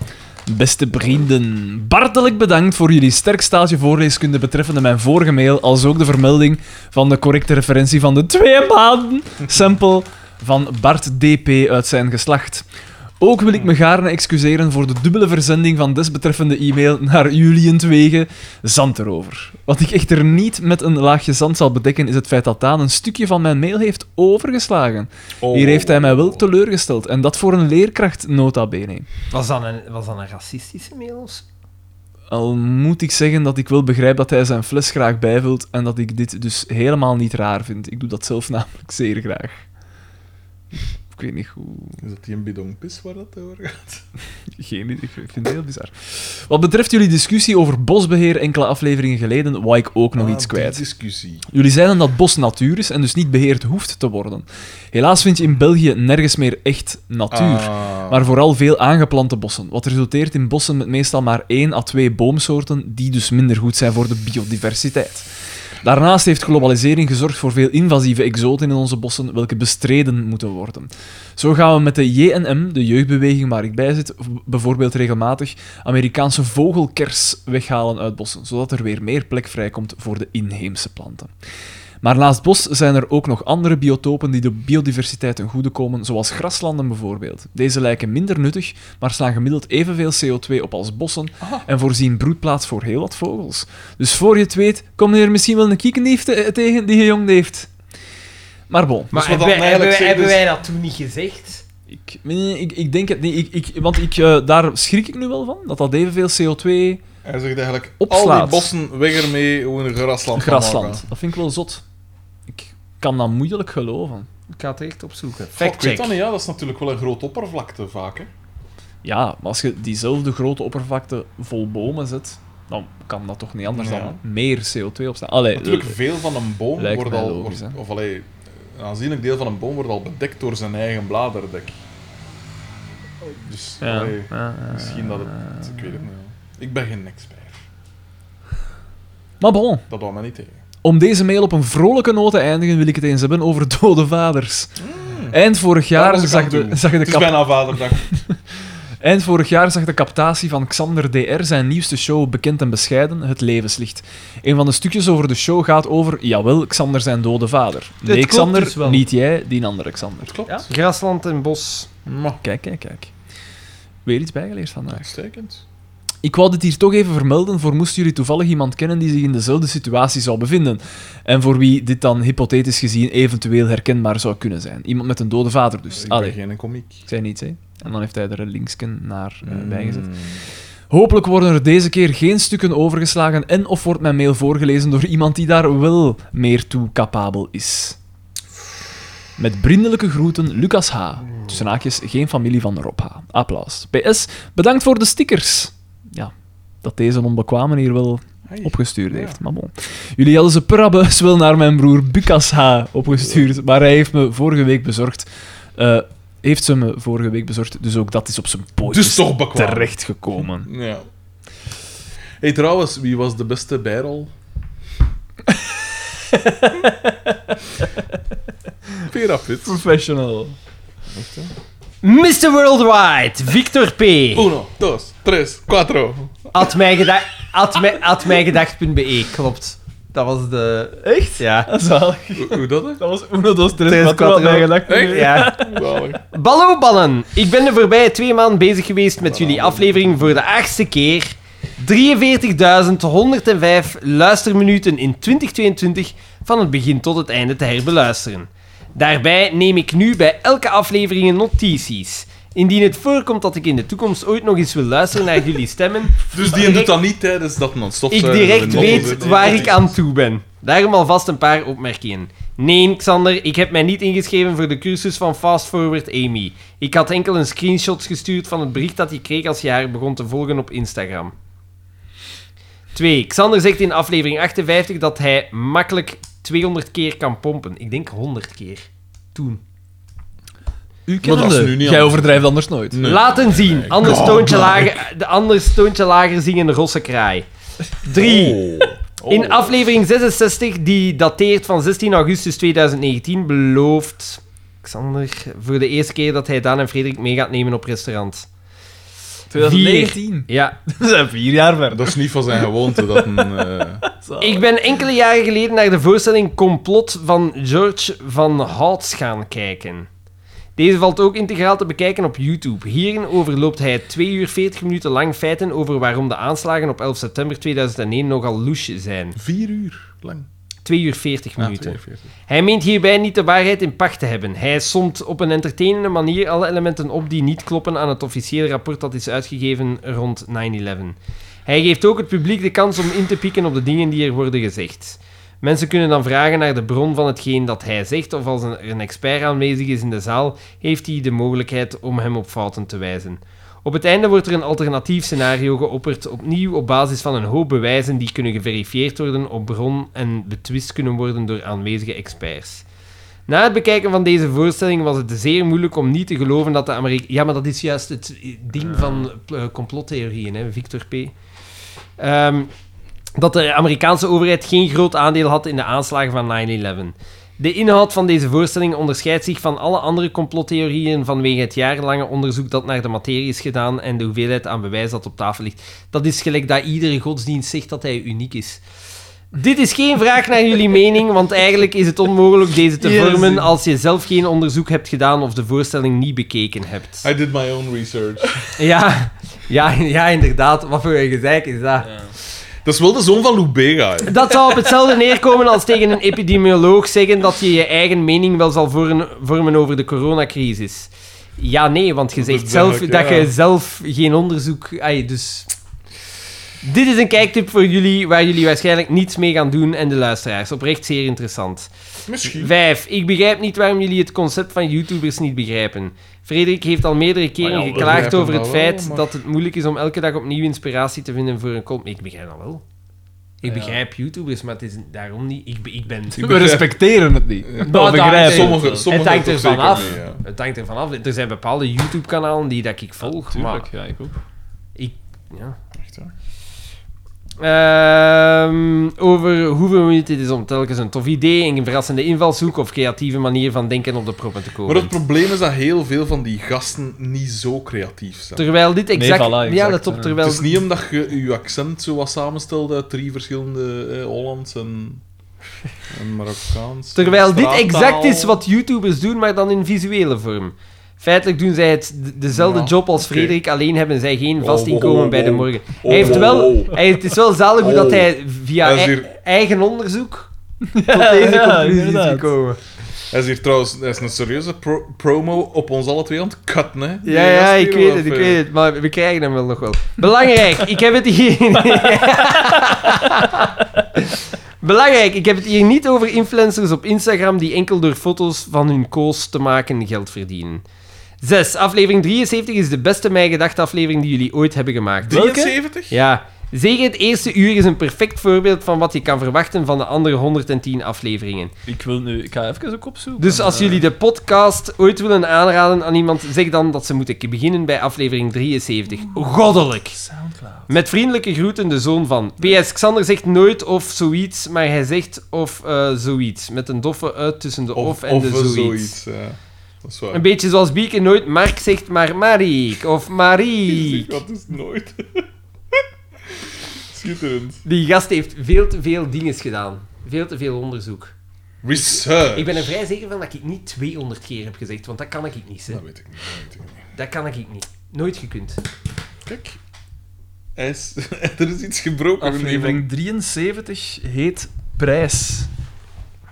S2: Beste vrienden, bartelijk bedankt voor jullie sterk stage voorleeskunde betreffende mijn vorige mail, als ook de vermelding van de correcte referentie van de twee maanden sample van Bart DP uit zijn geslacht. Ook wil ik me gaarne excuseren voor de dubbele verzending van desbetreffende e-mail naar Julientwege zand erover. Wat ik echter niet met een laagje zand zal bedekken, is het feit dat Daan een stukje van mijn mail heeft overgeslagen. Hier heeft
S3: Oh,
S2: hij mij wel teleurgesteld, en dat voor een leerkracht nota bene.
S1: Was dat een, was dat een racistische mail of zo?
S2: Al moet ik zeggen dat ik wel begrijp dat hij zijn fles graag bijvult en dat ik dit dus helemaal niet raar vind. Ik doe dat zelf namelijk zeer graag. Ik weet niet hoe.
S3: Is dat die een bidon pis waar dat over gaat?
S2: Geen idee. Ik vind het heel bizar. Wat betreft jullie discussie over bosbeheer enkele afleveringen geleden, wou ik ook nog
S3: Ah,
S2: iets
S3: die
S2: kwijt.
S3: discussie.
S2: Jullie zeiden dat bos natuur is en dus niet beheerd hoeft te worden. Helaas vind je in België nergens meer echt natuur.
S3: Ah.
S2: Maar vooral veel aangeplante bossen. Wat resulteert in bossen met meestal maar één à twee boomsoorten, die dus minder goed zijn voor de biodiversiteit. Daarnaast heeft globalisering gezorgd voor veel invasieve exoten in onze bossen, welke bestreden moeten worden. Zo gaan we met de JNM, de jeugdbeweging waar ik bij zit, v- bijvoorbeeld regelmatig Amerikaanse vogelkers weghalen uit bossen, zodat er weer meer plek vrijkomt voor de inheemse planten. Maar naast bos zijn er ook nog andere biotopen die de biodiversiteit ten goede komen, zoals graslanden bijvoorbeeld. Deze lijken minder nuttig, maar slaan gemiddeld evenveel CO2 op als bossen en voorzien broedplaats voor heel wat vogels. Dus voor je het weet, kom je er misschien wel een kiekendief te- eh, tegen die gejongd heeft. Maar bon,
S1: Maar
S3: wat
S1: hebben,
S3: dat
S1: wij, hebben,
S3: eigenlijk
S1: wij,
S3: zegt
S1: hebben
S3: is-
S1: wij dat toen niet gezegd?
S2: ik, nee, ik, ik denk het niet. Ik, ik, want ik, eh, daar schrik ik nu wel van, dat dat evenveel CO2...
S3: Hij zegt eigenlijk, al die
S2: Opslaat.
S3: bossen, weg ermee, gewoon een grasland. van maken.
S2: Grasland. Dat vind ik wel zot. Ik kan dat moeilijk geloven.
S1: Ik ga het echt opzoeken.
S3: Goh, ik
S1: Fact
S3: weet dat
S1: check.
S3: niet, ja. Dat is natuurlijk wel een groot oppervlakte vaak, hè.
S2: Eh, Ja, maar als je diezelfde grote oppervlakte vol bomen zet, dan kan dat toch niet anders
S3: Ja.
S2: dan meer CO2 opstaan. Allee,
S3: Natuurlijk,
S2: eh,
S3: veel van een boom
S2: lijkt
S3: wordt
S2: mij
S3: al...
S2: logisch,
S3: wordt-
S2: hè.
S3: of allee, een aanzienlijk deel van een boom wordt al bedekt door zijn eigen bladerdek. Dus,
S2: ja, Eh.
S3: allee,
S2: ja, ja,
S3: misschien dat
S2: ja.
S3: het... Ik weet het niet. ja. Ik ben geen expert.
S2: Maar bon,
S3: Dat wou mij niet tegen.
S2: om deze mail op een vrolijke noot te eindigen, wil ik het eens hebben over dode vaders. Eind vorig jaar
S3: Dat was ik aan
S2: zag
S3: het
S2: de,
S3: doen.
S2: zag de
S3: Het is
S2: kap-
S3: bijna vaderdag.
S2: Eind vorig jaar zag de captatie van Xander DR zijn nieuwste show Bekend en Bescheiden het levenslicht. Een van de stukjes over de show gaat over, jawel, Xander zijn dode vader. Nee,
S4: klopt
S2: Xander,
S4: dus wel.
S2: niet jij, die andere Xander.
S3: Dat klopt.
S4: Ja?
S1: Grasland en bos.
S3: Maar,
S2: Kijk, kijk, kijk. Weer iets bijgeleerd vandaag.
S3: uitstekend.
S2: Ik wou dit hier toch even vermelden voor moesten jullie toevallig iemand kennen die zich in dezelfde situatie zou bevinden. En voor wie dit dan hypothetisch gezien eventueel herkenbaar zou kunnen zijn. Iemand met een dode vader dus.
S3: Ik
S2: Allee,
S3: ben geen komiek.
S2: ik zei niets hè. En dan heeft hij er een linksken naar eh, bijgezet.
S3: Mm.
S2: Hopelijk worden er deze keer geen stukken overgeslagen en of wordt mijn mail voorgelezen door iemand die daar wel meer toe capabel is. Met vriendelijke groeten, Lucas H. Tussen haakjes, geen familie van Rob H. Applaus. PS, bedankt voor de stickers. Ja, dat deze onbekwamen hier wel
S3: Hey.
S2: opgestuurd
S3: Ja.
S2: heeft. Maar bon. Jullie hadden ze per abuis wel naar mijn broer Bukas H. opgestuurd, maar hij heeft me vorige week bezorgd. Eh, heeft ze me vorige week bezorgd, dus ook dat is op zijn pootjes
S3: Dus toch bekwaam.
S2: terechtgekomen.
S3: Ja. hey, trouwens, wie was de beste bijrol? Vera Pitt.
S2: Professional.
S1: Mr. Worldwide, Victor P.
S3: Uno, dos, tres, cuatro.
S1: At mijngedacht- at mij- at mijngedacht.be, e. klopt. Dat was de...
S2: Echt?
S1: Ja.
S2: Zalig.
S3: Hoe, hoe dat, hè?
S2: Dat was Uno dos tres
S1: Tres,
S2: cuatro, had
S1: cuatro.
S2: mij gedacht.
S3: Echt?
S1: Ja.
S3: Zalig.
S1: Ballo ballen. Ik ben de voorbije twee maanden bezig geweest met jullie aflevering voor de achtste keer. 43.105 luisterminuten in 2022 van het begin tot het einde te herbeluisteren. Daarbij neem ik nu bij elke aflevering een notities. Indien het voorkomt dat ik in de toekomst ooit nog eens wil luisteren naar jullie stemmen,
S3: Dus die doet dat niet tijdens eh, dat non stop
S1: ik direct weet waar ik aan toe ben. Daarom alvast een paar opmerkingen. Nee, Xander, ik heb mij niet ingeschreven voor de cursus van Fast Forward Amy. Ik had enkel een screenshot gestuurd van het bericht dat je kreeg als je haar begon te volgen op Instagram. 2. Xander zegt in aflevering 58 dat hij makkelijk 200 keer kan pompen. Ik denk 100 keer. Toen.
S2: U
S3: Maar dat is nu
S2: kende.
S3: niet
S2: Jij
S3: anders.
S2: overdrijft anders nooit.
S3: Nee.
S1: Laten zien. Anders toontje, lager, de anders toontje lager zingen de rosse kraai. 3.
S3: Oh.
S1: In aflevering 66, die dateert van 16 augustus 2019, belooft Xander voor de eerste keer dat hij Daan en Frederik mee gaat nemen op restaurant.
S2: 2019.
S1: Ja,
S2: We zijn vier jaar verder.
S3: Dat is niet van zijn gewoonte dat een. eh,
S1: ik ben enkele jaren geleden naar de voorstelling Complot van George van Houts gaan kijken. Deze valt ook integraal te bekijken op YouTube. Hierin overloopt hij 2 uur 40 minuten lang feiten over waarom de aanslagen op 11 september 2001 nogal louche zijn.
S3: vier uur lang.
S1: 2 uur 40
S3: Ah,
S1: minuten.
S3: 42.
S1: Hij meent hierbij niet de waarheid in pacht te hebben. Hij somt op een entertainende manier alle elementen op die niet kloppen aan het officiële rapport dat is uitgegeven rond 9-11. Hij geeft ook het publiek de kans om in te pikken op de dingen die er worden gezegd. Mensen kunnen dan vragen naar de bron van hetgeen dat hij zegt, of als een- er een expert aanwezig is in de zaal, heeft hij de mogelijkheid om hem op fouten te wijzen. Op het einde wordt er een alternatief scenario geopperd, opnieuw op basis van een hoop bewijzen die kunnen geverifieerd worden op bron en betwist kunnen worden door aanwezige experts. Na het bekijken van deze voorstelling was het zeer moeilijk om niet te geloven dat de Amerika... Ja, maar dat is juist het ding van eh, complottheorieën, hè, Victor P. Ehm, dat de Amerikaanse overheid geen groot aandeel had in de aanslagen van 9-11. De inhoud van deze voorstelling onderscheidt zich van alle andere complottheorieën vanwege het jarenlange onderzoek dat naar de materie is gedaan en de hoeveelheid aan bewijs dat op tafel ligt. Dat is gelijk dat iedere godsdienst zegt dat hij uniek is. Dit is geen vraag naar jullie mening, want eigenlijk is het onmogelijk deze te
S2: Jezus.
S1: vormen als je zelf geen onderzoek hebt gedaan of de voorstelling niet bekeken hebt.
S3: I did my own research.
S1: Ja, ja, ja inderdaad. Wat voor een gezeik is dat?
S3: Dat is wel de zoon van Lubega. hè.
S1: Dat zou op hetzelfde neerkomen als tegen een epidemioloog zeggen dat je je eigen mening wel zal vormen- vormen over de coronacrisis. Ja, nee, want je
S3: Dat is
S1: zegt zelf
S3: duidelijk,
S1: dat
S3: ja.
S1: je zelf geen onderzoek... Ai, dus... Dit is een kijktip voor jullie, waar jullie waarschijnlijk niets mee gaan doen en de luisteraars. Oprecht zeer interessant.
S3: Misschien.
S1: 5. Ik begrijp niet waarom jullie het concept van YouTubers niet begrijpen. Frederik heeft al meerdere keren
S2: Maar ja, we
S1: geklaagd
S3: begrijpen
S1: over het
S3: dat wel,
S1: feit
S3: maar-
S1: dat het moeilijk is om elke dag opnieuw inspiratie te vinden voor een kop. Ik begrijp dat wel. Ik
S2: Ja.
S1: begrijp YouTubers, maar het is daarom niet. Ik, be- ik ben.
S2: We respecteren het niet. Nou, We
S1: dat-
S2: begrijpen het
S3: Sommige,
S2: wel.
S3: sommige
S1: Het hangt
S3: toch
S1: ervan
S3: zeker
S1: af.
S3: mee, ja.
S1: Het hangt ervan af. Er zijn bepaalde YouTube-kanalen die dat ik volg. maar
S2: Tuurlijk, ja, ik ook.
S1: ja.
S3: Echt, hè?
S1: Ehm, over hoe vermoeiend het is om telkens een tof idee, een verrassende invalshoek of creatieve manier van denken op de proppen te komen.
S3: Maar het probleem is dat heel veel van die gasten niet zo creatief zijn.
S1: Terwijl dit exact...
S2: voilà, exact,
S1: ja, let op,
S2: ja.
S1: terwijl...
S3: Het is niet omdat je je accent zo wat samenstelt uit drie verschillende eh, Hollands en, en Marokkaans.
S1: Terwijl dit
S3: straattaal.
S1: exact is wat YouTubers doen, maar dan in visuele vorm. Feitelijk doen zij het d- dezelfde
S3: Ja,
S1: job als
S3: oké.
S1: Frederik, alleen hebben zij geen vast
S3: Oh, oh,
S1: inkomen
S3: oh,
S1: bij de
S3: oh.
S1: morgen.
S3: Oh,
S1: Hij heeft
S3: oh,
S1: wel...
S3: oh.
S1: hij- Het is wel zalig hoe dat
S3: Oh.
S1: hij via
S3: Hij is
S1: ei-
S3: hier-
S1: eigen onderzoek tot deze
S2: ja,
S1: conclusie is
S2: inderdaad.
S1: gekomen.
S3: Hij is hier trouwens hij is een serieuze pro- promo op ons alle twee aan het cutten, hè? Die
S1: Ja, ja,
S3: gast
S1: ik
S3: hier,
S1: weet
S3: of,
S1: het, ik
S3: eh,
S1: weet het. Maar we krijgen hem wel nog wel. Belangrijk, ik heb het hier... Belangrijk, ik heb het hier niet over influencers op Instagram die enkel door foto's van hun koos te maken geld verdienen. 6. Aflevering 73 is de beste mij gedachte aflevering die jullie ooit hebben gemaakt.
S2: Welke?
S3: 73?
S1: Ja, zeker het eerste uur is een perfect voorbeeld van wat je kan verwachten van de andere 110 afleveringen.
S2: Ik wil nu... Ik ga even ook opzoeken. Eh,
S1: Dus als jullie de podcast ooit willen aanraden aan iemand, zeg dan dat ze moeten beginnen bij aflevering 73. Goddelijk!
S2: Soundcloud.
S1: Met vriendelijke groeten de zoon van. PS, Xander zegt nooit of zoiets, maar hij zegt of eh, zoiets. Met een doffe uit tussen de of,
S3: Of,
S1: en
S3: of
S1: de
S3: zoiets.
S1: zoiets.
S3: ja. Dat is waar.
S1: Een beetje zoals Bieke nooit Mark zegt, maar Mariek of Marie.
S3: Dat is nooit. Schitterend.
S1: Die gast heeft veel te veel dinges gedaan. Veel te veel onderzoek.
S3: Research.
S1: Ik ben er vrij zeker van dat ik niet 200 keer heb gezegd, want dat kan ik niet. Hè.
S3: Dat weet ik niet. Dat weet ik niet.
S1: Dat kan ik niet. Nooit gekund.
S3: Kijk. Hij is... er is iets gebroken. in
S2: Aflevering 73 heet Prijs.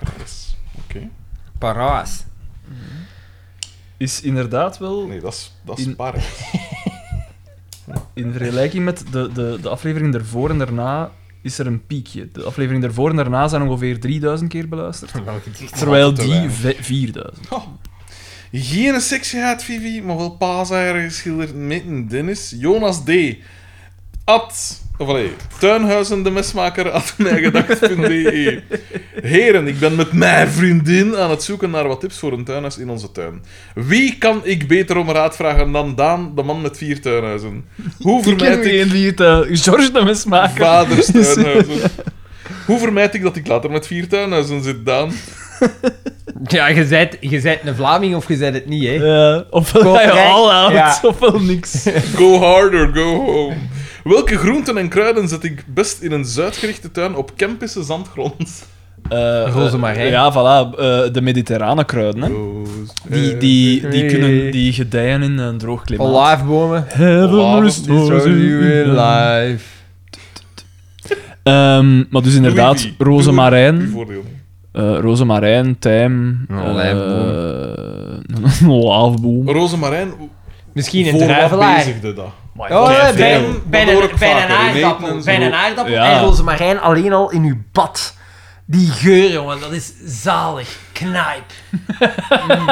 S3: iemand. Yes. Oké.
S1: Paraas.
S2: Is inderdaad wel...
S3: Nee, dat is, dat is
S2: In-
S3: par.
S2: In vergelijking met de, de, de aflevering daarvoor en daarna is er een piekje. De aflevering daarvoor en daarna zijn ongeveer 3000 keer beluisterd. Terwijl
S3: te
S2: die
S3: weinig.
S2: ve- 4000.
S3: Oh. Geen seksgehaat, Vivi, maar wel paaseieren geschilderd met een Dennis. Jonas D. At... Of allee, Tuinhuizen de mesmaker at mijgedacht.de E. Heren, ik ben met mijn vriendin aan het zoeken naar wat tips voor een tuinhuis in onze tuin. Wie kan ik beter om raad vragen dan Daan, de man met vier tuinhuizen? Hoe
S2: Ik ken
S3: vermijd ik
S2: geen die het eh, George de mismaker.
S3: vaders tuinhuizen? Hoe vermijd ik dat ik later met vier tuinhuizen zit, Daan?
S1: Ja, je bent, je bent een Vlaming of je bent het niet, hè?
S2: Ja, ofwel
S1: Koop
S2: ga je
S1: rijk,
S2: all out,
S1: ja.
S2: ofwel niks.
S3: Go harder, go home. Welke groenten en kruiden zet ik best in een zuidgerichte tuin op Kempische zandgrond?
S2: Eh,
S1: Rozemarijn.
S2: eh, ja, voilà. eh, de mediterrane kruiden, hè.
S1: Eh,
S2: Die, die, die, kunnen, die gedijen in een droog klimaat.
S1: Olijfbomen.
S2: Heaven
S3: Olaf,
S2: restores you in life.
S1: life.
S2: Ehm, maar
S3: eh,
S2: dus inderdaad,
S3: Doei, wie? Uw
S2: rozemarijn,
S3: voordeel.
S2: eh rozemarijn, tijm,
S1: Een
S2: eh,
S1: olijfboom.
S2: een olijfboom.
S1: Oh.
S3: Rozemarijn,
S1: Misschien een
S3: voor wat
S1: druivelaar.
S3: bezigde dat?
S1: Oh,
S3: Kijk,
S1: nee, bij,
S3: veel.
S1: een- bij
S3: Dat hoor
S1: een,
S3: ik
S1: bij een
S3: vaker, in
S1: aardappel.
S3: eten
S1: Bij
S3: en
S1: een
S3: zo.
S1: aardappel
S2: Ja.
S1: en rozemarijn alleen al in uw bad. Die geur, jongen, dat is zalig. Knijp. Mm.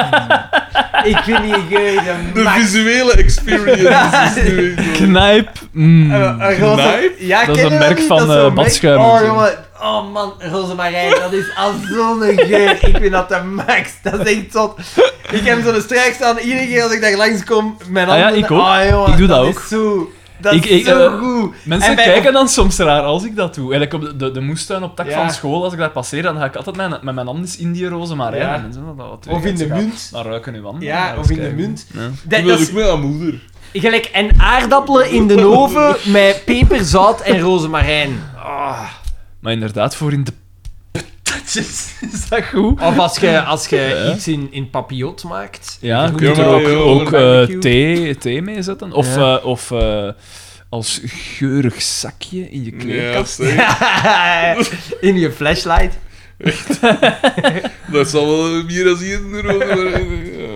S1: Ik vind die geur de
S3: De
S1: max.
S3: visuele experience is nu...
S2: Knijp. mm.
S1: Eh, eh, roze-
S3: Knijp?
S1: Ja,
S2: Dat is
S1: ken
S2: een
S1: je
S2: merk
S1: niet?
S2: van,
S1: Dat is zo'n
S2: eh,
S1: merk-
S2: badschuimen en
S1: Oh,
S2: zo.
S1: jongen. Oh, man. Rozemarijn, dat is al zo'n geur. Ik vind dat de max. Dat is echt zot. Ik heb zo'n strijk staan. Iedere keer als ik daar langskom, mijn
S2: Ah ja,
S1: handen...
S2: ik ook.
S1: Ah, jongen,
S2: Ik doe dat ook.
S1: Is zo, dat
S2: Ik-
S1: is
S2: ik,
S1: zo
S2: eh,
S1: goed.
S2: Mensen
S1: En bij-
S2: kijken dan soms raar als ik dat doe. En ik op de, de, de moestuin op tak
S1: Ja.
S2: van school, als ik daar passeer, dan ga ik altijd mijn, met mijn hand eens in die rozemarijn.
S1: Ja.
S2: En mensen dat, dat,
S1: Of in de munt.
S2: Dan ruiken uw handen.
S1: Ja,
S2: eens
S1: of in de
S2: kijken.
S1: munt.
S2: Ja.
S1: Dat,
S3: Ik
S1: dat
S3: wil
S1: is
S3: ook met aan moeder.
S1: gelijk en aardappelen in de oven met peper, zout en rozemarijn. Ah.
S2: Maar inderdaad, voor in de patatjes is dat goed.
S1: Of als je als je
S2: Ja.
S1: iets in, in papillot maakt.
S2: Ja, je
S1: Groente
S2: kunt er
S3: maar
S2: ook,
S3: ja,
S2: ook eh,
S1: barbecue.
S2: thee, thee mee zetten. Of,
S1: Ja.
S2: eh, of eh, als geurig zakje in je
S3: Ja,
S2: kleerkast.
S3: zeg.
S1: in je flashlight.
S3: Dat zal wel meer dan hier in de rode worden. Ja.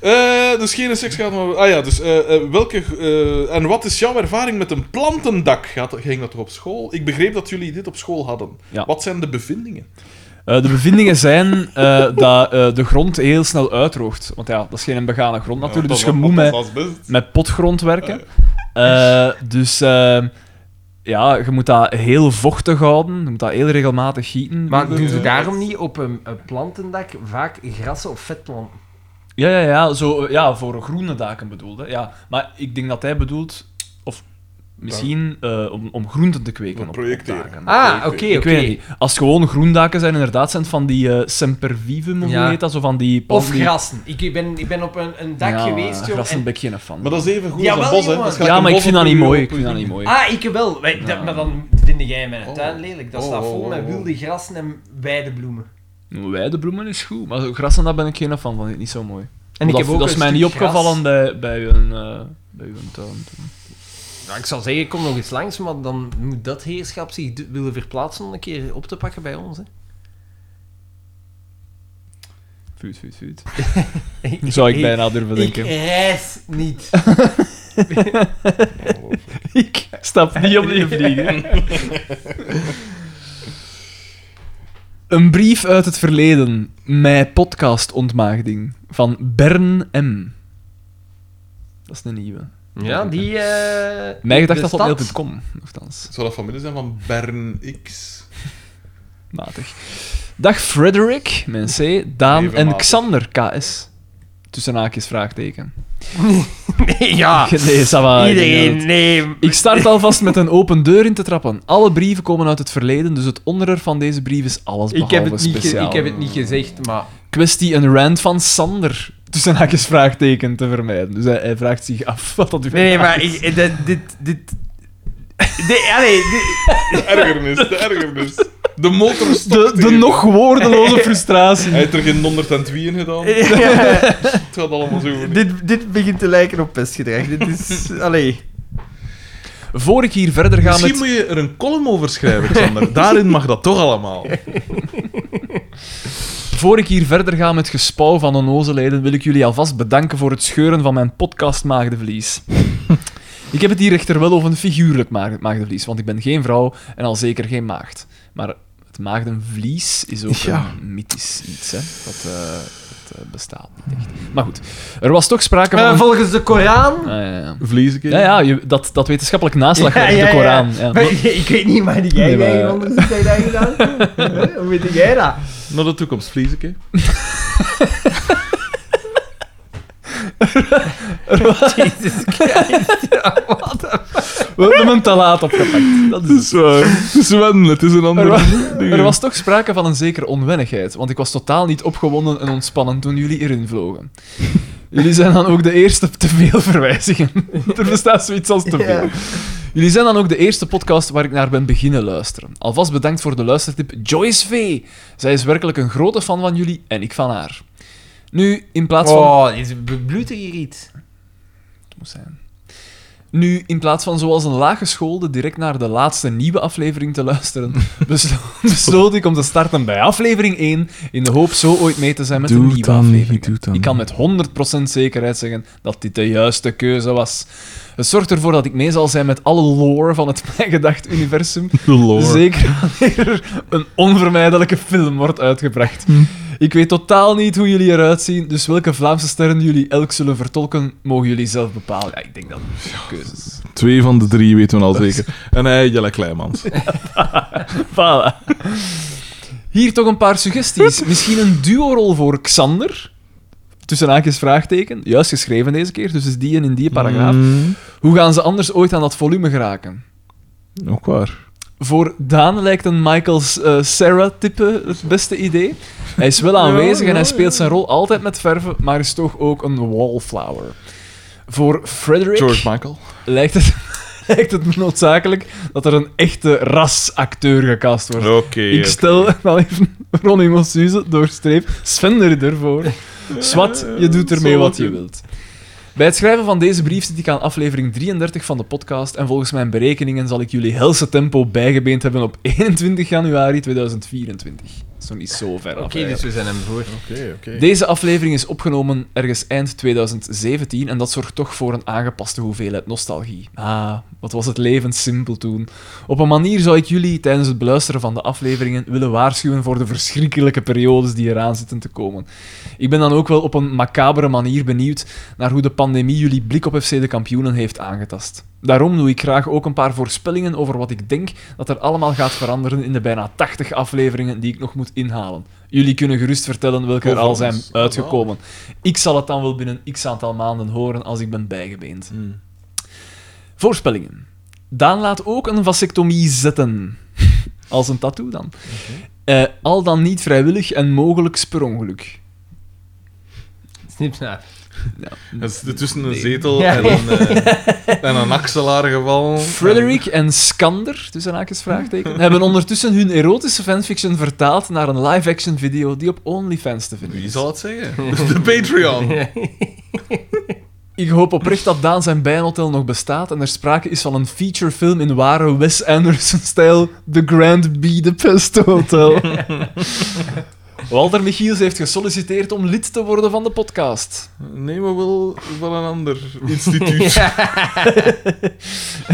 S3: Eh, dus geen seks gaat maar... Ah ja, dus eh, eh, welke... eh, en wat is jouw ervaring met een plantendak? Gaat, ging dat toch op school? Ik begreep dat jullie dit op school hadden.
S2: Ja.
S3: Wat zijn de bevindingen?
S2: Eh, de bevindingen zijn eh, dat eh, de grond heel snel uitdroogt. Want ja, dat is geen begane grond natuurlijk, dus je moet met, met potgrond werken. Eh, dus eh, ja, je moet dat heel vochtig houden, je moet dat heel regelmatig gieten.
S1: Maar doen ze
S3: Ja.
S1: daarom niet op een, een plantendak vaak grassen of vetplanten?
S2: Ja, ja, ja, zo, eh, ja, voor groene daken bedoelde. Ja. Maar ik denk dat hij bedoelt, of Misschien eh, om, om groenten te kweken.
S3: We
S2: op- op
S3: projecteren.
S2: daken.
S1: Ah, oké,
S3: Ik
S1: oké.
S2: Ik weet het niet. Als het gewoon groendaken zijn, inderdaad, zijn het van die eh sempervivum, of
S1: Ja.
S2: hoe heet dat? Zo van die...
S1: Of
S2: die-
S1: grassen. Ik ben, ik ben op een, een dak
S2: Ja,
S1: geweest, joh.
S2: Grassen
S1: en-
S2: ben ik geen fan.
S3: Maar dat is even goed als
S1: Jawel,
S3: een bos, hè.
S1: jongen.
S3: Dat is gelijk
S2: ja,
S3: een
S2: maar ik
S3: bos
S2: vind
S3: op
S2: dat niet
S3: uw-
S2: mooi.
S3: op
S2: Ik
S3: uw
S2: vind dat niet
S3: ding.
S2: mooi.
S1: Ah, ik wel. Wij- dat-
S2: Ja.
S1: maar dan vind jij mijn
S3: Oh.
S1: tuin lelijk. Dat
S3: Oh,
S1: staat
S3: oh,
S1: vol
S3: oh,
S1: met
S3: oh.
S1: wilde grassen en weidebloemen.
S3: Ah.
S2: Ah, Weidebloemen is goed, maar zo grassen, daar ben ik geen fan van. Vind ik niet zo mooi.
S1: En ik
S2: dat
S1: heb ook
S2: dat
S1: een
S2: is mij
S1: stuk
S2: niet
S1: gras.
S2: opgevallen bij, bij, hun, eh bij hun eh, tuin.
S1: Ja, ik zou zeggen, kom nog eens langs, maar dan moet dat heerschap zich d- willen verplaatsen om een keer op te pakken bij ons. Hè.
S2: Vuut, vuut, vuut. Zou ik bijna durven
S1: Ik
S2: denken.
S1: reis niet.
S2: Ik stap niet opnieuw vliegen. Een brief uit het verleden. Mijn podcastontmaagding. Van Bern M. Dat is een nieuwe.
S1: Ja, die... eh
S2: Mij gedacht dat op
S1: bestaat.
S2: mail.com, nogthans.
S3: Zou dat familie zijn van Bern X?
S2: Matig. Dag Frederick, mijn C, Daan
S3: Even
S2: en
S3: matig.
S2: Xander, KS. Tussen haakjes vraagteken.
S1: Nee, ja.
S2: Nee, ça va, ik denk dat
S1: Iedereen,
S2: het-
S1: nee.
S2: Ik start alvast met een open deur in te trappen. Alle brieven komen uit het verleden, dus het onderwerp van deze brief is alles
S1: Ik
S2: behalve
S1: heb, het niet ge-
S2: speciaal.
S1: ik heb het niet gezegd, maar...
S2: Kwestie een rant van Sander. Tussen haakjes vraagteken te vermijden. Dus hij, hij vraagt zich af wat dat u
S1: Nee, nee, maar ik, eh, dat- dit... dit... Nee, allee, dit-
S3: De ergernis, de ergernis. De motor
S2: De,
S3: stopt
S2: de
S3: hier.
S2: nog woordeloze frustratie.
S3: Hij heeft er geen 102 in gedaan. Het gaat allemaal zo. niet.
S1: dit, dit begint te lijken op pestgedrag. Dit is... Allee.
S2: Voor ik hier verder ga
S3: Misschien
S2: met...
S3: moet je er een column over schrijven, Xander. Daarin mag dat toch allemaal.
S2: Voor ik hier verder ga met gespouw van onnozeleden, wil ik jullie alvast bedanken voor het scheuren van mijn podcast Maagdenvlies. ik heb het hier echter wel over een figuurlijk maag- maagdenvlies, want ik ben geen vrouw en al zeker geen maagd. Maar het maagdenvlies is ook
S3: Ja.
S2: een mythisch iets, hè. Dat, eh, dat eh, bestaat niet echt. Maar goed, er was toch sprake van...
S1: Eh,
S2: een-
S1: volgens de Koran...
S2: Ah, ja, ja.
S3: Vlies ik
S2: Ja, ja, je- dat, dat wetenschappelijk naslagwerk,
S1: Ja, ja,
S2: de
S1: ja.
S2: Koran. Ja.
S1: Maar ik weet niet, maar die jij
S2: Nee, maar-
S1: nee, onderzoek heb je daar gedaan? Hè? Hoe weet jij dat?
S3: Naar de toekomst, vlies ik. hè.
S1: Jezus Christus, ja, wat een-
S2: We hebben hem te laat opgepakt. Dat is het.
S3: waar. Eh, Sven, het is een
S2: Er
S3: ander.
S2: was, er was toch sprake van een zekere onwennigheid, want ik was totaal niet opgewonden en ontspannen toen jullie erin vlogen. Jullie zijn dan ook de eerste te veel verwijzingen. Er bestaat zoiets als te veel.
S1: Ja.
S2: Jullie zijn dan ook de eerste podcast waar ik naar ben beginnen luisteren. Alvast bedankt voor de luistertip Joyce V. Zij is werkelijk een grote fan van jullie en ik van haar. Nu, in plaats van...
S1: Oh, dit bloedt er hier iets.
S2: Het moest zijn. Nu, in plaats van zoals een laaggeschoolde direct naar de laatste nieuwe aflevering te luisteren, beslo- besloot ik om te starten bij aflevering 1, in de hoop zo ooit mee te zijn met
S3: Doe
S2: een
S3: het
S2: nieuwe
S3: dan,
S2: aflevering.
S3: doe het dan.
S2: Ik kan met 100% zekerheid zeggen dat dit de juiste keuze was. Het zorgt ervoor dat ik mee zal zijn met alle lore van het mijn gedacht universum,
S3: De lore.
S2: Zeker wanneer er een onvermijdelijke film wordt uitgebracht. Ik weet totaal niet hoe jullie eruit zien, dus welke Vlaamse sterren jullie elk zullen vertolken, mogen jullie zelf bepalen. Ja, ik denk dat het keuzes.
S3: Twee van de drie weten we al zeker. En hij, Jelle Kleimans.
S2: Voilà. Hier toch een paar suggesties. Misschien een duo-rol voor Xander? Tussen haakjes vraagteken. Juist geschreven deze keer, dus is die en in die paragraaf.
S3: Mm,
S2: Hoe gaan ze anders ooit aan dat volume geraken?
S3: ook waar.
S2: Voor Daan lijkt een Michael eh, Sarah-type het beste idee. Hij is wel aanwezig en hij speelt zijn rol altijd met verven, maar is toch ook een wallflower. Voor Frederick
S3: George Michael.
S2: lijkt, het, lijkt het noodzakelijk dat er een echte rasacteur gecast wordt.
S3: Oké.
S2: Ik stel wel even Ronnie Mossuze doorstreep Sven er ervoor. Swat, je doet ermee wat je wilt. Bij het schrijven van deze brief zit ik aan aflevering 33 van de podcast en volgens mijn berekeningen zal ik jullie helse tempo bijgebeend hebben op 21 januari 2024. Dat is nog niet zo ver af.
S1: Oké, dus
S2: eigenlijk.
S1: we zijn hem voor.
S3: Oké, oké.
S2: Deze aflevering is opgenomen ergens eind 2017 en dat zorgt toch voor een aangepaste hoeveelheid nostalgie. Ah, wat was het leven simpel toen. Op een manier zou ik jullie tijdens het beluisteren van de afleveringen willen waarschuwen voor de verschrikkelijke periodes die eraan zitten te komen. Ik ben dan ook wel op een macabere manier benieuwd naar hoe de pandemie jullie blik op FC de kampioenen heeft aangetast. Daarom doe ik graag ook een paar voorspellingen over wat ik denk dat er allemaal gaat veranderen in de bijna 80 afleveringen die ik nog moet inhalen. Jullie kunnen gerust vertellen welke er al zijn
S3: Overigens,
S2: uitgekomen. Ik zal het dan wel
S3: Mm.
S2: binnen x aantal maanden horen als ik ben bijgebeend.
S3: Hmm.
S2: Voorspellingen. Daan laat ook een vasectomie zetten. Als een tattoo dan. Eh, al dan niet vrijwillig en mogelijk per ongeluk.
S1: Snipsnap.
S3: Het is tussen een
S2: Nee.
S3: zetel
S1: Ja.
S3: en, een, eh, en een axelaar geval.
S2: Frederick en Skander, tussen haakjes vraagteken, hebben ondertussen hun erotische fanfiction vertaald naar een live-action video die op OnlyFans te vinden
S3: Wie
S2: is.
S3: zal het zeggen? De Patreon.
S2: Ik hoop oprecht dat Daan zijn bijenhotel nog bestaat en er sprake is van een featurefilm in ware Wes Anderson-stijl The Grand Budapest Hotel. Walter Michiels heeft gesolliciteerd om lid te worden van de podcast.
S3: Nee, maar wel van een ander instituut.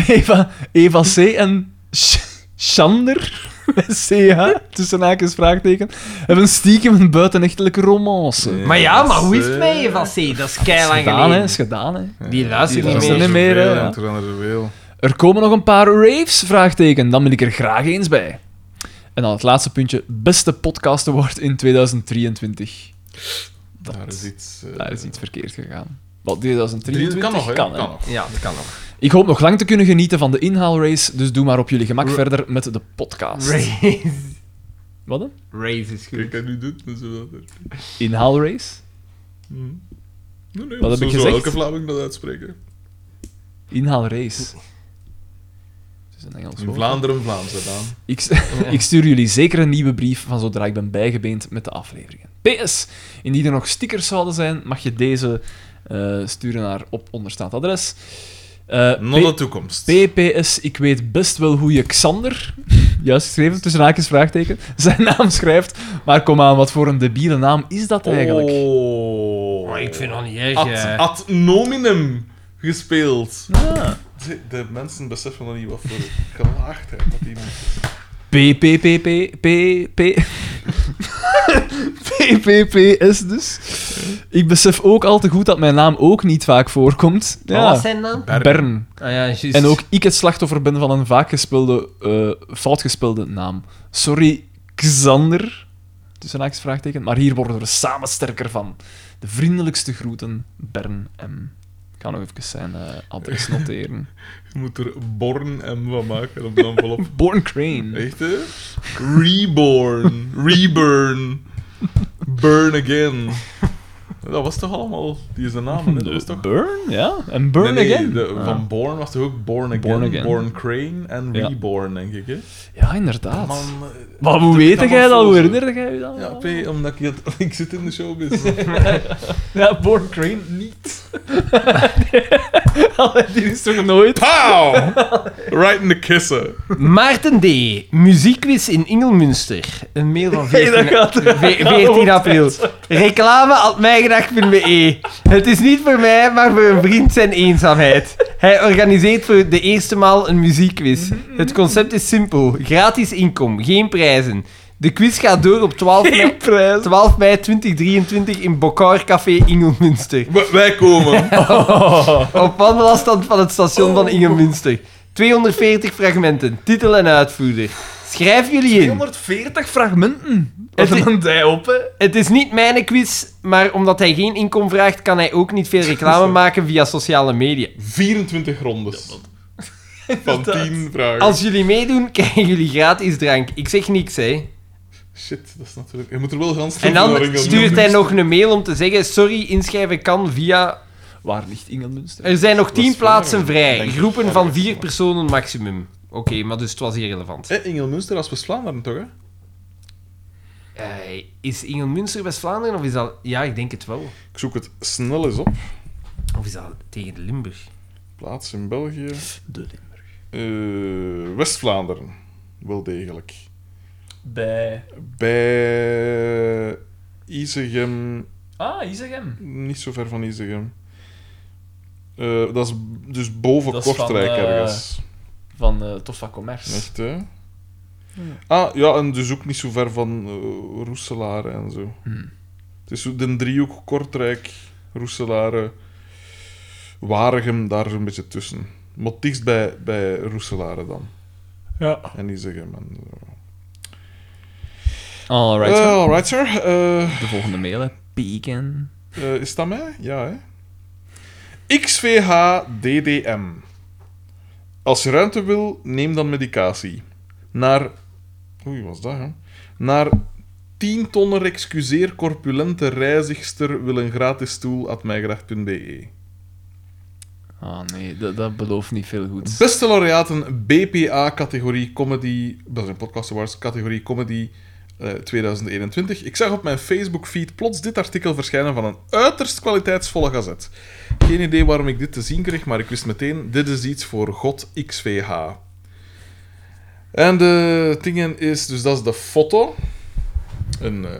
S2: Eva, Eva C. en Sh- Shander, met CH, tussen haakjes vraagteken, hebben stiekem een buitenechtelijke romance.
S3: Ja.
S1: Maar ja, maar hoe is het
S3: Eh.
S1: met je van C? Dat is
S2: is
S1: keilang
S2: gedaan, hè.
S1: geleden.
S2: Is gedaan, hè.
S1: Die luistert
S2: Die
S1: niet
S2: luistert
S1: meer.
S2: niet meer, hè, ja.
S3: Er zijn er zoveel.
S2: Er komen nog een paar raves? Vraagteken. Dan wil ik er graag eens bij. En dan het laatste puntje. Beste podcast award in 2023. Dat,
S3: Daar is iets. eh,
S2: daar is iets verkeerd gegaan. Wat,
S3: drie-
S2: 2023?
S3: kan nog, hè?
S2: Kan, hè.
S3: Kan nog.
S1: Ja, dat kan nog.
S2: Ik hoop nog lang te kunnen genieten van de inhaalrace, dus doe maar op jullie gemak verder met de podcast.
S1: Raise.
S2: Wat dan?
S1: Raise is goed.
S3: Kijk, hij nu doet, dan zullen we dat er-
S2: Inhaalrace?
S3: Hm. Nee, nee,
S2: Wat heb
S3: zo
S2: ik
S3: zou
S2: gezegd?
S3: elke Vlaming dat uitspreken.
S2: Inhaalrace. Het is een Engels
S3: In
S2: woord.
S3: Vlaanderen, Vlaams gedaan.
S2: Ik, ik stuur jullie zeker een nieuwe brief van zodra ik ben bijgebeend met de afleveringen. PS, indien er nog stickers zouden zijn, mag je deze eh, sturen naar op onderstaand adres. Eh,
S3: Not de
S2: P-
S3: toekomst.
S2: PPS, ik weet best wel hoe je Xander, juist geschreven, tussen haakjes vraagteken, zijn naam schrijft, maar kom aan, wat voor een debiele naam is dat eigenlijk?
S3: Oh.
S1: Maar ik vind dat niet erg.
S3: Ad,
S1: eh.
S3: ad nominem gespeeld.
S2: Ah.
S3: De, de mensen beseffen nog niet wat voor gelaagdheid dat iemand is.
S2: PPPPPP. PPPS dus. Ik besef ook al te goed dat mijn naam ook niet vaak voorkomt.
S1: Wat was zijn naam?
S3: Bern.
S2: Bern.
S1: Ah ja, juist.
S2: En ook ik het slachtoffer ben van een vaak gespeelde, eh, fout gespeelde naam. Sorry, Xander. Tussen haakjes vraagteken. Maar hier worden we samen sterker van. De vriendelijkste groeten, Bern M. Ik ga nog even zijn eh, adres noteren.
S3: Je moet er Born M van maken op de envelop.
S2: Born Crane.
S3: Echt hè? Reborn. Reburn. Burn again. Dat was toch allemaal die zijn naam, hè? Dat was toch...
S2: Burn, ja. En Burn
S3: Nee, nee,
S2: again.
S3: de-
S2: Ah.
S3: Van Born was toch ook Born again,
S2: Born
S3: Born,
S2: Again.
S3: Crane en
S2: Ja.
S3: Reborn, denk ik. Hè?
S2: Ja, inderdaad.
S3: Man, eh,
S2: Maar hoe weet jij dat? Hoe
S3: metamorfose.
S2: herinnerde jij je dat?
S3: Ja, P, omdat ik, het, ik zit in de showbiz.
S2: Ja, Born Crane niet. Allee, die is toch nooit...
S3: Pow! Right in the kisser.
S1: Maarten D. Muziekquiz in Ingelmunster. Een mail van 14,
S2: dat gaat-
S1: ve- 14 april. Reclame at mijgedacht.be. e. Het is niet voor mij, maar voor een vriend zijn eenzaamheid. Hij organiseert voor de eerste maal een muziekquiz. Het concept is simpel. Gratis inkom, geen prijzen. De quiz gaat door op 12 mei, 12 mei 2023 in Bokar Café Ingelmunster.
S3: W- wij komen.
S1: Op wandelafstand van het station van Ingemunster. 240 fragmenten, titel en uitvoerder. Schrijf jullie in.
S2: 240 fragmenten.
S1: Het is-
S2: een dij op, hè?
S1: Het is niet mijn quiz, maar omdat hij geen inkom vraagt, kan hij ook niet veel reclame maken via sociale media.
S3: 24 rondes. Van 10 vragen.
S1: Als jullie meedoen, krijgen jullie gratis drank. Ik zeg niks, hè.
S3: Shit, dat is natuurlijk... Je moet er wel gaan
S1: En dan stuurt hij nog een mail om te zeggen, sorry, inschrijven kan via...
S2: Waar ligt Ingelmunster?
S1: Er zijn nog
S3: is
S1: 10
S3: waar,
S1: plaatsen
S3: ja.
S1: vrij,
S3: Denk ik.
S1: groepen
S3: Ja,
S1: van
S3: dat is
S1: 4
S3: waar.
S1: personen maximum. Oké, maar dus het was irrelevant.
S3: Eh, Ingel Munster als West-Vlaanderen, toch? Hè?
S1: Eh, is Ingelmunster West-Vlaanderen of is dat... Ja, ik denk het wel.
S3: Ik zoek het snel eens op.
S1: Of is dat tegen de Limburg?
S3: Plaats in België.
S2: De Limburg.
S3: Eh, West-Vlaanderen. Wel degelijk.
S2: Bij...
S3: Bij Isegem,
S2: Ah, Isegem.
S3: niet zo ver van Isegem. Eh, dat is dus boven
S2: Dat is van,
S3: Kortrijk
S2: eh,
S3: ergens.
S2: Van eh Toffa Commerce.
S3: Echt, hè? Ah, ja, en dus ook niet zo ver van eh, Roeselare en zo.
S2: Hmm.
S3: Het is zo de driehoek Kortrijk, Roeselare, Waregem, daar zo'n beetje tussen. Maar het dichtst bij, bij Roeselare dan.
S2: Ja.
S3: En Isegem en zo.
S2: Alright,
S3: Alright,
S2: zo.
S3: alright sir. Eh,
S2: De volgende mail, hè. Pecan.
S3: Eh, is dat mij? Ja, hè? XVHDDM. Als je ruimte wil, neem dan medicatie. Naar... Oei, wat was dat, hè? Naar 10 tonnen excuseer corpulente reizigster wil een gratis stoel at mijgracht.be.
S2: Ah nee, dat, dat belooft niet veel goed.
S3: Beste laureaten, BPA-categorie Comedy... Dat is een podcast awards, categorie Comedy eh, 2021. Ik zag op mijn Facebook-feed plots dit artikel verschijnen van een uiterst kwaliteitsvolle gazet. Geen idee waarom ik dit te zien kreeg, maar ik wist meteen, dit is iets voor God XVH. En de dingen is, dus dat is de foto. Een, eh,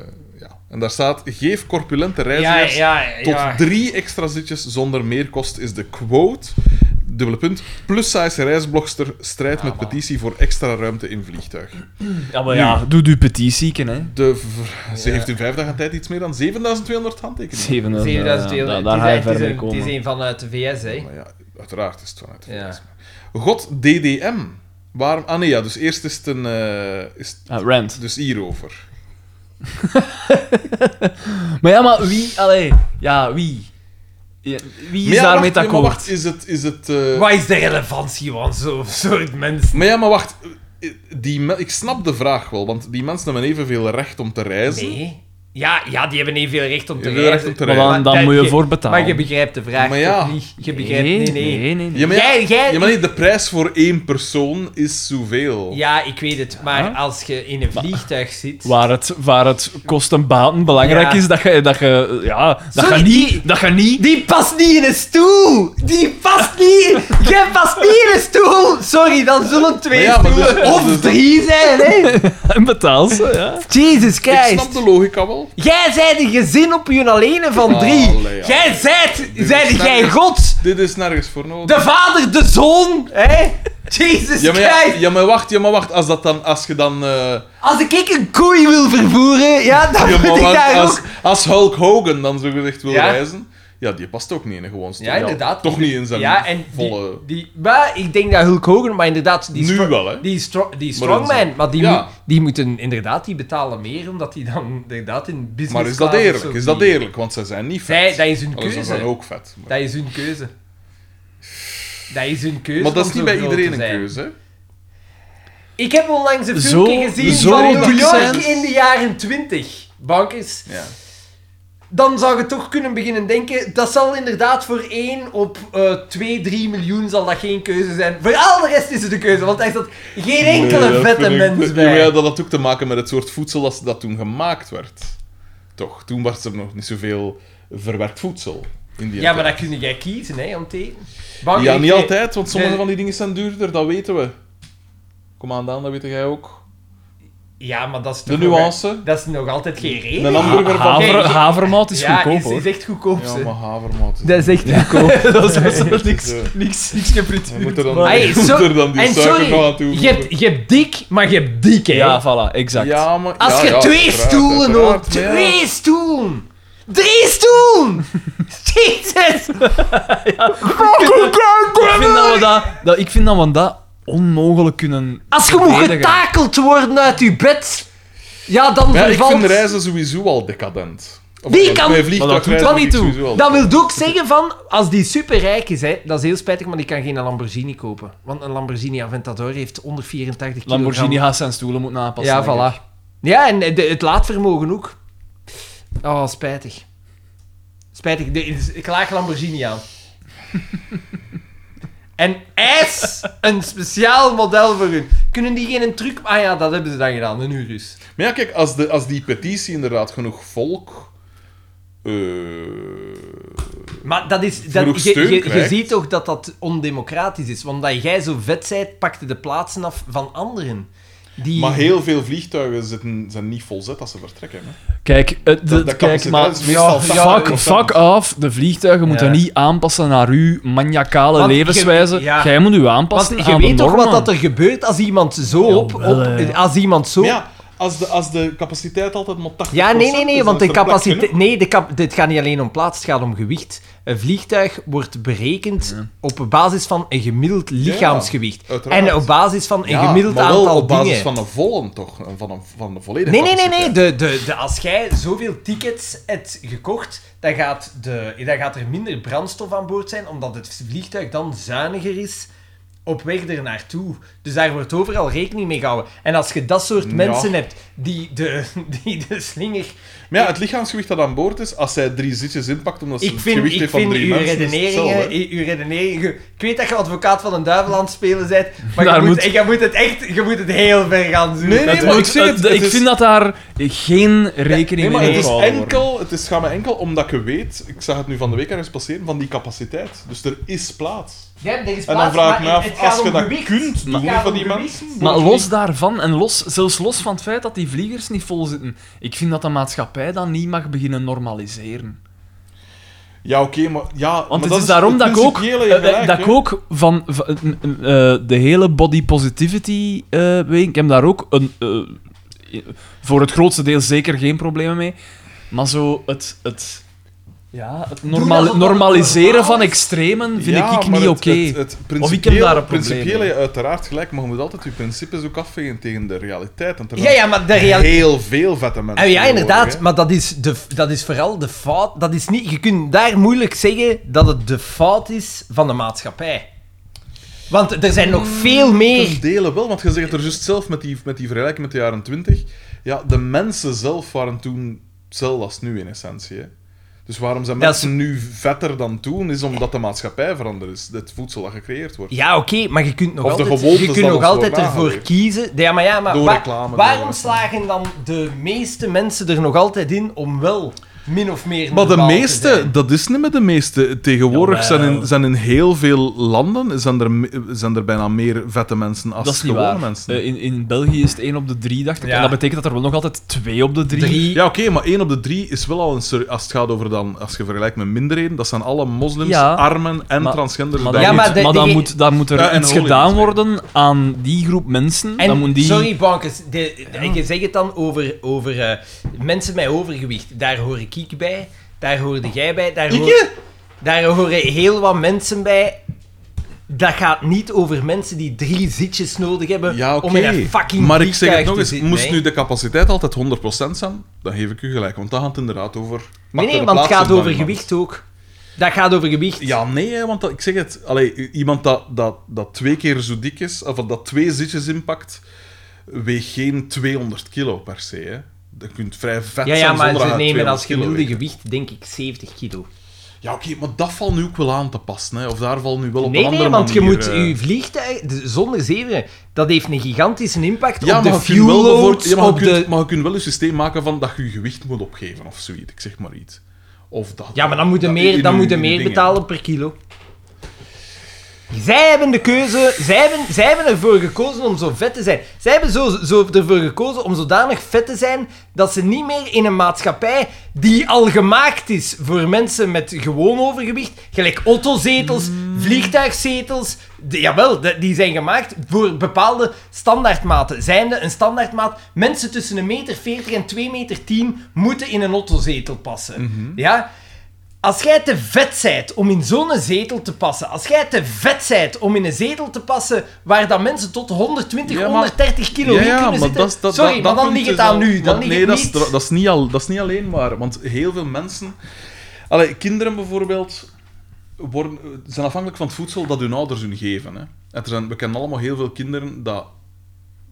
S3: ja. En daar staat, geef corpulente
S1: Ja,
S3: reizigers...
S1: ja, ja.
S3: Tot drie extra zitjes zonder meerkost is de quote. Dubbele punt. Plus size reisblogster strijdt met petitie voor extra ruimte in vliegtuig.
S2: Ja, maar ja, doe du petitie, hè.
S3: De v- ze heeft in vijf dagen tijd iets meer dan 7200 handtekeningen.
S2: 7000
S1: 7000 euro.
S2: eh, Daar,
S1: Het is
S2: ga je
S1: echt- het is
S2: verder
S1: een- Het is
S2: komen.
S1: een vanuit de VS, hè.
S3: Maar ja, uiteraard is het vanuit. de
S1: Ja.
S3: VS. God DDM. Waarom? Ah nee, ja, dus eerst is het een. eh, is het
S2: Ah, rent.
S3: dus hierover.
S2: Maar ja, maar wie? Allee, ja, wie? Ja, wie
S3: Maar
S2: is
S3: ja,
S2: daarmee
S3: wacht, Maar
S2: akkoord?
S3: wacht, is het. Is het eh,
S1: Wat is de relevantie van zo'n soort mensen?
S3: Maar ja, maar wacht. Eh, Die me- ik snap de vraag wel, want die mensen hebben evenveel recht om te reizen.
S1: Nee. Ja, ja, die hebben evenveel recht om te
S3: Evenveel
S1: reizen.
S3: recht om te
S2: Maar
S3: rijden.
S2: dan, dan
S1: dat-
S2: moet je
S1: je-
S2: voor betalen.
S1: Maar je begrijpt de vraag
S3: Maar ja.
S1: toch niet? Je begrijpt... Nee, nee.
S2: nee, nee, nee.
S3: Ja, maar,
S1: Jij-
S3: ja,
S1: jij-
S3: ja, maar nee, de prijs voor één persoon is zoveel.
S1: Ja, ik weet het. Maar
S2: Ja.
S1: als je in een vliegtuig zit...
S2: Waar het, waar het kost en baten belangrijk
S1: Ja.
S2: is, dat je, dat je, ja, dat
S1: Sorry,
S2: je niet...
S1: die-
S2: Dat je niet
S1: Die past niet in een stoel! Die past niet! Jij past niet in een stoel! Sorry, dan zullen twee
S3: Maar ja, maar
S1: stoelen
S3: dus-
S1: of
S3: dus-
S1: drie zijn, hè?
S2: betaalt ze, ja.
S1: Jesus
S3: Ik
S1: Christ!
S3: snap de logica wel.
S1: Jij zijt een gezin op je alleen van drie.
S3: Allee, ja.
S1: Jij zijt,
S3: Dit
S1: zijt
S3: is
S1: jij
S3: nergens-
S1: God,
S3: Dit is nergens voor nodig.
S1: de vader, de zoon, hè? Jesus
S3: Ja maar, ja,
S1: Christ!
S3: ja, maar wacht, ja, maar wacht. Als, dat dan, als je dan... eh,
S1: Als ik ik een koei wil vervoeren, ja, dan
S3: ja,
S1: moet
S3: maar
S1: ik
S3: wacht,
S1: daar
S3: als,
S1: ook...
S3: als Hulk Hogan dan zogezegd wil
S1: Ja.
S3: reizen... Ja, die past ook niet in een gewoon stoel.
S1: Ja, inderdaad.
S3: Toch niet in zijn
S1: Ja, en
S3: volle...
S1: die, die, maar ik denk dat Hulk Hogan, maar inderdaad... Die
S3: Nu
S1: stro-
S3: wel, hè?
S1: Die, stro- die
S3: Maar dan
S1: strongman,
S3: zo-
S1: maar die,
S3: Ja.
S1: moet- die moeten inderdaad, die betalen meer, omdat die dan inderdaad in business
S3: Maar is dat
S1: class of
S3: eerlijk?
S1: zo
S3: Is dat
S1: vliegen.
S3: eerlijk? Want zij zijn niet vet.
S1: Zij, dat is hun
S3: Allee, ze
S1: keuze.
S3: zijn ook vet. Maar,
S1: Dat is hun keuze. Dat is hun keuze.
S3: maar dat
S1: om
S3: is niet
S1: zo
S3: bij
S1: groot
S3: iedereen
S1: te
S3: een
S1: zijn.
S3: keuze. hè.
S1: Ik heb onlangs een
S2: Zo-
S1: filmpje gezien
S2: zo
S1: van New
S2: dik
S1: York
S2: zijn.
S1: in de jaren 20. Bankers.
S3: Ja.
S1: Dan zou je toch kunnen beginnen denken, dat zal inderdaad voor 1 op eh 2, 3 miljoen zal dat geen keuze zijn. Voor al de rest is het een keuze, want daar zat geen enkele
S3: Nee, dat
S1: vette
S3: vind ik-
S1: mens
S3: Ja,
S1: bij.
S3: maar ja, dat had ook te maken met het soort voedsel dat, dat toen gemaakt werd. Toch, toen was er nog niet zoveel verwerkt voedsel. In die
S1: Ja, maar dat
S3: tijd.
S1: kun jij kiezen, hè, om te eten.
S3: Ja,
S1: Banker,
S3: niet
S1: jij-
S3: altijd, want sommige
S1: Nee.
S3: van die dingen zijn duurder, dat weten we. Kom aan, Daan, dat weet jij ook.
S1: Ja, maar dat is
S3: De
S1: toch
S3: nuance.
S1: Nog, dat is nog altijd geen reden.
S3: Een
S2: Ha-
S3: hamburger van...
S2: haver-
S1: Nee, ik-
S2: havermout is
S1: ja,
S2: goedkoop,
S1: is,
S2: hoor.
S1: is echt goedkoop,
S3: Ja,
S1: ze.
S3: maar havermout. is-
S1: Dat is echt goedkoop.
S2: dat is best wel niks,
S3: Dus, eh,
S2: niks, niks
S3: We moeten
S2: gefrituurd.
S3: dan,
S2: maar-
S1: Hey,
S3: we
S1: zo-
S3: moeten dan die
S1: en
S3: suiker
S1: sorry,
S3: nog aan toevoegen.
S1: Je hebt, je hebt dik, maar je hebt dik, hè.
S2: Ja, voilà, exact.
S3: Ja, maar...
S1: Als
S3: ja,
S1: je
S3: ja,
S1: twee
S3: uiteraard,
S1: stoelen hoort,
S3: uiteraard, maar ja.
S1: twee stoelen! Drie stoelen! Jezus! Fucking
S2: Ik
S1: kanker!
S2: vind dat we dat, dat, ik vind dat we dat onmogelijk kunnen
S1: Als je moet
S2: verdedigen.
S1: getakeld worden uit je bed, ja, dan
S3: Ja, ik
S1: vervalt...
S3: vind reizen sowieso al decadent. Of
S1: Die
S3: bij-
S1: kan-
S3: bij
S2: Maar dat doet
S3: vliegtuigreizen
S2: dat
S3: vind
S2: niet toe.
S3: ik sowieso al
S1: Dat wil ook zeggen van, als die superrijk is, hè, dat is heel spijtig, maar die kan geen Lamborghini kopen. Want een Lamborghini Aventador heeft 184 kilogram.
S2: Lamborghini gaat zijn stoelen moeten aanpassen.
S1: Ja,
S2: denk ik.
S1: voilà. Ja, en de- het laadvermogen ook. Oh, spijtig. Spijtig. De, is- ik laag Lamborghini aan. en ijs! Een speciaal model voor hun. Kunnen die geen truc... Ah ja, dat hebben ze dan gedaan. Een dus. Urus.
S3: Maar ja, kijk, als, de, als die petitie inderdaad genoeg volk. eh,
S1: Maar dat is... Dat,
S3: Genoeg
S1: je,
S3: steun
S1: je- je
S3: krijgt.
S1: ziet toch dat dat ondemocratisch is. Want dat jij zo vet zijt, pakte de plaatsen af van anderen. Die...
S3: maar heel veel vliegtuigen zitten, zijn niet volzet als ze vertrekken. Hè.
S2: Kijk, het, het-
S3: Dat- dat
S2: kijk
S3: capaciteit
S2: maar...
S3: is meestal
S2: Ja, fuck,
S3: 80%.
S2: fuck af. De vliegtuigen moeten
S1: Ja.
S2: niet aanpassen naar uw maniacale
S1: Want je-
S2: levenswijze.
S1: ja.
S2: Jij moet u aanpassen
S1: Want je
S2: aan de
S1: weet toch wat
S2: normen. eh.
S1: dat er gebeurt als iemand zo op...
S2: Jawel,
S1: op
S2: hè.
S1: als iemand zo
S3: Maar ja, als de, als de capaciteit altijd maar 80%
S1: Ja, nee, nee,
S3: is,
S1: nee,
S3: dan
S1: want
S3: is
S1: de
S3: er plek
S1: capaciteit...
S3: genoeg.
S1: Nee, de cap dit gaat niet alleen om plaats, het gaat om gewicht. Een vliegtuig wordt berekend op basis van een gemiddeld lichaamsgewicht.
S3: uiteraard.
S1: en op basis van een
S3: Ja,
S1: gemiddeld
S3: maar wel
S1: aantal
S3: op basis
S1: dingen.
S3: van een volle toch? Van een, van de volledige
S1: Nee, nee, nee, nee.
S3: capaciteit.
S1: De, de, de, als jij zoveel tickets hebt gekocht, dan gaat, de, dan gaat er minder brandstof aan boord zijn, omdat het vliegtuig dan zuiniger is op weg ernaartoe. Dus daar wordt overal rekening mee gehouden. En als je dat soort
S3: Ja.
S1: mensen hebt die de, die de slinger...
S3: Maar ja, het lichaamsgewicht dat aan boord is, als zij drie zitjes inpakt omdat ze
S1: Ik
S3: het
S1: vind,
S3: gewicht
S1: ik
S3: heeft van
S1: vind
S3: drie
S1: uw,
S3: mensen, is het
S1: redeneringen,
S3: hetzelfde, hè.
S1: i- uw redeneringen... Ik weet dat je advocaat van een duivel aan het spelen bent, maar je
S2: Daar
S1: moet,
S2: moet-
S1: je moet het echt... Je moet het heel ver gaan zoeken.
S3: Nee, nee,
S2: Het
S3: maar
S2: moet-
S3: ik zeg het,
S2: het-
S3: het
S2: ik
S3: is-
S2: vind dat daar geen rekening
S3: Nee, maar
S2: mee
S3: het is
S2: gehouden wordt.
S3: enkel, het is, gaat me enkel omdat je weet, ik zag het nu van de week ergens passeren, van die capaciteit. Dus er is plaats.
S1: Ja, er is
S3: En
S1: plaats,
S3: dan vraag
S1: maar
S3: ik me
S1: het-
S3: af,
S1: het gaat
S3: als je
S1: om
S3: dat
S1: gewicht.
S3: kunt doen
S1: Het gaat
S3: van
S1: om
S3: die
S1: gewicht.
S3: mensen,
S2: Maar los daarvan, en los, zelfs los van het feit dat die vliegers niet vol zitten, ik vind dat de maatschappij dat niet mag beginnen normaliseren.
S3: Ja, oké, maar... Ja, maar
S2: Want het
S3: dat
S2: is, daarom
S3: het
S2: dat ik, ook, eh,
S3: principiële gelijk,
S2: dat
S3: hè.
S2: ik ook van, van, eh, eh, de hele body positivity eh weet, ik heb daar ook een, eh, voor het grootste deel zeker geen problemen mee. Maar zo het, het, ja, het norma-
S1: alsof dat normaal
S2: normaliseren
S1: is.
S2: van extremen vind
S3: Ja,
S2: ik, ik
S3: maar
S2: niet
S3: het-
S2: oké.
S3: het- het
S2: Of ik heb daar een probleem
S3: principiële,
S2: mee.
S3: uiteraard gelijk, maar je moet altijd je principes ook afvegen tegen de realiteit. Want er
S1: Ja, ja, maar de realiteit...
S3: zijn heel veel vette mensen.
S1: Ah, ja, inderdaad,
S3: tegenwoordig,
S1: maar dat is, de, dat is vooral de fout. Dat is niet, je kunt daar moeilijk zeggen dat het de fout is van de maatschappij. Want er zijn nog veel
S3: hè.
S1: meer.
S3: Ten dele wel, want je zegt het er juist zelf met die, met die vergelijking met de jaren 20. Ja, de mensen zelf waren toen hetzelfde als nu in essentie. Hè. Dus waarom zijn
S1: Dat is-
S3: mensen nu vetter dan toen, is omdat de maatschappij veranderd is. Het voedsel dat gecreëerd wordt.
S1: Ja, oké, maar je kunt nog
S3: Of de
S1: altijd,
S3: gewoontes
S1: je
S3: dat
S1: kunt nog
S3: ons
S1: altijd
S3: worden
S1: ervoor
S3: aangeleerd.
S1: kiezen. Ja, maar, ja, maar
S3: Door
S1: wa-
S3: reclame, door
S1: waarom
S3: reclame.
S1: slagen dan de meeste mensen er nog altijd in om wel min of meer
S3: Maar de
S1: normaal te
S3: meeste,
S1: zijn?
S3: dat is niet met de meeste. Tegenwoordig
S2: Jawel.
S3: zijn in, zijn in heel veel landen zijn er, me- zijn er bijna meer vette mensen als
S2: Dat is niet
S3: gewone
S2: waar.
S3: mensen.
S2: Eh, in, in België is het 1 op de 3, dacht ik.
S1: Ja.
S2: En dat betekent dat er wel nog altijd 2 op de 3
S1: Drie.
S3: ja, oké, maar één op de drie is wel al een... ser- Als het gaat over dan... Als je vergelijkt met minderheden, dat zijn alle moslims,
S2: Ja.
S3: armen en
S2: Maar-
S3: transgenders.
S2: Maar,
S3: bij
S2: dan,
S1: Ja,
S3: elkaar.
S1: maar
S2: moet,
S1: de-
S2: maar dan,
S1: die-
S2: moet, dan moet er
S3: Ja, en
S2: iets
S3: Hollywood,
S2: gedaan
S3: ja.
S2: worden aan die groep mensen.
S1: En,
S2: dan moet die...
S1: Sorry, Bankers, de, de- je zegt het dan over, over eh, mensen met overgewicht. Daar hoor ik ik bij, daar hoorde jij bij, daar, hoor, daar horen heel wat mensen bij. Dat gaat niet over mensen die drie zitjes nodig hebben
S3: Ja, oké.
S1: om in een fucking
S3: Maar ik zeg het
S1: vliegtuig
S3: nog
S1: te
S3: eens,
S1: zitten,
S3: moest
S1: hè.
S3: nu de capaciteit altijd 100% zijn, dan geef ik u gelijk. Want dat gaat het inderdaad over...
S1: Nee,
S3: maakt er
S1: nee,
S3: de
S1: want het
S3: plaats
S1: gaat
S3: in van
S1: over
S3: iemand.
S1: gewicht ook. Dat gaat over gewicht.
S3: Ja, nee, hè, want dat- ik zeg het. Allee, i- iemand dat, dat, dat twee keer zo dik is, of dat twee zitjes inpakt, weegt geen 200 kilo per se. Hè. Je kunt vrij vet
S1: ja, ja,
S3: zijn
S1: maar
S3: zonder
S1: ze
S3: dat je
S1: nemen
S3: 200
S1: als
S3: kilo
S1: gemiddelde
S3: weegt.
S1: gewicht, denk ik, 70 kilo.
S3: Ja, oké, maar dat valt nu ook wel aan te passen. Hè. Of daar valt nu wel op een
S1: Nee,
S3: andere
S1: nee, want je
S3: manier,
S1: moet
S3: eh,
S1: je vliegtuig de- zonder zeven, dat heeft een gigantische impact
S3: Ja,
S1: op
S3: maar
S1: de
S3: je kunt
S1: fuel
S3: wel bijvoorbeeld-
S1: load,
S3: ja, maar je
S1: op
S3: kunt-
S1: de...
S3: maar je kunt wel een systeem maken van dat je je gewicht moet opgeven of zoiets. Ik zeg maar iets. Of dat,
S1: Ja, maar dan moet je
S3: dat-
S1: meer,
S3: in
S1: dan
S3: uw-
S1: moet je
S3: in uw
S1: meer
S3: dingen.
S1: betalen per kilo. Zij hebben de keuze, zij hebben, zij hebben ervoor gekozen om zo vet te zijn. Zij hebben zo, zo ervoor gekozen om zodanig vet te zijn dat ze niet meer in een maatschappij die al gemaakt is voor mensen met gewoon overgewicht, gelijk autozetels,
S3: Mm.
S1: vliegtuigzetels, de- jawel, de- die zijn gemaakt voor bepaalde standaardmaten. Zijnde een standaardmaat, mensen tussen 1,40 meter en 2,10 meter moeten in een autozetel passen.
S3: Mhm.
S1: Ja? Als jij te vet zijt om in zo'n zetel te passen, als jij te vet zijt om in een zetel te passen waar dan mensen tot 120,
S3: Ja, maar-
S1: 130 kilo
S3: Ja,
S1: in
S3: ja,
S1: kunnen
S3: maar
S1: zitten,
S3: dat is- dat-
S1: sorry,
S3: dat-
S1: maar
S3: dat
S1: dan
S3: punt
S1: ligt het
S3: is
S1: aan
S3: al-
S1: nu, dan
S3: want
S1: ligt
S3: nee,
S1: het
S3: dat
S1: niet.
S3: Is, dat, is niet al, dat is niet alleen maar. Want heel veel mensen... Allee, kinderen bijvoorbeeld worden, zijn afhankelijk van het voedsel dat hun ouders hun geven. Hè. En er zijn, we kennen allemaal heel veel kinderen dat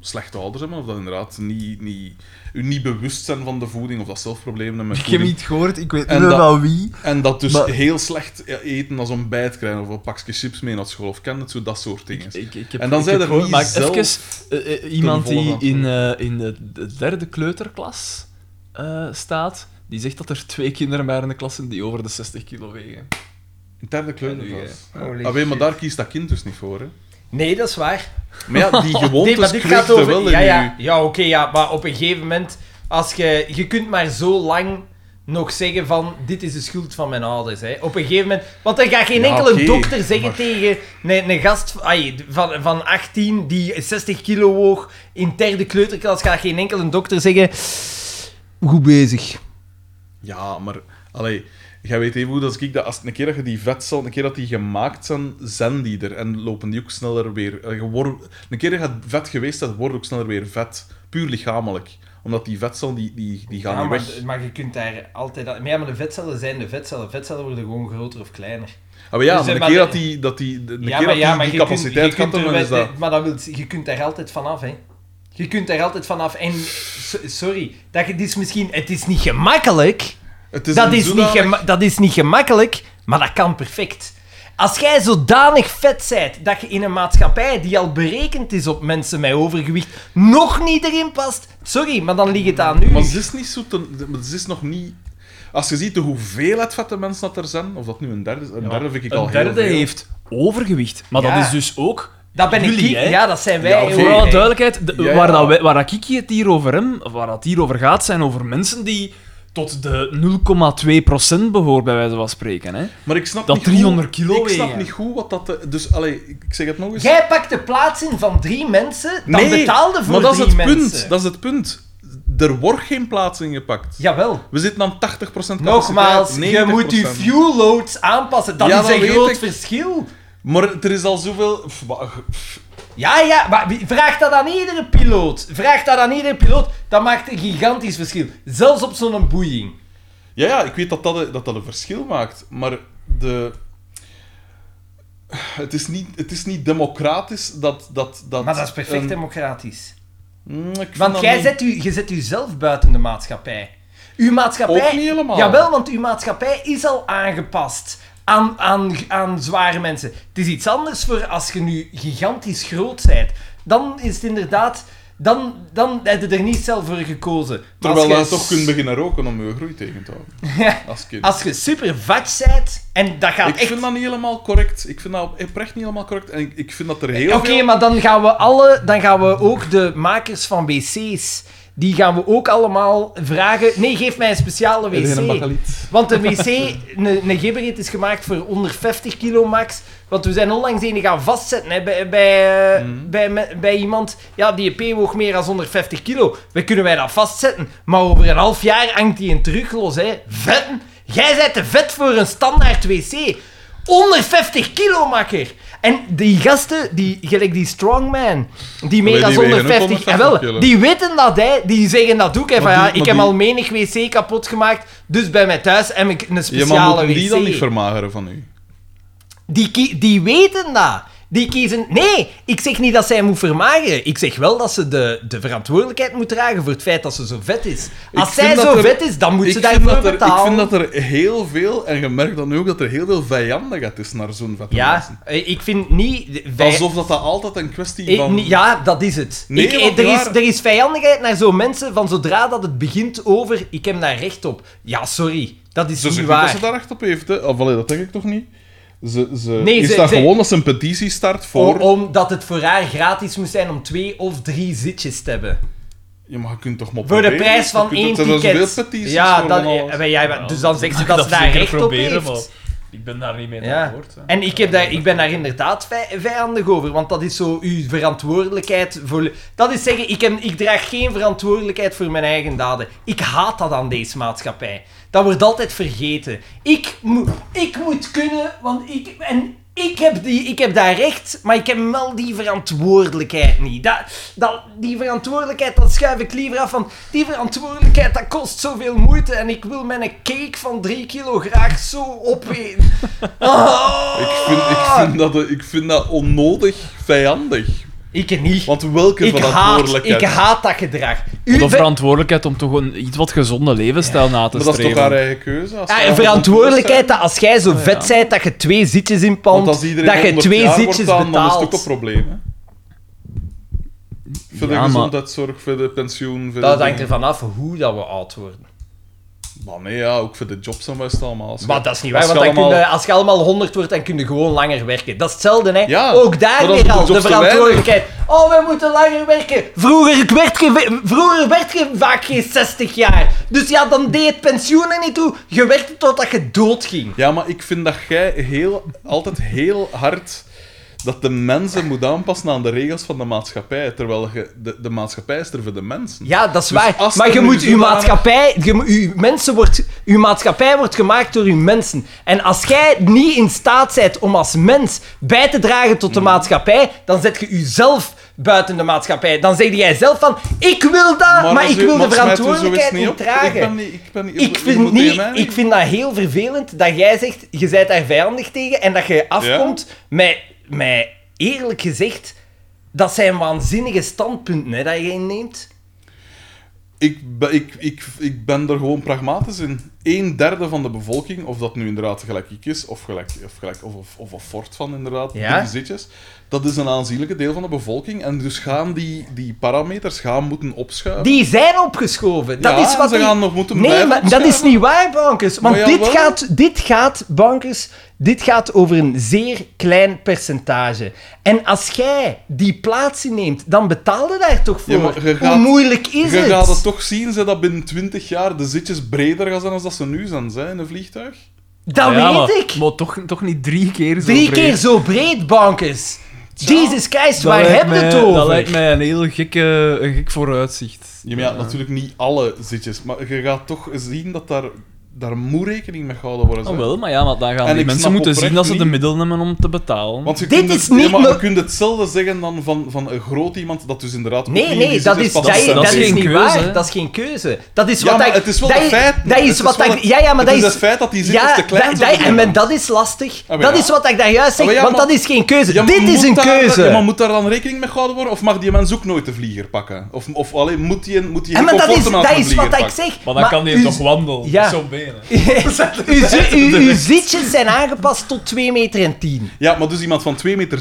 S3: slechte ouders hebben, of dat inderdaad niet, niet, hun niet bewust zijn van de voeding, of dat zelf problemen hebben met
S4: Ik heb
S3: voeding.
S4: niet gehoord, ik weet
S3: En
S4: niet meer
S3: dat-
S4: van wie.
S3: En dat dus
S4: Maar-
S3: heel slecht eten als ontbijt krijgen, of een pakje chips mee naar school, of ken het zo, dat soort dingen.
S2: Ik, ik heb,
S3: En dan
S2: ik
S3: zijn
S2: heb
S3: er niet
S2: gehoord- maar
S3: zelf
S2: even, eh, eh, iemand
S3: kunnen
S2: die
S3: volgen
S2: in,
S3: aan
S2: eh, in de, de derde kleuterklas eh, staat, die zegt dat er twee kinderen waren in de klas zijn die over de 60 kilo wegen.
S3: In derde kleuter
S2: Ja, nu,
S3: was.
S1: Holy
S3: Allee, maar
S1: shit.
S3: daar kiest dat kind dus niet voor. Hè.
S1: Nee, dat is waar.
S3: Maar ja, die
S1: Nee, maar
S3: gewoontes
S1: dit
S3: kreeg
S1: gaat
S3: je
S1: over...
S3: wel in
S1: ja, ja,
S3: je-
S1: ja oké, ja, maar op een gegeven moment, als je... Je kunt maar zo lang nog zeggen van, dit is de schuld van mijn ouders, hè. Op een gegeven moment... Want er gaat geen
S3: Ja,
S1: enkele
S3: oké,
S1: dokter zeggen
S3: maar-
S1: tegen een, een gast ai, van, van 18 die 60 kilo woog in derde kleuterklas, gaat geen enkele dokter zeggen... Goed bezig.
S3: Ja, maar... Allee, jij weet even goed als ik dat... Als, een keer dat je die vetcel, een keer dat die gemaakt zijn, zijn die er. En lopen die ook sneller weer... eh, je wordt- een keer dat je vet geweest bent, wordt ook sneller weer vet. Puur lichamelijk. Omdat die vetcel, die, die, die gaan
S1: Ja,
S4: Ah,
S3: niet
S1: maar,
S3: weg.
S1: maar je kunt daar altijd... aan- Maar ja, maar de vetcellen zijn de vetcellen. Vetcellen worden gewoon groter of kleiner.
S3: Ah, maar ja, maar
S4: Dus, eh,
S3: de
S4: maar
S3: keer
S4: de-
S3: dat die, dat die, de de
S4: ja,
S3: keer
S4: maar,
S3: dat
S4: ja,
S3: die,
S4: maar
S3: die
S4: je kunt, je
S3: capaciteit
S4: kunt
S3: gaat,
S4: er
S3: dan
S4: wel-
S3: is dat...
S4: Maar dat wil, je kunt er altijd vanaf, hè. Je kunt er altijd vanaf. En so- sorry, dat je, dit is misschien... Het is niet gemakkelijk.
S3: Het is
S4: dat,
S3: een
S4: is niet
S3: zodanig-
S4: gema- dat is niet gemakkelijk, maar dat kan perfect. Als jij zodanig vet bent dat je in een maatschappij die al berekend is op mensen met overgewicht nog niet erin past, sorry, maar dan ligt het aan u.
S3: Maar ze is niet zo... Ten, de- maar ze is nog niet... Als je ziet de hoeveelheid vette mensen dat er zijn, of dat nu een derde is, een derde vind ik al
S2: Een
S3: heel
S2: derde
S3: veel.
S2: heeft overgewicht. Maar
S4: Ja.
S2: dat is dus ook...
S4: Dat ben
S2: Jullie,
S4: ik.
S2: hè?
S4: Ja, dat zijn wij.
S3: Ja,
S4: hè,
S3: oké.
S4: hoor.
S2: Voor alle duidelijkheid, de-
S3: Ja, ja.
S2: Waar, dat, wij- waar dat ik het hier over hem, of waar dat hier over gaat, zijn over mensen die tot de 0,2% behoort, bij wijze van spreken. Hè.
S3: Maar ik snap
S2: Dat
S3: niet
S2: 300
S3: goed,
S2: kilo
S3: Ik snap
S2: wegen.
S3: niet goed wat dat... de- Dus, allee, ik ik zeg het nog eens.
S4: Jij pakt de plaats in van drie mensen, dan
S3: nee,
S4: betaalde voor
S3: maar dat is
S4: drie
S3: het
S4: mensen.
S3: punt. Dat is het punt. Er wordt geen plaats ingepakt.
S4: Jawel.
S3: We zitten aan 80% capaciteit.
S4: Nogmaals, je moet je
S3: 90%.
S4: fuel loads aanpassen. Dat
S3: Ja,
S4: is
S3: dat
S4: een
S3: weet
S4: groot
S3: ik.
S4: verschil.
S3: Maar er is al zoveel... pff, maar-
S4: Ja, ja, maar wie- vraag dat aan iedere piloot. Vraag dat aan iedere piloot. Dat maakt een gigantisch verschil. Zelfs op zo'n boeing.
S3: Ja, ja, ik weet dat dat, eh, dat dat een verschil maakt, maar de... Het is niet, het is niet democratisch dat... dat, dat
S4: Maar dat is perfect
S3: een-
S4: democratisch.
S3: Mm, Ehm, ik vind
S4: Want
S3: dat
S4: jij
S3: niet.
S4: zet, u, je zet uzelf buiten de maatschappij. Uw maatschappij...
S3: Ook niet helemaal.
S4: Jawel, want uw maatschappij is al aangepast aan, aan, aan zware mensen. Het is iets anders voor als je nu gigantisch groot bent. Dan is het inderdaad... Dan, dan heb je er niet zelf voor gekozen. Maar
S3: Terwijl
S4: als
S3: je
S4: je
S3: toch kunt beginnen roken om je groei tegen te houden. Als kind.
S4: Als je super vet bent, en dat gaat
S3: ik
S4: echt...
S3: vind dat niet helemaal correct. Ik vind dat oprecht niet helemaal correct. En ik, ik vind dat er heel
S4: Oké,
S3: veel...
S4: maar dan gaan, we alle, dan gaan we ook de makers van wc's, die gaan we ook allemaal vragen... Nee, geef mij een speciale
S3: Er is een
S4: wc.
S3: bakkeliet.
S4: Want een wc, een, een gibberit is gemaakt voor onder 50 kilo max. Want we zijn onlangs een gaan vastzetten hè, bij, bij,
S3: Mhm.
S4: eh, bij, me- bij iemand. Ja, die EP woog meer dan 150 kilo. We kunnen wij dat vastzetten. Maar over een half jaar hangt die in terug los. Hè. Vetten. Jij bent te vet voor een standaard wc. Onder 50 kilo, makker. En die gasten, die, gelijk die strongman, die meer
S3: die
S4: dan
S3: wegen ook
S4: 150... Eh,
S3: 150
S4: wel,
S3: kilo.
S4: die weten dat, hè. Die zeggen dat ook. Hè, van,
S3: Maar
S4: ja,
S3: die-
S4: ik
S3: maar
S4: heb
S3: die-
S4: al menig wc kapot gemaakt, dus bij mij thuis heb ik een
S3: Ja, maar
S4: speciale
S3: moeten
S4: wc.
S3: die dan niet vermageren van u?
S4: die, kie- die weten dat. Die kiezen... Nee, ik zeg niet dat zij moet vermageren. Ik zeg wel dat ze de, de verantwoordelijkheid moet dragen voor het feit dat ze zo vet is. Als
S3: Ik
S4: zij
S3: vind
S4: zo
S3: dat er-
S4: vet is, dan moet ze
S3: ik vind
S4: daarvoor
S3: dat er-
S4: betalen.
S3: Ik vind dat er heel veel, en je merkt dan nu ook, dat er heel veel vijandigheid is naar zo'n vette mensen.
S4: Ja, eh, ik vind niet... wij-
S3: Alsof dat, dat altijd een kwestie
S4: Ik-
S3: van...
S4: nee, ja, dat is het.
S3: Nee,
S4: Ik- eh,
S3: want
S4: er, is,
S3: waar-
S4: er is vijandigheid naar zo'n mensen van zodra dat het begint over ik heb daar recht op. Ja, sorry. Dat is
S3: Ze
S4: niet
S3: zegt niet
S4: waar.
S3: dat ze daar recht op heeft, hè. Of, allee, dat denk ik toch niet? Ze, ze,
S4: Nee,
S3: is
S4: ze-
S3: daar
S4: ze- Oh,
S3: gewoon als een petitie start voor...
S4: O- omdat het voor haar gratis moest zijn om twee of drie zitjes te hebben.
S3: Ja, maar je kunt toch maar
S4: Voor de
S3: proberen?
S4: prijs
S3: Je
S4: van
S3: kunt-
S4: één
S3: er zijn zoveel
S4: ticket.
S3: petities
S4: Ja,
S3: voor
S4: dat,
S3: van alles.
S4: eh, maar jij- dus dan zegt ze dat, ze daar
S2: zeker
S4: recht op
S2: proberen,
S4: heeft.
S2: maar Ik ben daar niet mee
S4: Ja.
S2: akkoord, hè.
S4: En ik, heb daar, ik ben daar inderdaad vij- vijandig over, want dat is zo uw verantwoordelijkheid. Voor, dat is zeggen, ik, heb, ik draag geen verantwoordelijkheid voor mijn eigen daden. Ik haat dat aan deze maatschappij. Dat wordt altijd vergeten. Ik, moet- ik moet kunnen, want ik, en ik, heb die, ik heb daar recht, maar ik heb wel die verantwoordelijkheid niet. Dat, dat, die verantwoordelijkheid, dat schuif ik liever af van... Die verantwoordelijkheid, dat kost zoveel moeite en ik wil mijn cake van 3 kilo graag zo opeten. Oh.
S3: Ik vind, ik, vind dat, eh, ik vind dat onnodig vijandig.
S4: Ik niet.
S3: Want welke
S4: Ik haat,
S3: verantwoordelijkheid...
S4: ik haat dat gedrag.
S2: Of
S4: Uw
S2: de
S4: ver-
S2: verantwoordelijkheid om toch een iets wat gezonde levensstijl na te
S3: Maar dat is toch
S2: streven.
S3: haar eigen keuze? als
S4: Ja,
S3: ze
S4: en
S3: haar
S4: verantwoordelijkheid dat als jij zo vet bent dat je twee zitjes inpalmt,
S3: Want
S4: dat
S3: als iedereen
S4: je
S3: 100
S4: twee
S3: jaar
S4: zitjes
S3: wordt, dan, dan is het ook een
S4: betaalt.
S3: probleem. Hè? Voor de
S2: Ja, maar-
S3: gezondheidszorg, voor de pensioen. Voor
S4: Dat
S3: de
S4: hangt
S3: dingen.
S4: ervan af hoe dat we oud worden.
S3: Maar nee, ja, ook voor de jobs en wat is het allemaal. Als je-
S4: Maar dat is niet waar,
S3: als je
S4: want dan kun
S3: allemaal-
S4: je- als je allemaal 100 wordt, dan kun je gewoon langer werken. Dat is hetzelfde, hè.
S3: Ja,
S4: ook daar
S3: maar dat is
S4: weer al,
S3: de
S4: de
S3: jobs te
S4: verantwoordelijkheid. Oh, wij moeten langer werken. Vroeger werd, je, vroeger werd je vaak geen 60 jaar. Dus ja, dan deed het pensioen er niet toe. Je werkte totdat je dood ging.
S3: Ja, maar ik vind dat jij heel, altijd heel hard dat de mensen moet aanpassen aan de regels van de maatschappij. Terwijl je, de, de maatschappij is er voor de mensen.
S4: Ja, dat is
S3: Dus
S4: waar.
S3: als
S4: Maar
S3: er
S4: je
S3: nu
S4: moet je
S3: zodanig-
S4: maatschappij, je, moet- uw mensen wordt, uw maatschappij wordt gemaakt door uw mensen. En als jij
S3: Hmm.
S4: niet in staat bent om als mens bij te dragen tot de maatschappij, dan zet je jezelf buiten de maatschappij. Dan zeg jij zelf van, ik wil dat, maar,
S3: als
S4: ik
S3: u-
S4: wil de
S3: maar smijt u zo eens
S4: verantwoordelijkheid
S3: niet
S4: niet
S3: op. Ik ben
S4: dragen.
S3: niet... Ik, ben niet,
S4: Ik
S3: je
S4: vind,
S3: moet
S4: niet,
S3: tegen mij
S4: ik vind dat heel vervelend dat jij zegt, je bent daar vijandig tegen en dat je afkomt met, met, eerlijk gezegd, dat zijn waanzinnige standpunten hè, dat je inneemt.
S3: Ik, ben- ik, ik, ik ben er gewoon pragmatisch in. Een derde van de bevolking, of dat nu inderdaad gelijk ik is, of gelijk, of, gelijk, of, of, of een fort van inderdaad,
S4: Ja.
S3: die zitjes, dat is een aanzienlijke deel van de bevolking. En dus gaan die, die parameters gaan moeten opschuiven.
S4: Die zijn opgeschoven. Dat
S3: Ja,
S4: is wat
S3: ze
S4: die-
S3: gaan nog moeten
S4: Nee,
S3: blijven
S4: maar dat is
S3: opschuiven.
S4: niet waar, Bankers. Want
S3: Maar
S4: dit,
S3: jawel.
S4: gaat, dit gaat, Bankers, dit gaat over een zeer klein percentage. En als jij die plaats inneemt, dan betaalde daar toch voor.
S3: Ja, maar je
S4: Hoe
S3: gaat-
S4: moeilijk is
S3: Je
S4: het?
S3: gaat het toch zien ze, dat binnen 20 jaar de zitjes breder gaan zijn dan dat ze nu zijn ze, in een vliegtuig.
S4: Dat
S2: Ja,
S4: weet
S2: maar-
S4: ik.
S2: Maar toch, toch niet drie keer zo
S4: Drie
S2: breed.
S4: keer zo breed, Bankers. Jesus
S2: Dat
S4: Christ, waar
S2: lijkt
S4: hebben we het
S2: mij-
S4: over?
S2: Dat lijkt mij een heel gekke, een gek vooruitzicht.
S3: Ja, maar ja, natuurlijk niet alle zitjes, maar je gaat toch zien dat daar, daar moet rekening mee gehouden worden.
S2: Ah,
S3: ze.
S2: wel, maar ja, want dan gaan
S3: En
S2: die
S3: ik
S2: mensen
S3: snap
S2: moeten zien
S3: oprecht
S2: dat ze de
S3: niet-
S2: middelen hebben om te betalen.
S3: Want je
S4: Dit
S3: kunt het-
S4: is niet
S3: ja, maar je
S4: nog-
S3: kunt hetzelfde zeggen dan van, van een groot iemand dat dus inderdaad... ook
S4: Nee,
S3: niet in
S4: nee,
S3: die
S4: dat
S3: zit
S4: is,
S3: pas
S4: dat,
S2: dat
S4: is,
S2: is-
S4: dat
S2: dat is
S4: is
S2: geen
S4: niet
S2: keuze,
S4: waar.
S2: hè?
S4: Dat is geen keuze. Dat is
S3: Ja,
S4: wat
S3: maar
S4: dat-
S3: het is wel
S4: dat
S3: een feit.
S4: Dat
S3: Het
S4: is
S3: is
S4: wat
S3: wel
S4: dat-
S3: een-
S4: Ja, ja, maar
S3: het
S4: dat
S3: is
S4: is...
S3: het feit dat die zitten
S4: ja,
S3: te klein
S4: dat-
S3: zijn
S4: dat-
S3: voor
S4: en
S3: die
S4: men- dat is lastig.
S3: maar
S4: dat
S3: ja.
S4: is wat ik daar juist zeg,
S3: Ja, maar ja,
S4: want
S3: maar-
S4: dat is geen keuze.
S3: Ja, maar
S4: Dit is
S3: moet
S4: een
S3: daar-
S4: keuze.
S3: ja, maar moet daar dan rekening mee gehouden worden? Of mag die mens ook nooit de vlieger pakken? Of, of alleen moet die, moet die
S4: en maar dat is,
S3: comfortemaat
S4: dat
S3: van de
S4: is
S3: vlieger
S4: wat ik
S3: pakken?
S4: zeg.
S2: Maar dan kan die
S4: u-
S2: toch wandelen,
S4: ja.
S2: met zo'n benen.
S4: uw, zi- uw- uw zitjes zijn aangepast tot 2 meter en 10.
S3: Ja, maar dus iemand van 2,16 meter,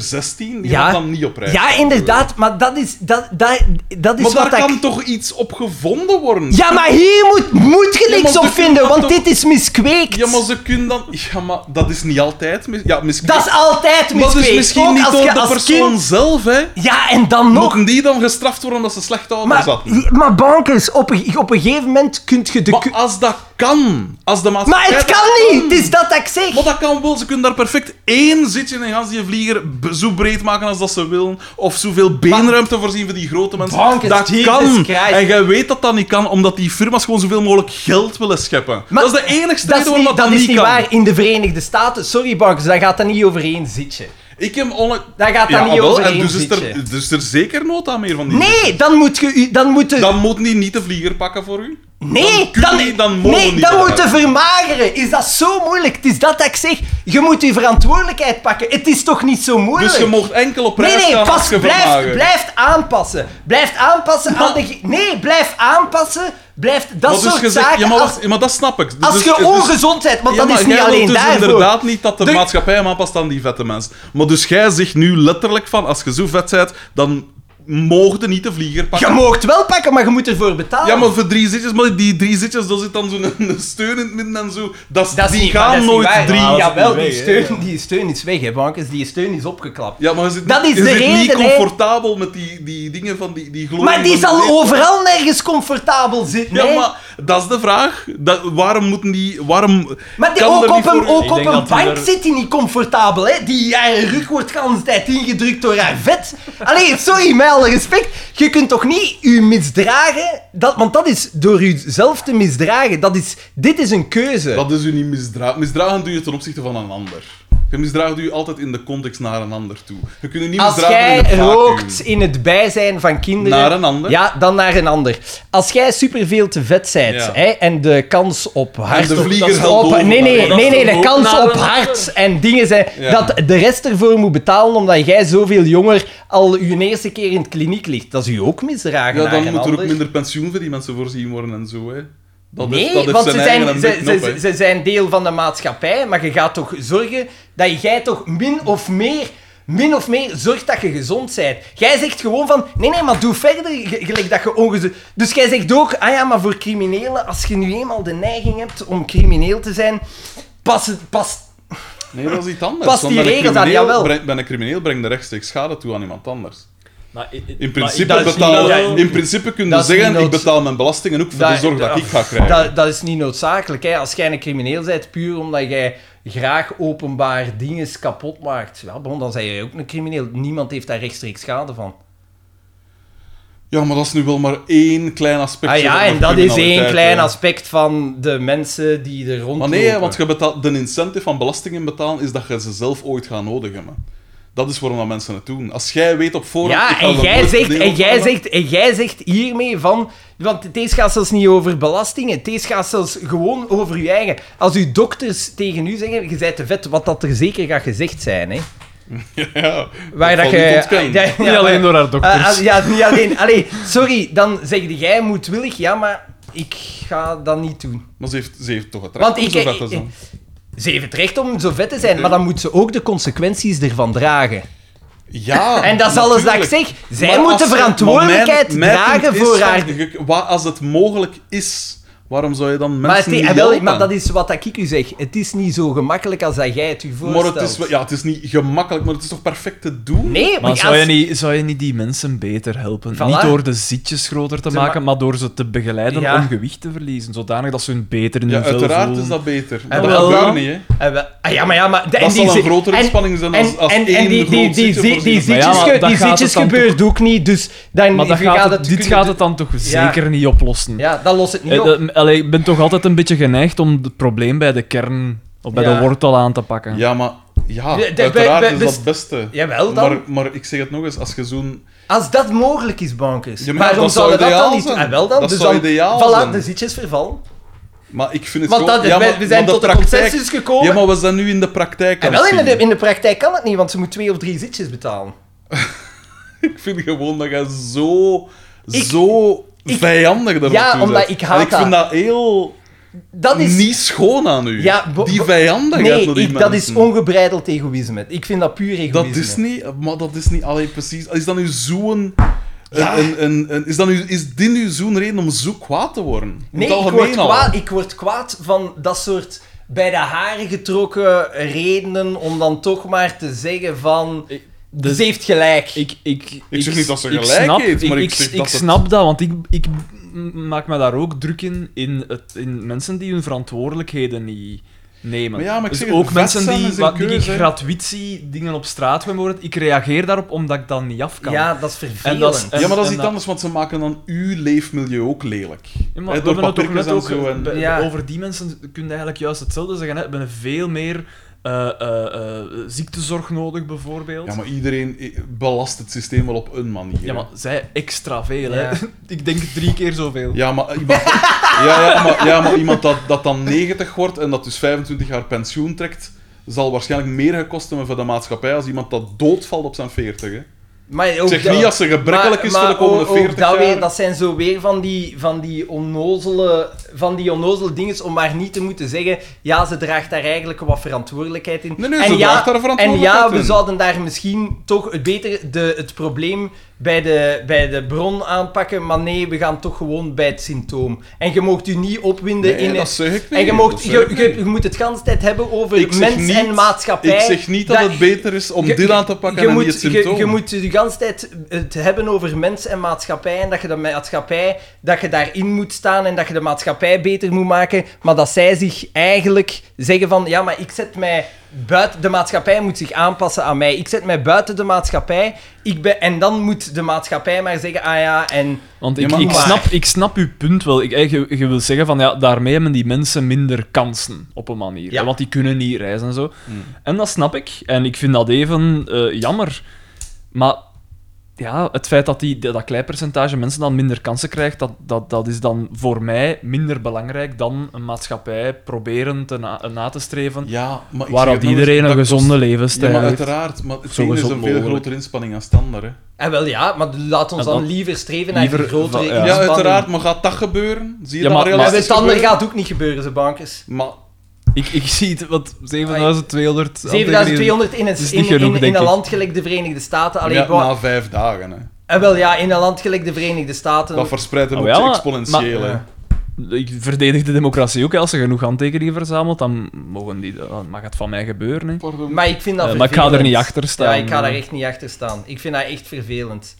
S3: die
S4: Ja.
S3: gaat dan niet oprijden.
S4: Ja, inderdaad, maar dat is, dat, dat, dat is
S3: Maar
S4: wat
S3: daar
S4: ik...
S3: kan toch iets op gevonden worden?
S4: Ja, maar hier moet, moet je
S3: Ja,
S4: niks
S3: maar
S4: op
S3: ze kunnen
S4: vinden,
S3: dat
S4: want
S3: toch-
S4: dit is miskweekt.
S3: Ja, maar ze kunnen dan... Ja, maar dat is niet altijd... mis- Ja, misschien...
S4: Dat is altijd
S3: Maar
S4: miskweekt.
S3: dat is misschien
S4: Ook
S3: niet
S4: als
S3: door
S4: je
S3: de
S4: als
S3: persoon
S4: kind-
S3: zelf, hè.
S4: Ja, en dan nog...
S3: Mogen die dan gestraft worden omdat ze slechtouders
S4: Maar,
S3: hadden?
S4: maar bankers, op een, op een gegeven moment kun je de...
S3: Maar
S4: ku-
S3: als dat kan, als de
S4: maar
S3: maatschappij...
S4: het
S3: dat Mm.
S4: kan niet! Het is dat dat ik zeg!
S3: Maar dat kan wel, ze kunnen daar perfect één zitje in gaan die vlieger b- zo breed maken als dat ze willen, of zoveel beenruimte voorzien voor die grote mensen.
S4: Bankers,
S3: dat
S4: Jesus
S3: kan!
S4: Christ.
S3: En jij weet dat dat niet kan, omdat die firma's gewoon zoveel mogelijk geld willen scheppen.
S4: Maar
S3: dat is de enige
S4: dat is
S3: reden waarom
S4: niet,
S3: dat,
S4: dat is
S3: niet
S4: niet
S3: kan.
S4: waar. In de Verenigde Staten, sorry bankers, daar gaat dat niet over één zitje.
S3: Ik heb onne...
S4: Daar gaat dat niet
S3: jawel,
S4: over
S3: en
S4: één
S3: dus is,
S4: zitje.
S3: er, dus is er zeker nood aan meer van die zitjes.
S4: Nee, dan moet je... u- Dan moet de,
S3: Dan moeten die niet de vlieger pakken voor u.
S4: nee,
S3: dan kun je- dan mogen
S4: nee,
S3: die
S4: dan
S3: eruit.
S4: moet je vermageren. Is dat zo moeilijk? Het is dat dat ik zeg. Je moet je verantwoordelijkheid pakken. Het is toch niet zo moeilijk?
S3: Dus je mocht enkel op
S4: Nee,
S3: prijs
S4: nee,
S3: gaan als
S4: pas,
S3: je
S4: blijf,
S3: vermagert.
S4: blijf aanpassen. Blijf aanpassen aan de... ge- Nee, blijf aanpassen. Blijf dat
S3: Maar dus
S4: soort
S3: je zegt-
S4: zaken...
S3: ja, maar,
S4: als-
S3: wacht, maar dat snap ik. Dus-
S4: Als
S3: dus-
S4: je
S3: dus-
S4: ongezond bent, want
S3: Ja,
S4: dat
S3: maar
S4: is niet
S3: jij wilt
S4: alleen
S3: dus
S4: daarvoor.
S3: inderdaad niet dat de
S4: Dus-
S3: maatschappij hem aanpast aan die vette mens. Maar dus jij zegt nu letterlijk van, als je zo vet bent, dan mocht je niet de vlieger
S4: Je
S3: pakken.
S4: moogt wel pakken, maar je moet ervoor betalen.
S3: ja, maar voor drie zitjes, maar die drie zitjes, daar zit dan zo'n een steun in het midden en zo. Dat, is-
S4: dat is
S3: die
S4: niet, maar dat
S3: gaan
S4: is
S3: nooit
S4: niet waar.
S3: drie.
S4: Ah, Jawel, die
S2: weg, hè.
S4: steun, die steun is weg, hè, bankers. Die steun is opgeklapt.
S3: Ja, maar je zit,
S4: Dat
S3: niet-
S4: is
S3: je
S4: de
S3: zit niet
S4: reden, hè.
S3: comfortabel met die, die dingen van die, die glorie.
S4: maar die
S3: van
S4: zal
S3: leven.
S4: overal nergens comfortabel zitten.
S3: Ja,
S4: hè.
S3: maar dat is de vraag. Dat, waarom moeten die... Waarom
S4: Maar die-
S3: kan
S4: ook
S3: er
S4: op
S3: niet
S4: een,
S3: voor-
S4: ook
S2: Ik
S4: op
S2: denk
S4: een
S2: dat die
S4: bank
S2: er-
S4: zit die niet comfortabel. Hè? Die haar rug wordt de hele tijd ingedrukt door haar vet. Allee, sorry, met alle respect. Je kunt toch niet je misdragen... Dat, want dat is door jezelf te misdragen. Dat is, dit is een keuze.
S3: Dat is u niet misdragen. Misdragen doe je ten opzichte van een ander. Je misdraagt u altijd in de context naar een ander toe. Je kunt u niet
S4: Als
S3: misdragen in
S4: jij
S3: het vacuüm.
S4: rookt in het bijzijn van kinderen...
S3: Naar een ander.
S4: Ja, dan naar een ander. Als jij superveel te vet bent
S3: Ja.
S4: hè, en de kans op hart...
S3: de
S4: op-
S3: vlieger
S4: dat is
S3: helpt
S4: op-
S3: over,
S4: Nee, nee,
S3: maar dat
S4: nee,
S3: is
S4: nee, de
S2: toch
S4: kans
S2: ook naar
S4: op
S2: een
S4: hart en dingen zijn...
S3: Ja.
S4: Dat de rest ervoor moet betalen omdat jij zoveel jonger al je eerste keer in de kliniek ligt. Dat is u ook
S3: Ja,
S4: misdragen naar
S3: dan
S4: een
S3: moet er ook
S4: ander.
S3: minder pensioen voor die mensen voorzien worden en zo, hè. Dat
S4: Nee,
S3: heeft, dat heeft
S4: want
S3: zijn
S4: ze
S3: eigen
S4: zijn,
S3: en
S4: ze,
S3: dik
S4: ze,
S3: knop, hè.
S4: ze- ze zijn deel van de maatschappij, maar je gaat toch zorgen dat jij toch min of meer, min of meer zorgt dat je gezond bent. Jij zegt gewoon van, nee, nee, maar doe verder, ge- gelijk dat je ongezond... Dus jij zegt ook, ah ja, maar voor criminelen, als je nu eenmaal de neiging hebt om crimineel te zijn, pas, het- pas
S3: Nee, dat is iets anders.
S4: Past
S3: Want
S4: die
S3: bij een
S4: regels aan,
S3: crimineel
S4: jawel.
S3: breng- Bij een crimineel breng je rechtstreeks schade toe aan iemand anders.
S2: Maar i- i-
S3: In
S2: maar
S3: principe,
S2: ik- dat is
S3: betaal,
S2: niet- dat-
S3: in principe kun je
S4: dat is niet
S3: zeggen, ik
S4: nood-
S3: betaal mijn belastingen ook voor de zorg dat ik ga krijgen.
S4: Dat, dat is niet noodzakelijk. Hè. Als jij een crimineel bent, puur omdat jij graag openbaar dingen kapot maakt, ja, bon, dan ben jij ook een crimineel. Niemand heeft daar rechtstreeks schade van.
S3: Ja, maar dat is nu wel maar één klein aspect.
S4: Ah ja, en dat is één klein
S3: aspect.
S4: aspect van de mensen die er rondlopen.
S3: Maar nee, hè, want je betaalt, de incentive van belastingen betalen is dat je ze zelf ooit gaat nodig hebben. Dat is waarom dat mensen het doen. Als jij weet op voorhand... ik
S4: Ja,
S3: ga
S4: en
S3: er
S4: jij,
S3: nooit
S4: zegt,
S3: deel
S4: en,
S3: van
S4: jij
S3: maken.
S4: zegt, en jij zegt hiermee van... Want deze gaat zelfs niet over belastingen. Deze gaat zelfs gewoon over je eigen... Als uw dokters tegen u zeggen, je bent te vet, wat dat er zeker gaat gezegd zijn, hè.
S3: Ja,
S4: Waar dat
S3: valt niet te ontkennen.
S4: je... Ja, ja,
S2: Niet alleen
S4: maar-
S2: door haar
S4: Ah, ah,
S2: dokters.
S4: ja, niet alleen. Allee, sorry, dan zeg jij moedwillig, ja, maar ik ga dat niet doen.
S3: Maar ze heeft, ze heeft toch het recht
S4: Want
S3: om
S4: ik...
S3: zo vet te
S4: ik-
S3: zijn.
S4: Ze heeft het recht om zo vet te zijn, maar dan moet ze ook de consequenties ervan dragen.
S3: Ja,
S4: En dat is alles dat ik
S3: natuurlijk.
S4: zeg. Zij
S3: Maar
S4: moeten
S3: als er-
S4: verantwoordelijkheid
S3: maar mijn- mijn
S4: dragen
S3: punt is
S4: voor
S3: van,
S4: haar
S3: je- wa- als het mogelijk is, waarom zou je dan
S4: Maar, het
S3: mensen
S4: is-
S3: niet
S4: eh, wel,
S3: helpen?
S4: maar dat is wat dat ik u zeg. Het is niet zo gemakkelijk als dat jij het u
S3: Maar
S4: voorstelt.
S3: het is, wel- ja, het is niet gemakkelijk, maar het is toch perfect te doen?
S4: Nee,
S2: Maar
S4: als-
S2: zou je, niet, zou je niet die mensen beter helpen?
S4: Voilà.
S2: Niet door de zitjes groter te
S4: Ze
S2: maken, maar door ze te begeleiden
S4: Ja.
S2: om gewicht te verliezen. Zodanig dat ze hun beter in
S3: Ja,
S2: hun vel
S3: uiteraard
S2: voelen.
S3: is dat beter. Maar
S4: En
S3: dat
S4: Ah, wel
S3: gebeurt
S4: dan-
S3: niet, hè.
S4: eh, wel- ah, ja, maar ja, maar... en
S3: Dat zal
S4: zi-
S3: een grotere
S4: en-
S3: inspanning zijn
S4: En,
S3: als, als
S4: en,
S3: één
S4: en die, die,
S3: groot
S4: die,
S3: zitje
S4: die,
S3: voorzien.
S4: die
S2: Maar ja,
S4: zitjes,
S2: maar
S4: ge-
S2: dat
S4: die
S2: gaat
S4: zitjes
S2: het dan
S4: gebeurt ook niet, dus dan
S2: Maar dat
S4: je
S2: gaat het- dit
S4: kunnen
S2: gaat
S4: doen.
S2: het dan toch
S4: Ja.
S2: zeker niet oplossen?
S4: Ja, dat lost het niet
S2: Eh,
S4: op.
S2: eh, allee, ik ben toch altijd een beetje geneigd om het probleem bij de kern of bij
S4: Ja.
S2: de wortel aan te pakken.
S3: Ja, maar... Ja,
S4: Ja, dat-
S3: uiteraard
S4: bij-
S3: is
S4: bij-
S3: dat het beste.
S4: Jawel dan.
S3: Maar, maar ik zeg het nog eens, als je zo'n...
S4: Als dat mogelijk is, bankers,
S3: Ja, maar
S4: waarom
S3: dat zou
S4: zouden we dat
S3: ideaal
S4: dan niet doen?
S3: zijn.
S4: Ah, wel dan.
S3: Dat
S4: dus
S3: zou
S4: dan,
S3: ideaal
S4: voilà,
S3: zijn.
S4: de zitjes vervallen.
S3: Maar ik vind het
S4: Want
S3: zo...
S4: dat,
S3: ja,
S4: we,
S3: maar-
S4: we zijn
S3: maar
S4: tot
S3: de
S4: een consensus
S3: Ja,
S4: gekomen.
S3: maar we zijn nu in de praktijk
S4: En
S3: aan
S4: wel,
S3: het
S4: in de,
S3: zien.
S4: in de praktijk kan het niet, want ze moet twee of drie zitjes betalen.
S3: Ik vind gewoon dat je zo...
S4: Ik-
S3: zo vijandig daarop
S4: Ja,
S3: toe
S4: omdat
S3: bent.
S4: ik haat
S3: En ik vind dat
S4: dat.
S3: heel...
S4: Dat is...
S3: niet schoon aan u.
S4: Ja, bo-
S3: die
S4: bo-
S3: vijandigheid
S4: Nee,
S3: naar die
S4: ik, dat is
S2: Hm.
S3: mensen.
S4: ongebreideld egoïsme. Ik vind dat puur egoïsme.
S3: Dat is niet... Maar dat is niet... Allee, precies. Is dat nu zo'n...
S4: Ja.
S3: Een, een, een, is, dat nu, is dit nu zo'n reden om zo kwaad te worden? In het
S4: Nee, ik
S3: algemeen
S4: word,
S3: al.
S4: kwaad, ik word kwaad van dat soort bij de haren getrokken redenen om dan toch maar te zeggen van...
S2: Ik- dus
S4: Ze heeft gelijk.
S2: Ik, ik,
S3: Ik zeg niet dat ze
S2: ik
S3: gelijk
S2: snap,
S3: heeft, maar ik zeg dat
S2: ik
S3: het-
S2: snap dat, want ik, ik maak me daar ook druk in, in, het, in mensen die hun verantwoordelijkheden niet nemen.
S3: Maar ja, maar ik
S2: dus
S3: zeg het,
S2: ook mensen
S3: vestzijn
S2: die,
S3: is een
S2: wat, die ik
S3: keuze, hè.
S2: gratuit zie, dingen op straat gaan worden, ik reageer daarop omdat ik dat niet af kan.
S4: Ja, dat is
S2: En dat is-
S4: vervelend.
S2: en-
S3: Ja, maar dat is
S2: en
S3: iets anders, want ze maken dan uw leefmilieu ook lelijk.
S2: Ja,
S3: Hè,
S2: maar we
S3: door
S2: hebben het ook
S3: papiertjes
S2: net
S3: en
S2: ook,
S3: zo.
S2: be-
S3: En...
S4: Ja.
S2: Over die mensen kun je eigenlijk juist hetzelfde zeggen. Hè. We hebben veel meer eh, eh, eh, ziektezorg nodig, bijvoorbeeld.
S3: Ja, maar iedereen eh, belast het systeem wel op een manier.
S2: Ja, maar zij extra veel.
S4: Ja.
S2: Hè. Ik denk drie keer zoveel.
S3: Ja, maar iemand, ja, ja, maar, ja, maar iemand dat, dat dan 90 wordt en dat dus 25 jaar pensioen trekt, zal waarschijnlijk meer gekost hebben voor de maatschappij als iemand dat doodvalt op zijn 40. Hè.
S4: maar ook
S3: Ik zeg niet als ze gebrekkelijk is voor de komende
S4: ook- ook
S3: 40
S4: dat,
S3: jaar.
S4: weer, dat zijn zo weer van die, van die onnozele, van die onnozele dingen om maar niet te moeten zeggen ja, ze draagt daar eigenlijk wat verantwoordelijkheid in.
S3: Nee, nee, ze draagt daar
S4: En
S3: verantwoordelijkheid
S4: ja, we
S3: in.
S4: zouden daar misschien toch het beter de, het probleem bij de, bij de bron aanpakken, maar nee, we gaan toch gewoon bij het symptoom. En je moogt u niet opwinden
S3: Nee,
S4: in...
S3: dat zeg ik niet.
S4: en je,
S3: dat
S4: moogt,
S3: zeg
S4: je,
S3: ik
S4: je,
S3: niet.
S4: je moet het de hele tijd hebben over
S3: Ik zeg
S4: mens
S3: niet-
S4: en maatschappij.
S3: Ik zeg niet dat, het beter is om
S4: Je-
S3: dit aan te pakken
S4: je
S3: en
S4: moet,
S3: niet het
S4: je-
S3: symptoom.
S4: Je, moet de hele tijd het hebben over mens en maatschappij. En dat je de maatschappij dat je daarin moet staan en dat je de maatschappij beter moet maken. Maar dat zij zich eigenlijk zeggen van ja, maar ik zet mij buiten. De maatschappij moet zich aanpassen aan mij. Ik zet mij buiten de maatschappij. Ik ben, en dan moet de maatschappij maar zeggen, ah ja, en
S2: Want
S3: Ja,
S2: ik,
S3: maar-
S2: ik,
S4: Maar-
S2: snap, ik snap uw punt wel. Ik, eh, je, je wil zeggen van ja, daarmee hebben die mensen minder kansen op een manier.
S4: Ja.
S2: hè, Want die kunnen niet reizen en zo.
S3: Hmm.
S2: En dat snap ik. En ik vind dat even eh, jammer. Maar ja, het feit dat die, dat klein percentage mensen dan minder kansen krijgt, dat, dat, dat is dan voor mij minder belangrijk dan een maatschappij proberen te na, na te streven.
S3: Ja, maar ik zeg
S2: waarop
S3: het nog eens,
S2: iedereen een
S3: dat kost-
S2: gezonde
S3: Ja,
S2: levensstijl
S3: maar
S2: heeft.
S3: uiteraard. Maar het
S2: Zo
S3: ene is
S2: gezond
S3: een veel
S2: mogelijk.
S3: grotere inspanning dan standaard. Hè.
S4: en ah, wel ja, maar laat ons
S2: En
S4: dan
S2: dan-
S4: liever streven naar een
S2: liever van-
S4: grotere
S2: ja.
S3: Ja,
S4: inspanning.
S3: uiteraard. Maar gaat dat gebeuren? Zie
S2: Ja,
S3: je dat
S2: maar- maar-
S4: Maar
S3: realistisch
S4: het andere
S3: gebeuren?
S4: gaat ook niet gebeuren, ze bankers.
S3: Maar
S2: Ik, ik zie het, wat 7200...
S4: 7200 in,
S2: Dat
S4: het,
S2: is
S4: in,
S2: niet
S4: in,
S2: genoeg,
S4: in
S2: denk
S4: een
S2: ik.
S4: land gelijk de Verenigde Staten. Allee,
S3: ja,
S4: wou-
S3: na vijf dagen. Hè.
S4: eh, wel ja, in een land gelijk de Verenigde Staten.
S3: Dat verspreidt hem
S2: Oh,
S3: ook
S2: ja, maar- eh,
S3: exponentieel.
S4: maar-
S3: hè.
S4: ja.
S2: Ik verdedig de democratie ook. hè. Als ze genoeg handtekeningen verzamelt, dan, mogen die, dan mag het van mij gebeuren. Hè.
S3: Pardon.
S4: maar ik vind dat
S2: Eh, maar ik ga er
S4: vervelend.
S2: niet achter staan. eh.
S4: Ja, ik ga daar echt niet achter staan. Ik vind dat echt vervelend.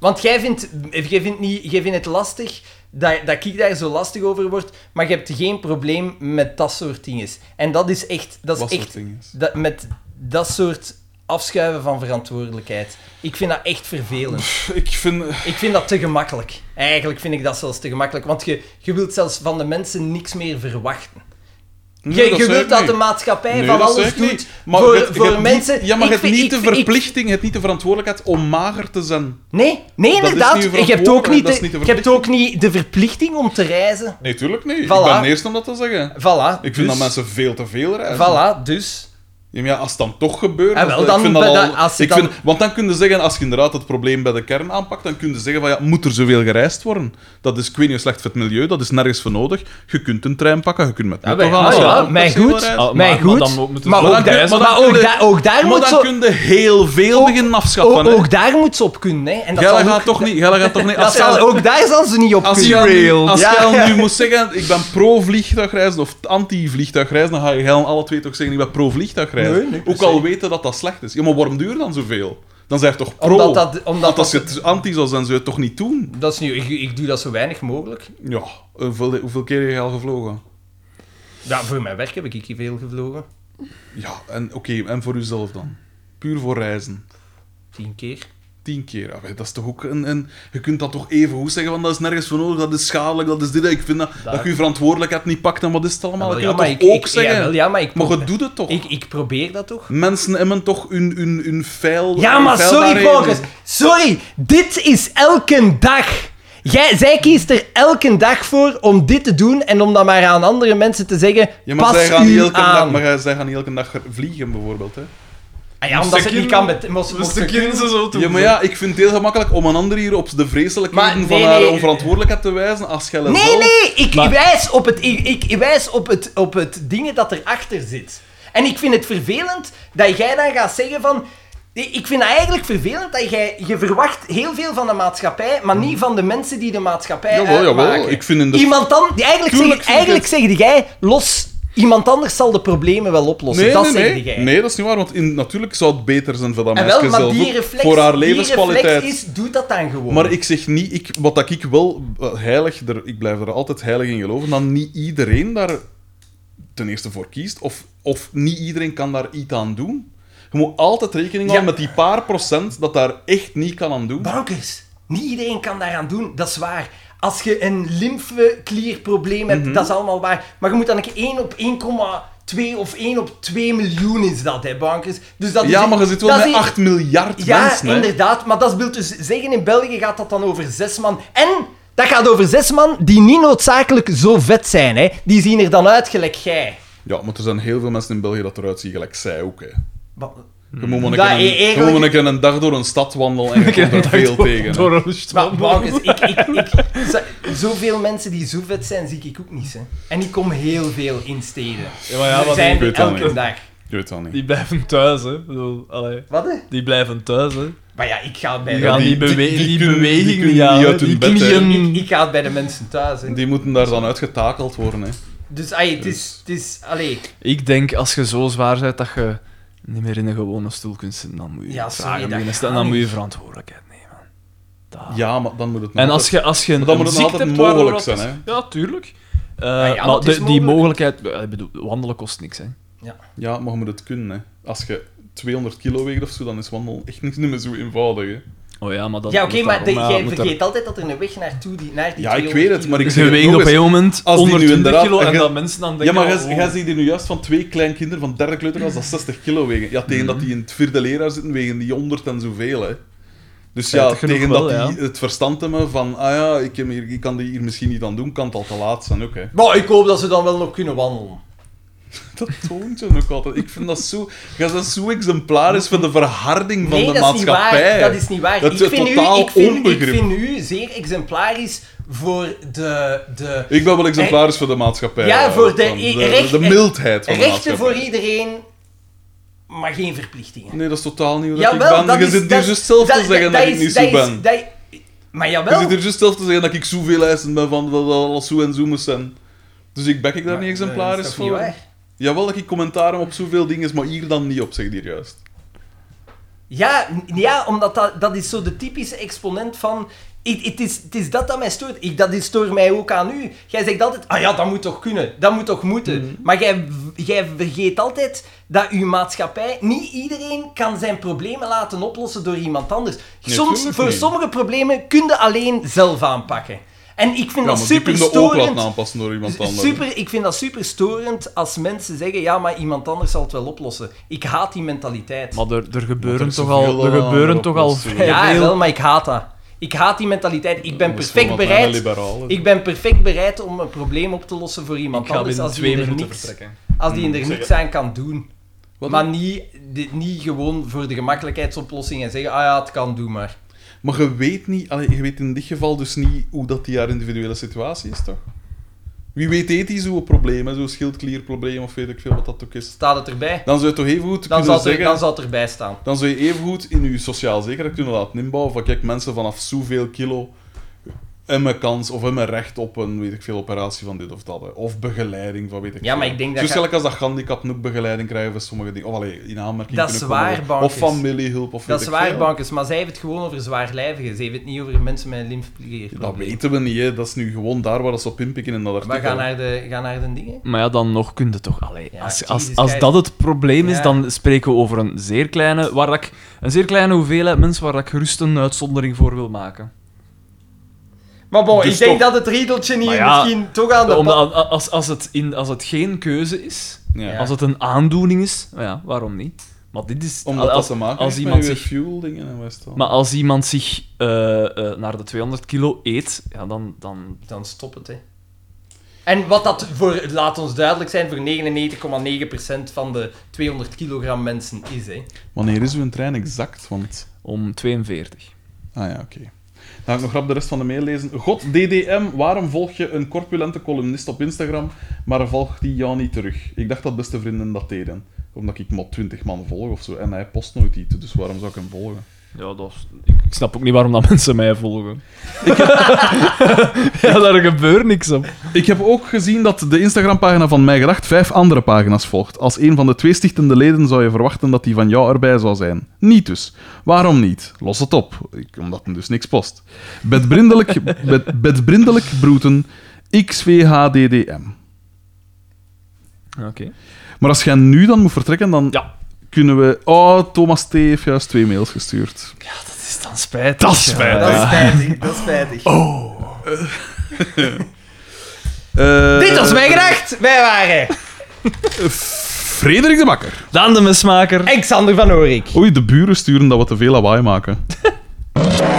S4: Want jij vindt, eh, jij vindt, niet, jij vindt het lastig dat, dat ik daar zo lastig over word, maar je hebt geen probleem met dat soort dingen. En dat is echt... Dat
S3: Wat
S4: is
S3: soort
S4: echt
S3: dingen is.
S4: dat, met dat soort afschuiven van verantwoordelijkheid. Ik vind dat echt vervelend.
S3: Pff, Ik vind...
S4: Ik vind dat te gemakkelijk. Eigenlijk vind ik dat zelfs te gemakkelijk. Want je, je wilt zelfs van de mensen niks meer verwachten.
S3: Nee,
S4: je
S3: dat
S4: je
S3: zei
S4: wilt
S3: ik
S4: dat
S3: niet.
S4: de maatschappij
S3: Nee,
S4: van
S3: dat zei
S4: alles
S3: ik
S4: doet
S3: niet. Maar
S4: voor,
S3: het-
S4: voor
S3: het niet-
S4: mensen...
S3: ja, maar
S4: Ik
S3: je hebt
S4: vind-
S3: niet
S4: ik-
S3: de
S4: ik-
S3: verplichting, je hebt niet de verantwoordelijkheid om mager te zijn.
S4: Nee, nee
S3: Dat is
S4: inderdaad.
S3: niet uw
S4: Je hebt, ook niet de,
S3: verantwoordelijkheid, dat is niet de
S4: je hebt ook niet de verplichting om te reizen.
S3: Nee, tuurlijk niet.
S4: Voilà.
S3: Ik ben de eerste om dat te zeggen.
S4: Voilà.
S3: Ik vind
S4: dus,
S3: dat mensen veel te veel reizen.
S4: Voilà, dus...
S3: Ja, maar ja, als het dan toch gebeurt...
S4: Ah, wel,
S3: als-
S4: dan
S3: ik vind dat
S4: bij
S3: al-
S4: dat- als je
S3: ik
S4: dan-
S3: vind- want dan kun je zeggen, als je inderdaad het probleem bij de kern aanpakt, dan kun je zeggen van, ja, moet er zoveel gereisd worden? Dat is, ik weet niet, slecht voor het milieu, dat is nergens voor nodig. Je kunt een trein pakken, je kunt met
S4: Ja,
S3: metro
S4: maar-
S3: gaan. als
S4: ah,
S3: je
S4: ja,
S3: dan ook
S4: maar
S3: met zoveel
S4: goed.
S3: reist.
S4: Ah,
S2: Maar-
S4: Maar,
S2: maar
S4: goed,
S2: dan moeten ze
S4: maar,
S2: wel
S4: ook,
S3: reizen. Maar
S4: daar- maar
S3: dan
S4: ook,
S3: kun je-
S4: daar- ook daar
S3: Maar
S4: moet
S3: dan
S4: zo...
S3: kun je heel veel
S4: Ook-
S3: beginnen afschaffen.
S4: Ook,
S3: hè.
S4: ook daar moet ze op kunnen, hè. En dat
S3: Jij
S4: zal
S3: gaat
S4: ook-
S3: toch niet... Jij gaat toch niet
S4: Dat
S3: als
S4: zal,
S3: jij-
S4: ook daar zal ze niet op
S3: Als je
S4: kunnen.
S3: al nu, als
S4: Ja,
S3: je al
S4: ja.
S3: nu moet zeggen, ik ben pro-vliegtuigreizen of anti-vliegtuigreizen, dan ga je dan alle twee toch zeggen, ik ben pro-vliegtuigreizen.
S4: Nee, nee, per
S3: Ook al weten dat dat slecht is. Ja, maar waarom duurt dan zoveel? Dan zijn je toch pro?
S4: Omdat dat... Omdat
S3: Want als
S4: dat,
S3: je het anti zou zijn, zou je het toch niet doen?
S4: dat is nu... Ik, ik doe dat zo weinig mogelijk.
S3: Ja, hoeveel, hoeveel keer heb je al gevlogen?
S4: Ja, voor mijn werk heb ik hier veel gevlogen.
S3: Ja, en oké, en voor uzelf dan? Puur voor reizen.
S4: Tien keer.
S3: Tien keer, ja, dat is toch ook een, een... Je kunt dat toch even goed zeggen, want dat is nergens voor nodig, dat is schadelijk, dat is dit. Ik vind dat,
S4: Dat-
S3: dat je je verantwoordelijkheid niet pakt en wat is het allemaal?
S4: Jawel,
S3: dat kun je toch
S4: ja, maar ik-
S3: ook
S4: ik-
S3: zeggen?
S4: jawel, ja, maar ik
S3: maar
S4: pro-
S3: je doet het toch?
S4: Ik, ik probeer dat toch.
S3: Mensen hebben toch hun, hun, hun feil...
S4: Ja, maar
S3: feil
S4: sorry,
S3: daarin.
S4: Focus. Sorry, dit is elke dag. Jij, zij kiest er elke dag voor om dit te doen en om dat maar aan andere mensen te zeggen.
S3: Ja, maar zij
S4: pas
S3: gaan, niet
S4: u
S3: elke dag,
S4: aan.
S3: maar zij- zij gaan niet elke dag vliegen, bijvoorbeeld. Hè.
S4: Ah ja, omdat ze het niet kan bet- moest- moest ze kunnen.
S2: zo
S3: Ja, maar ja, ik vind het heel gemakkelijk om een ander hier op de vreselijkheden
S4: Maar nee,
S3: van haar
S4: nee.
S3: onverantwoordelijkheid te wijzen, als jij dat
S4: Nee,
S3: wel-
S4: nee, ik
S2: Maar-
S4: wijs, op het, ik, ik wijs op, het, op het dingen dat erachter zit. En ik vind het vervelend dat jij dan gaat zeggen van... Nee, Ik vind het eigenlijk vervelend dat jij... Je verwacht heel veel van de maatschappij, maar niet van de mensen die de maatschappij
S3: Jawel, jawel.
S4: uitmaken.
S3: Ik vind in de-
S4: Iemand dan... die Eigenlijk,
S3: Tuurlijk
S4: zeg,
S3: vind ik
S4: eigenlijk zeg jij, los... Iemand anders zal de problemen wel oplossen. dat
S3: nee,
S4: zeg
S3: nee.
S4: jij.
S3: Nee, dat is niet waar, want in, natuurlijk zou het beter zijn voor dat
S4: En wel,
S3: meisje
S4: maar
S3: zelf
S4: die
S3: ook,
S4: reflex,
S3: voor haar
S4: die
S3: levenskwaliteit.
S4: reflex is, doe dat dan gewoon.
S3: Maar ik zeg niet, ik, wat dat ik wel eh, heilig, er, ik blijf er altijd heilig in geloven, dat niet iedereen daar ten eerste voor kiest, of, of niet iedereen kan daar iets aan doen. Je moet altijd rekening houden met
S4: Ja.
S3: die paar procent dat daar echt niet kan aan doen.
S4: Bankers. Niet iedereen kan daaraan doen, dat is waar. Als je een lymfeklierprobleem hebt,
S3: Mhm.
S4: dat is allemaal waar. Maar je moet dan een keer 1 op 1,2 of 1 op 2 miljoen is dat, hè, bankers. Dus dat is
S3: Ja,
S4: echt-
S3: maar je zit wel
S4: dat is
S3: met
S4: echt-
S3: 8 miljard
S4: Ja,
S3: mensen. hè.
S4: inderdaad. Maar dat wil dus zeggen, in België gaat dat dan over zes man. En dat gaat over zes man die niet noodzakelijk zo vet zijn, hè. Die zien er dan uit gelijk jij.
S3: Ja, maar er zijn heel veel mensen in België dat eruit zien gelijk zij ook. Hè.
S4: Wat-
S3: Je moet maar een
S4: Dat
S3: keer een-
S4: e-
S3: je
S4: eigenlijk-
S3: moet maar een keer een dag door een stad wandelen en je komt er veel tegen. hè.
S2: Door een
S4: Maar
S2: strand.
S4: bankers, ik, ik, ik, zo- zoveel mensen die zo vet zijn, zie ik ook niet, hè. En ik kom heel veel in steden.
S2: Ja, maar ja,
S4: Er
S2: wat
S4: zijn
S3: ik
S4: er
S3: weet dat
S4: elke
S3: niet.
S4: dag.
S3: Ik weet dat niet.
S2: Die blijven thuis, hè. Ik bedoel, allee,
S4: Wat hè?
S2: Die blijven thuis, hè.
S4: Maar ja, ik ga het bij,
S2: Die
S4: de,
S2: gaan
S3: die-
S2: die, bewe-
S3: die- die
S2: die,
S3: kunnen- die
S2: beweging
S3: kunnen
S2: niet aan,
S3: niet
S2: hè.
S3: uit hun
S2: Die
S3: bed, hè.
S2: knieën...
S4: ik, ik ga het bij de mensen thuis. Hè.
S3: Die moeten daar dan uitgetakeld worden. Hè.
S4: Dus allee, het is... Het is allee,
S2: Ik denk, als je zo zwaar bent dat je niet meer in een gewone stoel kunt zitten, dan moet je
S4: Ja, sorry,
S2: vragen
S4: dat
S2: beginnen
S4: gaat
S2: stellen. Dan
S4: niet.
S2: moet je verantwoordelijkheid nemen. Daar.
S3: Ja, maar dan moet het nog
S2: En als je, als je een,
S3: Maar dat moet
S2: een
S3: nog
S2: ziekte
S3: altijd
S2: hebt waar-
S3: mogelijk
S2: waar-
S3: zijn,
S2: Ja, tuurlijk. Eh,
S4: ja,
S2: maar
S4: want het is
S2: de- die
S4: mogelijk.
S2: mogelijkheid... eh, Ik bedoel, wandelen kost niks, hè.
S3: Ja, maar je moet het kunnen. Hè. Als je 200 kilo weegt of zo, dan is wandelen echt niet meer zo eenvoudig. Hè.
S2: Oh ja, maar dat...
S4: ja, oké,
S2: moet
S4: maar
S2: daar-
S4: de-
S2: ja,
S4: jij
S2: moet daar-
S4: vergeet altijd dat er een weg naartoe die, naar die
S3: Ja, ik
S4: 200
S3: weet het,
S4: kilo-
S3: maar ik
S2: Dus
S3: zeg
S2: je
S3: het
S2: weegt
S3: nog
S2: op een
S3: eens.
S2: gegeven moment
S3: als die nu
S2: 120
S3: inderdaad-
S2: kilo en
S3: en ge-
S2: dat mensen dan
S3: Ja,
S2: denken...
S3: maar
S2: oh,
S3: jij jij ziet hier nu juist van twee kleinkinderen van derde kleuterklas dat 60 kilo wegen. Ja, tegen
S4: Mhm.
S3: dat die in het vierde leraar zitten, wegen die 100 en zoveel. Hè. Dus ja,
S2: Spijtig genoeg
S3: tegen
S2: wel,
S3: dat die
S2: ja.
S3: het verstand hebben van, ah ja, ik, heb hier, ik kan die hier misschien niet aan doen, kan het al te laat zijn ook. Hè.
S4: Maar ik hoop dat ze dan wel nog kunnen wandelen.
S3: Dat toont je ook altijd. Ik vind dat zo, jij bent zo exemplarisch van de verharding van
S4: nee,
S3: de
S4: dat is niet waar.
S3: maatschappij.
S4: Dat is niet waar.
S3: Dat is
S4: ik, vind
S3: totaal
S4: u, ik, vind, ik
S3: onbegrip.
S4: vind u zeer exemplarisch voor de... de
S3: Ik ben wel exemplarisch voor de maatschappij.
S4: Eh, Ja, voor de-
S3: van de,
S4: recht-
S3: de mildheid van de maatschappij.
S4: rechten voor iedereen, maar geen verplichtingen.
S3: Nee, dat is totaal niet hoe dat
S4: Jawel,
S3: ik ben. je zit hier
S4: dat-
S3: juist zelf te zeggen dat, ik
S4: is-
S3: niet zo
S4: is-
S3: ben.
S4: dat- maar
S3: je
S4: jawel.
S3: zit hier juist zelf te zeggen dat ik zoveel eisen ben van dat alles zo en zo moet zijn. Dus ik ben ik daar niet exemplarisch
S4: dat is toch niet
S3: voor.
S4: waar?
S3: Jawel dat ik commentaar heb op zoveel dingen, maar hier dan niet op, zeg hier juist.
S4: Ja, n- ja omdat dat, dat is zo de typische exponent van... Ik- Het is, het is dat dat mij stoort. Ik, dat is stoort mij ook aan u. Jij zegt altijd, ah ja, dat moet toch kunnen. Dat moet toch moeten.
S3: Mm-hmm.
S4: Maar jij, jij vergeet altijd dat uw maatschappij... Niet iedereen kan zijn problemen laten oplossen door iemand anders.
S3: Nee,
S4: Soms,
S3: tuurlijk
S4: voor
S3: niet.
S4: sommige problemen kun je alleen zelf aanpakken. En ik vind
S3: Ja,
S4: dat
S3: maar die
S4: super
S3: kunnen ook laten
S4: storend.
S3: aanpassen door iemand anders.
S4: Super, ik vind dat super storend als mensen zeggen, ja, maar iemand anders zal het wel oplossen. Ik haat die mentaliteit.
S2: Maar er, er
S3: Maar
S2: gebeuren
S3: er
S2: toch
S3: is
S2: al,
S3: zoveel
S2: er
S3: aan
S2: gebeuren
S3: erop
S2: toch al
S3: los,
S2: vrij
S4: ja,
S2: veel.
S4: wel, maar ik haat dat. Ik haat die mentaliteit. Ik ben
S3: Dat is gewoon
S4: perfect
S3: wat
S4: bereid.
S3: bijna liberaal is.
S4: Ik ben perfect bereid om een probleem op te lossen voor iemand
S2: Ik ga
S4: anders
S2: binnen
S4: als die,
S2: twee
S4: er
S2: minuten
S4: niks,
S2: vertrekken.
S4: als
S3: Mm,
S4: die er
S2: zeg
S4: niks aan kan doen. maar niet, dit, niet gewoon voor de gemakkelijkheidsoplossing en zeggen, ah ja, het kan, doe maar.
S3: Maar je weet niet, allee, je weet in dit geval dus niet hoe dat die haar individuele situatie is, toch? Wie weet eet die zo'n probleem, hè, zo'n schildklierprobleem of weet ik veel wat dat ook is.
S4: Staat het erbij?
S3: Dan zou je toch even goed
S4: Dan
S3: kunnen
S4: zal, het er,
S3: zeggen...
S4: dan zal het erbij staan.
S3: dan zou je evengoed in je sociaal zekerheid kunnen laten inbouwen van kijk, mensen vanaf zoveel kilo hebben kans of hebben recht op een, weet ik veel, operatie van dit of dat. hè. Of begeleiding van weet ik
S4: Ja,
S3: veel.
S4: maar ik denk dat
S3: Zo
S4: ga-
S3: gelijk als dat handicap ook begeleiding krijgen voor sommige dingen. Of allee, in aanmerking
S4: Dat
S3: kunnen
S4: is waar,
S3: komen. Of
S4: bankers.
S3: familiehulp of
S4: Dat
S3: weet
S4: is
S3: ik
S4: waar,
S3: veel.
S4: bankers, maar zij heeft het gewoon over zwaarlijvigen. Zij heeft het niet over mensen met een lymfeprobleem.
S3: Dat weten we niet, hè. Dat is nu gewoon daar waar ze op inpikken in dat
S4: We
S3: artikel.
S4: gaan naar de, gaan naar de dingen.
S2: Maar ja, dan nog kun je toch... Allee,
S4: Ja,
S2: als,
S4: Jesus
S2: als, als
S4: Christ.
S2: dat het probleem is,
S4: Ja.
S2: dan spreken we over een zeer kleine... Waar dat ik, een zeer kleine hoeveelheid mensen waar dat ik gerust een uitzondering voor wil maken.
S4: Maar bon,
S3: Dus
S4: ik denk
S3: toch-
S4: dat het riedeltje hier
S2: Maar ja,
S4: misschien toch aan de... pa-
S2: Omdat, als, als, het in, als het geen keuze is,
S3: Ja.
S4: Ja.
S2: als het een aandoening is, nou ja, waarom niet? Maar dit is...
S3: Omdat
S2: als,
S3: dat te maken
S2: als
S3: heeft
S2: iemand
S3: met je
S2: zich-
S3: fuel dingen en wat is dat?
S2: Maar als iemand zich eh, eh, naar de 200 kilo eet, ja, dan... dan
S4: Dan stop het, hè. En wat dat voor, laat ons duidelijk zijn, voor 99,9% van de 200 kilogram mensen is, hè.
S3: Wanneer is uw trein exact? Want...
S2: om 42.
S3: Ah ja, oké. Dan ga ik nog grap de rest van de mail lezen. God, DDM, waarom volg je een corpulente columnist op Instagram, maar volgt die jou niet terug? Ik dacht dat beste vrienden dat deden. Omdat ik maar 20 man volg of zo, en hij post nooit iets, dus waarom zou ik hem volgen?
S2: Ja, dat is- ik, ik snap ook niet waarom dat mensen mij volgen. ja, daar gebeurt niks op.
S3: Ik heb ook gezien dat de Instagram-pagina van Mij Gedacht vijf andere pagina's volgt. Als een van de twee stichtende leden zou je verwachten dat die van jou erbij zou zijn. Niet dus. Waarom niet? Los het op. Ik, omdat hem dus niks post. Bedbrindelijk, bed, bedbrindelijk broeten, XVHDDM.
S2: Oké.
S3: Maar als jij nu dan moet vertrekken, dan
S2: Ja.
S3: kunnen we... Oh, Thomas T. heeft juist twee mails gestuurd.
S2: Ja, dat is dan spijtig.
S3: Dat is spijtig.
S4: Dat is spijtig, dat is spijtig.
S3: Eh,
S4: Dit was mijn gedacht. Wij waren
S3: Frederik de Bakker.
S2: Dan de mesmaker.
S4: Alexander van Oorik.
S3: Oei, de buren sturen dat we te veel lawaai maken.